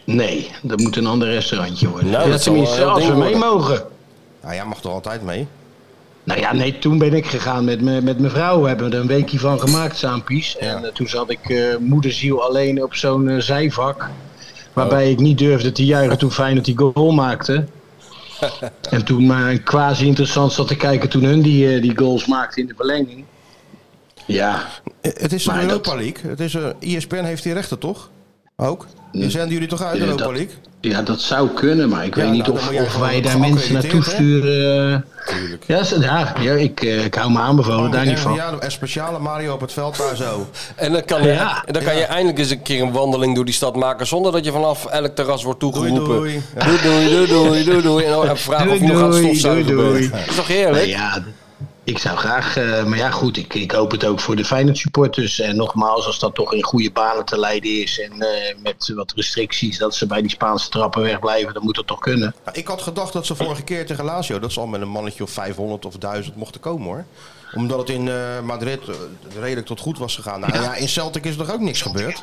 [SPEAKER 5] Nee, dat moet een ander restaurantje worden.
[SPEAKER 1] Nou,
[SPEAKER 5] Ja,
[SPEAKER 1] dat zal
[SPEAKER 5] tenminste,
[SPEAKER 1] wel een
[SPEAKER 5] als we
[SPEAKER 1] ding
[SPEAKER 5] mee
[SPEAKER 1] worden.
[SPEAKER 5] mogen.
[SPEAKER 1] Nou, jij mag toch altijd mee?
[SPEAKER 5] Nou ja, nee, toen ben ik gegaan met, me, met mijn vrouw. We hebben er een weekje van gemaakt, Saampies. En eh, toen zat ik eh, moederziel alleen op zo'n eh, zijvak. Waarbij
[SPEAKER 1] Oh.
[SPEAKER 5] ik niet durfde te juichen toen Feyenoord die goal maakte. en toen maar een quasi interessant zat te kijken toen hun die, eh, die goals maakte in de verlenging. Ja.
[SPEAKER 1] Eh, Het is de
[SPEAKER 5] Maar
[SPEAKER 1] Europa League. Het is, eh, ESPN heeft die rechten, toch? Ook? Die zenden jullie toch uit,
[SPEAKER 5] Ja,
[SPEAKER 1] Europa
[SPEAKER 5] dat-
[SPEAKER 1] League?
[SPEAKER 5] Ja, dat zou kunnen, maar ik
[SPEAKER 1] Ja,
[SPEAKER 5] weet niet
[SPEAKER 1] nou, dan
[SPEAKER 5] of,
[SPEAKER 1] moet jij
[SPEAKER 5] of
[SPEAKER 1] gewoon
[SPEAKER 5] wij daar mensen
[SPEAKER 1] geaccrediteerd,
[SPEAKER 5] naartoe
[SPEAKER 1] hè?
[SPEAKER 5] sturen. eh. Ja, ze- ja, ja, ik, eh, ik hou me aanbevolen, daar niet van.
[SPEAKER 1] Oh, Ja, een speciale Mario op het veld daar zo.
[SPEAKER 6] En dan kan,
[SPEAKER 1] Ja.
[SPEAKER 6] en dan kan je eindelijk eens een keer een wandeling door die stad maken zonder dat je vanaf elk terras wordt toegeroepen.
[SPEAKER 1] Doei,
[SPEAKER 6] doei, doei, doei, doei, doei, doei. En dan vragen of je nog aan het stofzuigen bent. Dat is toch heerlijk?
[SPEAKER 5] Nou ja, ik zou graag, eh, maar ja goed, ik, ik hoop het ook voor de Feyenoord supporters. En nogmaals, als dat toch in goede banen te leiden is en eh, met wat restricties dat ze bij die Spaanse trappen wegblijven, dan moet dat toch kunnen.
[SPEAKER 1] Nou, ik had gedacht dat ze vorige keer tegen Lazio... dat ze al met een mannetje of 500 of 1000 mochten komen, hoor. Omdat het in eh, Madrid eh, redelijk tot goed was gegaan. Nou ja, in Celtic is er toch ook niks gebeurd?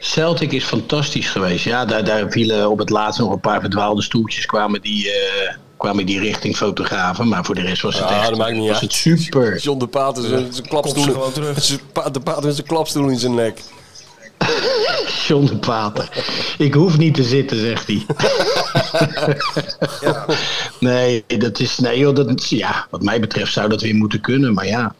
[SPEAKER 5] Celtic is fantastisch geweest. Ja, daar, daar vielen op het laatst nog een paar verdwaalde stoeltjes kwamen die, eh, kwamen die richting fotografen. Maar voor de rest was het
[SPEAKER 6] Ja,
[SPEAKER 5] echt
[SPEAKER 6] Ah, dat maakt niet
[SPEAKER 5] was
[SPEAKER 6] uit.
[SPEAKER 5] het super.
[SPEAKER 6] John de Paat is een- zijn klapstoel.
[SPEAKER 5] Komt ze gewoon
[SPEAKER 6] zijn pa- De Paat met zijn klapstoel in zijn nek.
[SPEAKER 5] John de Pater. Ik hoef niet te zitten, zegt hij. nee, dat is. Nee, joh, dat, ja, wat mij betreft zou dat weer moeten kunnen. Maar ja,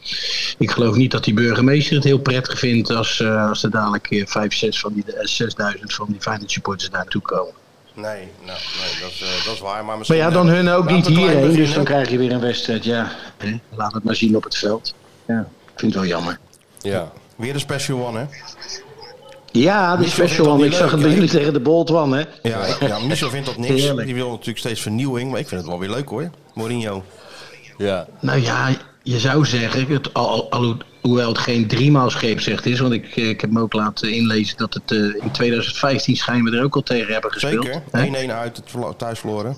[SPEAKER 5] ik geloof niet dat die burgemeester het heel prettig vindt. als, eh, als er dadelijk eh, 5, 6 van die, eh, 6000 van die Feyenoord supporters naartoe komen.
[SPEAKER 1] Nee, nou, nee dat, is, eh, dat is waar. Maar,
[SPEAKER 5] Maar
[SPEAKER 1] misschien,
[SPEAKER 5] ja, dan
[SPEAKER 1] eh,
[SPEAKER 5] hun ook
[SPEAKER 1] laten
[SPEAKER 5] niet
[SPEAKER 1] we klein
[SPEAKER 5] hierheen. Dus
[SPEAKER 1] beginnen.
[SPEAKER 5] dan krijg je weer een wedstrijd. Ja, hè, laat het maar zien op het veld. Ja, ik vind het wel jammer.
[SPEAKER 6] Ja.
[SPEAKER 1] Weer de special one, hè?
[SPEAKER 5] Ja,
[SPEAKER 1] Michel
[SPEAKER 5] de
[SPEAKER 1] vindt
[SPEAKER 5] special
[SPEAKER 1] dat
[SPEAKER 5] one. Ik
[SPEAKER 1] niet leuk,
[SPEAKER 5] zag het
[SPEAKER 1] hè?
[SPEAKER 5] bij jullie tegen de Bolt one, hè?
[SPEAKER 1] Ja, ik, ja, Michel vindt dat niks.
[SPEAKER 5] Heerlijk.
[SPEAKER 1] Die wil natuurlijk steeds vernieuwing, maar ik vind het wel weer leuk hoor. Mourinho.
[SPEAKER 6] Ja.
[SPEAKER 5] Nou ja, je zou zeggen, het, al, al- alho- hoewel het geen driemaal scheepsrecht is, want ik, eh, ik heb me ook laten inlezen dat het eh, in 2015 schijnbaar er ook al tegen hebben gespeeld.
[SPEAKER 1] Zeker. 1-1
[SPEAKER 5] hè?
[SPEAKER 1] uit het verlo- thuis verloren.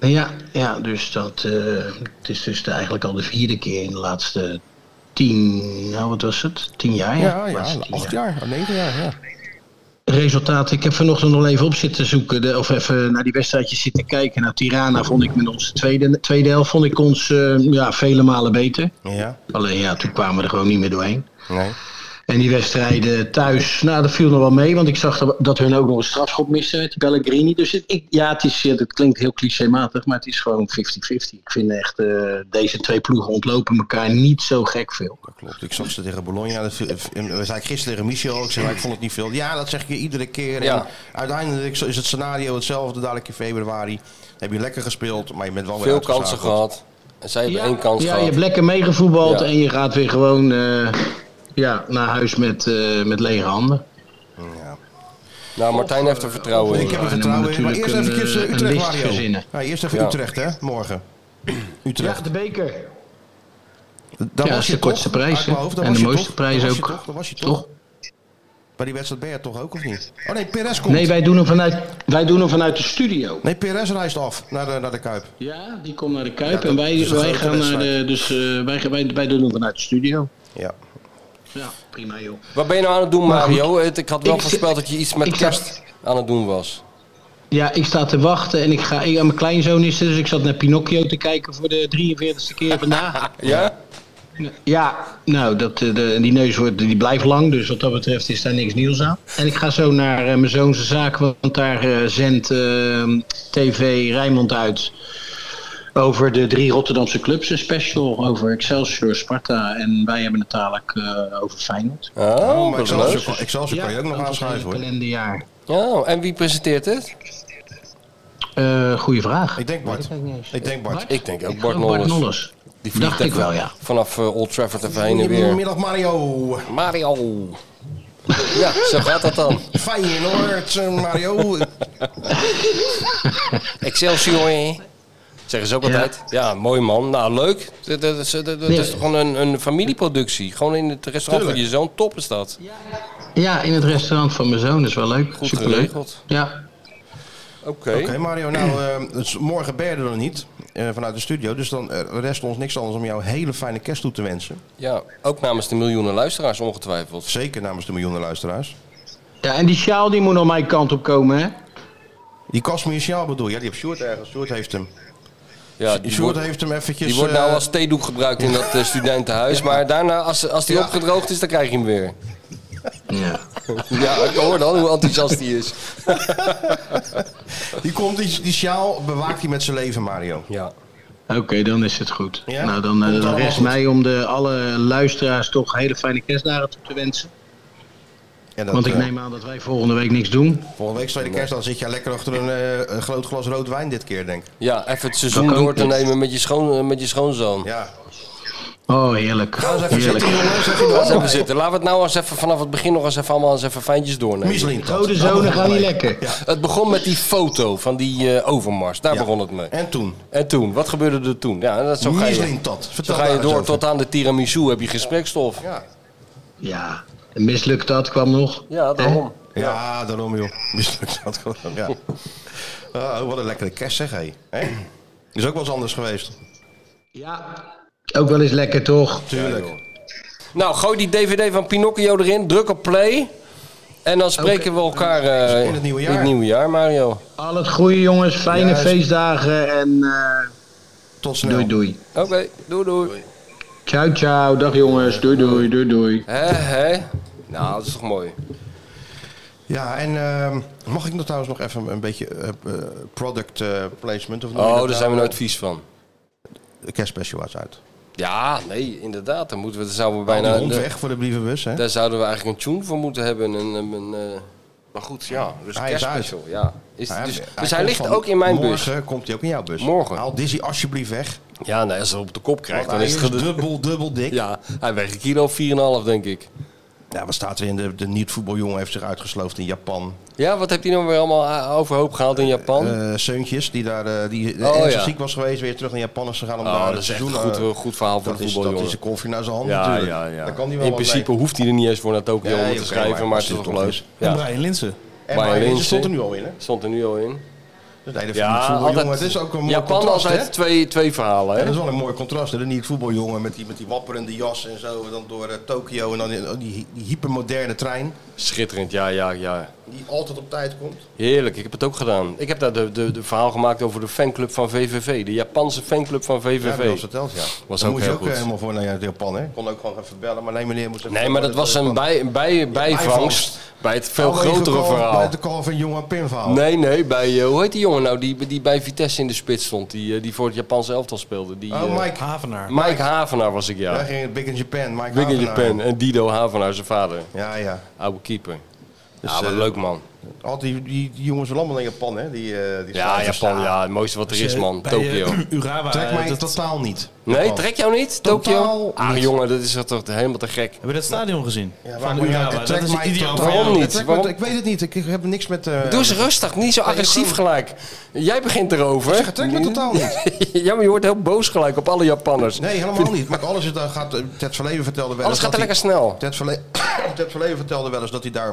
[SPEAKER 5] Ja, ja, dus dat, eh, het is dus eigenlijk al de vierde keer in de laatste tien, nou wat was het? Tien jaar?
[SPEAKER 1] Ja,
[SPEAKER 5] De
[SPEAKER 1] ja,
[SPEAKER 5] laatste tien
[SPEAKER 1] acht jaar, oh, negen jaar. Ja.
[SPEAKER 5] resultaat. Ik heb vanochtend nog even op zitten zoeken. De, of even naar die wedstrijdjes zitten kijken. Nou, Tirana vond ik met onze tweede, tweede helft vond ik ons eh, ja, vele malen beter.
[SPEAKER 1] Ja.
[SPEAKER 5] Alleen ja, toen kwamen we er gewoon niet meer doorheen.
[SPEAKER 1] Nee.
[SPEAKER 5] En die wedstrijden thuis, nou dat viel nog wel mee, want ik zag dat- dat hun ook nog een strafschop misten met die Pellegrini. Dus het, ik, ja, het, is, eh, dat klinkt heel clichématig, maar het is gewoon 50-50. Ik vind echt, eh, deze twee ploegen ontlopen elkaar niet zo gek veel.
[SPEAKER 1] Klopt, ik zag ze tegen Bologna. Dat viel- eh, zei ik gisteren tegen Michel. Ik zei, maar ik vond het niet veel. Ja, dat zeg ik je iedere keer.
[SPEAKER 6] Ja.
[SPEAKER 1] En uiteindelijk is het scenario hetzelfde. Dadelijk in februari heb je lekker gespeeld, maar je bent wel weer
[SPEAKER 6] Veel
[SPEAKER 1] uitgeschakeld.
[SPEAKER 6] kansen gehad. En zij hebben één kans
[SPEAKER 5] Ja, je
[SPEAKER 6] gehad.
[SPEAKER 5] hebt lekker meegevoetbald
[SPEAKER 6] Ja.
[SPEAKER 5] en je gaat weer gewoon eh, ja, naar huis met, eh, met lege handen.
[SPEAKER 6] Nou, Martijn heeft er
[SPEAKER 5] eh,
[SPEAKER 6] vertrouwen in.
[SPEAKER 1] Ik heb er vertrouwen in. Maar eerst even
[SPEAKER 5] een
[SPEAKER 1] Utrecht,
[SPEAKER 5] list
[SPEAKER 1] Mario.
[SPEAKER 5] verzinnen.
[SPEAKER 1] Ja, eerst even
[SPEAKER 5] Ja.
[SPEAKER 1] Utrecht, hè? Morgen. Utrecht.
[SPEAKER 5] Ja, de beker.
[SPEAKER 1] Daar
[SPEAKER 5] Ja,
[SPEAKER 1] was
[SPEAKER 5] is
[SPEAKER 1] je
[SPEAKER 5] de
[SPEAKER 1] toch?
[SPEAKER 5] kortste prijs,
[SPEAKER 1] Uit mijn
[SPEAKER 5] hè?
[SPEAKER 1] hoofd, daar
[SPEAKER 5] En
[SPEAKER 1] was
[SPEAKER 5] de
[SPEAKER 1] je
[SPEAKER 5] mooiste
[SPEAKER 1] toch?
[SPEAKER 5] prijs
[SPEAKER 1] Daar was je
[SPEAKER 5] ook.
[SPEAKER 1] toch? Daar was je toch? Bij die wedstrijd ben je toch ook, of niet? Oh nee, Perez komt.
[SPEAKER 5] Nee, wij doen, hem vanuit, wij doen hem vanuit de studio.
[SPEAKER 1] Nee, Perez reist af naar de, naar de Kuip.
[SPEAKER 5] Ja, die komt naar de Kuip
[SPEAKER 1] Ja,
[SPEAKER 5] en
[SPEAKER 1] dat
[SPEAKER 5] wij,
[SPEAKER 1] is een
[SPEAKER 5] wij
[SPEAKER 1] grote
[SPEAKER 5] gaan naar de.
[SPEAKER 1] wedstrijd.
[SPEAKER 5] Dus eh, wij, wij, wij doen hem vanuit de studio.
[SPEAKER 1] Ja.
[SPEAKER 5] Ja, prima joh.
[SPEAKER 6] Wat ben je nou aan het doen,
[SPEAKER 5] Maar goed.
[SPEAKER 6] Mario? Het- Ik had wel
[SPEAKER 5] Ik-
[SPEAKER 6] voorspeld dat je iets met
[SPEAKER 5] ik zag-
[SPEAKER 6] kerst aan het doen was.
[SPEAKER 5] Ja, ik sta te wachten en ik ga. Ik, mijn kleinzoon is er, dus ik zat naar Pinocchio te kijken voor de 43ste keer vandaag.
[SPEAKER 6] Ja?
[SPEAKER 5] Ja, nou, dat, eh, de, die neus wordt, die blijft lang, dus wat dat betreft is daar niks nieuws aan. En ik ga zo naar eh, mijn zoonse zaak, want daar eh, zendt eh, TV Rijnmond uit over de drie Rotterdamse clubs een special over Excelsior, Sparta en wij hebben het dadelijk eh, over Feyenoord.
[SPEAKER 6] Oh,
[SPEAKER 1] maar
[SPEAKER 6] dat is
[SPEAKER 1] Excelsior,
[SPEAKER 6] leuk.
[SPEAKER 1] kan- Excelsior kan je ook nog aanschuiven, hoor.
[SPEAKER 5] Kalenderjaar.
[SPEAKER 6] Ja, en wie presenteert het?
[SPEAKER 5] Eh goede vraag.
[SPEAKER 1] Ik denk Bart. Ik denk Bart.
[SPEAKER 6] Ik denk ook
[SPEAKER 5] Ik
[SPEAKER 6] Bart
[SPEAKER 5] geloof Bart
[SPEAKER 6] Nolles.
[SPEAKER 5] Nolles.
[SPEAKER 6] Die vliegt
[SPEAKER 5] Dacht ik
[SPEAKER 6] even
[SPEAKER 5] wel, ja.
[SPEAKER 6] Vanaf eh, Old Trafford even heen en weer.
[SPEAKER 1] Goedemiddag, Mario.
[SPEAKER 6] Mario. Ja, zo gaat dat dan.
[SPEAKER 1] Feyenoord, eh, Mario.
[SPEAKER 6] Excelsior. hè? Zeggen ze ook altijd. Ja, mooi man. Nou, leuk. Dat, dat, is- dat- dat
[SPEAKER 5] Nee.
[SPEAKER 6] is toch gewoon een, een familieproductie. Gewoon in het restaurant van je zoon. Top is dat.
[SPEAKER 5] Ja, in het restaurant van mijn zoon is wel leuk.
[SPEAKER 6] Goed
[SPEAKER 5] Superleuk.
[SPEAKER 6] geregeld.
[SPEAKER 5] Ja.
[SPEAKER 6] Oké.
[SPEAKER 1] Oké, Mario. Nou, eh, het is morgen ben je er nog niet eh, vanuit de studio. Dus dan eh, rest ons niks anders om jou een hele fijne kerst toe te wensen.
[SPEAKER 6] Ja, ook namens de miljoenen luisteraars ongetwijfeld.
[SPEAKER 1] Zeker namens de miljoenen luisteraars.
[SPEAKER 5] Ja, en die sjaal die moet nog mijn kant op komen, hè?
[SPEAKER 1] Die Casmir Sjaal bedoel je? Ja, die heeft Sjoerd ergens. Sjoerd heeft hem.
[SPEAKER 6] Ja,
[SPEAKER 1] die Sjoerd heeft hem eventjes...
[SPEAKER 6] Die wordt nou
[SPEAKER 1] eh,
[SPEAKER 6] als theedoek gebruikt in dat eh, studentenhuis. Maar daarna, als, als die
[SPEAKER 1] Ja.
[SPEAKER 6] opgedroogd is, dan krijg je hem weer.
[SPEAKER 5] Ja.
[SPEAKER 6] Ja, ik hoor dan hoe enthousiast hij is.
[SPEAKER 1] Die, komt, die, die sjaal bewaakt hij met zijn leven, Mario.
[SPEAKER 6] Ja.
[SPEAKER 5] Oké, dan is het goed.
[SPEAKER 1] Ja?
[SPEAKER 5] Nou, dan, eh,
[SPEAKER 1] Komt
[SPEAKER 5] dan
[SPEAKER 1] allemaal
[SPEAKER 5] rest
[SPEAKER 1] goed.
[SPEAKER 5] mij om de, alle luisteraars toch hele fijne kerstdagen toe te wensen.
[SPEAKER 1] En dat,
[SPEAKER 5] Want ik
[SPEAKER 1] eh,
[SPEAKER 5] neem aan dat wij volgende week niks doen.
[SPEAKER 1] Volgende week tweede kerst, dan zit jij lekker achter een, eh, een groot glas rood wijn dit keer, denk ik.
[SPEAKER 6] Ja, even het seizoen
[SPEAKER 5] Dat kan
[SPEAKER 6] door te
[SPEAKER 5] niet.
[SPEAKER 6] nemen met je, schoon, eh, met je schoonzoon.
[SPEAKER 1] Ja.
[SPEAKER 5] Oh, heerlijk.
[SPEAKER 1] Ga eens even
[SPEAKER 5] heerlijk. Oh.
[SPEAKER 1] zitten, jongens.
[SPEAKER 6] Ga eens even zitten. Laten we het nou eens even vanaf het begin nog eens even allemaal eens even fijntjes doornemen.
[SPEAKER 1] Michelin.
[SPEAKER 5] Rode zonen gaan niet lekker.
[SPEAKER 6] Het begon met die foto van die eh, overmars. Daar begon het mee.
[SPEAKER 1] En toen?
[SPEAKER 6] En toen? Wat gebeurde er toen? Ja, dat, zo ga je,
[SPEAKER 1] Michelin-tat.
[SPEAKER 6] zo
[SPEAKER 1] Vertel
[SPEAKER 6] ga
[SPEAKER 1] daar
[SPEAKER 6] je
[SPEAKER 1] eens
[SPEAKER 6] door
[SPEAKER 1] over.
[SPEAKER 6] tot aan de tiramisu heb je gesprekstof.
[SPEAKER 1] Ja,
[SPEAKER 5] Ja, een mislukt dat kwam nog.
[SPEAKER 6] ja daarom.
[SPEAKER 1] Ja, daarom joh. Mislukt dat gewoon. Ja. Ah, wat een lekkere kerst zeg, hé. Hé? Is ook wel eens anders geweest.
[SPEAKER 5] Ook wel eens lekker, toch?
[SPEAKER 1] Tuurlijk.
[SPEAKER 6] Nou, gooi die DVD van Pinocchio erin. Druk op play. En dan spreken we elkaar eh,
[SPEAKER 1] dus In het nieuwe jaar.
[SPEAKER 6] in het nieuwe jaar, Mario.
[SPEAKER 5] Al het goede, jongens. Fijne
[SPEAKER 6] Juist.
[SPEAKER 5] feestdagen en eh,
[SPEAKER 1] Tot snel.
[SPEAKER 5] doei doei.
[SPEAKER 6] Oké, doei doei.
[SPEAKER 5] Ciao, ciao. Dag, jongens. Doei, doei, doei, doei.
[SPEAKER 6] Hé, hé. Nou, dat is toch mooi.
[SPEAKER 1] Ja, en ehm, mag ik nog trouwens nog even een beetje eh, eh, product eh, placement? Of noem je dat
[SPEAKER 6] Oh, daar
[SPEAKER 1] nou?
[SPEAKER 6] zijn we nooit vies van.
[SPEAKER 1] De kerstspecial was uit.
[SPEAKER 6] Ja, nee, inderdaad. Dan, moeten we, dan zouden we
[SPEAKER 1] Bijna
[SPEAKER 6] bijna...
[SPEAKER 1] hond
[SPEAKER 6] nou, de-
[SPEAKER 1] weg voor de brievenbus, hè?
[SPEAKER 6] Daar zouden we eigenlijk een tune voor moeten hebben. Een, een, een, eh, maar goed, ja. Dus
[SPEAKER 1] Hij is
[SPEAKER 6] kerstspecial. Ja. Is,
[SPEAKER 1] Hij-
[SPEAKER 6] dus
[SPEAKER 1] hij
[SPEAKER 6] dus hij
[SPEAKER 1] Nou eh, komt
[SPEAKER 6] ligt
[SPEAKER 1] van-
[SPEAKER 6] ook in mijn bus.
[SPEAKER 1] Morgen komt hij ook in jouw bus.
[SPEAKER 6] Morgen.
[SPEAKER 1] Haal Dizzy alsjeblieft weg.
[SPEAKER 6] Ja, nee, als hij op de kop krijgt,
[SPEAKER 1] Want
[SPEAKER 6] dan
[SPEAKER 1] hij
[SPEAKER 6] is
[SPEAKER 1] is
[SPEAKER 6] het... ged-
[SPEAKER 1] dubbel, dubbel dik.
[SPEAKER 6] Ja, hij weegt een kilo of 4,5, denk ik.
[SPEAKER 1] Ja, wat staat er in? De, de niet-voetbaljongen heeft zich uitgesloofd in Japan.
[SPEAKER 6] Ja, wat heb hij nou weer allemaal eh, overhoop gehaald in Japan?
[SPEAKER 1] Eh Seuntjes, die daar eh, die
[SPEAKER 6] Oh,
[SPEAKER 1] ernstig
[SPEAKER 6] ja.
[SPEAKER 1] ziek was geweest, weer terug naar Japan is gegaan om
[SPEAKER 6] Oh,
[SPEAKER 1] daar
[SPEAKER 6] dat is echt
[SPEAKER 1] seizoen,
[SPEAKER 6] een goed,
[SPEAKER 1] eh,
[SPEAKER 6] een goed verhaal voor
[SPEAKER 1] dat
[SPEAKER 6] de
[SPEAKER 1] is,
[SPEAKER 6] voetbaljongen.
[SPEAKER 1] dat is een koffie naar zijn hand
[SPEAKER 6] ja,
[SPEAKER 1] natuurlijk.
[SPEAKER 6] ja, ja.
[SPEAKER 1] Daar kan hij wel
[SPEAKER 6] in
[SPEAKER 1] wat
[SPEAKER 6] principe hoeft hij er niet eens voor naar Tokio
[SPEAKER 1] Nee,
[SPEAKER 6] om
[SPEAKER 1] oké,
[SPEAKER 6] te schrijven,
[SPEAKER 1] maar
[SPEAKER 6] maar
[SPEAKER 1] als
[SPEAKER 6] het
[SPEAKER 1] dit
[SPEAKER 6] is toch
[SPEAKER 1] toch
[SPEAKER 6] leuk.
[SPEAKER 1] is.
[SPEAKER 6] Ja.
[SPEAKER 16] En Brian Linsen.
[SPEAKER 1] mee. En
[SPEAKER 6] Brian
[SPEAKER 1] Brian Linsen
[SPEAKER 6] Linsen.
[SPEAKER 1] stond er nu al in, hè?
[SPEAKER 6] Stond er nu al in.
[SPEAKER 1] Dus nee, dat
[SPEAKER 6] Ja,
[SPEAKER 1] ja, voetbaljongen.
[SPEAKER 6] altijd-
[SPEAKER 1] Het is ook een mooi
[SPEAKER 6] Japan
[SPEAKER 1] contrast,
[SPEAKER 6] altijd
[SPEAKER 1] hè?
[SPEAKER 6] twee, twee verhalen,
[SPEAKER 1] Ja,
[SPEAKER 6] hè?
[SPEAKER 1] dat is wel een mooi contrast, hè? De niet-voetbaljongen met die, met die wapperende jas en zo, en dan door eh, Tokio en dan in- oh, die, die hypermoderne trein.
[SPEAKER 6] Schitterend, ja, ja, ja.
[SPEAKER 1] die altijd op tijd komt.
[SPEAKER 6] Heerlijk, ik heb het ook gedaan. Ik heb daar de, de, de verhaal gemaakt over de fanclub van VVV. De Japanse fanclub van
[SPEAKER 1] Ja,
[SPEAKER 6] VVV.
[SPEAKER 1] dat was verteld, ja.
[SPEAKER 6] Was
[SPEAKER 1] Dan
[SPEAKER 6] ook
[SPEAKER 1] moest je
[SPEAKER 6] heel
[SPEAKER 1] ook
[SPEAKER 6] goed.
[SPEAKER 1] eh, helemaal voor naar Japan, hè? Kon ook gewoon even bellen, maar nee, meneer moest... even- Oh,
[SPEAKER 6] Nee, maar dat was een bij, een bij, bijvangst bij het veel
[SPEAKER 1] Vanwege
[SPEAKER 6] grotere
[SPEAKER 1] call-
[SPEAKER 6] verhaal.
[SPEAKER 1] Bij de call van Jong en Pim verhaal.
[SPEAKER 6] Nee, nee, bij, eh, hoe heet die jongen nou die, die bij Vitesse in de spits stond, die, eh, die voor het Japanse elftal speelde? Die,
[SPEAKER 1] Oh,
[SPEAKER 6] eh,
[SPEAKER 1] Mike Havenaar.
[SPEAKER 6] Mike, Havenaar was ik,
[SPEAKER 1] Daar
[SPEAKER 6] ja.
[SPEAKER 1] ging het Big in Japan, Mike
[SPEAKER 6] Big in
[SPEAKER 1] Havenaar.
[SPEAKER 6] Japan en Dido Havenaar, zijn vader.
[SPEAKER 1] Ja, ja.
[SPEAKER 6] Oude keeper.
[SPEAKER 1] Dus,
[SPEAKER 6] ja, wat
[SPEAKER 1] eh,
[SPEAKER 6] leuk man.
[SPEAKER 1] Al die, die, die jongens zijn allemaal in Japan, hè? Die, eh, die
[SPEAKER 6] Ja,
[SPEAKER 1] staan te
[SPEAKER 6] Japan,
[SPEAKER 1] staan.
[SPEAKER 6] ja, Eh, het mooiste wat er is man,
[SPEAKER 2] eh,
[SPEAKER 6] Tokyo.
[SPEAKER 1] Trek mij totaal niet.
[SPEAKER 6] Nee,
[SPEAKER 1] Japan.
[SPEAKER 6] trek jou niet, Tokyo? Ah jongen, dat is toch helemaal te gek.
[SPEAKER 2] Heb je dat stadion gezien?
[SPEAKER 1] Ja,
[SPEAKER 2] van
[SPEAKER 1] waarom-
[SPEAKER 2] Urawa.
[SPEAKER 1] ja,
[SPEAKER 2] dat
[SPEAKER 1] trek
[SPEAKER 2] is
[SPEAKER 1] mij totaal
[SPEAKER 2] ideaal voor jou.
[SPEAKER 6] Waarom
[SPEAKER 1] Ja,
[SPEAKER 6] niet?
[SPEAKER 1] trek me-
[SPEAKER 6] Waarom-
[SPEAKER 1] Ik weet het niet, ik, ik heb niks met... eh,
[SPEAKER 6] Doe eens rustig, niet zo
[SPEAKER 1] Nee,
[SPEAKER 6] agressief
[SPEAKER 1] gewoon-
[SPEAKER 6] gelijk. Jij begint erover.
[SPEAKER 1] Ik zeg, het trekt me totaal niet.
[SPEAKER 6] ja, maar je wordt heel boos gelijk op alle Japanners.
[SPEAKER 1] Nee, helemaal niet. Maar alles is, daar gaat, eh, Ted Verleven vertelde wel
[SPEAKER 6] Alles
[SPEAKER 1] eens...
[SPEAKER 6] gaat er
[SPEAKER 1] dat
[SPEAKER 6] lekker
[SPEAKER 1] hij-
[SPEAKER 6] snel.
[SPEAKER 1] Ted Verle- Ted Verleven vertelde wel eens dat hij daar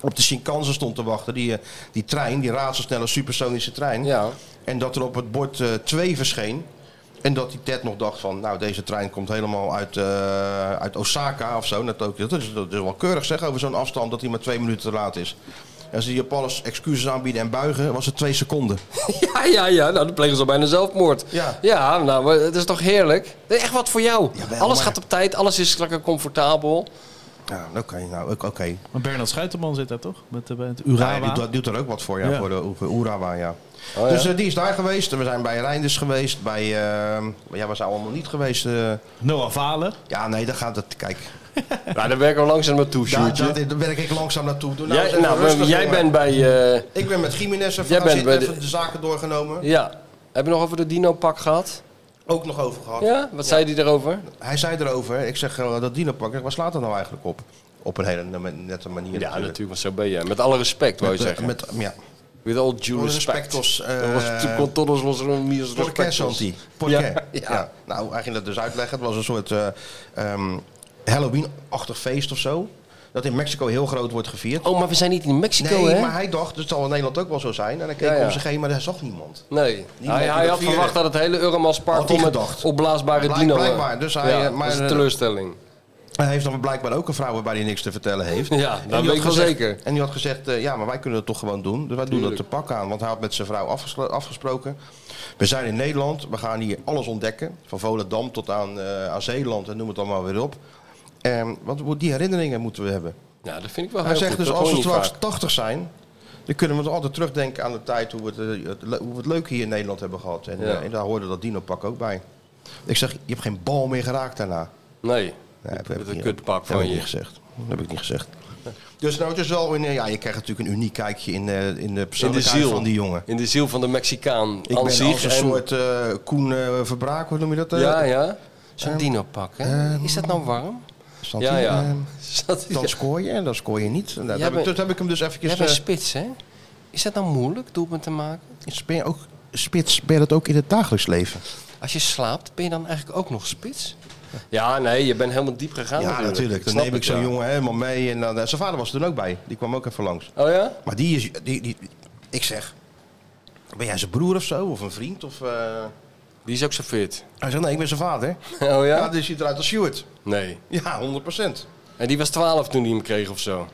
[SPEAKER 1] op de Shinkansen stond te wachten. Die, eh, die trein, die razendsnelle supersonische trein. En dat er op het bord eh, 2 verscheen. En dat die Ted nog dacht van, nou deze trein komt helemaal uit, eh, uit Osaka of zo naar Tokio. Dat is, dat is wel keurig zeg, over zo'n afstand dat hij maar twee minuten te laat is. En als die Japanners excuses aanbieden en buigen, was het twee seconden.
[SPEAKER 6] Ja, ja, ja. Nou, dan plegen ze al bijna zelfmoord. Ja, nou, maar het is toch heerlijk? Nee, Echt wat voor jou. alles
[SPEAKER 1] maar-
[SPEAKER 6] gaat op tijd, alles is lekker comfortabel.
[SPEAKER 1] Ja, oké, nou, oké.
[SPEAKER 2] Maar Bernard Schuiterman zit daar toch? Met, eh, bij het
[SPEAKER 1] Ah, Ja, die
[SPEAKER 2] Urawa.
[SPEAKER 1] doet- dat doet er ook wat voor, ja,
[SPEAKER 2] Ja.
[SPEAKER 1] voor de Oe- Urawa, ja.
[SPEAKER 6] Oh,
[SPEAKER 2] ja.
[SPEAKER 1] Dus eh, die is daar geweest. We zijn bij Reinders geweest. Bij, eh, ja, we zijn allemaal niet geweest. eh.
[SPEAKER 2] Noah Valen?
[SPEAKER 1] Ja, nee, daar gaat het, kijk.
[SPEAKER 6] Nou, daar werken we langzaam naartoe,
[SPEAKER 1] Daar,
[SPEAKER 6] Sjoerdje.
[SPEAKER 1] daar, daar werk ik langzaam naartoe. Doe nou
[SPEAKER 6] Jij,
[SPEAKER 1] eens even
[SPEAKER 6] nou, we-
[SPEAKER 1] rustig,
[SPEAKER 6] jij
[SPEAKER 1] jongen.
[SPEAKER 6] bent bij... eh,
[SPEAKER 1] Ik ben met Jiménez even,
[SPEAKER 6] Jij
[SPEAKER 1] gaan
[SPEAKER 6] bent
[SPEAKER 1] zitten,
[SPEAKER 6] bij de-
[SPEAKER 1] even de zaken doorgenomen.
[SPEAKER 6] ja. Heb je nog over de dino-pak gehad?
[SPEAKER 1] Ook nog over gehad.
[SPEAKER 6] Ja? Wat zei hij erover?
[SPEAKER 1] Hij zei erover, ik zeg eh, dat dino pakken. Waar slaat dat nou eigenlijk op? Op een hele ne- nette manier.
[SPEAKER 6] Ja, natuurlijk, maar zo ben je. Met alle respect, wou je
[SPEAKER 1] Met-
[SPEAKER 6] zeggen.
[SPEAKER 1] met- ja.
[SPEAKER 6] With all due
[SPEAKER 1] Con
[SPEAKER 6] respect.
[SPEAKER 1] respectos, eh,
[SPEAKER 6] Con todos los amigos
[SPEAKER 1] Porqué,
[SPEAKER 6] respectos.
[SPEAKER 1] Santi. Porqué.
[SPEAKER 6] Ja,
[SPEAKER 1] Ja,
[SPEAKER 6] ja.
[SPEAKER 1] Nou, hij ging dat dus uitleggen. Het was een soort eh, ehm, Halloween-achtig feest of zo. Dat in Mexico heel groot wordt gevierd.
[SPEAKER 6] Oh, maar we zijn niet in Mexico,
[SPEAKER 1] nee,
[SPEAKER 6] hè?
[SPEAKER 1] maar hij dacht, dat zal in Nederland ook wel zo zijn. En hij keek
[SPEAKER 6] Ja, ja.
[SPEAKER 1] om zich heen, maar daar zag niemand.
[SPEAKER 6] Nee,
[SPEAKER 1] Niemand
[SPEAKER 6] hij,
[SPEAKER 1] die
[SPEAKER 6] hij
[SPEAKER 1] dat
[SPEAKER 6] had
[SPEAKER 1] vierde.
[SPEAKER 6] verwacht dat het hele Euromans Park
[SPEAKER 1] Had hij
[SPEAKER 6] vol met
[SPEAKER 1] gedacht.
[SPEAKER 6] opblaasbare
[SPEAKER 1] Blijk-
[SPEAKER 6] dino.
[SPEAKER 1] blijkbaar, dus hij,
[SPEAKER 6] ja,
[SPEAKER 1] eh, maar-
[SPEAKER 6] dat is een teleurstelling.
[SPEAKER 1] Hij heeft dan blijkbaar ook een vrouw waarbij hij niks te vertellen heeft.
[SPEAKER 6] Ja,
[SPEAKER 1] En
[SPEAKER 6] dat
[SPEAKER 1] die
[SPEAKER 6] weet
[SPEAKER 1] had
[SPEAKER 6] ik wel
[SPEAKER 1] gezegd-
[SPEAKER 6] zeker.
[SPEAKER 1] En die had gezegd, eh, ja, maar wij kunnen het toch gewoon doen. Dus wij doen dat
[SPEAKER 6] Tuurlijk.
[SPEAKER 1] te pak aan. Want hij had met zijn vrouw afgeslo- afgesproken. We zijn in Nederland, we gaan hier alles ontdekken. Van Volendam tot aan, eh, aan Zeeland en noem het allemaal weer op. En want we- die herinneringen moeten we hebben.
[SPEAKER 6] Ja, dat vind ik wel
[SPEAKER 1] Hij
[SPEAKER 6] Oh, heel
[SPEAKER 1] zegt
[SPEAKER 6] goed.
[SPEAKER 1] dus
[SPEAKER 6] Dat
[SPEAKER 1] als
[SPEAKER 6] hoor
[SPEAKER 1] we
[SPEAKER 6] je niet
[SPEAKER 1] straks
[SPEAKER 6] vaak.
[SPEAKER 1] 80 zijn, dan kunnen we toch altijd terugdenken aan de tijd hoe we het, eh, het, le- hoe we het leuk hier in Nederland hebben gehad. En,
[SPEAKER 6] Ja.
[SPEAKER 1] eh, en daar hoorde dat dino-pak ook bij. Ik zeg, je hebt geen bal meer geraakt daarna.
[SPEAKER 6] Nee,
[SPEAKER 1] Nee, dat
[SPEAKER 6] met een kutpak
[SPEAKER 1] heb
[SPEAKER 6] van
[SPEAKER 1] ik niet
[SPEAKER 6] je.
[SPEAKER 1] gezegd. Dat heb ik niet gezegd. Dus nou, het is wel een, eh, ja, je krijgt natuurlijk een uniek kijkje in, eh, in de
[SPEAKER 6] In de
[SPEAKER 1] persoonlijkheid
[SPEAKER 6] ziel.
[SPEAKER 1] van die jongen.
[SPEAKER 6] In de ziel van de Mexicaan.
[SPEAKER 1] Ik ben
[SPEAKER 6] An
[SPEAKER 1] als
[SPEAKER 6] zich
[SPEAKER 1] een
[SPEAKER 6] en-
[SPEAKER 1] soort eh, Koen eh, Verbraak, hoe noem je dat? eh?
[SPEAKER 6] Ja, ja. Zo'n
[SPEAKER 1] Ehm,
[SPEAKER 6] dino-pak, hè? is dat nou warm?
[SPEAKER 1] Zat
[SPEAKER 6] Ja,
[SPEAKER 1] hij,
[SPEAKER 6] ja.
[SPEAKER 1] ehm,
[SPEAKER 6] Zat hij-
[SPEAKER 1] dan scoor je en dan scoor je niet. En dat
[SPEAKER 6] Jij
[SPEAKER 1] heb ik,
[SPEAKER 6] bent-
[SPEAKER 1] dat heb ik hem dus eventjes...
[SPEAKER 6] Jij bent
[SPEAKER 1] eh,
[SPEAKER 6] spits, hè? Is dat nou moeilijk, doelpunt te maken?
[SPEAKER 1] ben je ook, spits ben je dat ook in het dagelijks leven?
[SPEAKER 6] Als je slaapt, ben je dan eigenlijk ook nog spits? Ja, nee, je bent helemaal diep gegaan
[SPEAKER 1] Ja,
[SPEAKER 6] natuurlijk.
[SPEAKER 1] natuurlijk. Dan
[SPEAKER 6] Snap
[SPEAKER 1] neem ik
[SPEAKER 6] ik,
[SPEAKER 1] zo'n
[SPEAKER 6] ja.
[SPEAKER 1] jongen helemaal mee. En dan, eh, zijn vader was er toen ook bij. Die kwam ook even langs.
[SPEAKER 6] Oh ja?
[SPEAKER 1] Maar die is... Die, die, ik zeg... Ben jij zijn broer of zo? Of een vriend? Of, eh,
[SPEAKER 6] Die is ook zo fit.
[SPEAKER 1] Hij zegt, nee, ik ben zijn vader.
[SPEAKER 6] Oh ja?
[SPEAKER 1] Ja, die ziet eruit als Stuart.
[SPEAKER 6] Nee.
[SPEAKER 1] Ja, 100 procent.
[SPEAKER 6] En die was 12 toen hij hem kreeg of zo.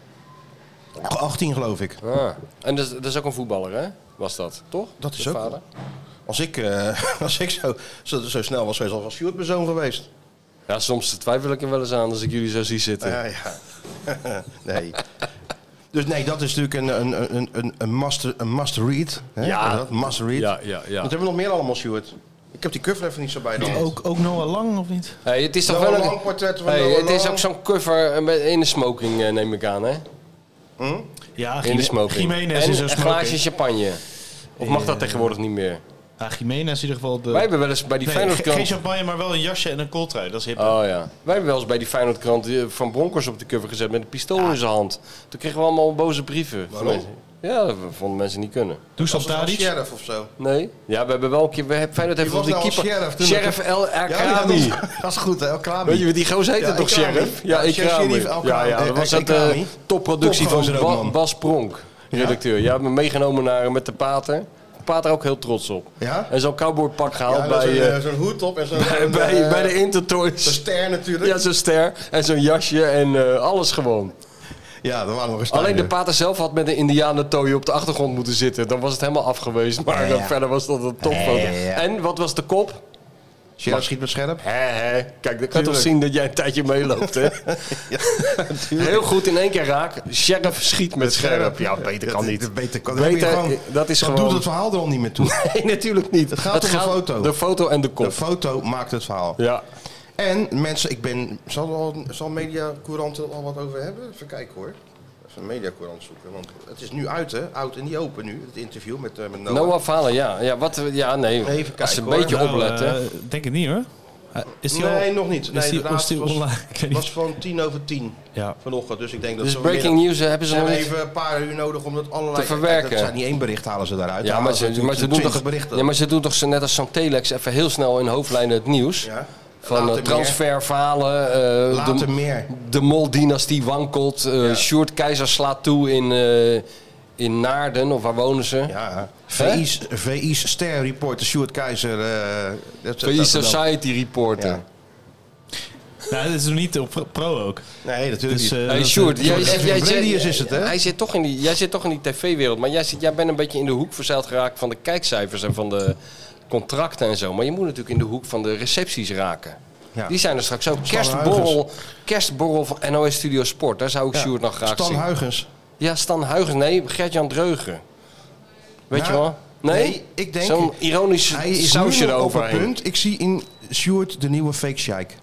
[SPEAKER 1] 18 geloof ik.
[SPEAKER 6] Ah. En dat is, dat is ook een voetballer, hè? Was dat, toch?
[SPEAKER 1] Dat is
[SPEAKER 6] De
[SPEAKER 1] ook-
[SPEAKER 6] Vader?
[SPEAKER 1] Als ik, eh, als ik zo, zo, zo snel was geweest, dan was Stuart mijn zoon geweest.
[SPEAKER 6] Ja, soms twijfel ik er wel eens aan als ik jullie zo zie zitten.
[SPEAKER 1] Ja, ja. nee. Dus nee, dat is natuurlijk een, een, een, een, een, must, een must read. Hè?
[SPEAKER 6] Ja.
[SPEAKER 1] Dat, must read.
[SPEAKER 6] Ja, ja, ja.
[SPEAKER 1] Wat hebben we nog meer allemaal, Stuart? Ik heb die cover even niet zo bij de hand.
[SPEAKER 6] Oh,
[SPEAKER 2] Ook, ook Noah Lang, of niet?
[SPEAKER 6] Hey, het is toch
[SPEAKER 1] Noah
[SPEAKER 6] wel een...
[SPEAKER 1] Lang, portretten van
[SPEAKER 6] Hey,
[SPEAKER 1] Noah
[SPEAKER 6] het is
[SPEAKER 1] Lang.
[SPEAKER 6] ook zo'n cover eh, met- in de smoking, eh, neem ik aan, hè?
[SPEAKER 2] Ja,
[SPEAKER 6] In de
[SPEAKER 2] Jime-
[SPEAKER 6] smoking.
[SPEAKER 2] Jiménez
[SPEAKER 6] en
[SPEAKER 2] is een
[SPEAKER 6] een
[SPEAKER 2] smoking.
[SPEAKER 6] glaasje champagne. Of mag dat tegenwoordig niet meer?
[SPEAKER 2] Ja, Jiménez in ieder geval de...
[SPEAKER 6] Wij hebben wel eens bij die
[SPEAKER 2] Nee,
[SPEAKER 6] Feyenoord
[SPEAKER 2] ge-
[SPEAKER 6] krant...
[SPEAKER 2] Geen champagne, maar wel een jasje en een kooltrui. Dat is hip.
[SPEAKER 6] Oh ja. Wij hebben wel eens bij die Feyenoord krant eh, Van Bronkers op de cover gezet met een pistool in zijn hand. Toen kregen we allemaal boze brieven. van
[SPEAKER 1] Waarom?
[SPEAKER 6] mensen. Ja, dat vonden mensen niet kunnen.
[SPEAKER 1] Toestand daar sheriff of zo.
[SPEAKER 6] Nee? Ja, we hebben wel een keer... We hebben, Feyenoord heeft
[SPEAKER 1] Die was
[SPEAKER 6] op de
[SPEAKER 1] nou al
[SPEAKER 6] keeper...
[SPEAKER 1] sheriff toen
[SPEAKER 6] Sheriff
[SPEAKER 1] dat-
[SPEAKER 6] El Akrabi.
[SPEAKER 1] Ja, dat was- dat is goed, hè? El Krabi.
[SPEAKER 6] Weet je, wat die goos heette
[SPEAKER 1] Ja,
[SPEAKER 6] toch
[SPEAKER 1] El Krabi.
[SPEAKER 6] sheriff? Ja, ik
[SPEAKER 1] sheriff
[SPEAKER 6] raam.
[SPEAKER 1] El
[SPEAKER 6] Ja,
[SPEAKER 1] Krabi.
[SPEAKER 6] ja, dat
[SPEAKER 1] Eh,
[SPEAKER 6] was
[SPEAKER 1] El
[SPEAKER 6] het eh,
[SPEAKER 1] Krabi.
[SPEAKER 6] topproductie van
[SPEAKER 1] Topgozer ook,
[SPEAKER 6] Ba-
[SPEAKER 1] man.
[SPEAKER 6] Bas Pronk, redacteur. Jij hebt me meegenomen naar, eh, met de pater. De pater ook heel trots op.
[SPEAKER 1] Ja?
[SPEAKER 6] En zo'n cowboypak gehaald
[SPEAKER 1] Ja, met
[SPEAKER 6] bij...
[SPEAKER 1] zo'n
[SPEAKER 6] eh,
[SPEAKER 1] eh, zo'n hoed op en zo'n...
[SPEAKER 6] bij,
[SPEAKER 1] zo'n,
[SPEAKER 6] bij,
[SPEAKER 1] eh,
[SPEAKER 6] bij de Intertoys.
[SPEAKER 1] zo'n ster natuurlijk.
[SPEAKER 6] Ja, zo'n ster en zo'n jasje en eh, alles gewoon.
[SPEAKER 1] Ja, daar waren nog eens
[SPEAKER 6] Alleen de pater zelf had met een indianentooi op de achtergrond moeten zitten. Dan was het helemaal afgewezen. Maar
[SPEAKER 1] Ja, ja.
[SPEAKER 6] eh, verder was dat een topfoto.
[SPEAKER 1] Ja, ja, ja.
[SPEAKER 6] En wat was de kop?
[SPEAKER 1] Gerard schiet met scherp.
[SPEAKER 6] Hé, hé. Kijk, dan kan je toch
[SPEAKER 1] Tuurlijk.
[SPEAKER 6] zien dat jij een tijdje meeloopt, hè? Heel goed in één keer raak. Sheriff schiet met scherp. Ja, beter kan niet.
[SPEAKER 1] Beter kan
[SPEAKER 6] Beter, eh,
[SPEAKER 1] dat is gewoon... doet het verhaal er al niet meer toe.
[SPEAKER 6] Nee, natuurlijk niet.
[SPEAKER 1] Het gaat
[SPEAKER 6] Het
[SPEAKER 1] om
[SPEAKER 6] gaat-
[SPEAKER 1] de foto.
[SPEAKER 6] de foto en de kop.
[SPEAKER 1] De foto maakt het verhaal.
[SPEAKER 6] Ja.
[SPEAKER 1] En mensen, ik ben... Zal, er al, zal Media Courant er al wat over hebben? Even kijken hoor. Even Media Courant zoeken. Want het is nu uit hè. Oud en niet open nu. Het interview met, eh, met Noah.
[SPEAKER 6] Noah Falen, ja. Ja, wat, ja nee.
[SPEAKER 1] Even
[SPEAKER 6] Als
[SPEAKER 1] kijken,
[SPEAKER 6] je een
[SPEAKER 1] hoor.
[SPEAKER 6] beetje
[SPEAKER 1] Nou,
[SPEAKER 6] opletten.
[SPEAKER 1] eh,
[SPEAKER 2] Denk het niet hoor. Eh, Is die
[SPEAKER 1] nee,
[SPEAKER 2] al-
[SPEAKER 1] nog niet. Nee,
[SPEAKER 2] Is die,
[SPEAKER 1] de
[SPEAKER 2] is die
[SPEAKER 1] laatste
[SPEAKER 2] online?
[SPEAKER 1] was,
[SPEAKER 2] Ik weet niet.
[SPEAKER 1] was van tien over tien
[SPEAKER 2] Ja.
[SPEAKER 1] vanochtend. Dus ik denk dat
[SPEAKER 6] Dus
[SPEAKER 1] ze
[SPEAKER 6] breaking
[SPEAKER 1] vanmiddag-
[SPEAKER 6] news, eh, hebben ze nog niet
[SPEAKER 1] even een paar uur nodig om dat allerlei...
[SPEAKER 6] te verwerken.
[SPEAKER 1] Kijk, Dat zijn niet één bericht halen ze daaruit.
[SPEAKER 6] Ja,
[SPEAKER 1] Dan
[SPEAKER 6] maar
[SPEAKER 1] halen
[SPEAKER 6] ze, maar ze doen
[SPEAKER 1] 20
[SPEAKER 6] toch,
[SPEAKER 1] berichten.
[SPEAKER 6] ja, maar ze doen toch zo net als zo'n telex even heel snel in hoofdlijnen het nieuws. Van
[SPEAKER 1] Later
[SPEAKER 6] eh, transferverhalen, eh,
[SPEAKER 1] Later
[SPEAKER 6] de,
[SPEAKER 1] meer.
[SPEAKER 6] de Mol-dynastie wankelt, eh Sjoerd Keizer slaat toe in, eh, in Naarden, of waar wonen ze?
[SPEAKER 1] Ja,
[SPEAKER 6] Hè?
[SPEAKER 1] VI's, VI's Ster Reporter Stuart Keizer. eh, dat-
[SPEAKER 6] VI
[SPEAKER 1] dat-
[SPEAKER 6] Society Reporter.
[SPEAKER 1] Ja.
[SPEAKER 2] Nou, dat is nog niet op pro ook.
[SPEAKER 1] Nee, natuurlijk
[SPEAKER 2] Dus,
[SPEAKER 1] niet.
[SPEAKER 2] eh,
[SPEAKER 6] Hey
[SPEAKER 2] dat-
[SPEAKER 6] Sjoerd,
[SPEAKER 2] dat-
[SPEAKER 6] jij,
[SPEAKER 2] dat-
[SPEAKER 6] jij, jij,
[SPEAKER 1] Bredius is het, hè?
[SPEAKER 6] Hij zit toch in die, jij zit toch in die tv-wereld, maar jij, zit, jij bent een beetje in de hoek verzeild geraakt van de kijkcijfers en van de contracten en zo. Maar je moet natuurlijk in de hoek van de recepties raken.
[SPEAKER 1] Ja.
[SPEAKER 6] Die zijn er straks ook.
[SPEAKER 1] Stan
[SPEAKER 6] Kerstborrel,
[SPEAKER 1] Huygens.
[SPEAKER 6] kerstborrel van NOS Studio Sport, daar zou ik
[SPEAKER 1] Ja.
[SPEAKER 6] Sjoerd nog graag
[SPEAKER 1] Stan
[SPEAKER 6] zien.
[SPEAKER 1] Huygens.
[SPEAKER 6] Ja, Stan Huygens. Nee, Gert-Jan Dreugen. Weet
[SPEAKER 1] Nou,
[SPEAKER 6] je wel? Nee?
[SPEAKER 1] ik denk...
[SPEAKER 6] Zo'n ironisch
[SPEAKER 1] hij is
[SPEAKER 6] sausje
[SPEAKER 1] nu nog op het
[SPEAKER 6] eroverheen.
[SPEAKER 1] punt. Ik zie in Stuart de nieuwe fake Sheik.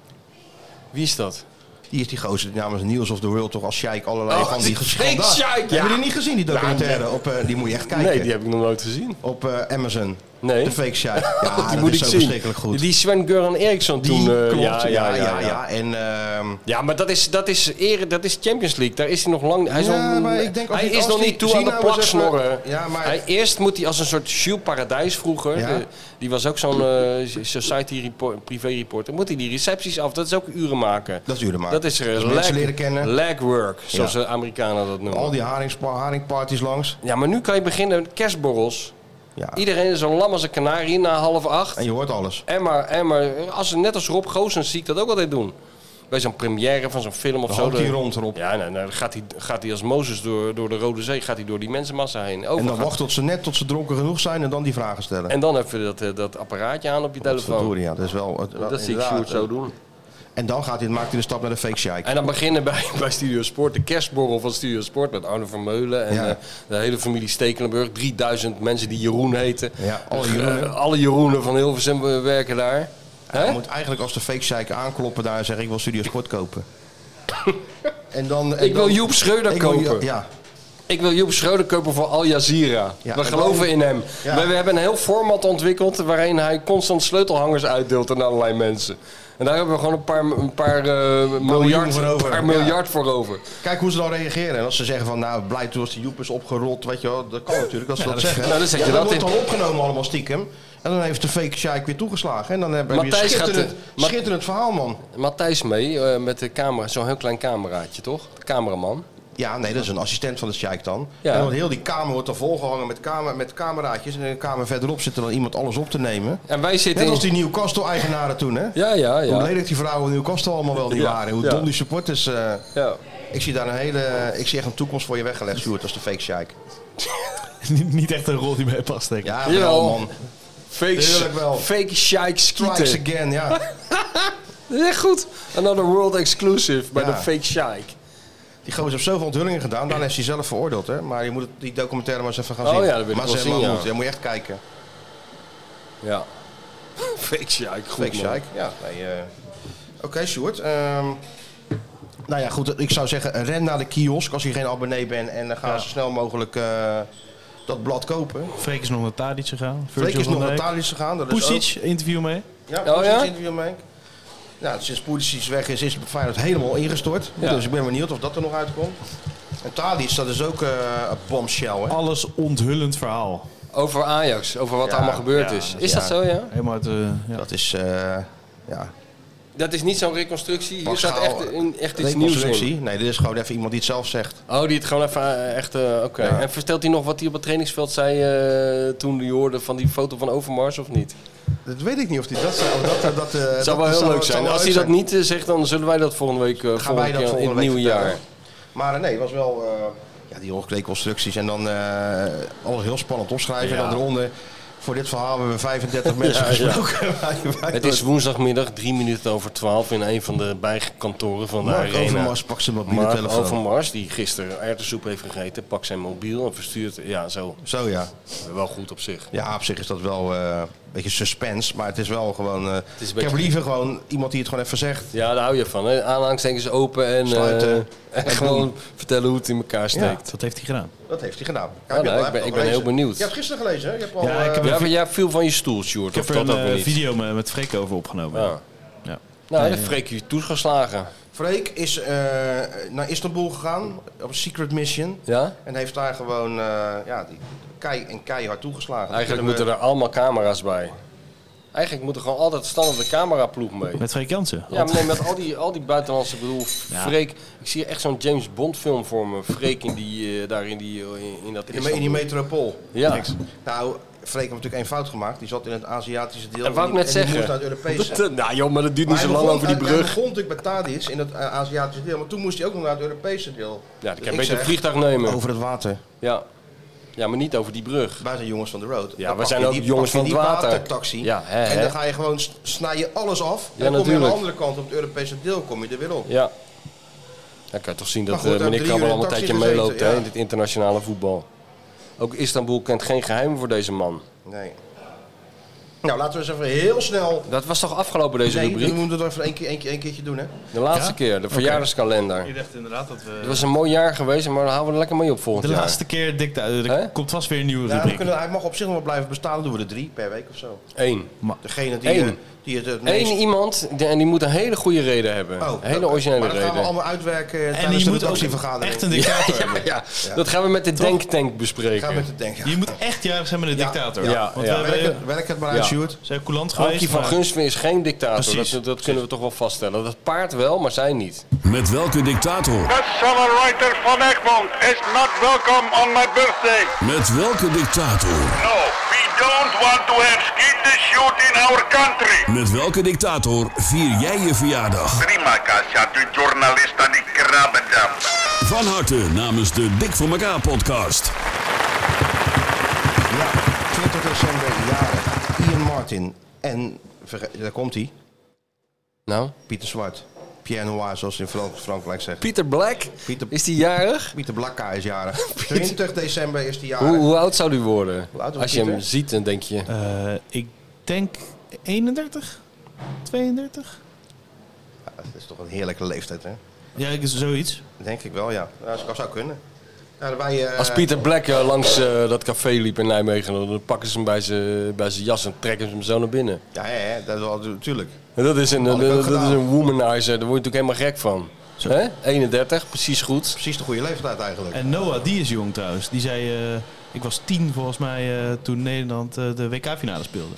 [SPEAKER 6] Wie is dat?
[SPEAKER 1] Die is die gozer die namens Niels of the World toch als Sheik allerlei
[SPEAKER 6] Oh,
[SPEAKER 1] van
[SPEAKER 6] die
[SPEAKER 1] die
[SPEAKER 6] fake
[SPEAKER 1] schandaal-
[SPEAKER 6] Sheik,
[SPEAKER 1] Hebben
[SPEAKER 6] ja.
[SPEAKER 1] jullie niet gezien, die
[SPEAKER 6] Nou,
[SPEAKER 1] documentaire?
[SPEAKER 6] nee.
[SPEAKER 1] op, eh, die moet je echt kijken.
[SPEAKER 6] Nee, die heb ik nog nooit gezien.
[SPEAKER 1] Op eh, Amazon.
[SPEAKER 6] Nee.
[SPEAKER 1] De fake Sheik. Ja,
[SPEAKER 6] die
[SPEAKER 1] Ah, dat
[SPEAKER 6] moet
[SPEAKER 1] is
[SPEAKER 6] ik
[SPEAKER 1] zo
[SPEAKER 6] zien.
[SPEAKER 1] verschrikkelijk goed.
[SPEAKER 6] Die Sven-Göran Eriksson toen... eh,
[SPEAKER 1] klopt.
[SPEAKER 6] ja, ja, ja, ja,
[SPEAKER 1] En, ehm,
[SPEAKER 6] Ja, maar dat is, dat is, ere, dat is Champions League. Daar is hij nog lang... Hij is
[SPEAKER 1] Ja,
[SPEAKER 6] nog,
[SPEAKER 1] maar ik denk als
[SPEAKER 6] hij
[SPEAKER 1] die-
[SPEAKER 6] is
[SPEAKER 1] als
[SPEAKER 6] nog
[SPEAKER 1] die-
[SPEAKER 6] niet toe
[SPEAKER 1] zie
[SPEAKER 6] aan de
[SPEAKER 1] nou eens
[SPEAKER 6] plak
[SPEAKER 1] even-
[SPEAKER 6] snorren.
[SPEAKER 1] Ja, maar-
[SPEAKER 6] hij, eerst moet hij als een soort Jules Paradijs vroeger...
[SPEAKER 1] Ja.
[SPEAKER 6] eh, die was ook zo'n eh, society report, privé reporter. Moet hij die recepties af. Dat is ook uren maken.
[SPEAKER 1] dat is uren maken.
[SPEAKER 6] Dat is er
[SPEAKER 1] Dus
[SPEAKER 6] leg,
[SPEAKER 1] mensen leren kennen.
[SPEAKER 6] legwork, zoals
[SPEAKER 1] Ja.
[SPEAKER 6] de Amerikanen dat noemen.
[SPEAKER 1] Al die haringspa- haringparties langs.
[SPEAKER 6] Ja, maar nu kan je beginnen met kerstborrels.
[SPEAKER 1] Ja.
[SPEAKER 6] Iedereen is zo lam als een kanarie na half acht.
[SPEAKER 1] En je hoort alles.
[SPEAKER 6] En maar, en maar als, net als Rob Goossens zie ik dat ook altijd doen. Bij zo'n première van zo'n film of
[SPEAKER 1] Dan
[SPEAKER 6] zo.
[SPEAKER 1] hoopt
[SPEAKER 6] dan-
[SPEAKER 1] hij rond, Rob.
[SPEAKER 6] Ja, nou, nou, dan gaat hij, gaat hij als Mozes door, door de Rode Zee, gaat hij door die mensenmassa heen. Over
[SPEAKER 1] En dan
[SPEAKER 6] gaat-
[SPEAKER 1] wacht tot ze net tot ze dronken genoeg zijn en dan die vragen stellen.
[SPEAKER 6] en dan even dat, eh, dat apparaatje aan op je telefoon.
[SPEAKER 1] Verdorie, ja, dat is wel... het-
[SPEAKER 6] Dat zie ik
[SPEAKER 1] inderdaad,
[SPEAKER 6] Sjoerd zo
[SPEAKER 1] eh,
[SPEAKER 6] doen.
[SPEAKER 1] En dan gaat hij, maakt hij de stap naar de fake shike.
[SPEAKER 6] En dan beginnen bij, bij Studio Sport, de kerstborrel van Studio Sport met Arno Vermeulen en
[SPEAKER 1] Ja.
[SPEAKER 6] eh, de hele familie Stekelenburg. 3000 mensen die Jeroen heten.
[SPEAKER 1] Ja, alle Jeroenen.
[SPEAKER 6] Eh, alle Jeroenen van Hilversum eh, werken daar.
[SPEAKER 1] Hij moet eigenlijk als de fake shike aankloppen daar en zeggen ik wil Studio Sport kopen. en dan, en
[SPEAKER 6] Ik wil
[SPEAKER 1] dan-
[SPEAKER 6] Joep Schreuder
[SPEAKER 1] Ik wil-
[SPEAKER 6] kopen.
[SPEAKER 1] ja,
[SPEAKER 6] Ik wil Joep Schreuder kopen voor Al Jazeera.
[SPEAKER 1] Ja,
[SPEAKER 6] we
[SPEAKER 1] en
[SPEAKER 6] geloven
[SPEAKER 1] dan-
[SPEAKER 6] in hem.
[SPEAKER 1] Ja.
[SPEAKER 6] We, we hebben een heel format ontwikkeld waarin hij constant sleutelhangers uitdeelt aan allerlei mensen. En daar hebben we gewoon een paar, een paar, eh, miljard,
[SPEAKER 1] voor
[SPEAKER 6] een
[SPEAKER 1] over.
[SPEAKER 6] paar
[SPEAKER 1] Ja.
[SPEAKER 6] miljard voor over.
[SPEAKER 1] Kijk hoe ze dan reageren. En als ze zeggen van, nou, blij toen als de joep is opgerold, weet je wel. Dat kan natuurlijk, als ze
[SPEAKER 6] Ja,
[SPEAKER 1] dat
[SPEAKER 6] dat-
[SPEAKER 1] zeggen.
[SPEAKER 6] nou, dan zet
[SPEAKER 1] Ja,
[SPEAKER 6] je
[SPEAKER 1] dan
[SPEAKER 6] dat
[SPEAKER 1] wordt
[SPEAKER 6] in.
[SPEAKER 1] dan opgenomen allemaal stiekem. En dan heeft de fake Sjaik weer toegeslagen. En dan hebben we weer
[SPEAKER 6] Matthijs gaat
[SPEAKER 1] schitterend,
[SPEAKER 6] de- Ma-
[SPEAKER 1] schitterend verhaal, man.
[SPEAKER 6] Matthijs mee eh, met de camera, zo'n heel klein cameraatje toch? De cameraman.
[SPEAKER 1] Ja, nee, dat is een assistent van de Sjaik dan.
[SPEAKER 6] Ja.
[SPEAKER 1] En dan wordt heel die kamer wordt dan volgehangen met, kamer, met cameraatjes. En in de kamer verderop zit er dan iemand alles op te nemen.
[SPEAKER 6] En wij zitten
[SPEAKER 1] Net
[SPEAKER 6] in-
[SPEAKER 1] als die Newcastle-eigenaren toen, hè?
[SPEAKER 6] Ja, ja, ja.
[SPEAKER 1] Hoe lelijk die vrouwen in Newcastle allemaal wel niet
[SPEAKER 6] Ja,
[SPEAKER 1] waren. Hoe
[SPEAKER 6] ja.
[SPEAKER 1] dom die supporters... eh,
[SPEAKER 6] Ja.
[SPEAKER 1] Ik zie daar een hele... Ik zie echt een toekomst voor je weggelegd, Sjoerd, als de fake Sjaik.
[SPEAKER 2] niet, niet echt een rol die bij past, denk ik.
[SPEAKER 1] Ja,
[SPEAKER 6] Jawel.
[SPEAKER 1] wel, man.
[SPEAKER 6] Fake,
[SPEAKER 1] Heerlijk wel.
[SPEAKER 6] fake shike
[SPEAKER 1] Strikes
[SPEAKER 6] skieten.
[SPEAKER 1] again, ja.
[SPEAKER 6] Dat is echt goed. Another world exclusive bij
[SPEAKER 1] Ja.
[SPEAKER 6] de fake shike.
[SPEAKER 1] Die gozer heeft zoveel onthullingen gedaan. Daarna heeft hij zelf veroordeeld, hè. Maar je moet het- die documentaire maar eens even gaan
[SPEAKER 6] Oh
[SPEAKER 1] zien.
[SPEAKER 6] ja, dat wil ik
[SPEAKER 1] maar
[SPEAKER 6] wel
[SPEAKER 1] ze
[SPEAKER 6] zien, ja.
[SPEAKER 1] moet, je moet je echt kijken.
[SPEAKER 6] Ja. fake shike, goed
[SPEAKER 1] Fake
[SPEAKER 6] man.
[SPEAKER 1] Sjaik. Ja, nee, eh. Oké, Sjoerd. ehm, nou ja, goed. Ik zou zeggen, ren naar de kiosk als je geen abonnee bent. En dan ga
[SPEAKER 2] Ja.
[SPEAKER 1] zo snel mogelijk eh, dat blad kopen.
[SPEAKER 2] Freek is nog naar Tadic gegaan.
[SPEAKER 1] Freek is nog naar Tadic gegaan, dat is
[SPEAKER 2] Pusic, interview mee.
[SPEAKER 1] Ja,
[SPEAKER 6] Oh,
[SPEAKER 1] oh,
[SPEAKER 6] ja?
[SPEAKER 1] ja? interview mee. Nou, sinds Poelisic weg is, is Feyenoord helemaal ingestort.
[SPEAKER 6] Ja.
[SPEAKER 1] Dus ik ben benieuwd of dat er nog uitkomt. En Tadic, dat is ook eh, een bombshell, hè?
[SPEAKER 2] Alles onthullend verhaal.
[SPEAKER 6] Over Ajax, over wat er allemaal gebeurd
[SPEAKER 2] ja,
[SPEAKER 6] is.
[SPEAKER 2] dat-
[SPEAKER 6] Is dat
[SPEAKER 1] ja.
[SPEAKER 6] zo, ja?
[SPEAKER 2] Helemaal uit de... Ja.
[SPEAKER 1] Dat is, eh ja,
[SPEAKER 6] Dat is niet zo'n reconstructie. Hier
[SPEAKER 1] Bas
[SPEAKER 6] staat
[SPEAKER 1] Schaal,
[SPEAKER 6] echt, een- echt iets nieuws
[SPEAKER 1] eh, reconstructie.
[SPEAKER 6] in.
[SPEAKER 1] Nee, dit is gewoon even iemand die het zelf zegt.
[SPEAKER 6] Oh, die het gewoon even eh, echt... eh, Oké.
[SPEAKER 1] Ja.
[SPEAKER 6] En vertelt hij nog wat hij op het trainingsveld zei eh, toen hij hoorde van die foto van Overmars of niet?
[SPEAKER 1] Dat weet ik niet of die dat zou... Dat, dat, dat, eh,
[SPEAKER 6] Het
[SPEAKER 1] dat-
[SPEAKER 6] zou wel
[SPEAKER 1] dat
[SPEAKER 6] heel
[SPEAKER 1] zou-
[SPEAKER 6] leuk
[SPEAKER 1] zou
[SPEAKER 6] zijn.
[SPEAKER 1] wel
[SPEAKER 6] Als hij
[SPEAKER 1] leuk
[SPEAKER 6] dat
[SPEAKER 1] zijn.
[SPEAKER 6] niet eh, zegt, dan zullen wij dat volgende week, eh
[SPEAKER 1] Gaan wij
[SPEAKER 6] volgende
[SPEAKER 1] dat
[SPEAKER 6] keer in
[SPEAKER 1] volgende
[SPEAKER 6] het
[SPEAKER 1] week
[SPEAKER 6] nieuwe jaar.
[SPEAKER 1] vertellen. Maar eh, nee, het was wel eh, ja, die reconstructies en dan eh, alles heel spannend opschrijven.
[SPEAKER 6] Ja.
[SPEAKER 1] En dan eronder, voor dit verhaal hebben we 35 mensen
[SPEAKER 6] Ja, ja.
[SPEAKER 1] gesproken.
[SPEAKER 6] Het is woensdagmiddag, drie minuten over twaalf, in een van de bijkantoren van de
[SPEAKER 1] Mark
[SPEAKER 6] Arena.
[SPEAKER 1] Overmars pakt zijn mobiele
[SPEAKER 6] Mark
[SPEAKER 1] telefoon.
[SPEAKER 6] Overmars, die gisteren erwtensoep heeft gegeten, pakt zijn mobiel en verstuurt... Ja, zo.
[SPEAKER 1] Zo, ja.
[SPEAKER 6] Wel goed op zich.
[SPEAKER 1] Ja, op zich is dat wel eh, een beetje suspense, maar het is wel gewoon... eh,
[SPEAKER 6] is een
[SPEAKER 1] Ik heb
[SPEAKER 6] beetje-
[SPEAKER 1] liever gewoon iemand die het gewoon even zegt.
[SPEAKER 6] Ja, daar hou je van. Hè? Aanhangstekens open en,
[SPEAKER 1] Sluiten.
[SPEAKER 6] eh, en
[SPEAKER 1] En
[SPEAKER 6] gewoon
[SPEAKER 1] boem.
[SPEAKER 6] vertellen hoe het in elkaar steekt.
[SPEAKER 2] dat heeft hij gedaan.
[SPEAKER 1] Dat heeft hij gedaan.
[SPEAKER 6] Ja,
[SPEAKER 1] Heb je
[SPEAKER 6] nou,
[SPEAKER 1] al- heb
[SPEAKER 6] ik ben,
[SPEAKER 1] je
[SPEAKER 6] ik
[SPEAKER 1] al
[SPEAKER 6] ben heel
[SPEAKER 1] gelezen?
[SPEAKER 6] benieuwd.
[SPEAKER 1] Je hebt gisteren gelezen, hè? Je hebt al,
[SPEAKER 6] Ja,
[SPEAKER 1] eh,
[SPEAKER 6] ja, maar jij viel van je stoel,
[SPEAKER 2] Ik
[SPEAKER 6] Sjoerd.
[SPEAKER 2] heb
[SPEAKER 6] of
[SPEAKER 2] er een
[SPEAKER 6] dat ook weer
[SPEAKER 2] eh,
[SPEAKER 6] niet?
[SPEAKER 2] video me- met Freek over opgenomen.
[SPEAKER 6] Ja.
[SPEAKER 2] Ja.
[SPEAKER 6] Nou,
[SPEAKER 2] Nee,
[SPEAKER 6] dan Freek je toegeslagen.
[SPEAKER 1] Freek is eh, naar Istanbul gegaan op een secret mission.
[SPEAKER 6] Ja?
[SPEAKER 1] En heeft daar gewoon eh, ja, die kei en keihard toegeslagen.
[SPEAKER 6] Eigenlijk
[SPEAKER 1] Dat kunnen
[SPEAKER 6] moeten
[SPEAKER 1] we-
[SPEAKER 6] er allemaal camera's bij. Eigenlijk moet er gewoon altijd standaard de cameraploeg mee.
[SPEAKER 2] Met Freek Jansen.
[SPEAKER 6] Ja, maar nee, met al die, al die buitenlandse, ik bedoel, Freek. Ik zie echt zo'n James Bond film voor me. Freek in die, eh, daar in die, eh, in, in dat
[SPEAKER 1] in, die- in die
[SPEAKER 6] Istanbul.
[SPEAKER 1] metropool.
[SPEAKER 6] Ja.
[SPEAKER 1] Niks. Nou, Freek heeft natuurlijk één fout gemaakt. Die zat in het Aziatische deel.
[SPEAKER 6] Dat wou ik
[SPEAKER 1] die-
[SPEAKER 6] net
[SPEAKER 1] die
[SPEAKER 6] zeggen.
[SPEAKER 1] moest naar het Europese.
[SPEAKER 6] Dat- nou joh, maar dat duurt niet
[SPEAKER 1] Maar
[SPEAKER 6] zo
[SPEAKER 1] hij
[SPEAKER 6] lang over
[SPEAKER 1] begon-
[SPEAKER 6] die
[SPEAKER 1] Hij
[SPEAKER 6] brug.
[SPEAKER 1] begon natuurlijk bij Tadis in het eh, Aziatische deel. Maar toen moest hij ook nog naar het Europese deel.
[SPEAKER 6] Ja, ik
[SPEAKER 1] Dus
[SPEAKER 6] kan een beetje
[SPEAKER 1] zeg,
[SPEAKER 6] het vliegtuig nemen.
[SPEAKER 1] Over het water.
[SPEAKER 6] Ja. ja, maar niet over die brug.
[SPEAKER 1] Wij zijn jongens van de road.
[SPEAKER 6] Ja,
[SPEAKER 1] Dan
[SPEAKER 6] we
[SPEAKER 1] pak
[SPEAKER 6] zijn
[SPEAKER 1] je
[SPEAKER 6] ook
[SPEAKER 1] die-
[SPEAKER 6] jongens
[SPEAKER 1] pak
[SPEAKER 6] van
[SPEAKER 1] je
[SPEAKER 6] het
[SPEAKER 1] die
[SPEAKER 6] water.
[SPEAKER 1] watertaxi.
[SPEAKER 6] Ja, hè,
[SPEAKER 1] en
[SPEAKER 6] hè.
[SPEAKER 1] dan ga je gewoon, s- snij je alles af.
[SPEAKER 6] Ja,
[SPEAKER 1] en dan kom je aan de
[SPEAKER 6] natuurlijk.
[SPEAKER 1] andere kant op het Europese deel kom je er weer op.
[SPEAKER 6] Ja. Dan kan je toch zien dat
[SPEAKER 1] Maar goed,
[SPEAKER 6] eh,
[SPEAKER 1] daar
[SPEAKER 6] meneer
[SPEAKER 1] drie uur
[SPEAKER 6] Krabbel
[SPEAKER 1] in
[SPEAKER 6] al een
[SPEAKER 1] de taxi
[SPEAKER 6] tijdje
[SPEAKER 1] gezeten,
[SPEAKER 6] meeloopt hè,
[SPEAKER 1] ja.
[SPEAKER 6] in dit internationale voetbal. Ook Istanbul kent geen geheimen voor deze man.
[SPEAKER 1] Nee. Nou, laten we eens even heel snel...
[SPEAKER 6] Dat was toch afgelopen deze
[SPEAKER 1] nee,
[SPEAKER 6] rubriek?
[SPEAKER 1] we moeten dat even één keer, één keer, één keertje doen, hè?
[SPEAKER 6] De laatste keer, de verjaardagskalender.
[SPEAKER 2] Ik dacht inderdaad dat we...
[SPEAKER 6] Het was een mooi jaar geweest, maar daar houden we er lekker mee op volgend
[SPEAKER 2] De
[SPEAKER 6] jaar.
[SPEAKER 2] laatste keer dik Er komt vast weer een nieuwe
[SPEAKER 1] Ja, we
[SPEAKER 2] rubriek.
[SPEAKER 1] kunnen, hij mag op zich nog wel blijven bestaan. Dan doen we er drie per week of zo.
[SPEAKER 6] Eén.
[SPEAKER 1] Degene die,
[SPEAKER 6] Eén.
[SPEAKER 1] eh, die het het meest...
[SPEAKER 6] Eén iemand, die- en die moet een hele goede reden hebben.
[SPEAKER 1] Oh,
[SPEAKER 6] een hele
[SPEAKER 1] oké.
[SPEAKER 6] originele
[SPEAKER 1] Maar dat gaan
[SPEAKER 6] reden.
[SPEAKER 1] we allemaal uitwerken eh,
[SPEAKER 2] je
[SPEAKER 1] tijdens de
[SPEAKER 2] moet ook
[SPEAKER 1] redactievergadering.
[SPEAKER 2] echt een dictator
[SPEAKER 6] ja, ja,
[SPEAKER 2] hebben.
[SPEAKER 6] ja. dat gaan we met de denktank bespreken.
[SPEAKER 1] Gaan we met de denk.
[SPEAKER 2] Je moet echt jarig zijn met een dictator.
[SPEAKER 6] ja,
[SPEAKER 2] Want
[SPEAKER 6] ja.
[SPEAKER 2] we
[SPEAKER 6] Werk
[SPEAKER 2] hebben-
[SPEAKER 6] het- werk het maar
[SPEAKER 1] uit,
[SPEAKER 2] Ja.
[SPEAKER 1] Sjoerd.
[SPEAKER 2] Ze zijn coulant
[SPEAKER 6] Ankie
[SPEAKER 2] geweest.
[SPEAKER 6] van
[SPEAKER 2] maar-
[SPEAKER 6] Gunsven is geen dictator.
[SPEAKER 2] Precies.
[SPEAKER 6] Dat, dat kunnen we toch wel vaststellen. Dat paard wel, maar zij niet.
[SPEAKER 10] Met welke dictator?
[SPEAKER 17] Accelerator van Egmond is not welcome on my birthday.
[SPEAKER 10] Met welke dictator?
[SPEAKER 17] No, we don't want to have skeet the shoot in our country.
[SPEAKER 10] Met welke dictator vier jij je verjaardag?
[SPEAKER 17] Prima, Kasia, de journalist aan die krabbendam.
[SPEAKER 10] Van harte namens de Dik voor elkaar podcast.
[SPEAKER 1] Ja, 20 december, jarig. Ian Martin. En, verge- daar komt hij.
[SPEAKER 6] Nou?
[SPEAKER 1] Pieter Zwart. Pierre Noir, zoals ze in Fran- Frankrijk zeggen.
[SPEAKER 6] Pieter Black?
[SPEAKER 1] Pieter,
[SPEAKER 6] is die jarig?
[SPEAKER 1] Pieter Blakka is jarig. 20 december is die jarig.
[SPEAKER 6] Hoe, hoe oud zou u worden?
[SPEAKER 1] Hoe oud was
[SPEAKER 6] Als je hem
[SPEAKER 1] Pieter?
[SPEAKER 6] ziet, dan denk je...
[SPEAKER 2] Eh, ik denk 31? 32?
[SPEAKER 1] Ja, dat is toch een heerlijke leeftijd, hè?
[SPEAKER 2] Ja, ik- zoiets.
[SPEAKER 1] Denk ik wel, ja. Ja, Dat zou kunnen. Ja, dan wij, eh,
[SPEAKER 6] Als Pieter Black eh, langs eh, dat café liep in Nijmegen, dan pakken ze hem bij zijn bij zijn jas en trekken ze hem zo naar binnen.
[SPEAKER 1] Ja, hè, hè, dat is wel natuurlijk.
[SPEAKER 6] En dat is een,
[SPEAKER 1] Had ik ook
[SPEAKER 6] dat, dat is
[SPEAKER 1] gedaan.
[SPEAKER 6] een womanizer, daar word je natuurlijk helemaal gek van. Hè? 31, precies goed.
[SPEAKER 1] Precies de goede leeftijd eigenlijk.
[SPEAKER 2] En Noah, die is jong trouwens. Die zei, eh, ik was tien volgens mij eh, toen Nederland eh, de WK-finale speelde.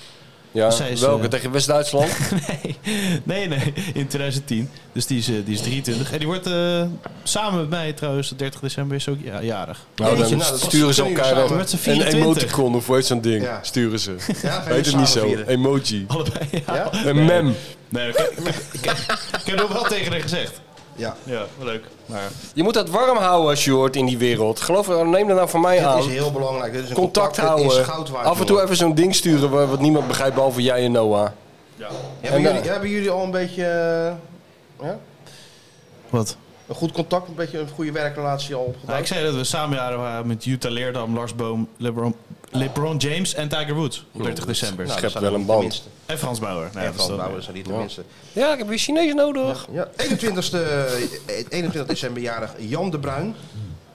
[SPEAKER 6] Ja,
[SPEAKER 2] Dus zij is,
[SPEAKER 6] welke?
[SPEAKER 2] eh,
[SPEAKER 6] Tegen West-Duitsland? Nou,
[SPEAKER 2] Nee, nee, in 2010. Dus die is, eh, die is 23. En die wordt eh, samen met mij trouwens, 30 december is ook ja, jarig.
[SPEAKER 6] Nou, dan sturen ze elkaar
[SPEAKER 2] dan.
[SPEAKER 6] dan
[SPEAKER 2] Met z'n
[SPEAKER 6] een
[SPEAKER 2] 24.
[SPEAKER 6] emoticon of hoe heet zo'n ding?
[SPEAKER 2] Ja.
[SPEAKER 6] Sturen ze.
[SPEAKER 2] gaan
[SPEAKER 6] Heet het
[SPEAKER 2] jullie
[SPEAKER 6] niet zo?
[SPEAKER 2] samen vieren?
[SPEAKER 6] Emoji.
[SPEAKER 2] Allebei, ja.
[SPEAKER 6] Een mem.
[SPEAKER 2] Nee, ik, ik, ik- ik heb nog wel tegen haar gezegd.
[SPEAKER 1] Ja.
[SPEAKER 2] Ja, leuk. Maar...
[SPEAKER 6] Je moet dat warm houden, Sjoerd, in die wereld. Geloof me, neem dat nou van mij
[SPEAKER 1] Dit
[SPEAKER 6] aan.
[SPEAKER 1] is heel belangrijk. Dit is een
[SPEAKER 6] Contact
[SPEAKER 1] contact. Dit is
[SPEAKER 6] houden.
[SPEAKER 1] goud waard,
[SPEAKER 6] Af en toe
[SPEAKER 1] jongen.
[SPEAKER 6] even zo'n ding sturen waar- wat niemand begrijpt behalve jij en Noah.
[SPEAKER 1] Hebben,
[SPEAKER 6] En,
[SPEAKER 1] jullie,
[SPEAKER 6] eh,
[SPEAKER 1] hebben jullie al een beetje eh, ja?
[SPEAKER 2] Wat?
[SPEAKER 1] een goed contact, een beetje een goede werkrelatie al opgebouwd?
[SPEAKER 2] Nou, ik zei dat we samen jaren waren met Jutta Leerdam, Lars Boom, LeBron, LeBron James en Tiger Woods. op 30 december.
[SPEAKER 1] Nou,
[SPEAKER 6] schept
[SPEAKER 1] dat zijn
[SPEAKER 6] wel
[SPEAKER 1] niet
[SPEAKER 6] een
[SPEAKER 1] de
[SPEAKER 6] band.
[SPEAKER 1] minste.
[SPEAKER 2] En Frans Bauer. Nou
[SPEAKER 1] En Frans Bauer zijn niet de minste.
[SPEAKER 6] Ja, ik heb weer Chinees nodig.
[SPEAKER 1] Ja, 21, eh, 21 december jarig Jan de Bruin.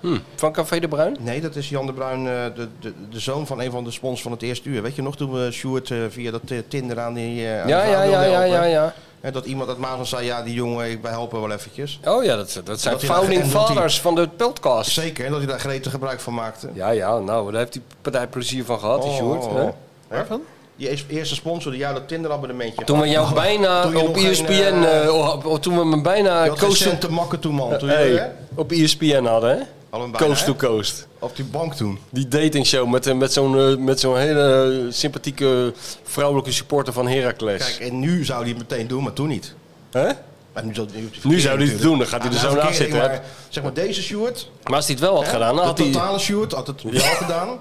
[SPEAKER 6] Hm, Van Café de Bruin?
[SPEAKER 1] Nee, dat is Jan de Bruin, eh, de, de, de zoon van een van de sponsors van het eerste uur. Weet je nog, toen we Sjoerd eh, via dat eh, Tinder aan die... eh, aan
[SPEAKER 6] Ja,
[SPEAKER 1] de vrouw
[SPEAKER 6] ja,
[SPEAKER 1] wilden
[SPEAKER 6] ja, ja,
[SPEAKER 1] helpen.
[SPEAKER 6] ja, ja.
[SPEAKER 1] En dat iemand uit Maas zei, ja, die jongen, ik- wij helpen wel eventjes.
[SPEAKER 6] Oh ja, dat, dat zijn
[SPEAKER 1] Dat hij daar-
[SPEAKER 6] founding
[SPEAKER 1] en dat hij-
[SPEAKER 6] fathers van de podcast.
[SPEAKER 1] Zeker, en dat hij daar gretig gebruik van maakte.
[SPEAKER 6] Ja, ja, nou, daar heeft die partij plezier van gehad, die
[SPEAKER 1] Oh,
[SPEAKER 6] Sjoerd. hè?
[SPEAKER 1] Waarvan? Die ees- eerste sponsor die jou dat Tinder abonnementje
[SPEAKER 6] Toen we jou
[SPEAKER 1] gaf.
[SPEAKER 6] bijna
[SPEAKER 1] Oh. Toen je
[SPEAKER 6] op
[SPEAKER 1] nog geen,
[SPEAKER 6] ESPN...
[SPEAKER 1] eh,
[SPEAKER 6] eh, op- op- toen we hem bijna
[SPEAKER 1] je had geen
[SPEAKER 6] coast
[SPEAKER 1] cent
[SPEAKER 6] to...
[SPEAKER 1] te makken toen, man. Toen
[SPEAKER 6] Hey,
[SPEAKER 1] je, hè?
[SPEAKER 6] op E ESPN hadden, hè?
[SPEAKER 1] Hadden we hem bijna,
[SPEAKER 6] Coast
[SPEAKER 1] hè?
[SPEAKER 6] to coast.
[SPEAKER 1] Op die bank toen.
[SPEAKER 6] Die datingshow met, eh, met zo'n eh, met zo'n hele eh, sympathieke vrouwelijke supporter van Heracles.
[SPEAKER 1] Kijk, en nu zou die het meteen doen, maar toen niet.
[SPEAKER 6] Hè?
[SPEAKER 1] Maar nu zou hij het
[SPEAKER 6] Nu zou hij het
[SPEAKER 1] natuurlijk.
[SPEAKER 6] doen, dan gaat hij er
[SPEAKER 1] Ah,
[SPEAKER 6] zo
[SPEAKER 1] nou,
[SPEAKER 6] na
[SPEAKER 1] verkeer,
[SPEAKER 6] zitten, hè.
[SPEAKER 1] Maar, zeg maar deze Sjoerd.
[SPEAKER 6] Maar als hij het wel had
[SPEAKER 1] hè,
[SPEAKER 6] gedaan, dan had
[SPEAKER 1] de
[SPEAKER 6] hij...
[SPEAKER 1] totale Sjoerd had het wel
[SPEAKER 6] Ja.
[SPEAKER 1] gedaan.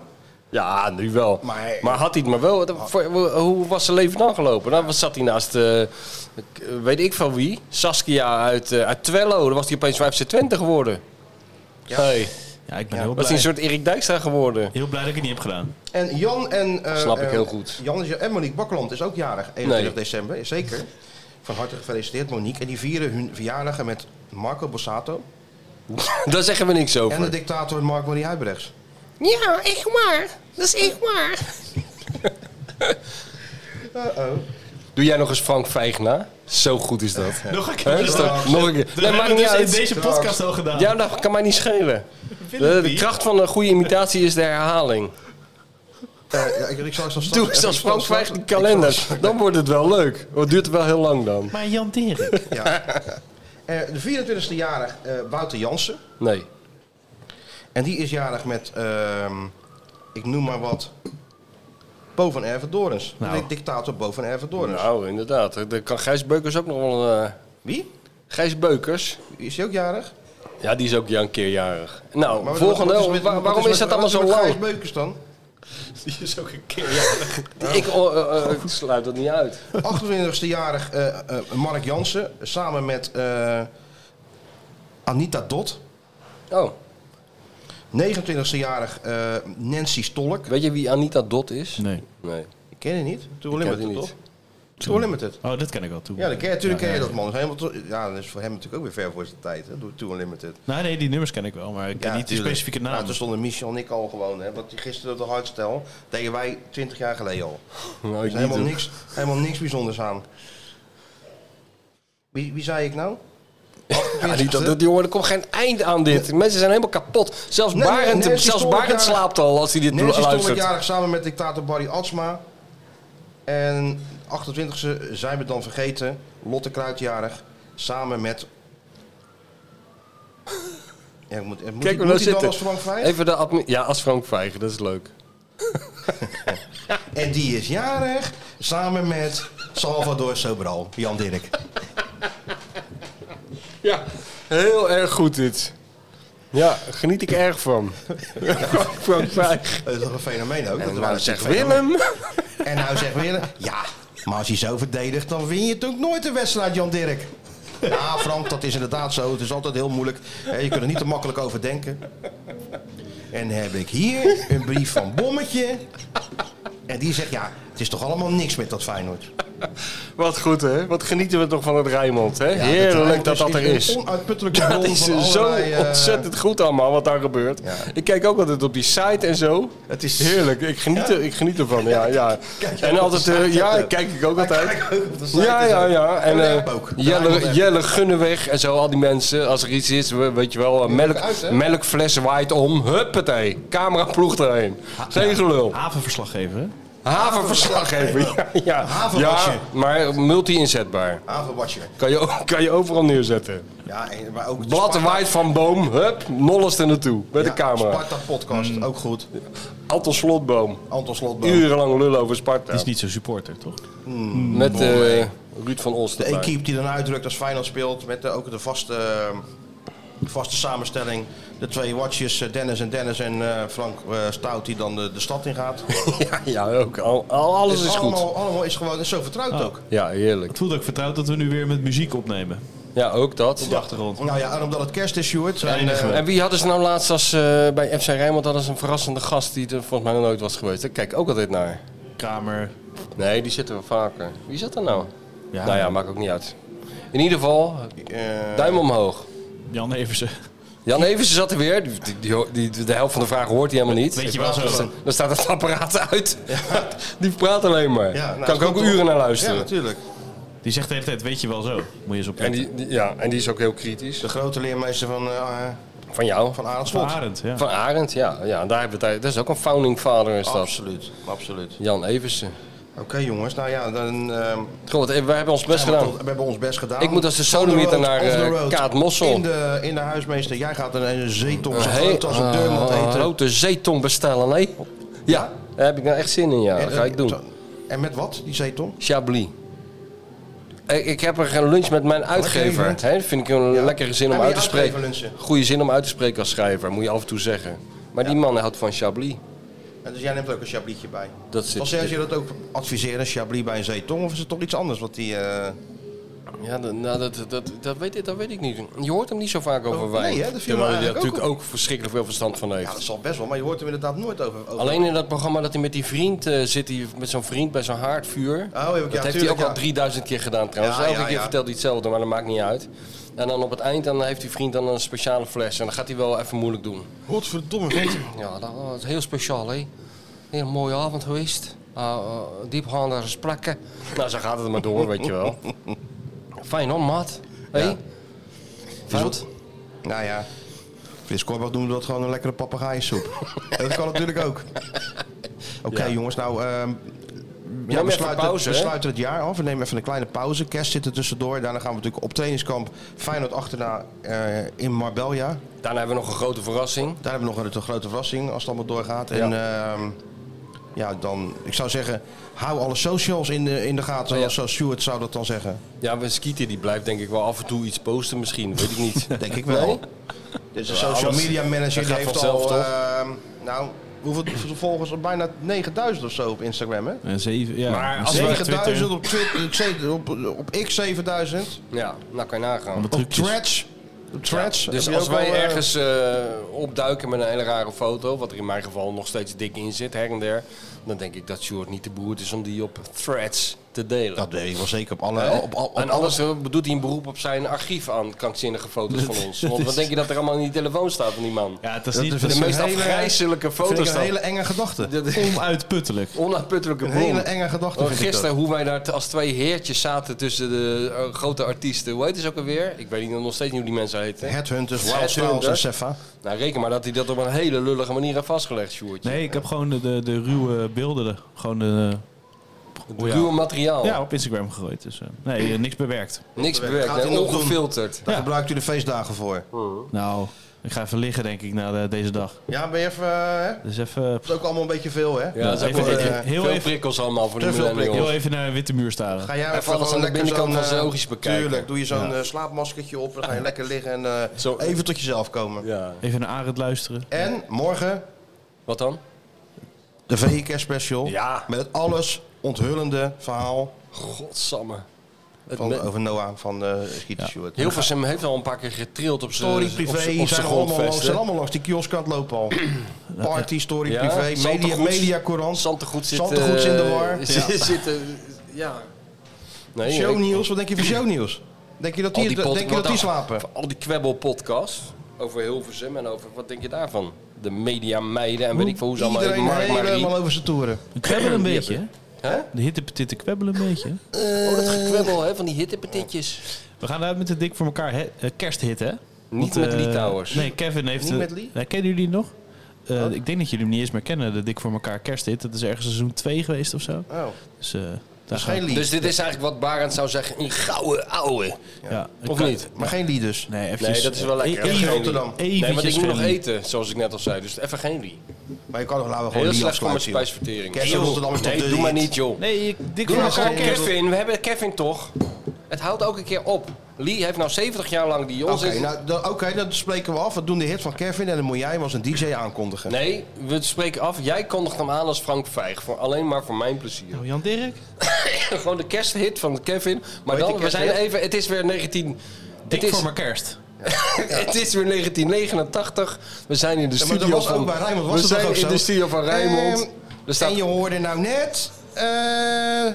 [SPEAKER 6] Ja, nu wel. Maar, Ah.
[SPEAKER 1] Maar-
[SPEAKER 6] had hij het maar wel. dat- voor- Hoe was zijn leven dan gelopen? Nou, wat zat hij naast, eh, k- weet ik van wie, Saskia uit, eh, uit Twello. Dan was hij opeens 5 Twente geworden. Ja. Hey.
[SPEAKER 2] ja, ik ben
[SPEAKER 6] was
[SPEAKER 2] heel
[SPEAKER 6] hij
[SPEAKER 2] blij.
[SPEAKER 6] een soort Erik Dijkstra geworden.
[SPEAKER 2] Heel blij dat ik het niet heb gedaan.
[SPEAKER 1] En Jan en... eh,
[SPEAKER 6] Snap ik
[SPEAKER 1] eh,
[SPEAKER 6] heel goed.
[SPEAKER 1] Jan is- en Monique Bakkeland is ook jarig, 31
[SPEAKER 6] Nee.
[SPEAKER 1] december, zeker. Van harte gefeliciteerd Monique. En die vieren hun verjaardagen met Marco Borsato.
[SPEAKER 6] Daar zeggen we niks over.
[SPEAKER 1] En de dictator Mark Marie Huibrechts.
[SPEAKER 18] Ja, echt waar. Dat is echt waar.
[SPEAKER 1] Uh-oh.
[SPEAKER 6] Doe jij nog eens Frank Vijg na? Zo goed is dat.
[SPEAKER 2] Nog een keer.
[SPEAKER 6] Hè, is dat-
[SPEAKER 2] Straks.
[SPEAKER 6] nog een keer.
[SPEAKER 2] Dat
[SPEAKER 6] Nee,
[SPEAKER 2] hebben
[SPEAKER 6] maakt
[SPEAKER 2] we
[SPEAKER 6] niet
[SPEAKER 2] dus
[SPEAKER 6] uit.
[SPEAKER 2] in deze podcast al gedaan.
[SPEAKER 6] Ja, dat kan mij niet schelen.
[SPEAKER 2] Wil
[SPEAKER 6] De,
[SPEAKER 2] ik
[SPEAKER 6] de
[SPEAKER 2] niet.
[SPEAKER 6] kracht van een goede imitatie is de herhaling.
[SPEAKER 1] Eh, ja, ik, ik zal straks-
[SPEAKER 6] Doe
[SPEAKER 1] ik
[SPEAKER 6] eens
[SPEAKER 1] zal
[SPEAKER 6] als Frank
[SPEAKER 1] straks-
[SPEAKER 6] Vijg die kalenders. Dan wordt het wel leuk. Het duurt wel heel lang dan.
[SPEAKER 2] Maar Jan Teren.
[SPEAKER 1] Ja. Eh, de 24e jarig eh, Wouter Jansen.
[SPEAKER 6] Nee.
[SPEAKER 1] En die is jarig met, ehm, ik noem maar wat, Bo van Ervedorens.
[SPEAKER 6] Nou.
[SPEAKER 1] De dictator Bo van Ervedorens.
[SPEAKER 6] Nou, inderdaad. Dan kan Gijs Beukers ook nog wel... eh,
[SPEAKER 1] Wie?
[SPEAKER 6] Gijs Beukers.
[SPEAKER 1] Is hij ook jarig?
[SPEAKER 6] Ja, die is ook ja, een keer jarig. Nou,
[SPEAKER 1] Maar wat-
[SPEAKER 6] volgende.
[SPEAKER 1] wat is met-
[SPEAKER 6] Wa-
[SPEAKER 1] wat
[SPEAKER 6] waarom
[SPEAKER 1] met-
[SPEAKER 6] is dat allemaal
[SPEAKER 1] wat
[SPEAKER 6] zo
[SPEAKER 1] met Gijs
[SPEAKER 6] lang?
[SPEAKER 1] Beukers dan?
[SPEAKER 6] Die is ook een keer jarig. Ik oh, eh, eh, ik sluit dat niet uit.
[SPEAKER 1] 28e jarig eh, eh, Mark Jansen. Samen met eh, Anita Dot.
[SPEAKER 6] Oh.
[SPEAKER 1] 29e jarig eh, Nancy Stolk.
[SPEAKER 6] Weet je wie Anita Dot is?
[SPEAKER 2] Nee.
[SPEAKER 6] Nee.
[SPEAKER 1] Ik ken je niet. Tour
[SPEAKER 6] Ik ken
[SPEAKER 1] Limited,
[SPEAKER 6] die
[SPEAKER 1] toch?
[SPEAKER 6] niet.
[SPEAKER 1] Tour Limited.
[SPEAKER 2] Oh, dat ken ik wel toe.
[SPEAKER 1] Ja, dat ken je, natuurlijk ken je dat man. Dat is Helemaal to- ja, dat is voor hem natuurlijk ook weer ver voor zijn tijd. Hè? Tour Unlimited.
[SPEAKER 2] Nee, nee, die nummers ken ik wel, maar ik ken niet de specifieke naam.
[SPEAKER 1] Nou, toen stonden Michel en ik al gewoon. Hè? Want die gisteren op de hardstel deden wij 20 jaar geleden al.
[SPEAKER 6] Nou,
[SPEAKER 1] Er
[SPEAKER 6] ik
[SPEAKER 1] is
[SPEAKER 6] niet,
[SPEAKER 1] helemaal
[SPEAKER 6] hoor.
[SPEAKER 1] niks, helemaal niks bijzonders aan. Wie, wie zei ik nou?
[SPEAKER 6] Ja, Ah, die, dat, dat, jongen, er komt geen eind aan dit. Mensen zijn helemaal kapot. Zelfs
[SPEAKER 1] Nee, nee,
[SPEAKER 6] Barend,
[SPEAKER 1] Nancy
[SPEAKER 6] zelfs
[SPEAKER 1] Stolk
[SPEAKER 6] Barend
[SPEAKER 1] jarig.
[SPEAKER 6] slaapt al als hij dit
[SPEAKER 1] Nancy Stolk
[SPEAKER 6] luistert.
[SPEAKER 1] jarig samen met dictator Barry Atsma. En 28e zijn we dan vergeten. Lotte Kruid jarig. Samen met... Ja, ik moet, moet die-
[SPEAKER 6] Kijk hoe
[SPEAKER 1] moet
[SPEAKER 6] dat
[SPEAKER 1] die dan
[SPEAKER 6] zit.
[SPEAKER 1] als Frank Vijs?
[SPEAKER 6] Even de admin. Ja, als Frank Vijgen, dat is leuk.
[SPEAKER 1] En die is jarig samen met Salvador Sobral, Jan Dirk.
[SPEAKER 6] Ja, heel erg goed dit. Ja, geniet ik erg van. Frank Vijg.
[SPEAKER 1] Dat is toch een fenomeen ook?
[SPEAKER 6] En
[SPEAKER 1] Dat
[SPEAKER 6] nou
[SPEAKER 1] waren
[SPEAKER 6] zegt
[SPEAKER 1] fenomeen.
[SPEAKER 6] Willem.
[SPEAKER 1] En nou zegt Willem, ja, maar als hij zo verdedigt, dan win je natuurlijk nooit een wedstrijd, Jan Dirk. Ja, Frank, dat is inderdaad zo. Het is altijd heel moeilijk. Hè, Je kunt er niet te makkelijk over denken. En heb ik hier een brief van Bommetje. En die zegt, ja, het is toch allemaal niks met dat Feyenoord.
[SPEAKER 6] Wat goed hè? Wat genieten we toch van het Rijnmond hè?
[SPEAKER 1] Ja,
[SPEAKER 6] Heerlijk dat dat er
[SPEAKER 1] een
[SPEAKER 6] is.
[SPEAKER 1] Onuitputtelijke bron
[SPEAKER 6] Dat is
[SPEAKER 1] van
[SPEAKER 6] zo
[SPEAKER 1] allerlei, eh,
[SPEAKER 6] ontzettend goed allemaal wat daar gebeurt. Ik kijk ook altijd op die site en zo.
[SPEAKER 1] Het is
[SPEAKER 6] heerlijk. Ik geniet, er, ik geniet ervan. Ja, ja. En altijd, eh, ja, kijk ik ook altijd. Ja, ja, ja. En eh, Jelle, Jelle Gunneweg en zo, al die mensen. Als er iets is, we- weet je wel, eh, melk,
[SPEAKER 1] uit, hè?
[SPEAKER 6] melkfles waait om. Huppatee. Camera ploeg erheen. Geen gelul.
[SPEAKER 2] Havenverslaggever, hè?
[SPEAKER 6] Havenverslaggever. Ja, ja.
[SPEAKER 1] Havenwasje.
[SPEAKER 6] ja maar multi-inzetbaar.
[SPEAKER 1] Havenwatcher.
[SPEAKER 6] Kan je, ook- kan je overal neerzetten.
[SPEAKER 1] Ja, en- maar ook de
[SPEAKER 6] Blad
[SPEAKER 1] Sparta-
[SPEAKER 6] waait van boom, hup, nolles er naartoe. Met de
[SPEAKER 1] Ja,
[SPEAKER 6] camera. Mm.
[SPEAKER 1] Sparta podcast, ook goed.
[SPEAKER 6] Anton Slotboom.
[SPEAKER 1] Anton Slotboom.
[SPEAKER 6] Urenlang lullen over Sparta.
[SPEAKER 2] Die is niet zo'n supporter, toch?
[SPEAKER 6] Met eh,
[SPEAKER 1] Mooi.
[SPEAKER 6] Ruud van
[SPEAKER 1] De
[SPEAKER 6] Olster.
[SPEAKER 1] equipe die dan uitdrukt als Feyenoord speelt. Met de- ook de vaste, eh, vaste samenstelling. De twee watjes, eh, Dennis en Dennis en eh, Frank eh, Stout, die dan de, de stad in gaat.
[SPEAKER 6] Ja, ja, ook. Al, al- alles
[SPEAKER 1] Dus
[SPEAKER 6] is
[SPEAKER 1] allemaal,
[SPEAKER 6] goed. Ah.
[SPEAKER 1] Allemaal is gewoon is zo vertrouwd ook.
[SPEAKER 6] Ja, heerlijk.
[SPEAKER 2] Het voelt ook vertrouwd dat we nu weer met muziek opnemen.
[SPEAKER 6] Ja, ook dat.
[SPEAKER 2] Op de achtergrond.
[SPEAKER 1] Nou ja, en omdat het kerst is, Sjoerd. En,
[SPEAKER 2] enige.
[SPEAKER 1] eh,
[SPEAKER 6] En wie hadden ze nou laatst als eh, bij FC Rijnmond hadden ze een verrassende gast die er volgens mij nog nooit was geweest. Daar kijk ik ook altijd naar.
[SPEAKER 2] Kramer.
[SPEAKER 6] Nee, die zitten we vaker. Wie zat er nou?
[SPEAKER 2] Ja.
[SPEAKER 6] nou ja, Eh. maakt ook niet uit. In ieder geval, duim omhoog.
[SPEAKER 2] Jan Eversen.
[SPEAKER 6] Jan Eversen zat er weer. Die, die, die- de helft van de vraag hoort hij helemaal niet.
[SPEAKER 2] Weet je wel zo.
[SPEAKER 6] Dan- Dan staat het apparaat uit. Die praat alleen maar.
[SPEAKER 1] ja, nou,
[SPEAKER 6] kan ik
[SPEAKER 1] het
[SPEAKER 6] ook
[SPEAKER 1] komt
[SPEAKER 6] uren
[SPEAKER 1] op.
[SPEAKER 6] naar luisteren.
[SPEAKER 1] Ja, natuurlijk.
[SPEAKER 2] Die zegt de hele tijd, weet je wel zo. Moet je eens op
[SPEAKER 6] en die, die- ja, en die is ook heel kritisch.
[SPEAKER 1] De grote leermeester van, eh
[SPEAKER 6] Van jou.
[SPEAKER 1] van Arend
[SPEAKER 2] Van
[SPEAKER 1] Slot.
[SPEAKER 2] Arend, ja.
[SPEAKER 6] Van Arend, ja. ja daar hebben we het, dat is ook een founding father is dat.
[SPEAKER 1] Absoluut, absoluut.
[SPEAKER 6] Jan Eversen.
[SPEAKER 1] Oké jongens, nou ja, dan... ehm,
[SPEAKER 6] Goed, we hebben ons best
[SPEAKER 1] Ja, we
[SPEAKER 6] gedaan.
[SPEAKER 1] hebben- We hebben ons best gedaan.
[SPEAKER 6] Ik moet als de
[SPEAKER 1] On the
[SPEAKER 6] sodemieter
[SPEAKER 1] road,
[SPEAKER 6] naar
[SPEAKER 1] off the
[SPEAKER 6] eh,
[SPEAKER 1] road.
[SPEAKER 6] Kaat Mossel.
[SPEAKER 1] In de, in de huismeester, jij gaat een, een zeeton zo
[SPEAKER 6] Een Oh, heel-
[SPEAKER 1] groot als een deurmat
[SPEAKER 6] een
[SPEAKER 1] eten.
[SPEAKER 6] grote eh, zeeton bestellen, nee? Ja, daar heb ik nou echt zin in, ja.
[SPEAKER 1] En-
[SPEAKER 6] Dat ga ik doen.
[SPEAKER 1] En met wat, die zeeton?
[SPEAKER 6] Chablis. eh, ik heb er een lunch met mijn uitgever.
[SPEAKER 1] event.
[SPEAKER 6] Hè? Vind ik een lekkere zin
[SPEAKER 1] Ja,
[SPEAKER 6] om
[SPEAKER 1] met
[SPEAKER 6] uit
[SPEAKER 1] je
[SPEAKER 6] te spreken.
[SPEAKER 1] uitgever lunchen.
[SPEAKER 6] Goede zin om uit te spreken als schrijver, moet je af en toe zeggen. Maar die man houdt van Chablis.
[SPEAKER 1] En dus jij neemt ook een chablietje bij.
[SPEAKER 6] Dat zit-
[SPEAKER 1] Als jij je dat ook adviseert, een chablis bij een zeetong, of is het toch iets anders? Wat die, eh,
[SPEAKER 6] Ja, dat, nou, dat, dat, dat, weet ik, dat weet ik niet. Je hoort hem niet zo vaak over
[SPEAKER 1] Oh,
[SPEAKER 6] wijn.
[SPEAKER 1] nee, hè? Dat viel me
[SPEAKER 6] Terwijl hij daar
[SPEAKER 1] eigenlijk
[SPEAKER 6] natuurlijk
[SPEAKER 1] ook
[SPEAKER 6] ook verschrikkelijk veel verstand van heeft.
[SPEAKER 1] Ja, dat zal best wel, maar je hoort hem inderdaad nooit over. over-
[SPEAKER 6] Alleen in dat programma dat hij met die vriend eh, zit, die, met zo'n vriend bij zo'n haardvuur.
[SPEAKER 1] Oh, ja,
[SPEAKER 6] dat heeft hij
[SPEAKER 1] tuurlijk,
[SPEAKER 6] ook
[SPEAKER 1] ja.
[SPEAKER 6] al 3000 keer gedaan trouwens.
[SPEAKER 1] Ja,
[SPEAKER 6] Elke
[SPEAKER 1] ja,
[SPEAKER 6] keer
[SPEAKER 1] ja.
[SPEAKER 6] vertelt hij hetzelfde, maar dat maakt niet uit. En dan op het eind dan heeft die vriend dan een speciale fles en dan gaat hij wel even moeilijk doen.
[SPEAKER 1] Godverdomme.
[SPEAKER 6] Ja, dat was heel speciaal hè. Heel mooie avond geweest. Eh, eh, diepgaande gesprekken. Nou, zo gaat het maar door, weet je wel. Fijn hoor, maat. Hé?
[SPEAKER 1] Ja.
[SPEAKER 6] Fout?
[SPEAKER 1] Nou ja. Frits Korbach noemde dat gewoon een lekkere papegaaiensoep. En dat kan natuurlijk ook. Oké jongens, nou... ehm ja,
[SPEAKER 6] even
[SPEAKER 1] we, sluiten,
[SPEAKER 6] pauze,
[SPEAKER 1] we
[SPEAKER 6] hè?
[SPEAKER 1] sluiten het jaar af. We nemen even een kleine pauze. Kerst zit er tussendoor. Daarna gaan we natuurlijk op trainingskamp Feyenoord achterna eh, in Marbella.
[SPEAKER 6] Daarna hebben we nog een grote verrassing.
[SPEAKER 1] Daar hebben we nog een, een grote verrassing als het allemaal doorgaat. En ehm, ja, dan... Ik zou zeggen, hou alle socials in de, in de gaten.
[SPEAKER 6] Ja.
[SPEAKER 1] Zoals Stuart zou dat dan zeggen.
[SPEAKER 6] Ja, maar Skeeter die blijft denk ik wel af en toe iets posten misschien, weet ik niet.
[SPEAKER 1] Denk ik wel.
[SPEAKER 6] Nee?
[SPEAKER 1] Dus de
[SPEAKER 6] Ja,
[SPEAKER 1] social
[SPEAKER 6] alles-
[SPEAKER 1] media
[SPEAKER 6] dat
[SPEAKER 1] manager die
[SPEAKER 6] gaat
[SPEAKER 1] heeft
[SPEAKER 6] vanzelf,
[SPEAKER 1] al...
[SPEAKER 6] toch?
[SPEAKER 1] ehm, nou, hoeveel hoeveel volgers? Bijna 9000 of zo op Instagram, hè?
[SPEAKER 2] Eh, zeven, ja.
[SPEAKER 1] Maar als
[SPEAKER 2] Zeven
[SPEAKER 1] 9000
[SPEAKER 2] Twitter.
[SPEAKER 1] op, Twitter- ik zei het, op, op X 7000.
[SPEAKER 6] Ja, nou kan je nagaan.
[SPEAKER 1] Op Threads. Op Threads.
[SPEAKER 6] Ja, dus
[SPEAKER 1] heb je
[SPEAKER 6] als
[SPEAKER 1] ook
[SPEAKER 6] wij
[SPEAKER 1] al, eh,
[SPEAKER 6] ergens eh, opduiken met een hele rare foto, wat er in mijn geval nog steeds dik in zit, her en der, dan denk ik dat Sjoerd niet te beroerd is om die op threads te delen. Eh,
[SPEAKER 1] Dat weet ik wel zeker. Op alle,
[SPEAKER 6] Hè?
[SPEAKER 1] op, op, op
[SPEAKER 6] en
[SPEAKER 1] alle-
[SPEAKER 6] anders eh, doet hij een beroep op zijn archief aan krankzinnige foto's van ons.
[SPEAKER 1] Dat
[SPEAKER 6] Want
[SPEAKER 1] is-
[SPEAKER 6] wat denk je dat er allemaal in die telefoon staat van die man? Ja,
[SPEAKER 2] het is niet-
[SPEAKER 6] de
[SPEAKER 2] dat is
[SPEAKER 6] meest
[SPEAKER 2] een hele-
[SPEAKER 6] afgrijzelijke
[SPEAKER 2] vind ik
[SPEAKER 6] foto's.
[SPEAKER 2] een
[SPEAKER 6] dan.
[SPEAKER 2] hele
[SPEAKER 1] enge gedachte.
[SPEAKER 6] Dat is-
[SPEAKER 2] Onuitputtelijk.
[SPEAKER 6] Onuitputtelijke
[SPEAKER 1] Een
[SPEAKER 6] bron.
[SPEAKER 1] hele enge gedachte
[SPEAKER 6] Oh,
[SPEAKER 1] vind ik
[SPEAKER 6] Gisteren
[SPEAKER 1] dat.
[SPEAKER 6] hoe wij daar t- als twee heertjes zaten tussen de eh, grote artiesten. Hoe heet ze ook alweer? Ik weet niet, nog steeds niet hoe die mensen heten.
[SPEAKER 1] Headhunters, Wild
[SPEAKER 6] Headhunters.
[SPEAKER 1] Styles en Sefa.
[SPEAKER 6] Nou, reken maar dat hij dat op een hele lullige manier heeft vastgelegd, Sjoerd.
[SPEAKER 2] Nee, ik heb gewoon de, de, de ruwe beelden. Gewoon eh, de...
[SPEAKER 6] Het
[SPEAKER 1] Oh
[SPEAKER 6] ruwe materiaal.
[SPEAKER 2] Ja, op Instagram gegooid. Dus, eh, nee, eh, niks bewerkt.
[SPEAKER 6] Niks bewerkt,
[SPEAKER 1] Gaat
[SPEAKER 6] hè?
[SPEAKER 1] hij nog doen?
[SPEAKER 6] ongefilterd.
[SPEAKER 1] Daar gebruikt u de feestdagen voor.
[SPEAKER 2] Nou, ik ga even liggen denk ik na de- deze dag.
[SPEAKER 1] Ja, ben je even... eh, hè?
[SPEAKER 2] Dus even...
[SPEAKER 1] Dat is ook allemaal een beetje veel, hè?
[SPEAKER 6] Ja, dat is ook
[SPEAKER 2] Even-
[SPEAKER 6] wel,
[SPEAKER 2] even-
[SPEAKER 6] eh,
[SPEAKER 2] heel
[SPEAKER 6] veel
[SPEAKER 2] even-
[SPEAKER 6] prikkels allemaal voor de
[SPEAKER 1] Te veel
[SPEAKER 6] millennials.
[SPEAKER 2] Heel even naar een witte muur staren.
[SPEAKER 1] Ga jij
[SPEAKER 6] Even alles
[SPEAKER 1] gewoon
[SPEAKER 6] aan de
[SPEAKER 1] lekker
[SPEAKER 6] binnenkant van
[SPEAKER 1] zo'n,
[SPEAKER 6] zijn
[SPEAKER 1] eh,
[SPEAKER 6] oogjes bekijken.
[SPEAKER 1] Tuurlijk, doe je zo'n
[SPEAKER 6] Ja.
[SPEAKER 1] eh, slaapmaskertje op. Dan ga je lekker liggen en eh, even tot jezelf komen.
[SPEAKER 6] Ja.
[SPEAKER 2] Even naar Arend luisteren.
[SPEAKER 1] En morgen
[SPEAKER 6] Wat dan?
[SPEAKER 1] de VIK special.
[SPEAKER 6] Ja.
[SPEAKER 1] Met het alles onthullende verhaal
[SPEAKER 6] Godsamme. Het
[SPEAKER 1] van,
[SPEAKER 6] me-
[SPEAKER 1] over Noah van eh Skeeter Stewart.
[SPEAKER 6] Heel veel hem heeft al een paar keer getrild op zijn
[SPEAKER 1] Story privé,
[SPEAKER 6] op
[SPEAKER 1] zijn
[SPEAKER 6] zijn
[SPEAKER 1] allemaal, langs,
[SPEAKER 6] grondvest.
[SPEAKER 1] zijn
[SPEAKER 6] hè?
[SPEAKER 1] allemaal langs die kiosk aan het lopen al. Party, story,
[SPEAKER 6] Ja,
[SPEAKER 1] privé, media,
[SPEAKER 6] Zantegoeds.
[SPEAKER 1] mediacourant.
[SPEAKER 6] Zantegoed zit,
[SPEAKER 1] Zantegoeds
[SPEAKER 6] eh,
[SPEAKER 1] in de war.
[SPEAKER 6] zit-
[SPEAKER 1] Ja.
[SPEAKER 6] zit, eh, ja. Nee,
[SPEAKER 1] Shownieuws, wat denk je van shownieuws? Denk je dat die,
[SPEAKER 6] pod-
[SPEAKER 1] denk je dat
[SPEAKER 6] wat
[SPEAKER 1] die
[SPEAKER 6] dan?
[SPEAKER 1] slapen?
[SPEAKER 6] Al die kwebbelpodcasts over Hilversum en over... Wat denk je daarvan? De media meiden en weet ik veel hoe ze allemaal...
[SPEAKER 1] Iedereen
[SPEAKER 6] Mark Marie.
[SPEAKER 1] helemaal over zijn toeren.
[SPEAKER 2] Kwebbelen een
[SPEAKER 6] Die
[SPEAKER 2] beetje, hè?
[SPEAKER 6] hebben- Hè?
[SPEAKER 2] De hittepetitte kwebbelen een beetje.
[SPEAKER 6] Oh, dat gekwebbel hè, van die hittepetitjes.
[SPEAKER 2] We gaan uit met de dik voor elkaar he- eh, kersthit, hè? Niet
[SPEAKER 6] met Lee Towers.
[SPEAKER 2] Nee, Kevin heeft...
[SPEAKER 6] Niet
[SPEAKER 2] eh,
[SPEAKER 6] met Lee?
[SPEAKER 2] nee, kennen jullie die nog? Eh, Ik denk dat jullie hem niet eens meer kennen, de dik voor elkaar kersthit. Dat is ergens seizoen 2 geweest of zo.
[SPEAKER 1] Oh.
[SPEAKER 2] Dus, eh,
[SPEAKER 1] geen
[SPEAKER 2] daar gaan we-
[SPEAKER 1] Lee.
[SPEAKER 6] Dus dit is eigenlijk wat Barend zou zeggen, een gouden ouwe.
[SPEAKER 2] Ja,
[SPEAKER 6] Of
[SPEAKER 2] ik-
[SPEAKER 6] niet?
[SPEAKER 1] Maar geen lied dus.
[SPEAKER 2] Nee, eventjes,
[SPEAKER 6] Nee, dat is wel lekker.
[SPEAKER 2] eh,
[SPEAKER 6] Even geen
[SPEAKER 2] Rotterdam.
[SPEAKER 6] Lee. Nee, want ik
[SPEAKER 2] Eventjes
[SPEAKER 6] moet nog
[SPEAKER 2] geen Lee.
[SPEAKER 6] eten, zoals ik net al zei. Dus even geen Lee.
[SPEAKER 1] Maar je kan toch laten we gewoon
[SPEAKER 6] Heel
[SPEAKER 1] die
[SPEAKER 6] slecht voor mijn
[SPEAKER 1] afsluiten. joh.
[SPEAKER 6] spijsvertering.
[SPEAKER 1] Kerst
[SPEAKER 6] Nee,
[SPEAKER 1] in Rotterdam is toch
[SPEAKER 6] nee,
[SPEAKER 1] de
[SPEAKER 6] doe maar
[SPEAKER 1] hit?
[SPEAKER 6] niet, joh.
[SPEAKER 2] Nee, ik- dik
[SPEAKER 6] Doe
[SPEAKER 2] voor
[SPEAKER 6] maar
[SPEAKER 2] elkaar
[SPEAKER 6] gewoon
[SPEAKER 2] kersthit.
[SPEAKER 6] Kevin. We hebben Kevin toch? Het houdt ook een keer op. Lee heeft nou 70 jaar lang die
[SPEAKER 1] Oké,
[SPEAKER 6] onzin...
[SPEAKER 1] nou, dan- oké, dan spreken we af. We doen de hit van Kevin en dan moet jij hem als een DJ aankondigen.
[SPEAKER 6] Nee, we spreken af. Jij kondigt hem aan als Frank Vijg. Voor, alleen maar voor mijn plezier.
[SPEAKER 2] Jan Dirk?
[SPEAKER 6] Gewoon de kersthit van Kevin. Maar
[SPEAKER 2] Hoe heet
[SPEAKER 6] dan,
[SPEAKER 2] die
[SPEAKER 6] we zijn
[SPEAKER 2] kersthit?
[SPEAKER 6] even... Het is weer 19...
[SPEAKER 2] Dik
[SPEAKER 6] het is,
[SPEAKER 2] voor mijn kerst.
[SPEAKER 6] het is weer 1989. We zijn in de
[SPEAKER 1] Ja, maar dat
[SPEAKER 6] studio
[SPEAKER 1] was
[SPEAKER 6] van...
[SPEAKER 1] ook bij Rijnmond. Was
[SPEAKER 6] we
[SPEAKER 1] dat toch
[SPEAKER 6] zijn
[SPEAKER 1] ook
[SPEAKER 6] in
[SPEAKER 1] zo?
[SPEAKER 6] de studio van Rijnmond.
[SPEAKER 1] Ehm, En je hoorde nou net... eh,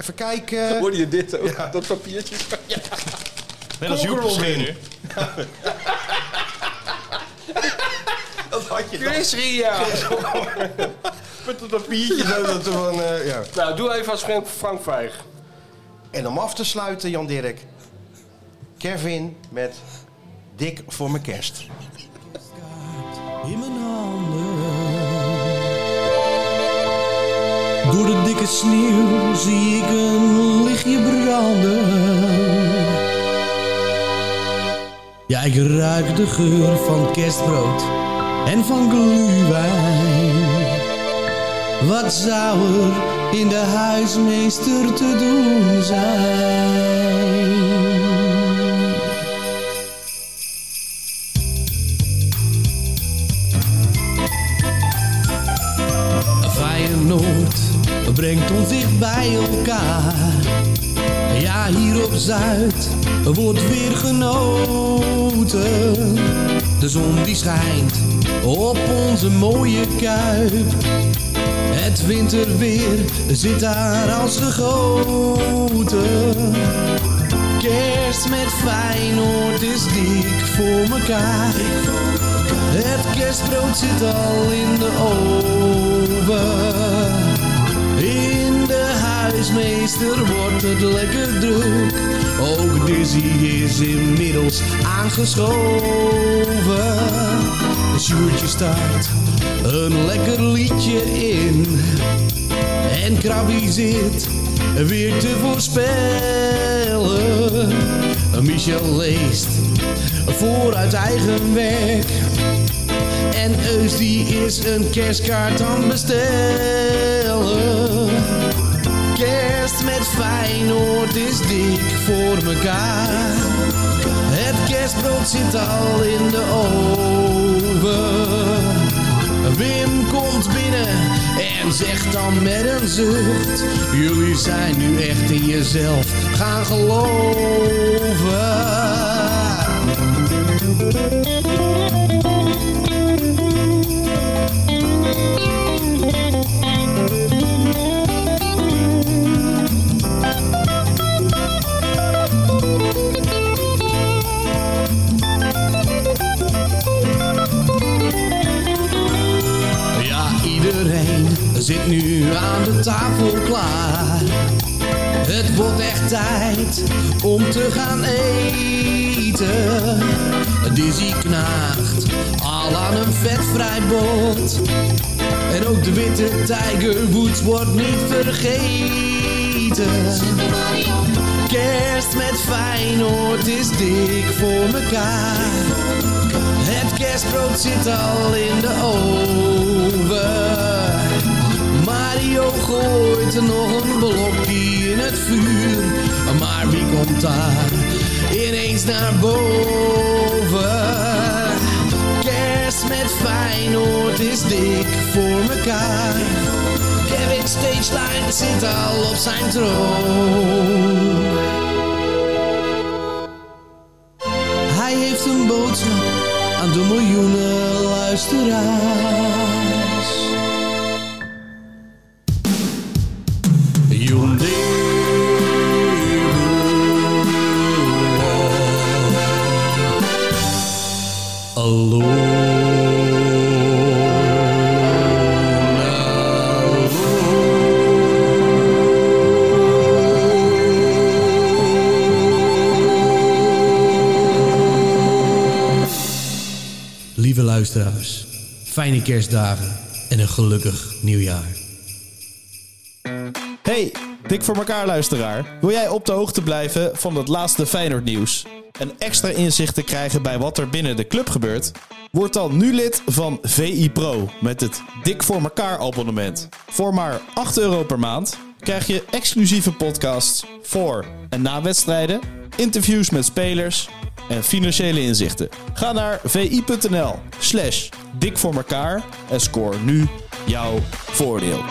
[SPEAKER 1] even kijken...
[SPEAKER 6] Hoorde je dit ook? Dat papiertje? Ja.
[SPEAKER 2] Net als Joep
[SPEAKER 1] Cockerel
[SPEAKER 2] Verschenen.
[SPEAKER 1] in. Dat had je dan.
[SPEAKER 6] Chris Ria!
[SPEAKER 1] Met dat papiertje zo. Dat er van, eh, ja.
[SPEAKER 6] Nou, doe even als Frank, Frank Vijg.
[SPEAKER 1] En om af te sluiten, Jan Dirk. Kevin met Dik voor mijn kerst.
[SPEAKER 4] in mijn handen. Door de dikke sneeuw zie ik een lichtje branden. Ja, ik ruik de geur van kerstbrood en van glühwein. Wat zou er in de huismeester te doen zijn? Feyenoord brengt ons dicht bij elkaar. Ja, hier op Zuid wordt weer genoten. De zon die schijnt op onze mooie kuip. Het winterweer zit daar als gegoten. Kerst met Feyenoord is dik voor mekaar. Het kerstbrood zit al in de oven. In de huismeester wordt het lekker druk. Ook Dizzy is inmiddels aangeschoven. Sjoertje staat een lekker liedje in. En Krabby zit weer te voorspellen. Michel leest vooruit eigen werk. En Eus die is een kerstkaart aan het bestellen. Kerst met Feyenoord is dik voor mekaar. Het kerstbrood zit al in de oven. Wim komt binnen en zegt dan met een zucht: Jullie zijn nu echt in jezelf gaan geloven. Ja, iedereen zit nu aan de tafel klaar. Het wordt echt tijd om te gaan eten. Dizzy knaagt al aan een vetvrij bot. En ook de witte Tiger Woods wordt niet vergeten. Kerst met Feyenoord is dik voor mekaar. Het kerstbrood zit al in de oven. Mario gooit er nog een blokje in het vuur. Maar wie komt daar ineens naar boven? Kerst met Feyenoord is dik voor mekaar. Kevin Stageline zit al op zijn troon. Hij heeft een boodschap aan de miljoenen luisteraars. Hyundai Boulevard. Alone, alone. Lieve luisteraars, fijne kerstdagen en een gelukkig nieuwjaar.
[SPEAKER 19] Hey, Dik voor elkaar luisteraar. Wil jij op de hoogte blijven van het laatste Feyenoord nieuws? En extra inzicht te krijgen bij wat er binnen de club gebeurt? Word dan nu lid van VI Pro met het Dik voor elkaar abonnement. Voor maar 8 euro per maand krijg je exclusieve podcasts voor en na wedstrijden, interviews met spelers en financiële inzichten. Ga naar vi.nl slash dik voor elkaar en score nu jouw voordeel.